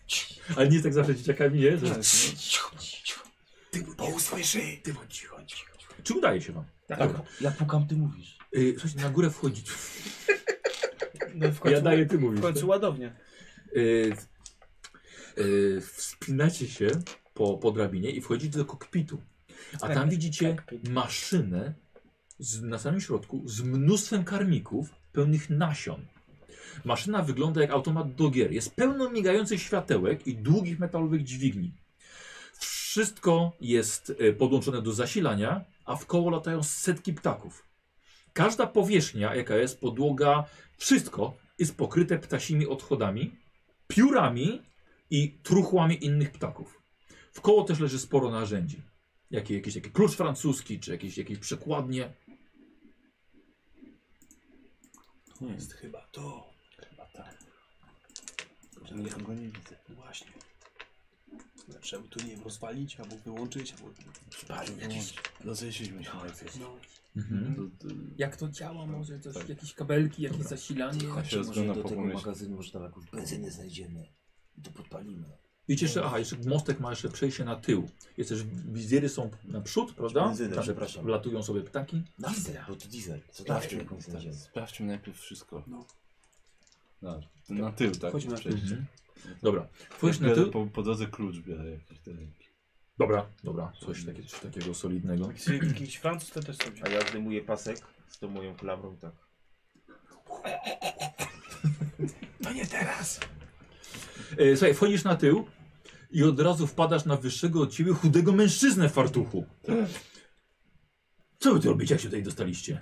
Speaker 1: cii. Ale nie jest tak zawsze dzieciakami, nie? Że... Ty bądź usłyszy! Tak. Ty bądź cicho. Czy udaje się wam?
Speaker 9: Tak.
Speaker 1: Dobra.
Speaker 6: Ja pukam, ty mówisz.
Speaker 1: Y, słuchajcie, na górę wchodzić.
Speaker 5: No, w końcu,
Speaker 1: Ja daję, ty mówisz. tak?
Speaker 5: w końcu ładownia.
Speaker 1: Y, y, Wspinacie się po, po drabinie i wchodzicie do kokpitu. A tam widzicie
Speaker 5: kokpit.
Speaker 1: maszynę z, na samym środku z mnóstwem karmików pełnych nasion. Maszyna wygląda jak automat do gier. Jest pełno migających światełek i długich metalowych dźwigni. Wszystko jest e, podłączone do zasilania, a w koło latają setki ptaków. Każda powierzchnia, jaka jest podłoga, wszystko jest pokryte ptasimi odchodami piórami i truchłami innych ptaków. W koło też leży sporo narzędzi. Jakie, jakiś taki klucz francuski, czy jakieś, jakieś przekładnie.
Speaker 10: Jest chyba to. Chyba tak.
Speaker 2: Ja go nie widzę.
Speaker 10: Właśnie. Trzeba by tu, nie wiem, rozwalić, albo wyłączyć, albo... Spalił jakiś...
Speaker 2: Rozejrzyjmy się najpierw.
Speaker 10: No,
Speaker 1: Mhm.
Speaker 2: To, to,
Speaker 4: Jak to działa może? Coś, jakieś kabelki, jakieś zasilanie?
Speaker 2: Ja
Speaker 9: Może
Speaker 2: się rozglądam
Speaker 9: do
Speaker 2: po
Speaker 9: tego
Speaker 2: pomieszczeniu.
Speaker 9: magazynu, może tam jakąś benzynę znajdziemy i to podpalimy.
Speaker 1: Widzicie jeszcze, aha, jeszcze mostek ma jeszcze przejście na tył. Jest też, wizjery są naprzód, prawda?
Speaker 9: Benzyny,
Speaker 1: Tam
Speaker 9: przepraszam.
Speaker 1: Latują sobie ptaki.
Speaker 9: Naftę, bo to diesel. Co naftę
Speaker 2: Sprawdźmy,
Speaker 9: jakąś znajdziemy.
Speaker 2: sprawdźmy najpierw wszystko.
Speaker 10: No.
Speaker 2: Na, No, na tył, tak?
Speaker 3: Chodźmy na tył.
Speaker 2: Przejście.
Speaker 9: Mhm.
Speaker 1: Dobra, wchodzisz na
Speaker 2: Ja
Speaker 1: tył.
Speaker 2: Po, po drodze klucz biorę jakiś ten.
Speaker 1: Dobra, dobra, coś, takie, coś takiego solidnego.
Speaker 5: Jakiś- Jakiś Francuz to też sobie
Speaker 6: A ja zdejmuję pasek z tą moją klamrą, tak.
Speaker 1: E, słuchaj, wchodzisz na tył i od razu wpadasz na wyższego od ciebie chudego mężczyznę w fartuchu. Co wy tu robicie, jak się tutaj dostaliście?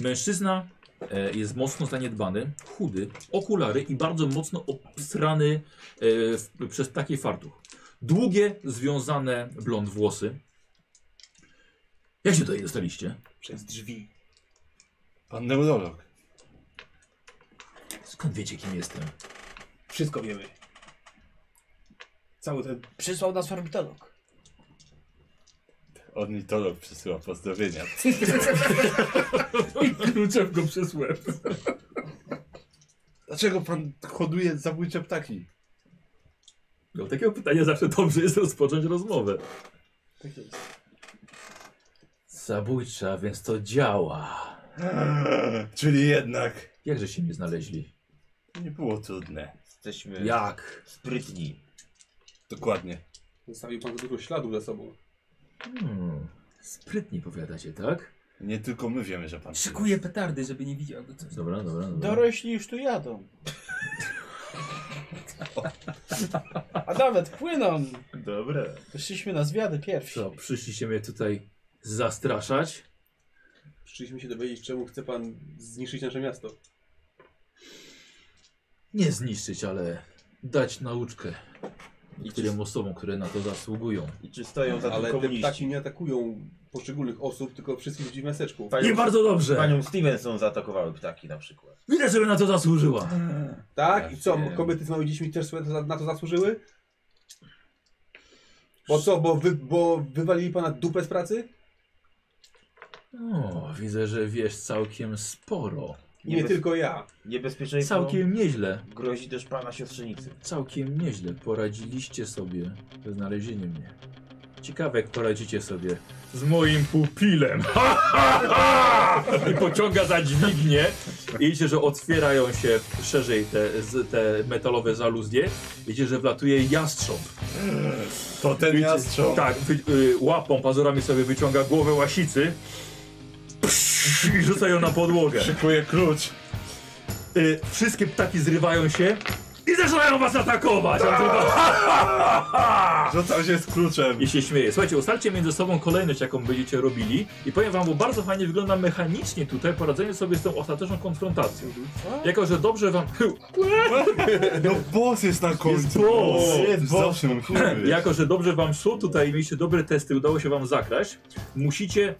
Speaker 1: Mężczyzna e, jest mocno zaniedbany, chudy, okulary i bardzo mocno obstrany e, w, przez taki fartuch. Długie, związane blond włosy. Jak się tutaj dostaliście?
Speaker 10: przez drzwi.
Speaker 2: Pan neurolog.
Speaker 1: Skąd wiecie, kim jestem?
Speaker 10: Wszystko wiemy. Cały ten... Przysłał nas ornitolog.
Speaker 2: Ornitolog przesyła pozdrowienia.
Speaker 4: Kluczem go przez łeb.
Speaker 2: Dlaczego pan hoduje zabójcze ptaki?
Speaker 1: No, takiego pytania zawsze dobrze jest rozpocząć rozmowę.
Speaker 10: Tak jest.
Speaker 1: Zabójcza, więc to działa.
Speaker 2: Czyli jednak
Speaker 1: Jakże się nie znaleźli?
Speaker 2: nie było trudne.
Speaker 6: Jesteśmy
Speaker 1: Jak?
Speaker 6: sprytni.
Speaker 2: Dokładnie.
Speaker 3: Zostawił pan za dużo śladów za sobą.
Speaker 1: Hmm. Sprytnie powiadacie, tak?
Speaker 2: Nie tylko my wiemy, że pan.
Speaker 4: Szykuję petardy, żeby nie widział go coś.
Speaker 1: Dobra, dobra,
Speaker 9: No.
Speaker 1: dobra.
Speaker 5: Dorośli już tu jadą. A nawet płyną.
Speaker 6: Dobre.
Speaker 5: Wyszliśmy na zwiady pierwsi.
Speaker 1: Co, przyszliście mnie tutaj zastraszać?
Speaker 3: Przyszliśmy się dowiedzieć, czemu chce pan zniszczyć nasze miasto.
Speaker 1: Nie zniszczyć, ale dać nauczkę
Speaker 6: I czy,
Speaker 1: niektórym osobom, które na to zasługują.
Speaker 6: I czy stoją za tym
Speaker 3: Ale te ptaki
Speaker 6: komuniści?
Speaker 3: nie atakują poszczególnych osób, tylko wszystkich ludzi w miasteczku.
Speaker 6: Panią,
Speaker 1: Nie bardzo dobrze!
Speaker 6: Panią Stevenson zaatakowały ptaki na przykład.
Speaker 1: Widać, żeby na to zasłużyła!
Speaker 3: Tak? I
Speaker 6: Ja
Speaker 3: co,
Speaker 6: wiem.
Speaker 3: kobiety z małymi dziećmi też sobie za- na to zasłużyły? Bo co, bo, wy, bo wywalili pana dupę z pracy?
Speaker 1: O, widzę, że wiesz całkiem sporo.
Speaker 3: Nie,
Speaker 6: Niebez...
Speaker 3: tylko ja.
Speaker 6: Niebezpieczeństwo
Speaker 1: Całkiem nieźle,
Speaker 6: grozi też pana siostrzenicy.
Speaker 1: całkiem nieźle poradziliście sobie ze znalezieniem mnie. Ciekawe, jak poradzicie sobie z moim pupilem. Ha, ha, ha! I pociąga za dźwignię. I widzicie, że otwierają się szerzej te, z- te metalowe żaluzje. Widzicie, że wlatuje jastrząb.
Speaker 2: To ten jastrząb.
Speaker 1: Tak, wy, y, łapą, pazurami sobie wyciąga głowę łasicy. I rzuca ją na podłogę.
Speaker 2: Szykuje klucz.
Speaker 1: Y, wszystkie ptaki zrywają się. I zaczynają was atakować! A tylko-
Speaker 2: Rzucam się z kluczem.
Speaker 1: I się śmieje. Słuchajcie, ustalcie między sobą kolejność, jaką będziecie robili. I powiem wam, bo bardzo fajnie wygląda mechanicznie tutaj poradzenie sobie z tą ostateczną konfrontacją. Jako, że dobrze wam...
Speaker 2: No boss jest na końcu.
Speaker 1: boss.
Speaker 2: Jest boss. Zawsze musi być.
Speaker 1: Jako, że dobrze wam szło, tutaj mieliście dobre testy, udało się wam zakraść. Musicie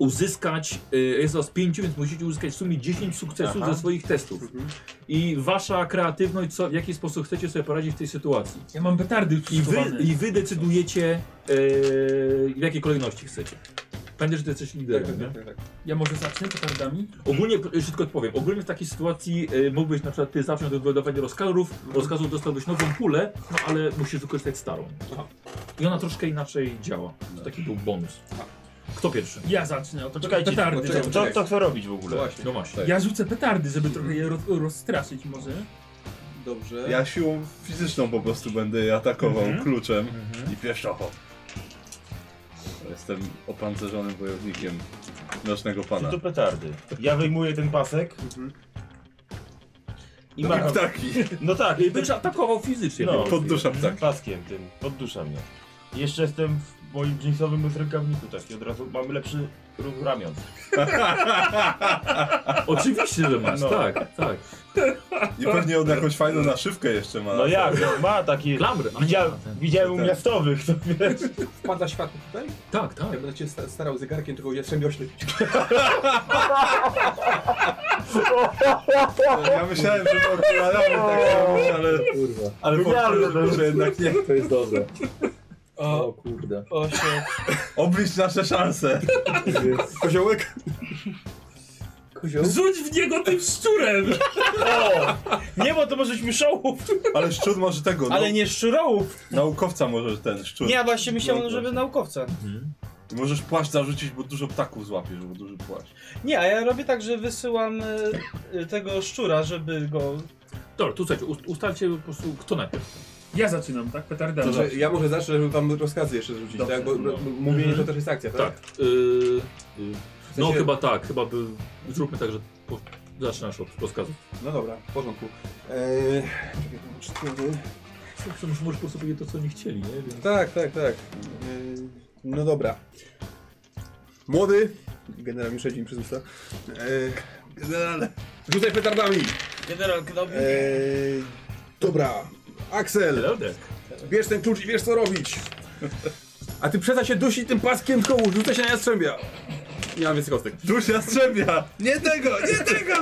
Speaker 1: uzyskać, y, jest was pięciu, więc musicie uzyskać w sumie 10 sukcesów
Speaker 6: Aha.
Speaker 1: ze swoich testów. I wasza kreatywność, co, w jaki sposób chcecie sobie poradzić w tej sytuacji.
Speaker 4: Ja mam petardy już
Speaker 1: I wy,
Speaker 4: przygotowane.
Speaker 1: i wy decydujecie, e, w jakiej kolejności chcecie. Pamiętaj, że ty jesteś liderem, nie?
Speaker 3: tak, tak.
Speaker 4: Ja może zacznę petardami?
Speaker 1: Ogólnie, jeszcze tylko odpowiem, ogólnie w takiej sytuacji y, mógłbyś na przykład ty zacząć od wydawania rozkazów, rozkazów dostałbyś nową pulę, no ale musisz wykorzystać starą.
Speaker 3: Aha.
Speaker 1: I ona troszkę inaczej działa. To taki był bonus. Kto pierwszy?
Speaker 4: Ja zacznę, o to
Speaker 6: Czekajcie,
Speaker 4: petardy.
Speaker 3: poczekaj,
Speaker 4: rzucę.
Speaker 6: Co, co chcą robić w ogóle?
Speaker 3: Właśnie.
Speaker 1: No właśnie.
Speaker 4: Ja rzucę petardy, żeby trochę je roz, rozstraszyć może.
Speaker 3: Dobrze.
Speaker 2: Ja siłą fizyczną po prostu będę je atakował kluczem i pieszocho. Mhm. Jestem opancerzonym wojownikiem Mrocznego Pana.
Speaker 6: Czy to petardy? Ja wyjmuję ten pasek.
Speaker 3: Mhm.
Speaker 6: I
Speaker 2: I
Speaker 6: macham.
Speaker 2: ptaki.
Speaker 6: No tak,
Speaker 1: I będziesz atakował fizycznie.
Speaker 6: No.
Speaker 1: po prostu.
Speaker 2: Poddusza ptaki.
Speaker 6: paskiem tym, poddusza mnie. Jeszcze jestem w moim jeansowym bez rękawniku, tak i od razu mamy lepszy ró- ramion.
Speaker 1: Oczywiście, że masz,
Speaker 6: No.
Speaker 1: tak, tak.
Speaker 2: I pewnie on jakąś fajną naszywkę jeszcze ma.
Speaker 6: No
Speaker 3: tak.
Speaker 6: jak, no, ma taki...
Speaker 1: Klamry. a nie, tak.
Speaker 6: Widziałem,
Speaker 1: ten-
Speaker 6: widziałem u miastowych, to wiesz.
Speaker 3: Wpada światło tutaj?
Speaker 1: Tak, tak.
Speaker 3: Ja będę cię sta- starał zegarkiem, tylko jastrzębie oślepić.
Speaker 2: Ja myślałem, że w okularami tak robić, ale... Ale powtórzę, że jednak nie.
Speaker 1: To jest dobre.
Speaker 5: O,
Speaker 1: kurde.
Speaker 5: o się.
Speaker 2: Oblicz nasze szanse.
Speaker 3: Koziołek? Kozioł?
Speaker 4: Rzuć w niego tym szczurem!
Speaker 5: Nie, bo to może być myszołów,
Speaker 2: Ale szczur może tego, no,
Speaker 5: ale nie szczurołów.
Speaker 2: naukowca może ten szczur.
Speaker 5: Nie, ja właśnie myślałem, żeby naukowca.
Speaker 2: Ty możesz płaszcz zarzucić, bo dużo ptaków złapiesz, bo duży płaszcz.
Speaker 5: Nie, a ja robię tak, że wysyłam e, e, tego szczura, żeby go...
Speaker 1: Dobra, tu słuchajcie, ust- ustalcie po prostu kto najpierw.
Speaker 4: Ja zaczynam, tak? Petarda.
Speaker 3: Dobrze, Znaczy, ja może zacznę, żeby wam rozkazy jeszcze rzucić,
Speaker 4: Dobrze,
Speaker 3: tak? Bo
Speaker 1: no.
Speaker 3: m- mówienie to
Speaker 1: Mhm.
Speaker 3: też jest akcja, tak?
Speaker 1: Tak. y, y,
Speaker 3: W
Speaker 1: no
Speaker 3: sensie-
Speaker 1: chyba tak, chyba by... Zróbmy tak, że po, zaczynasz od rozkazu.
Speaker 3: No dobra, w porządku. Eee, czekaj, to mam cztery.
Speaker 1: Możesz po prostu powiedzieć to, co oni chcieli, nie? Więc...
Speaker 3: Tak, tak, tak. Yy, No dobra. Młody. Generał mi szedzi mi przez usta. Yy, Generale. Rzucaj petardami.
Speaker 5: General Knobi.
Speaker 3: Yy, Dobra. Aksel,
Speaker 1: Lodek.
Speaker 3: bierz ten klucz i wiesz co robić. A ty przestań się dusić tym paskiem w kołu, rzucaj się na jastrzębia. Nie mam więcej kostek.
Speaker 2: Dusz jastrzębia!
Speaker 3: Nie tego, nie tego!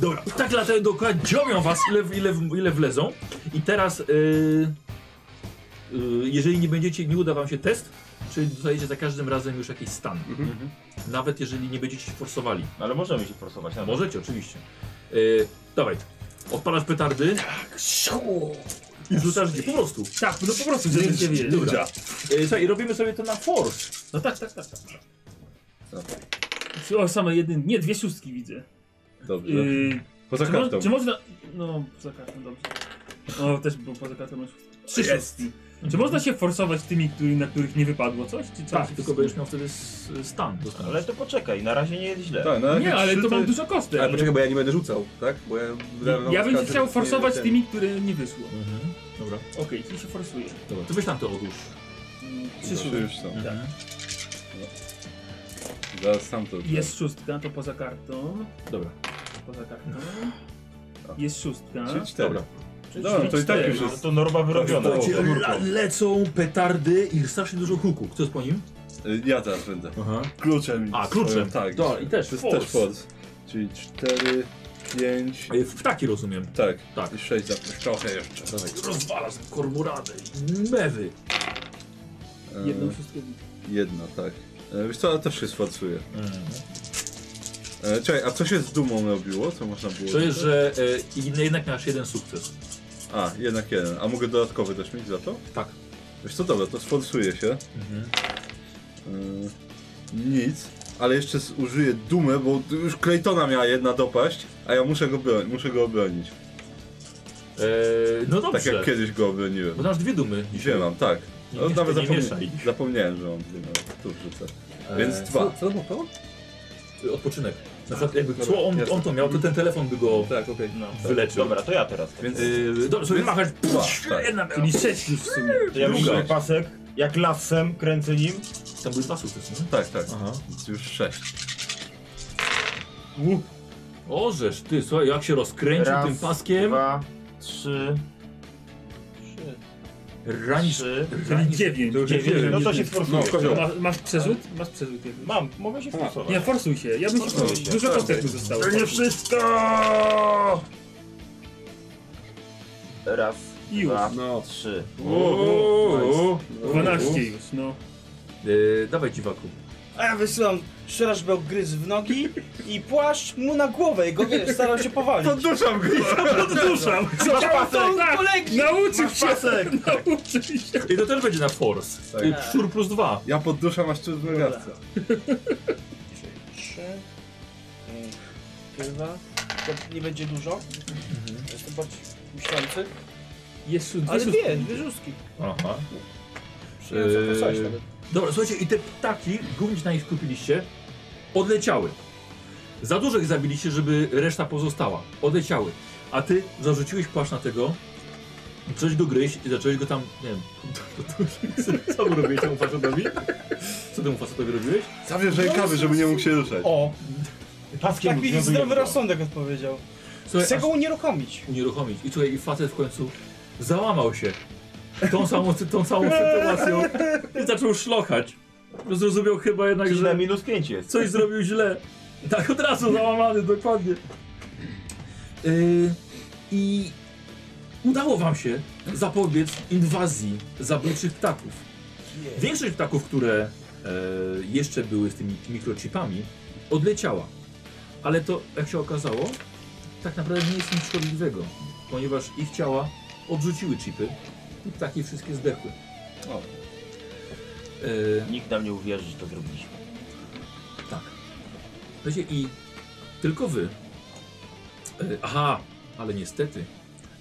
Speaker 1: Dobra, tak latają dookoła, dziomią was ile, ile, ile wlezą. I teraz, yy, yy, jeżeli nie będziecie, nie uda wam się test, czyli dostajecie za każdym razem już jakiś stan. Nawet jeżeli nie będziecie się forsowali.
Speaker 6: No Ale możemy się forsować na
Speaker 1: Możecie, oczywiście. Yy, dawaj, odpalasz petardy. I rzucasz gdzie? Po prostu.
Speaker 4: Tak, no po prostu, żebyś nie wiedział.
Speaker 1: Dobra. Yy, słuchaj, robimy sobie to na force.
Speaker 4: No tak, tak, tak. tak. O, same jeden, nie, dwie szóstki widzę.
Speaker 2: Dobrze.
Speaker 4: Yy,
Speaker 2: Poza
Speaker 4: czy, mo-
Speaker 2: kartą.
Speaker 4: czy można... No, poza kartą, dobrze. O, też był poza kartą, masz Trzy szóstki. Czy można się forsować tymi, który, na których nie wypadło coś? Czy trzeba
Speaker 1: Tak,
Speaker 4: się
Speaker 1: tylko
Speaker 4: wstrzymać?
Speaker 1: będziesz miał wtedy s- stan. dostaniesz.
Speaker 6: Ale to poczekaj, na razie nie jest źle.
Speaker 2: Tak, no,
Speaker 4: Nie, ale to mam dużo kostek.
Speaker 3: Ale
Speaker 4: Ale...
Speaker 3: poczekaj, bo ja nie będę rzucał, tak? Bo ja...
Speaker 4: Ja bym się chciał forsować tymi, które nie wyszło.
Speaker 1: Mhm. Dobra,
Speaker 4: Okej, czyli się forsuje.
Speaker 1: dobra. To weź tam to odłóż.
Speaker 4: Mm, Trzy
Speaker 2: Przyszły
Speaker 4: szóstki.
Speaker 2: już są.
Speaker 1: Mhm.
Speaker 2: No. Zaraz sam to.
Speaker 4: Jest szóstka, to poza kartą.
Speaker 1: Dobra.
Speaker 4: Poza kartą. Jest szóstka.
Speaker 2: Czyli cztery.
Speaker 1: Dobra.
Speaker 2: Dobra, to i tak już
Speaker 6: No
Speaker 2: jest.
Speaker 6: to norma wyrobiona.
Speaker 2: Tak,
Speaker 1: Słuchajcie,
Speaker 2: Komórką.
Speaker 1: le- lecą petardy i strasznie dużo huku. Kto jest po nim?
Speaker 4: no.
Speaker 2: Y, Ja teraz będę.
Speaker 1: Aha.
Speaker 2: Kluczem.
Speaker 1: A, kluczem.
Speaker 2: Swoim, tak.
Speaker 1: Dobra, i też
Speaker 2: To jest
Speaker 1: force.
Speaker 2: też pod. Czyli cztery, pięć.
Speaker 1: A je- W ptaki rozumiem.
Speaker 2: Tak.
Speaker 1: Tak.
Speaker 2: I sześć za trochę jeszcze.
Speaker 1: Rozwalasz kormoradę i mewy.
Speaker 2: E,
Speaker 4: Jedną szóstkę.
Speaker 2: Jedna, tak. E, Wiesz co, ale też się sfalsuje.
Speaker 1: Mhm.
Speaker 2: E, Czekaj, a co się z dumą robiło? Co można było?
Speaker 1: To jest, że e, i- jednak masz jeden sukces.
Speaker 2: A, jednak jeden. A mogę dodatkowy też mieć za to?
Speaker 1: Tak. Mhm.
Speaker 2: Wiesz co, dobra, to sfalsuje się. Yy, nic, ale jeszcze z- użyję dumę, bo tu już Claytona miała jedna dopaść, a ja muszę go, bro- muszę go obronić.
Speaker 1: E, no
Speaker 2: Tak
Speaker 1: dobrze.
Speaker 2: jak kiedyś go obroniłem.
Speaker 1: Bo masz dwie dumy.
Speaker 2: Dzisiaj mam, tak.
Speaker 1: Nie,
Speaker 2: No,
Speaker 1: nie,
Speaker 2: nawet
Speaker 1: nie
Speaker 2: zapomniałem-
Speaker 1: mieszaj.
Speaker 2: zapomniałem, że mam dwie, no, tu wrzucę.
Speaker 1: E,
Speaker 2: Więc
Speaker 3: Co,
Speaker 2: dwa.
Speaker 3: co było to?
Speaker 1: e, Odpoczynek. Na przykład jakby
Speaker 2: Dobra,
Speaker 1: co on,
Speaker 2: jasne.
Speaker 1: on to miał, to ten telefon by go
Speaker 3: Tak, okej.
Speaker 6: No.
Speaker 1: wyleczył.
Speaker 6: Dobra, to ja teraz.
Speaker 2: Więc y,
Speaker 1: E, dobrze, sobie machasz.
Speaker 2: dwa, tak.
Speaker 1: Jedna miała.
Speaker 4: Czyli sześć już w sumie.
Speaker 6: To ja
Speaker 2: druga.
Speaker 6: widzę y, pasek, jak lasem, kręcę nim.
Speaker 1: Tam były dwa sukcesy, nie?
Speaker 2: Tak, tak.
Speaker 1: Aha.
Speaker 2: Więc Już sześć.
Speaker 1: Ożesz, ty, słuchaj, jak się rozkręcił
Speaker 6: Raz,
Speaker 1: tym paskiem.
Speaker 6: Dwa, trzy,
Speaker 1: Ranisz.
Speaker 6: trzy.
Speaker 4: Czyli dziewięć.
Speaker 1: dziewięć.
Speaker 6: No to się sforsuje.
Speaker 4: To ma- Masz przerzut? Masz przerzut jakby.
Speaker 6: Mam, mogę się
Speaker 4: Nie,
Speaker 6: forsować.
Speaker 4: forsuj się. Ja bym się
Speaker 6: Forsuj się.
Speaker 4: Dużo kostek mi zostało.
Speaker 6: To nie wszystko! Raz,
Speaker 4: I już.
Speaker 6: dwa,
Speaker 3: No.
Speaker 6: trzy.
Speaker 1: Uuu.
Speaker 4: 12 już, no.
Speaker 1: Yy, dawaj dziwaku.
Speaker 5: A ja wysyłam szrażbę gryz w nogi i płaszcz mu na głowę i go, wiesz, staram się powalić.
Speaker 2: Duszam go!
Speaker 4: Podduszam! Chciałem to
Speaker 5: Tak, polegli.
Speaker 4: Nauczył się! Nauczył się!
Speaker 1: I to też będzie na force.
Speaker 2: Tak.
Speaker 1: Yy, Szczur plus dwa.
Speaker 2: Ja podduszam aż tu z megadca.
Speaker 5: Trzy, y, dwa, to nie będzie dużo. Jestem bardziej myślący.
Speaker 4: Jest tu
Speaker 5: Ale
Speaker 4: dwie szóstki.
Speaker 5: dwie, dwie rzuski.
Speaker 1: Aha.
Speaker 5: Przyjąłem sobie forsać
Speaker 1: Eee,
Speaker 5: nawet.
Speaker 1: Dobra, słuchajcie, i te ptaki, głównie się na nich skupiliście, odleciały. Za dużo ich zabiliście, żeby reszta pozostała. Odleciały. A ty zarzuciłeś płaszcz na tego Coś go gryźć i zacząłeś go tam, nie wiem, co mu robiłeś temu facetowi? Co temu facetowi robiłeś?
Speaker 2: Zawierz rękawy, żeby nie mógł się ruszać.
Speaker 5: O!
Speaker 7: Paskiem
Speaker 5: Tak mi
Speaker 7: związuje
Speaker 5: zdrowy
Speaker 7: go.
Speaker 5: rozsądek odpowiedział.
Speaker 1: Słuchaj,
Speaker 5: Chcę
Speaker 1: aż
Speaker 5: go unieruchomić.
Speaker 1: unieruchomić. I słuchaj, i facet w końcu załamał się tą samą, tą samą sytuacją i zaczął szlochać. Zrozumiał chyba jednak,
Speaker 7: Czyli na
Speaker 1: że
Speaker 7: minus 5 jest.
Speaker 1: coś zrobił źle. Tak od razu załamany, dokładnie. Yy, I udało wam się zapobiec inwazji zabójczych ptaków. Większość ptaków, które e, jeszcze były z tymi mikrochipami, odleciała. Ale to, jak się okazało, tak naprawdę nie jest nic szkodliwego, ponieważ ich ciała odrzuciły chipy i ptaki wszystkie zdechły.
Speaker 2: O.
Speaker 1: Yy,
Speaker 6: Nikt nam nie uwierzy, że to zrobiliśmy.
Speaker 1: tak. Słuchajcie, i tylko wy. E, Aha, ale niestety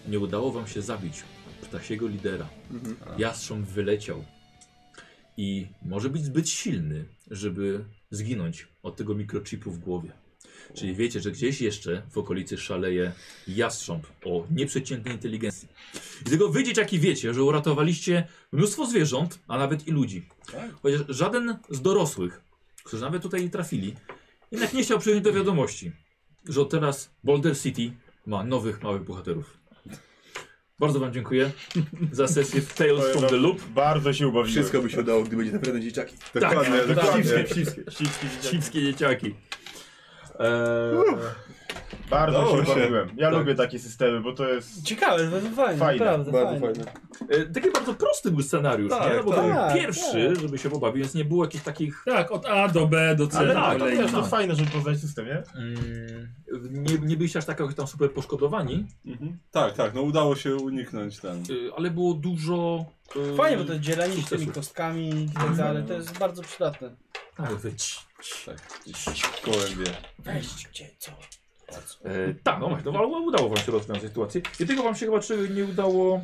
Speaker 1: nie udało wam się zabić ptasiego lidera. Jastrząb wyleciał. I może być zbyt silny, żeby zginąć od tego mikrochipu w głowie. Czyli wiecie, że gdzieś jeszcze w okolicy szaleje jastrząb o nieprzeciętnej inteligencji. I tego wy dzieciaki wiecie, że uratowaliście mnóstwo zwierząt, a nawet i ludzi. Chociaż żaden z dorosłych którzy nawet tutaj nie trafili, jednak nie chciał przyjąć do wiadomości, że od teraz Boulder City ma nowych małych bohaterów. Bardzo Wam dziękuję za sesję w Tales from the Loop.
Speaker 7: Bardzo się ubawiłem.
Speaker 2: Wszystko by się udało, gdyby nie naprawdę dzieciaki.
Speaker 1: Dokładnie,
Speaker 2: tak,
Speaker 1: dokładnie.
Speaker 2: Psiskie, psiskie.
Speaker 1: Cipskie dzieciaki. Eee,
Speaker 7: Bardzo
Speaker 2: Udało
Speaker 7: się
Speaker 2: się.
Speaker 7: ubawiłem. Ja
Speaker 1: Tak.
Speaker 7: lubię takie systemy, bo to jest...
Speaker 5: Ciekawe, to fajne,
Speaker 7: Fajne,
Speaker 5: naprawdę.
Speaker 2: Bardzo
Speaker 5: fajne.
Speaker 2: fajne.
Speaker 1: e, taki bardzo prosty był scenariusz,
Speaker 2: Tak,
Speaker 1: nie? No bo to
Speaker 2: tak.
Speaker 1: był pierwszy, żeby się pobawić, więc nie było jakichś takich...
Speaker 4: Tak, od A do B do C.
Speaker 1: Ale
Speaker 4: do
Speaker 1: tak,
Speaker 4: kolei.
Speaker 1: tak,
Speaker 7: To jest fajne, żeby poznać system, nie?
Speaker 1: Mm, nie, nie byliście aż tak jakoś tam super poszkodowani,
Speaker 2: Mhm. Tak, tak, no udało się uniknąć ten.
Speaker 1: e, ale było dużo... e,
Speaker 5: Fajnie, bo to dzielenie się tymi
Speaker 1: Sukcesu.
Speaker 5: kostkami i tak dalej, to jest bardzo przydatne.
Speaker 1: Tak, wy... ci-
Speaker 2: Gołębie.
Speaker 5: Weź, gdzie, co?
Speaker 1: E, tak, no właśnie, no, ale udało wam się rozwiązać sytuację. Jedynego wam się chyba czy nie udało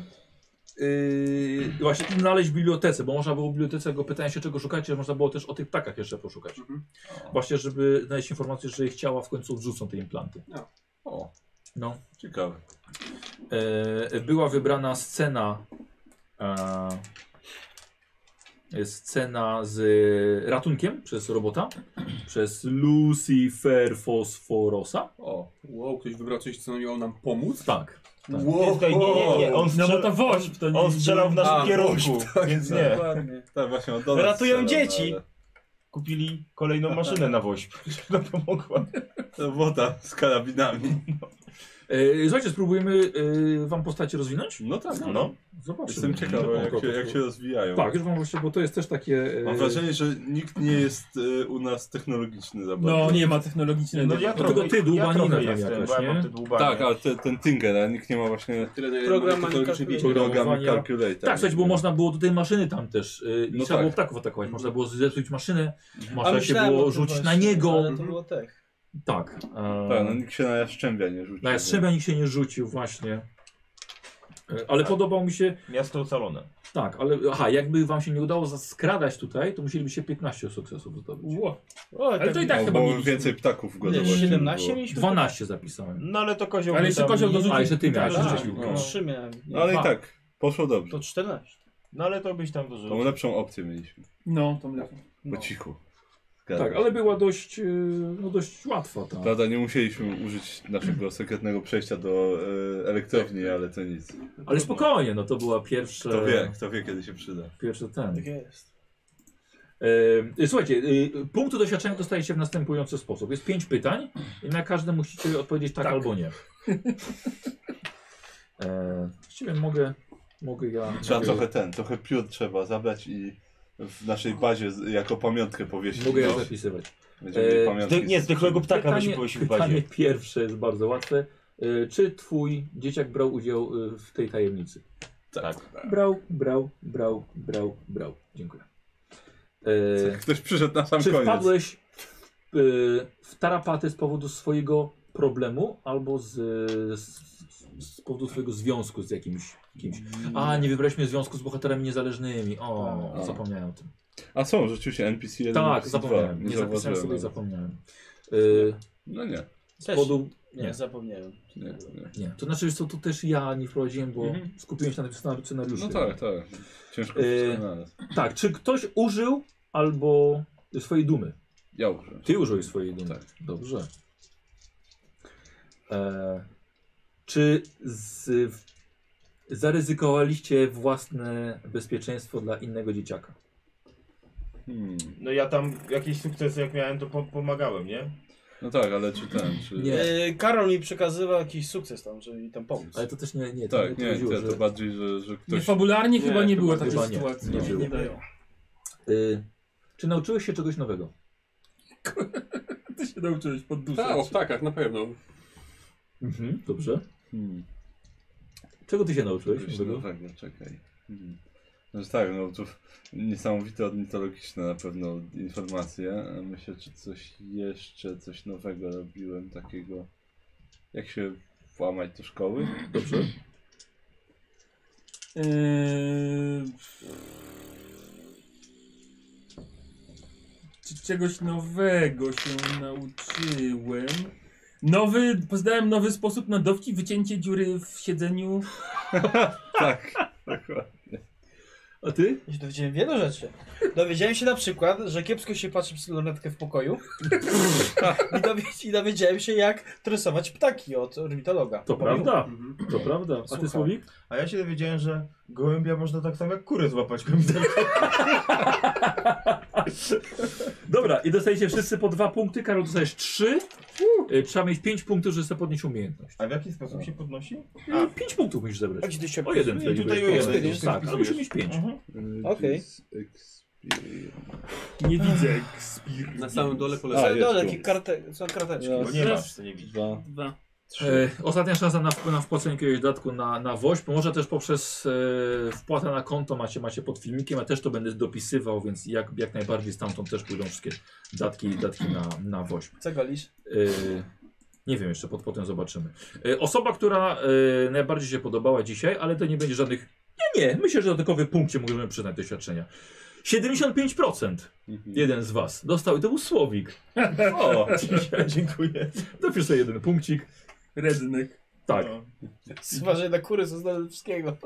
Speaker 1: yy, właśnie znaleźć w bibliotece, bo można było w bibliotece, go pytałem się czego szukacie, można było też o tych ptakach jeszcze poszukać. Właśnie, żeby znaleźć informację, że ich ciała w końcu odrzucą te implanty.
Speaker 2: O,
Speaker 1: No.
Speaker 2: ciekawe.
Speaker 1: E, była wybrana scena e, scena z ratunkiem przez robota, przez Lucifer Fosforosa.
Speaker 2: O.
Speaker 3: Wow, ktoś wybrał coś, co miało nam pomóc?
Speaker 1: Tak. tak.
Speaker 2: Wow.
Speaker 7: Nie, nie, nie. On
Speaker 4: No
Speaker 7: strzelał,
Speaker 4: bo to woźb, to nie...
Speaker 7: on strzelał w naszym
Speaker 2: A,
Speaker 7: kierunku,
Speaker 2: gość, tak,
Speaker 7: więc
Speaker 2: tak.
Speaker 7: nie.
Speaker 5: Dokładnie.
Speaker 2: Tak, właśnie, on do nas
Speaker 5: Ratują
Speaker 2: strzelał,
Speaker 5: dzieci.
Speaker 2: ale-
Speaker 7: Kupili kolejną maszynę na woźb, żeby nam pomogła.
Speaker 2: To woda z karabinami.
Speaker 1: E, słuchajcie, spróbujemy e, wam postacie rozwinąć?
Speaker 2: No tak, no.
Speaker 7: No.
Speaker 1: Zobaczymy.
Speaker 2: Jestem ciekawy,
Speaker 1: Dobra,
Speaker 2: jak się,
Speaker 1: to-
Speaker 2: jak się rozwijają.
Speaker 1: Tak, już wam właśnie, bo to jest też takie... e,
Speaker 2: Mam wrażenie, że nikt nie jest y, u nas technologiczny za bardzo.
Speaker 4: No nie ma technologicznego.
Speaker 7: No ja
Speaker 1: Tylko
Speaker 7: trochę,
Speaker 1: ty
Speaker 7: ja
Speaker 1: dłubanina
Speaker 7: trochę
Speaker 1: tam
Speaker 7: jestem,
Speaker 1: jakaś,
Speaker 7: bo ja
Speaker 1: nie?
Speaker 7: mam te dłubanie.
Speaker 2: Tak, ale te, ten Tingera, nikt nie ma właśnie
Speaker 3: Tyle na ile
Speaker 5: Program
Speaker 3: mamy technologicznych
Speaker 5: Minecraft.
Speaker 3: bici.
Speaker 2: programu
Speaker 1: Programowania.
Speaker 2: Calculator.
Speaker 1: tak, słuchajcie, bo można było do tej maszyny tam też... E, nie trzeba
Speaker 2: No tak. Mhm.
Speaker 1: było ptaków atakować, można było zepsuć maszynę,
Speaker 5: A
Speaker 1: można się
Speaker 5: myślałem o
Speaker 1: było
Speaker 5: tym
Speaker 1: rzucić na
Speaker 5: właśnie,
Speaker 1: niego.
Speaker 5: Ale to było tech.
Speaker 1: Tak. E,
Speaker 2: Tak, no nikt się na jaszczębia nie rzuci.
Speaker 1: na Jastrzębia nikt się nie rzucił właśnie. E,
Speaker 2: Tak.
Speaker 1: Ale podobał mi się,
Speaker 7: Miasto ocalone.
Speaker 1: tak, ale aha, jakby wam się nie udało skradać tutaj, to musielibyście 15 sukcesów zdobyć.
Speaker 4: Ło.
Speaker 5: O,
Speaker 4: Ale to i tak
Speaker 2: No,
Speaker 4: chyba
Speaker 2: bo
Speaker 4: mieliśmy.
Speaker 2: więcej ptaków go
Speaker 5: Nie,
Speaker 2: zobaczyli,
Speaker 5: 17
Speaker 2: było.
Speaker 5: mieliśmy?
Speaker 1: 12 zapisałem.
Speaker 7: No ale to kozioł
Speaker 4: Ale
Speaker 7: by
Speaker 4: jeszcze
Speaker 7: tam
Speaker 4: kozioł
Speaker 7: nie-
Speaker 4: dorzucił.
Speaker 1: A, jeszcze ty miałeś
Speaker 5: Tak,
Speaker 1: jeszcze
Speaker 5: tak,
Speaker 1: piłkę.
Speaker 5: no, trzy miałem.
Speaker 2: No ale i
Speaker 1: Dwa.
Speaker 2: tak, poszło dobrze.
Speaker 5: To 14.
Speaker 7: No ale to byś tam
Speaker 2: Tą
Speaker 7: dorzucił.
Speaker 2: lepszą opcję mieliśmy.
Speaker 4: No, to mleko.
Speaker 2: Po cichu.
Speaker 1: Tak, ale była dość, e, no dość łatwa ta.
Speaker 2: Prawda, nie musieliśmy użyć naszego sekretnego przejścia do e, elektrowni,
Speaker 1: Tak.
Speaker 2: ale to nic.
Speaker 1: Ale spokojnie, no to była pierwsza.
Speaker 2: Kto wie, kto wie kiedy się przyda.
Speaker 1: Pierwszy ten.
Speaker 5: Tak jest.
Speaker 1: E, słuchajcie, e, punkty doświadczenia dostajecie w następujący sposób. Jest pięć pytań i na każde musicie odpowiedzieć tak, albo nie. E, właściwie mogę, mogę ja.
Speaker 2: Trzeba
Speaker 1: mogę,
Speaker 2: trochę ten, trochę piór trzeba zabrać i w naszej bazie z, jako pamiątkę powiesić.
Speaker 1: mogę ja
Speaker 2: No,
Speaker 1: zapisywać.
Speaker 2: Będziemy mieli
Speaker 1: Eee,
Speaker 2: pamiątki.
Speaker 7: Zdy- Nie, zdechłego ptaka byśmy powiesił w
Speaker 1: pytanie
Speaker 7: bazie.
Speaker 1: pierwsze jest bardzo łatwe. E, czy twój dzieciak brał udział e, w tej tajemnicy?
Speaker 7: Tak.
Speaker 1: Brał, brał, brał, brał, brał. Dziękuję. E,
Speaker 2: Ktoś przyszedł na sam
Speaker 1: czy
Speaker 2: koniec.
Speaker 1: wpadłeś w, e, w tarapaty z powodu swojego problemu albo z, z, z powodu swojego związku z jakimś kimś? A, nie wybraliśmy związku z bohaterami niezależnymi. O,
Speaker 2: A.
Speaker 1: zapomniałem o tym.
Speaker 2: A są rzeczywiście NPC 1
Speaker 1: Tak,
Speaker 2: NPC 2.
Speaker 1: zapomniałem. Nie zapisałem
Speaker 2: zauważyłem.
Speaker 1: sobie, zapomniałem. E,
Speaker 2: No nie.
Speaker 1: z powodu
Speaker 5: Nie,
Speaker 1: Nie.
Speaker 5: zapomniałem.
Speaker 2: Nie, nie.
Speaker 1: Nie. To znaczy, że to, to też ja nie wprowadziłem, bo
Speaker 2: Mhm.
Speaker 1: skupiłem się na tym scenari- scenariuszu.
Speaker 2: No tak, tak. Ciężko
Speaker 1: Yy.
Speaker 2: yy... znalazł.
Speaker 1: Tak, czy ktoś użył albo swojej dumy?
Speaker 2: Ja użyłem.
Speaker 1: Ty użyłeś swojej dumy.
Speaker 2: Tak.
Speaker 1: Dobrze. E, czy z, w, zaryzykowaliście własne bezpieczeństwo dla innego dzieciaka?
Speaker 2: Hmm.
Speaker 6: No ja tam jakieś sukcesy jak miałem, to po pomagałem, nie?
Speaker 2: No tak, ale czy ten, czy...
Speaker 1: Nie.
Speaker 5: E, Karol mi przekazywał jakiś sukces tam, żeby mi tam pomóc.
Speaker 1: Ale to też nie, nie, to
Speaker 2: Tak, nie,
Speaker 1: chodziło,
Speaker 2: to,
Speaker 1: że-
Speaker 2: to bardziej, że, że
Speaker 4: Nie,
Speaker 2: ktoś...
Speaker 4: fabularnie chyba nie
Speaker 2: chyba
Speaker 4: było takiej
Speaker 1: chyba nie.
Speaker 4: sytuacji.
Speaker 1: Nie było.
Speaker 4: wydaje.
Speaker 1: Y, czy nauczyłeś się czegoś nowego?
Speaker 4: Ty się nauczyłeś podduszać.
Speaker 10: Tak, o ptakach, na pewno.
Speaker 1: Mhm, dobrze.
Speaker 2: Hmm.
Speaker 1: Czego ty się nauczyłeś?
Speaker 2: Coś
Speaker 1: nowego?
Speaker 2: nowego, czekaj. Hmm. No tak, no to niesamowite ornitologiczne na pewno informacje. A Myślę, czy coś jeszcze, coś nowego robiłem takiego, jak się włamać do szkoły.
Speaker 1: Dobrze.
Speaker 4: Eee, Czy czegoś nowego się nauczyłem? Nowy, poznałem nowy sposób na dowcip, wycięcie dziury w siedzeniu.
Speaker 2: Tak, dokładnie.
Speaker 1: A ty?
Speaker 5: Ja się dowiedziałem wielu rzeczy. Dowiedziałem się na przykład, że kiepsko się patrzy przez lornetkę w pokoju. I, dowie, I dowiedziałem się, jak tresować ptaki od ornitologa.
Speaker 1: To prawda,
Speaker 3: Mhm.
Speaker 1: to prawda. A ty
Speaker 5: Słucham.
Speaker 1: Słowik?
Speaker 7: A ja się dowiedziałem, że gołębia można tak samo jak kurę złapać gołębiami.
Speaker 1: Dobra, i dostajecie wszyscy po dwa punkty. Karol, dostajesz trzy. Y, Trzeba mieć pięć punktów, żeby sobie podnieść umiejętność.
Speaker 7: A w jaki sposób się podnosi?
Speaker 1: A pięć punktów musisz
Speaker 5: A
Speaker 1: zebrać.
Speaker 5: gdzie ty Tak się
Speaker 1: O jeden
Speaker 7: tutaj
Speaker 1: wtedy
Speaker 7: o
Speaker 1: będziesz
Speaker 7: jeden,
Speaker 1: miał.
Speaker 7: gdzieś
Speaker 1: Tak, ale musisz mieć pięć.
Speaker 5: Okej.
Speaker 4: Nie widzę ekspir.
Speaker 3: Na samym dole po
Speaker 2: A,
Speaker 3: lewej.
Speaker 5: Są
Speaker 2: Tak, jest
Speaker 5: dole
Speaker 2: tu.
Speaker 5: takie karte, są karteczki.
Speaker 2: No.
Speaker 6: Bo nie masz, to nie widzisz.
Speaker 2: Dwa,
Speaker 4: Dwa.
Speaker 2: trzy.
Speaker 1: E, ostatnia szansa na, wp- na wpłacenie jakiegoś dodatku na, na woźb. Może też poprzez e, wpłatę na konto macie, macie pod filmikiem. Ja też to będę dopisywał, więc jak, jak najbardziej stamtąd też pójdą wszystkie datki, datki na, na woźb.
Speaker 5: Co golisz?
Speaker 1: E, nie wiem jeszcze, pod, potem zobaczymy. E, osoba, która e, najbardziej się podobała dzisiaj, ale to nie będzie żadnych... Nie, nie, myślę, że dodatkowy punkt się możemy przyznać do świadczenia. 75%
Speaker 2: Mhm.
Speaker 1: jeden z was dostał i to był Słowik.
Speaker 2: O,
Speaker 1: Dziękuję. Dopisz sobie jeden punkcik.
Speaker 4: Rednek.
Speaker 1: Tak.
Speaker 5: Chyba, że na kury są znane wszystkiego.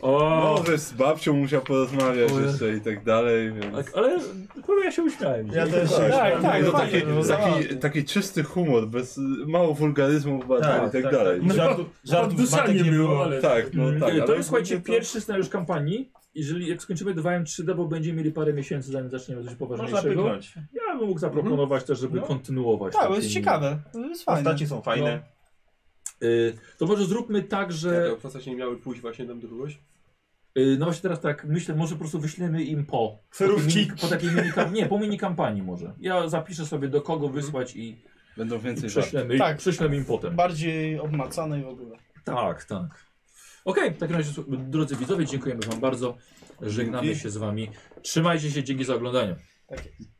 Speaker 1: O,
Speaker 2: no, że z babcią musiał porozmawiać
Speaker 1: O, ja-
Speaker 2: jeszcze i tak dalej, więc...
Speaker 1: Tak, ale chyba ja się uśmiałem.
Speaker 5: Ja
Speaker 1: dzisiaj.
Speaker 5: też.
Speaker 2: Tak,
Speaker 5: Tak, tak,
Speaker 2: I to
Speaker 5: fajnie,
Speaker 2: taki,
Speaker 5: no, zabawnie.
Speaker 2: taki, taki czysty humor, bez y, mało wulgaryzmów tak, i tak, dalej.
Speaker 4: No,
Speaker 7: Żartu, żartów matek
Speaker 4: Podduszanie
Speaker 7: nie
Speaker 4: było,
Speaker 7: było.
Speaker 4: ale...
Speaker 2: Tak, no
Speaker 5: Mm.
Speaker 2: tak.
Speaker 1: E,
Speaker 2: ale
Speaker 1: to jest, słuchajcie,
Speaker 2: to-
Speaker 1: pierwszy scenariusz kampanii. Jeżeli jak skończymy 2M3D, bo będziemy mieli parę miesięcy, zanim zaczniemy coś
Speaker 7: Można
Speaker 1: poważniejszego.
Speaker 7: pyknąć.
Speaker 1: Ja bym mógł zaproponować też, żeby
Speaker 7: No.
Speaker 1: kontynuować.
Speaker 5: Mhm. Tak, bo
Speaker 1: takim-
Speaker 5: jest ciekawe. To jest fajne.
Speaker 7: Postacie są fajne.
Speaker 1: E, to może zróbmy tak,
Speaker 3: Te
Speaker 1: że.
Speaker 3: postacie nie miały pójść właśnie tam do kogoś.
Speaker 1: e, no właśnie teraz tak, myślę, może po prostu wyślemy im po.
Speaker 7: Cerówki.
Speaker 1: Po, po takiej mini Nie, po mini kampanii może. Ja zapiszę sobie do kogo wysłać Mhm. i,
Speaker 2: Będą
Speaker 1: i
Speaker 2: więcej żartów.
Speaker 1: prześlemy,
Speaker 5: Tak.
Speaker 1: prześlemy im potem.
Speaker 5: Bardziej obmacane i w ogóle.
Speaker 1: Tak, tak. Okej, w takim razie słuch- drodzy widzowie, dziękujemy Wam bardzo. Żegnamy
Speaker 2: Dzięki.
Speaker 1: się z Wami. Trzymajcie się, dzięki za oglądanie.
Speaker 5: Takie.